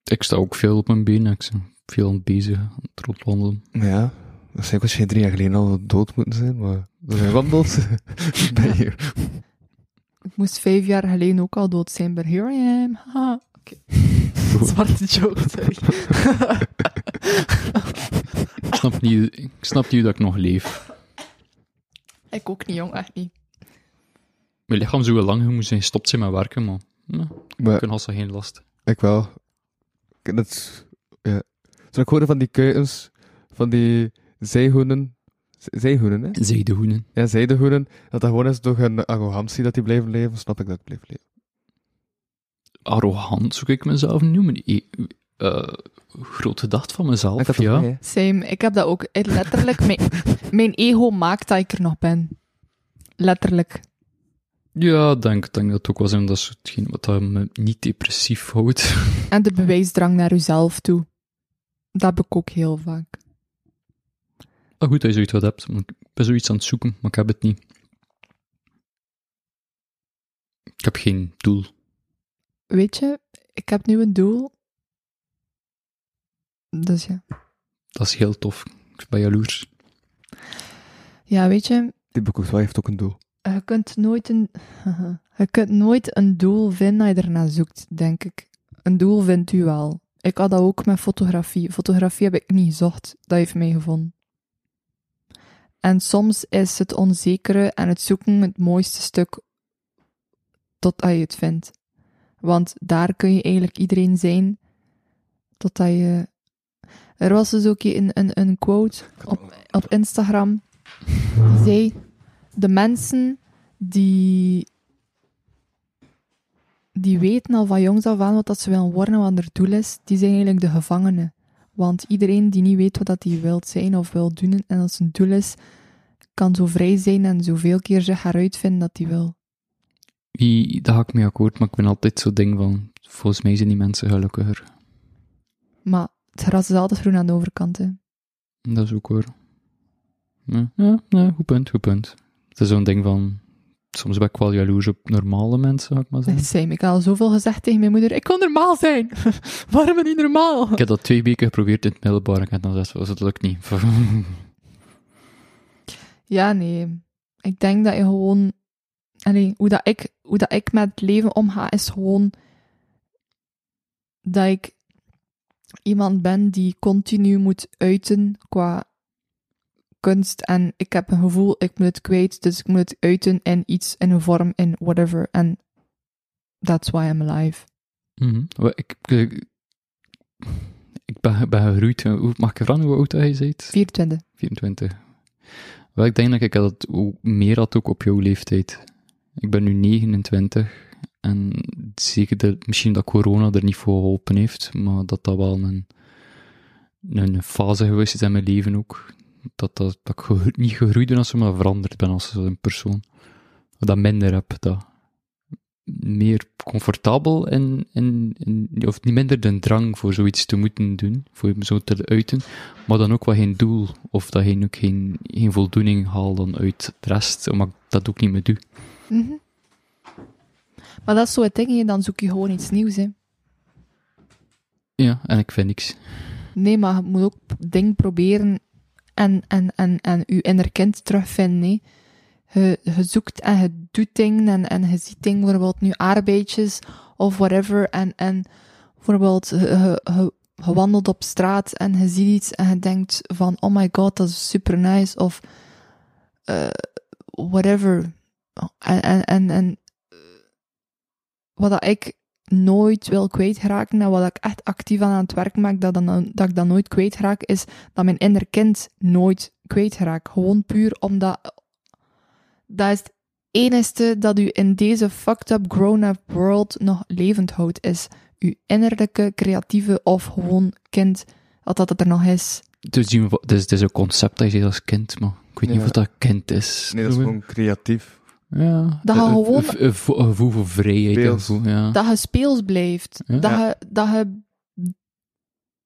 S4: Ik sta ook veel op mijn benen. Ik ben veel aan het bezig, aan het rondwandelen.
S3: Maar ja, waarschijnlijk was je drie jaar geleden al dood moeten zijn, maar... Door je wandelt, ben je hier.
S5: Ik moest vijf jaar geleden ook al dood zijn, but here I am. Haha. Oké. Zwarte joke, sorry.
S4: Ik snap, niet, ik snap niet hoe dat ik nog leef.
S5: ik ook niet, jong, echt niet.
S4: Mijn lichaam zou wel lang moeten zijn, stopt zijn met werken, maar nou,
S3: Maar
S4: ik heb als geen last.
S3: ik wel. Ik- Dat is, ja. Zo, ik hoorde van die kuikens, van die zeehoenen. Z- Zeehoenen, hè?
S4: Zijdehoenen.
S3: Ja, zijdehoeden. Dat dat gewoon is door hun arrogantie dat die blijven leven, snap ik dat het blijft leven.
S4: Arrogant zoek ik mezelf niet noemen. I- eh, groot gedacht van
S3: Ik had
S4: mezelf,
S3: dat
S4: ja.
S3: mee, hè.
S5: Same, ik heb dat ook. Het Letterlijk, mijn, mijn ego maakt dat ik er nog ben. Letterlijk.
S4: Ja, ik denk, ik denk dat het ook wel zijn. Dat is hetgeen wat dat me niet depressief houdt.
S5: En de bewijsdrang naar uzelf toe. Dat heb ik ook heel vaak.
S4: Maar goed dat je zoiets wat hebt. want Ik ben zoiets aan het zoeken, maar ik heb het niet. Ik heb geen doel.
S5: Weet je, ik heb nu een doel. Dus ja.
S4: Dat is heel tof. Ik ben jaloers.
S5: Ja, weet je,
S3: Die boekhoes wel heeft ook een doel.
S5: Eh, je kunt nooit een, je kunt nooit een doel vinden dat je ernaar zoekt, denk ik. Een doel vindt u wel. Ik had dat ook met fotografie. Fotografie heb ik niet gezocht, dat heeft mij gevonden. En soms is het onzekere en het zoeken het mooiste stuk totdat je het vindt. Want daar kun je eigenlijk iedereen zijn totdat je... Er was dus ook een, een, een quote op, op Instagram die zei de mensen die, die weten al van jongs af aan wat dat ze willen worden, wat hun doel is, die zijn eigenlijk de gevangenen. Want iedereen die niet weet wat dat hij wil zijn of wil doen en dat zijn doel is, kan zo vrij zijn en zoveel keer zich eruit vinden dat hij wil.
S4: Wie, daar ga ik mee akkoord, maar ik ben altijd zo'n ding van... Volgens mij zijn die mensen gelukkiger.
S5: Maar het gras is altijd groen aan de overkant. Hè.
S4: Dat is ook hoor. Ja, ja, ja, goed punt, goed punt. Het is zo'n ding van... Soms ben ik wel jaloers op normale mensen, zou ik maar
S5: Dat
S4: zeggen.
S5: is Sam. Ik had al zoveel gezegd tegen mijn moeder, ik kon normaal zijn. Waarom niet normaal?
S4: Ik heb dat twee weken geprobeerd in het middelbaar en ik heb dan gezegd, "Oh, dat lukt niet.
S5: Ja, nee. Ik denk dat je gewoon. Allee, hoe, dat ik, hoe dat ik met het leven omga, is gewoon dat ik iemand ben die continu moet uiten qua kunst. En ik heb een gevoel, ik moet het kwijt, dus ik moet het uiten in iets, in een vorm, in whatever. En that's why I'm alive.
S4: Mhm. Wel, Ik, ik, ik ben, ben gegroeid. Hoe- Mag ik vragen hoe oud dat je bent?
S5: 24.
S4: 24. Wel, ik denk dat ik dat ook meer had ook op jouw leeftijd. Ik ben nu 29 en zeker de, misschien dat corona er niet voor geholpen heeft, maar dat dat wel een, een fase geweest is in mijn leven ook. Dat, dat, dat ik gegro- niet gegroeid ben als ze maar veranderd ben als een persoon. Dat minder heb, dat meer comfortabel en, en, en of niet minder de drang voor zoiets te moeten doen, voor je zo te uiten maar dan ook wel geen doel, of dat je ook geen, geen voldoening haalt dan uit de rest, omdat ik dat ook niet meer doe.
S5: Mhm. Maar dat is zo het ding, dan zoek je gewoon iets nieuws. Hè.
S4: Ja, en ik vind niks.
S5: Nee, maar je moet ook dingen proberen en, en, en, en je inner kind terugvinden. Nee. Je, je zoekt en je doet dingen en, en je ziet dingen, bijvoorbeeld nu arbeidjes of whatever. En, en bijvoorbeeld, je, je, je- je wandelt op straat en je ziet iets en je denkt van, oh my god, dat is super nice. Of eh, whatever. En, en, en, en eh, wat dat ik nooit wil kwijtraken en wat ik echt actief aan aan het werk maak, dat, dan, dat ik dat nooit kwijtraak, is dat mijn inner kind nooit kwijtraak. Gewoon puur omdat... Dat is het enige dat u in deze fucked up grown-up world nog levend houdt, is uw innerlijke, creatieve of gewoon kind, dat dat het er nog is.
S4: Dus die- het is, het is een concept dat je zegt als kind, maar ik weet
S3: Ja.
S4: niet of dat kind is. Eh,
S3: Nee, dat is gewoon creatief.
S4: Ja.
S5: Dat je
S4: Een- een-
S5: gewoon-
S4: Een een vo- een gevoel voor vrijheid. een
S3: Speels.
S4: gevoel, ja.
S5: Dat je speels blijft.
S4: Ja.
S5: Dat,
S3: Ja.
S5: je, dat je...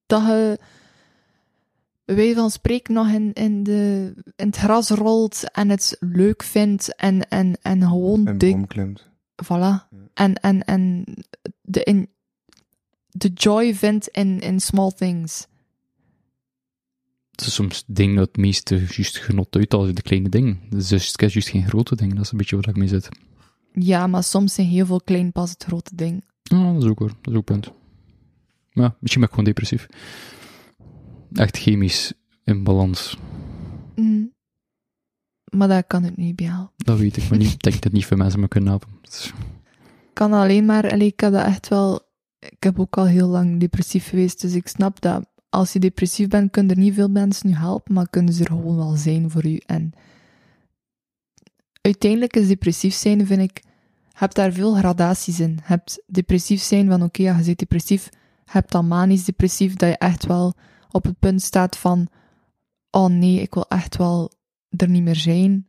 S5: Dat je... bij wijze van spreken nog in, in, de, in het gras rolt en het leuk vindt en, en, en gewoon
S3: En
S5: dik...
S3: boom klimt.
S5: Voilà. En, en, en de, in, de joy vindt in, in small things.
S4: Het is soms het ding dat het meeste juist genot uit als de kleine dingen. Dus het is juist geen grote dingen, dat is een beetje waar ik mee zit.
S5: Ja, maar soms zijn heel veel klein pas het grote ding.
S4: Ja, dat is ook hoor. Dat is ook een punt. Maar ja, misschien ben ik gewoon depressief. Echt chemisch in balans.
S5: Mm. Maar dat kan het niet bij jou.
S4: Dat weet ik, maar niet, ik denk dat niet veel mensen me kunnen helpen. Dat is-
S5: kan alleen maar, allee, ik heb dat echt wel, ik heb ook al heel lang depressief geweest, dus ik snap dat als je depressief bent, kunnen er niet veel mensen je helpen, maar kunnen ze er gewoon wel zijn voor u. En uiteindelijk is depressief zijn, vind ik, heb daar veel gradaties in. Hebt depressief zijn van, oké, ja, je zit depressief, hebt dan manisch depressief, dat je echt wel op het punt staat van, oh nee, ik wil echt wel er niet meer zijn.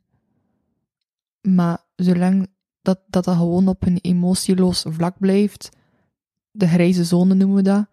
S5: Maar zolang dat, dat dat gewoon op een emotieloos vlak blijft. De grijze zone noemen we dat.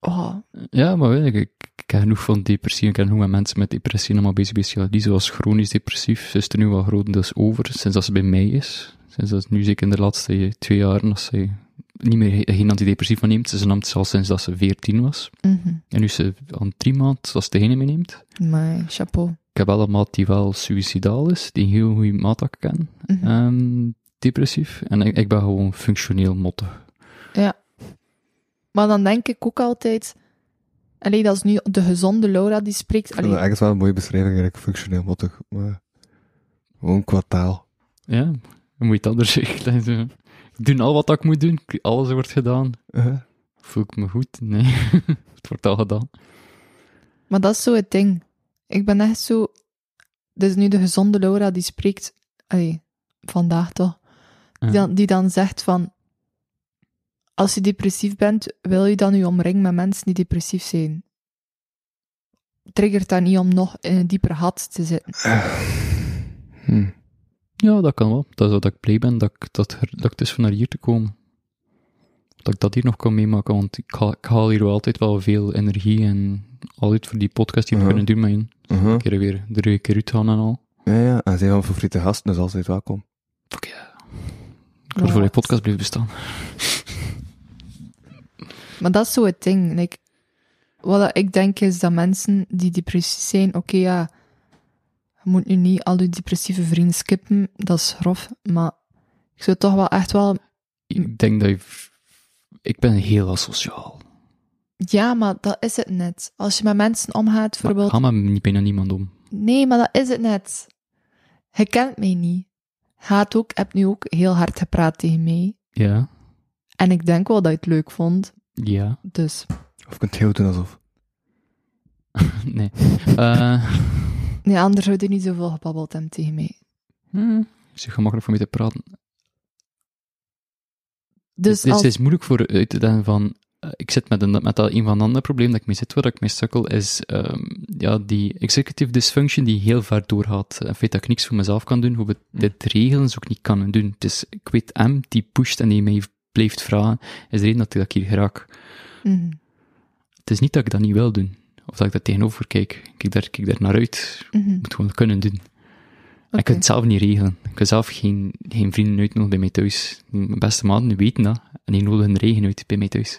S5: Oh,
S4: Ja, maar weet ik, ik, ik ken genoeg van depressie. Ik ken genoeg met mensen met depressie allemaal bezig bezig. Ja, die was chronisch depressief. Ze is er nu wel grotendeels over, sinds dat ze bij mij is. Sinds dat nu zeker in de laatste eh, twee jaar, als ze niet meer eh, geen antidepressiva neemt. Ze nam het al sinds dat ze 14 was.
S5: mhm.
S4: En nu is ze aan drie maanden als ze degene meeneemt.
S5: maar chapeau.
S4: Ik heb wel een maat die wel suicidaal is, die een heel goede maat dat ik ken,
S5: Mhm.
S4: ehm, depressief. En ik, ik ben gewoon functioneel mottig.
S5: Maar dan denk ik ook altijd... Allee, dat is nu de gezonde Laura die spreekt.
S3: vind dat
S5: Allee,
S3: eigenlijk wel een mooie beschrijving, eigenlijk functioneel mottig. Maar gewoon qua taal.
S4: Ja, hoe moet je het anders zeggen? Zo, Ik doe al wat ik moet doen, ik- alles wordt gedaan.
S3: Uh-huh.
S4: Voel ik me goed? Nee, het wordt al gedaan.
S5: maar dat is zo het ding. Ik ben echt zo... Dus nu de gezonde Laura die spreekt... Allee, vandaag toch.
S4: Ja.
S5: Die, dan, die dan zegt van... Als je depressief bent, wil je dan je omringen met mensen die depressief zijn? Triggert dat niet om nog in een dieper gat te zitten?
S3: Hm.
S4: Ja, dat kan wel. Dat is dat ik blij ben dat ik, dat, er- dat ik dus van naar hier te komen. Dat ik dat hier nog kan meemaken, want ik, haal- ik haal hier wel altijd wel veel energie en altijd voor die podcast die we
S3: Ja.
S4: kunnen doen, maar een
S3: Uh-huh.
S4: keer weer drie keer uit gaan en al.
S3: Ja, ja. En zij van favoriete gasten, dus altijd welkom.
S4: Fuck ja. Ik wil voor die podcast blijven bestaan.
S5: Maar dat is zo het ding. Like, wat dat ik denk is dat mensen die depressief zijn, oké ja, je moet nu niet al je depressieve vrienden skippen, dat is grof, maar ik zou toch wel echt wel...
S4: Ik denk dat je... Ik ben heel asociaal.
S5: Ja, maar dat is het net. Als je met mensen omgaat,
S4: Maar
S5: bijvoorbeeld...
S4: Ga maar niet bijna niemand om.
S5: Nee, maar dat is het net. Hij kent mij niet. Gaat ook, heb nu ook heel hard gepraat tegen mij.
S4: Ja.
S5: En ik denk wel dat je het leuk vond.
S4: Ja.
S5: Dus
S3: Of kunt heel doen alsof.
S4: Nee. Eh
S5: nee, anders zou hij niet zoveel gebabbeld hebben tegen mij.
S4: hmm, is het gemakkelijk voor mij te praten.
S5: Dus
S4: het, is,
S5: als...
S4: het is moeilijk voor uit te denken van... eh, ik zit met, een, met dat een van de andere probleem dat ik mee zit, waar ik mee sukkel, is ehm, ja, die executive dysfunction die heel ver doorgaat. Het feit dat ik niks voor mezelf kan doen, hoe we
S5: Mm.
S4: dit regelen, is ook niet kan doen. Dus ik weet hem, die pusht en die mij blijft vragen, is de reden dat ik- dat ik hier raak.
S5: Mhm,
S4: Het is niet dat ik dat niet wil doen. Of dat ik dat tegenover kijk. Ik Kijk daar, kijk daar naar uit. Ik
S5: mhm,
S4: moet gewoon kunnen doen. En
S5: oké.
S4: Ik kan het zelf niet regelen. Ik kan zelf geen, geen vrienden uitnodigen bij mij thuis. Mijn beste maten weten dat. En die nodigen hun regen uit bij mij thuis.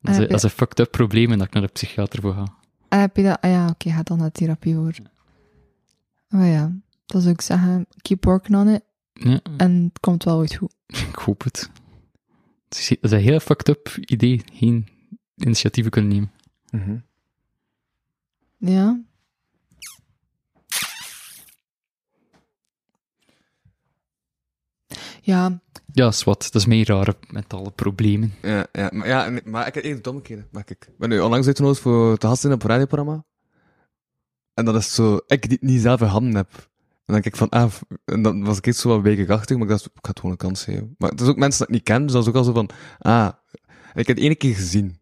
S4: Dat is,
S5: heb
S4: een-
S5: je-
S4: dat is een fucked up probleem en dat ik naar de psychiater voor ga.
S5: Ah, heb je dat? Ah ja, oké, ga dan naar therapie hoor. Maar ja, dat zou ik zeggen, keep working on it.
S4: Ja,
S5: En het komt wel ooit goed.
S4: ik hoop het. Het is, dat is een heel fucked up idee. Geen initiatieven kunnen nemen.
S5: Ja? Ja,
S4: Ja, zwart. Dat is mijn rare mentale problemen.
S3: Ja, ja, maar, ja, nee, maar ik heb één domme keer, maar ik ik ben nu onlangs uitgenodigd voor te gasten op een radioprogramma. En dat is zo, ik die het niet zelf in handen heb. En dan kijk ik van, ah, f- en dan was ik iets zo wat weekachtig, maar ik dacht, ik ga het gewoon een kans geven. Maar het is ook mensen dat ik niet ken, dus dat is ook al zo van, ah, en ik heb het ene keer gezien.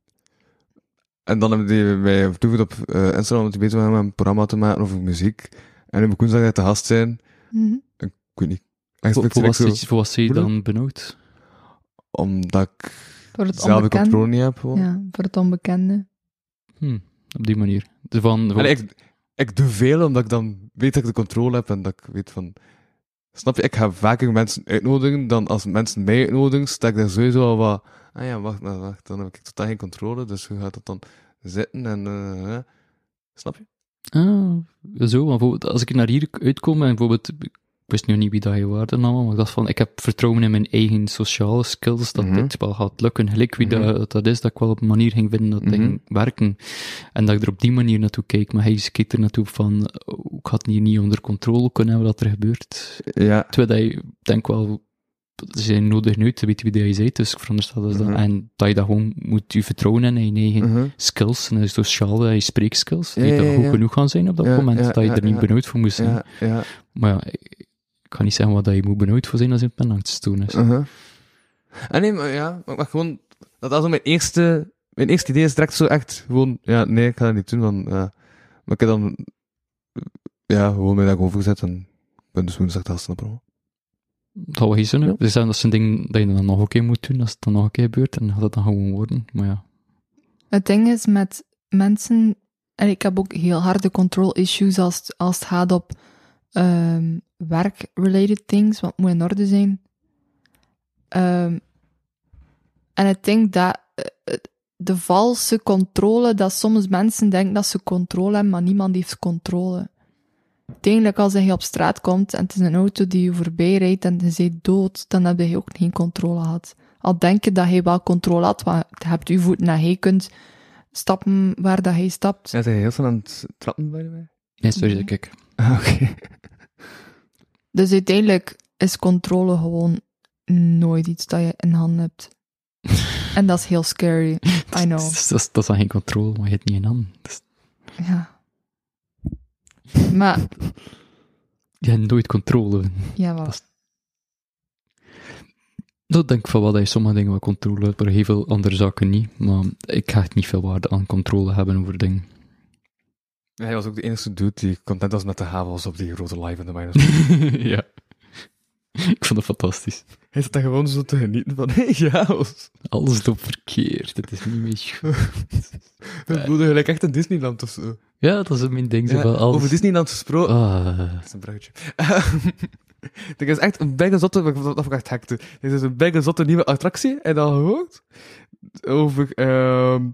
S3: En dan hebben die mij toegevoegd op eh, Instagram, omdat die bezig waren met een programma te maken over muziek. En nu op woensdag dat te gast zijn, ik
S5: mhm.
S3: weet niet. En ik
S4: Voor,
S3: spreek
S4: voor,
S3: direct
S4: wat, zit
S3: zo,
S4: je- voor wat zit je
S3: Moeilijk.
S4: dan benauwd?
S3: omdat ik
S5: voor het
S3: zelf de
S5: onbekende.
S3: controle niet heb. gewoon.
S5: Ja, voor het onbekende.
S4: Hm, op die manier. Dus van, van-
S3: Allee, ik, ik doe veel omdat ik dan weet dat ik de controle heb en dat ik weet van... Snap je? Ik ga vaker mensen uitnodigen dan als mensen mij uitnodigen, sta ik daar sowieso al wat... Ah ja, wacht, maar wacht, dan heb ik totaal geen controle, dus hoe gaat dat dan zitten en... eh, eh, eh." snap je?
S4: Ah, zo. want bijvoorbeeld als ik naar hier uitkom en bijvoorbeeld, ik wist nu niet wie dat je waard en allemaal, maar ik dacht van, ik heb vertrouwen in mijn eigen sociale skills dat
S3: Mhm.
S4: dit wel gaat lukken. Gelijk wie dat, dat is, dat ik wel op een manier ging vinden dat
S3: Mhm.
S4: ging werken. En dat ik er op die manier naartoe keek, maar hij keek er naartoe van, oh, ik had het hier niet onder controle kunnen hebben wat er gebeurt.
S3: Ja.
S4: Terwijl dat je, denk wel, ze zijn nodig nu te weten wie dat je bent, dus ik veronderstel dat, ze dat-
S3: Mhm.
S4: en dat je dat gewoon moet je vertrouwen hebben in je eigen
S3: Mhm.
S4: skills, en dat is sociaal, dat je spreekskills, die
S3: Ja, ja,
S4: dan
S3: ja,
S4: goed
S3: ja.
S4: genoeg gaan zijn op dat
S3: Ja,
S4: moment,
S3: ja,
S4: dat je
S3: ja,
S4: er niet
S3: ja.
S4: benauwd voor moest zijn.
S3: Ja, ja.
S4: Maar ja, ik ik kan niet zeggen wat dat je moet benauwd voor zijn als je het pen aan het doen is.
S3: Uh-huh. Ah, nee, maar ja, maar, maar gewoon, dat was zo mijn eerste, mijn eerste idee is direct zo echt gewoon, ja, nee, ik ga dat niet doen, want, eh, maar ik heb dan, eh, ja, gewoon mij daar gewoon voor gezet en ik ben dus woensdag de gasten op promo.
S4: Dat wel geen zin hebben. Dus dat is een ding dat je dan nog een keer moet doen, als het dan nog een keer gebeurt, en dan gaat dat dan gewoon worden. Maar ja.
S5: Het ding is met mensen, en ik heb ook heel harde control issues als, het- als het gaat op ehm, werk-related things, wat moet in orde zijn. Ehm, en ik denk dat eh, eh, de valse controle, dat soms mensen denken dat ze controle hebben, maar niemand heeft controle. Uiteindelijk, als je op straat komt en het is een auto die je voorbij rijdt en je bent dood, dan heb je ook geen controle gehad. Al denk je dat je wel controle had, want je hebt je voeten en je kunt stappen waar dat hij stapt.
S3: Ja, zijn heel snel aan het trappen bij mij?
S4: Nee, sorry, dat ik.
S3: Ah, oké.
S5: Dus uiteindelijk is controle gewoon nooit iets dat je in handen hebt. en dat is heel scary. I know.
S4: Dat is, dat is- dat is dan geen controle, maar je hebt niet in handen. Dat is-
S5: Ja. Maar,
S4: je hebt nooit controle.
S5: ja, wel.
S4: Dat is- Dat denk ik van wel dat je sommige dingen wel controle hebt, maar heel veel andere zaken niet. Maar ik ga echt niet veel waarde aan controle hebben over dingen.
S3: Ja, Hij was ook de enige dude die content was met de havels op die grote live in de miners.
S4: ja. Ik vond dat fantastisch.
S3: Hij zat daar gewoon zo te genieten van, hey, ja, was-
S4: Alles loopt verkeerd. Het is niet meer goed.
S3: we voelden gelijk echt in Disneyland of zo.
S4: Ja, dat is ook mijn ding. Zo
S3: Ja,
S4: van alles.
S3: over Disneyland gesproken.
S4: Ah.
S3: Dat is een bruggetje. Dit is echt een bijna zotte, wat dat ik echt hekte. Dit is een bijna zotte nieuwe attractie. En dan gehoord over ehm,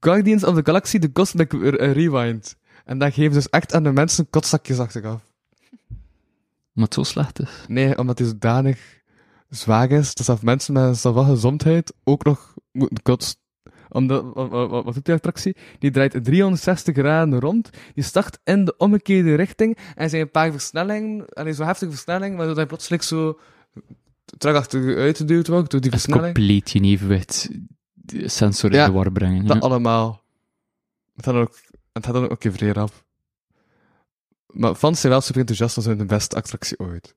S3: Guardians of the Galaxy, The Cosmic Re- eh, Rewind. En dat geven ze dus echt aan de mensen kotzakjes achteraf.
S4: Maar het zo slecht is.
S3: Nee, omdat die zodanig zwaar is, dat zelfs mensen met een savage gezondheid ook nog moeten kotsen. Omdat, wa- wa- wa- wat doet die attractie? Die draait 360 graden rond, die start in de omgekeerde richting, en er zijn een paar versnellingen, en zo heftige versnellingen, maar dat je plotseling zo terug achteruit geduwd wordt door die
S4: Het
S3: versnelling.
S4: compleet je evenwicht de sensor in
S3: Ja,
S4: de war brengen.
S3: Dat
S4: ja.
S3: allemaal. Het had dan ook, het had dan ook een keer af. Maar fans zijn wel super enthousiast, want ze vinden het de beste attractie ooit.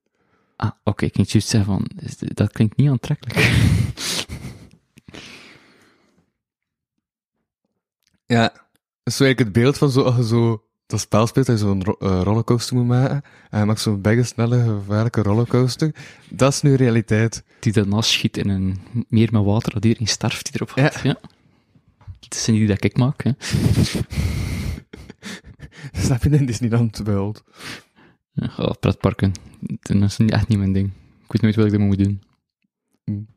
S4: Ah, oké. ik kan juist zeggen van, is dit- dat klinkt niet aantrekkelijk.
S3: Ja. Dat is zo eigenlijk het beeld van zo, als je zo dat spel speelt, dat je zo'n ro- eh, rollercoaster moet maken. En je maakt zo'n bijna snelle, gevaarlijke rollercoaster. Dat is nu realiteit.
S4: die dan afschiet in een meer met water, dat iedereen sterft die erop gaat. Ja. Het is niet dat ik maak, hè.
S3: Snap je in Disneyland beeld?
S4: Ja, oh, pretparken. Dat is niet- echt niet mijn ding. Ik weet nooit wat ik ermee moet doen.
S3: Hmm.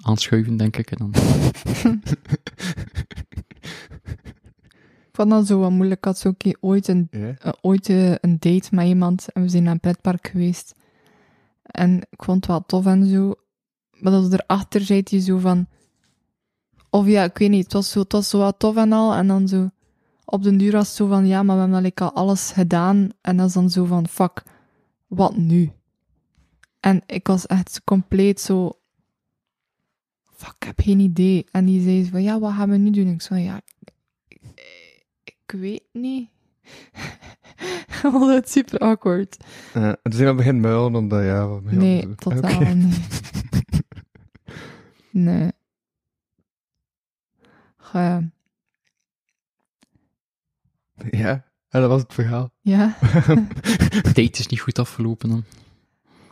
S4: Aanschuiven, denk ik. En dan...
S5: Ik vond dat zo wat moeilijk. Ik had zo een keer ooit een
S3: Ja.
S5: eh, ooit eh, een date met iemand en we zijn naar een pretpark geweest. En ik vond het wel tof en zo. Maar dat erachter zei hij zo van... Of ja, ik weet niet, het was zo, het was zo wat tof en al. En dan zo... Op den duur was het zo van, ja, maar we hebben eigenlijk al alles gedaan. En dat is dan zo van, fuck, wat nu? En ik was echt compleet zo... Fuck, ik heb geen idee. En die zei zo van, ja, wat gaan we nu doen? Ik zei, ja, ik- ik weet niet. Ik vond het super awkward.
S3: en toen zijn we begin muilen, omdat ja... wat mij
S5: nee,
S3: anders-
S5: totaal
S3: Oké.
S5: niet. Nee. Goh, ja.
S3: Ja. En dat was het verhaal.
S5: ja,
S4: Date is niet goed afgelopen dan.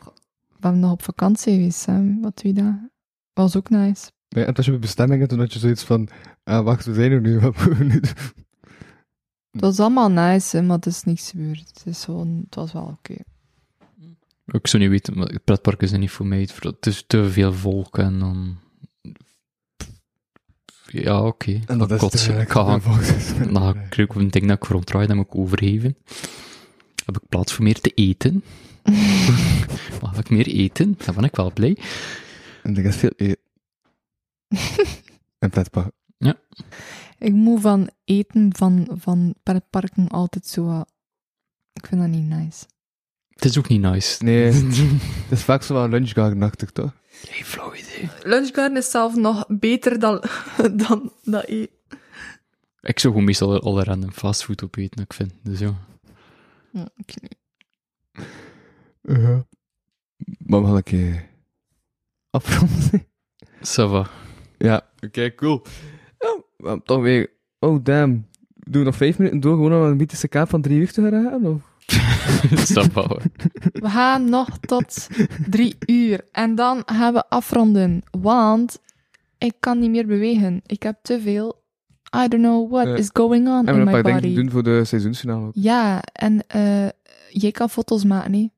S5: we hebben nog op vakantie geweest, hè. Wat doe je daar? Was ook nice.
S3: Ja, en toen was je bij bestemmingen, toen had je zoiets van... ah, wacht, we zijn er nu, wat moeten we nu doen?
S5: Het was allemaal nice, hè, maar het is niks gebeurd. Het, is gewoon, het was wel oké.
S4: Ik zou niet weten, maar pretparken zijn niet voor mij. Het is te veel volk en dan... ja, oké.
S3: En dat is
S4: Kotsen.
S3: het eigenlijk. Nou.
S4: Ik ga gaan-
S3: Volgens mij.
S4: Dan ga ik kruipen op een ding dat ik ronddraai, dat moet ik overgeven. Heb ik plaats voor meer te eten? Mag ik meer eten? Dan ben ik wel blij.
S3: En ik is veel eten. en pretpark.
S5: Ik moet van eten van, van pretparken altijd zo... wat- Ik vind dat niet nice.
S4: Het is ook niet nice.
S3: Nee, het is vaak zo wel lunchgardenachtig, toch?
S4: Hey, flauw idee.
S5: Lunchgarden is zelf nog beter dan, dan dat eten.
S4: Ik zou gewoon meestal alle random fastfood opeten, ik vind. Dus ja.
S3: Ja. Maar we gaan een keer afronden.
S4: Ça va.
S3: ja, oké, cool. Ja, we hebben toch weer... Oh, damn. Doen we nog vijf minuten door gewoon om een mythische kaap van drie uur te geraken? Of?
S4: Ça va, hoor.
S5: We gaan nog tot drie uur. En dan gaan we afronden. Want ik kan niet meer bewegen. Ik heb te veel... I don't know what
S3: Eh,
S5: is going on
S3: En we
S5: in
S3: hebben
S5: my
S3: een paar dingen
S5: body.
S3: te doen voor de seizoensfinale ook.
S5: Ja, en eh jij kan foto's maken, nee?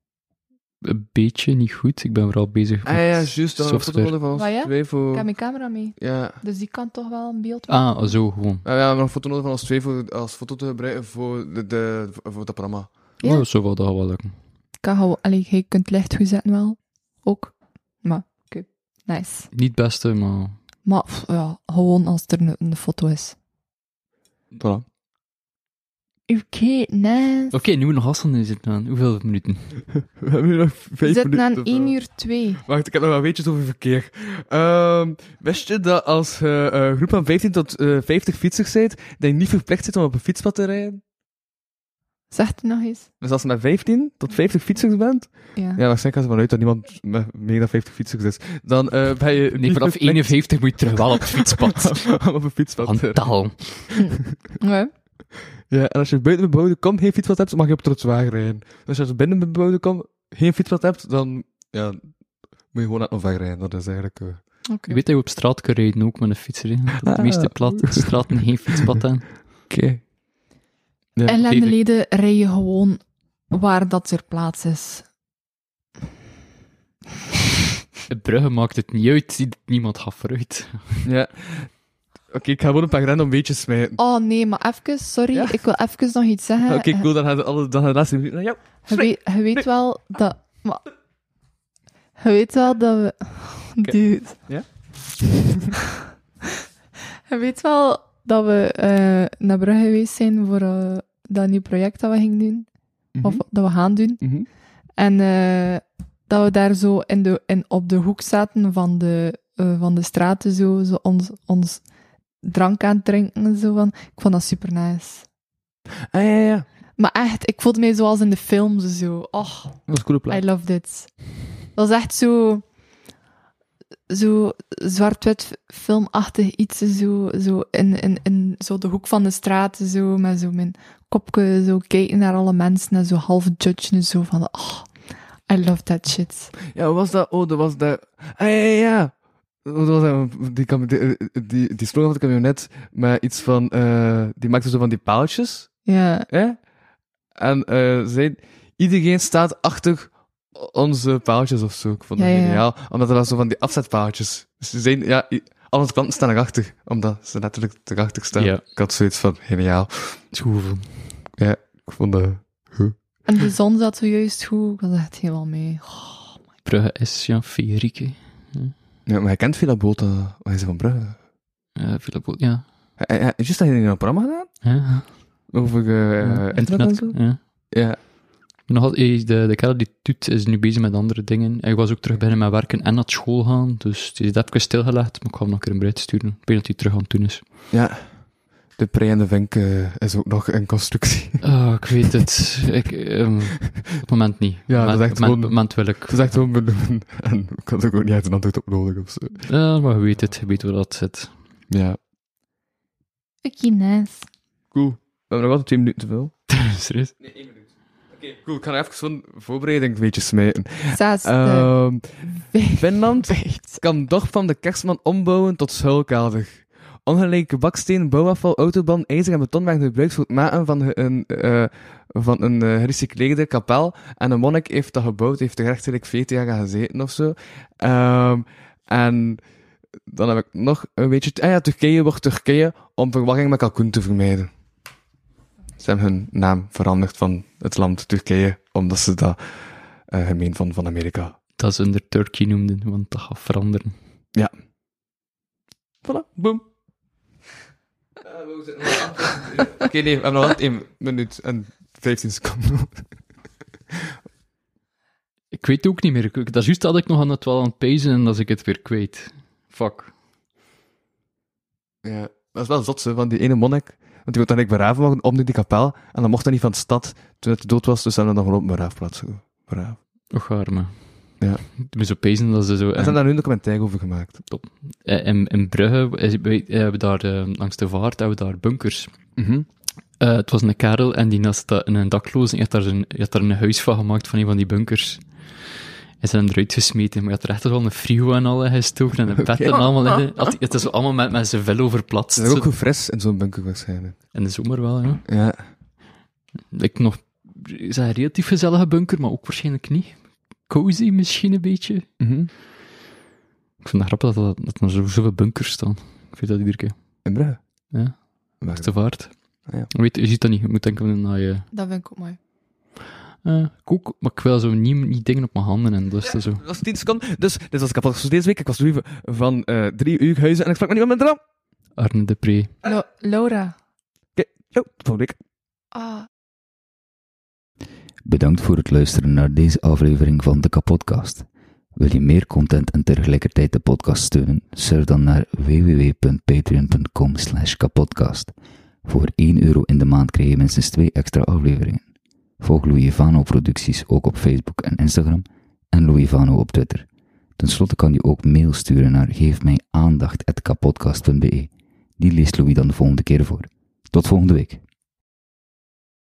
S4: Een beetje niet goed. Ik ben vooral bezig met
S3: Ah ja, juist. Dan een
S4: software.
S3: foto van ons
S5: Wat, ja?
S3: twee voor...
S5: Ik heb mijn camera mee.
S3: Ja. Ah,
S5: Dus die kan toch wel een beeld maken.
S4: Ah, zo gewoon.
S3: Ja, we hebben nog een foto nodig van ons twee voor, als foto te gebruiken voor, de, de, voor dat programma.
S5: Ja.
S4: Oh, zo wel, dat gaat wel lukken.
S5: Ik kan gewoon... Allee, jij kunt licht goed zetten wel. Ook. Maar, oké. Nice.
S4: Niet het beste, maar...
S5: Maar pff, ja, gewoon als er een, een foto is.
S3: Voilà.
S5: Oké, nice.
S4: Oké, nu we nog afstanden zitten aan. Hoeveel minuten?
S3: We hebben nu nog
S5: We
S3: vijf
S5: zitten
S3: minuten. eh.
S5: aan 1 uur 2.
S3: Wacht, ik heb nog wel weetjes over verkeer. Ehm, wist je dat als je eh, groep van 15 tot eh, 50 fietsers bent, dat je niet verplicht zit om op een fietspad te rijden?
S5: Zegt het nog eens?
S3: Dus als je met 15 tot 50 fietsers bent,
S5: Ja.
S3: ja, waarschijnlijk gaan ze vanuit dat niemand met meer dan 50 fietsers is, dan eh, ben je
S4: Nee,
S3: niet
S4: vanaf
S3: verplicht
S4: 51 moet je terug wel op het fietspad.
S3: om op een fietspad te
S4: Aan
S3: rijden.
S4: taal.
S5: Ja.
S3: Ja, en als je buiten bebouwde kom geen fietspad hebt, mag je op trottoir rijden. Dus als je binnen bebouwde kom geen fietspad hebt, dan ja, moet je gewoon naar het omver rijden. Dat is eigenlijk... eh,
S5: Oké.
S4: Je weet dat je op straat kan rijden ook met een fiets erin. De
S3: Ah.
S4: meeste plat, straten geen fietspad aan.
S3: Oké. Ja,
S5: En
S4: leden-
S5: leden rij je gewoon waar dat er plaats is.
S4: Bruggen maakt het niet uit, ziet het niemand gaat vooruit.
S3: Ja. Oké, ik ga gewoon een paar random beetjes smijten.
S5: Oh nee, maar even, sorry,
S3: Ja.
S5: ik wil even nog iets zeggen. Eh,
S3: Oké, cool, dan gaan we alle, dan gaan we de laatste minuut naar jou.
S5: Je weet, je weet wel dat. Maar, je weet wel dat we. Dude.
S3: Ja?
S5: je weet wel dat we eh, naar Brugge geweest zijn voor eh, dat nieuw project dat we gingen doen. Of dat we gaan doen.
S3: Mhm.
S5: En eh, dat we daar zo in de, in, op de hoek zaten van de, eh, van de straten, zo, zo ons, ons drank aan het drinken. en Zo van. Ik vond dat super nice.
S3: Ah, ja, ja.
S5: Maar echt, ik voelde mij zoals in de films zo. Och.
S3: Dat was een coole plaat.
S5: I love this. Dat was echt zo... Zo zwart-wit filmachtig iets, zo, zo in, in, in zo de hoek van de straat, zo, met zo mijn kopje, zo kijken naar alle mensen en zo half judgen, zo van, oh, I love that shit.
S3: Ja, wat was dat? Oh, dat was dat... Ah, ja, ja, ja. Wat was dat? Die, kam- die, die, die slogan van de camionet met iets van... eh, die maakte zo van die paaltjes.
S5: Ja,
S3: Hè? En eh zei... Iedereen staat achter onze paaltjes of zo. Ik vond dat
S5: Ja, ja, ja.
S3: geniaal. Omdat er was zo van die afzetpaaltjes. Dus ze zeiden... Ja, i- al onze klanten staan erachter. Omdat ze natuurlijk erachter staan.
S4: Ja.
S3: Ik had zoiets van... Geniaal.
S4: Hoeveel?
S3: Ik vond dat...
S5: en de zon zat zojuist goed, ik was echt helemaal mee. Oh,
S4: Brugge is ja, Federique.
S3: Ja, maar hij kent Villa Bota, maar hij is van Brugge.
S4: Ja, Eh, Villa Bo- ja.
S3: Hij, hij, is juist dat hij in een programma gedaan?
S4: Ja,
S3: Over eh, internet en zo?
S4: Ja.
S3: Ja.
S4: Nog al- eh, de, de kerel die toet is nu bezig met andere dingen. Hij was ook terug binnen met werken en naar school gaan. Dus die is even stilgelegd, maar ik ga hem nog een keer een bericht sturen. Ik weet dat hij terug aan het doen is.
S3: ja. De Pre en de Vink eh, is ook nog in constructie.
S4: Ah, ik weet het. Ik, ehm, op het moment niet.
S3: Ja, dat is
S4: Op
S3: echt
S4: het moment-
S3: gewoon-
S4: op het moment wil ik.
S3: Het is echt wel benoemen. En ik had er ook niet echt een antwoord op nodig of zo.
S4: Ja, Eh, maar je weet het. Je weet waar dat zit.
S3: Ja.
S5: oké, nice.
S3: Cool. We hebben nog altijd twee minuten te veel.
S4: Serieus?
S3: Cool, ik ga even zo'n voorbereiding beetje smijten.
S5: Zesde.
S3: Ehm,
S5: vijfde.
S3: Finland kan dorp van de kerstman ombouwen tot schuilkelder. Ongelijke baksteen, bouwafval, autobahn, ijzer en beton werden gebruikt voor het maken van een, eh, van een eh, gerecycleerde kapel. En een monnik heeft dat gebouwd, heeft er echt gelijk 40 jaar aan gezeten of zo. Ehm, en Dan heb ik nog een beetje... Ah ja, Turkije wordt Turkije om verwarring met kalkoen te vermijden. Ze hebben hun naam veranderd van het land Turkije, omdat ze dat eh, gemeen vonden van Amerika.
S4: Dat ze onder Turkey noemden, want dat gaat veranderen.
S3: Voilà, boom. Oké, nee, we hebben nog altijd 1 minuut en 15 seconden.
S4: Ik weet ook niet meer. Ik- Dat is juist dat ik nog aan het wel aan het pezen en dat ik het weer kwijt. Fuck.
S3: Ja, dat is wel zot, hè, van die ene monnik. Want die wordt dan ik begraven worden om die kapel. En dan mocht hij niet van de stad toen hij dood was, dus zijn er dan gewoon op een begraafplaats ge- begraven.
S4: Och, arme.
S3: Ja.
S4: Ik ben zo pezen dat ze zo...
S3: En ze hebben daar nu een documentaire over gemaakt.
S4: Eh, In, in Brugge is- wij- hebben we daar, eh, langs de vaart, hebben we daar bunkers.
S3: Mhm.
S4: Eh, het was een kerel en die naast dat, een dakloze, die had daar, een, die had daar een huis van gemaakt van een van die bunkers. En ze hebben eruit gesmeten, maar je had er echt wel een frio en al in gestoken en een pet en allemaal in. Had- Het is allemaal met, met zijn vel verplatst.
S3: Ze zijn ook goed fris in zo'n bunker waarschijnlijk.
S4: In de zomer wel, ja.
S3: Ja.
S4: Ik nog, is dat een relatief gezellige bunker, maar ook waarschijnlijk niet. Cozy misschien een beetje.
S3: Mhm.
S4: Ik vind het grappig dat, dat, dat er zo- zoveel bunkers staan. Ik vind dat iedere keer.
S3: In Brugge.
S4: Ja.
S3: Waar
S4: Het is te vaart.
S3: Ah, ja.
S4: Weet, je ziet dat niet. Je moet denken naar je...
S5: Dat vind ik ook mooi.
S4: eh, ik ook, maar ik wil zo niet, niet dingen op mijn handen en dat is dat zo.
S3: Dat was 10 seconden. Dus dit was kapot voor deze week. Ik was Louis van eh 3 uur huizen en ik sprak met niemand met een naam.
S4: Arne Depree.
S5: Lo- Laura.
S3: Oké, yo, tot volgende week.
S5: Ah.
S6: Bedankt voor het luisteren naar deze aflevering van de Kapodcast. Wil je meer content en tegelijkertijd de podcast steunen? Surf dan naar www.patreon.com slash kapodcast. Voor 1 euro in de maand krijg je minstens 2 extra afleveringen. Volg Louis Vano producties ook op Facebook en Instagram en Louis Vano op Twitter. Ten slotte kan je ook mail sturen naar geefmijaandacht.kapodcast.be. Die leest Louis dan de volgende keer voor. Tot volgende week.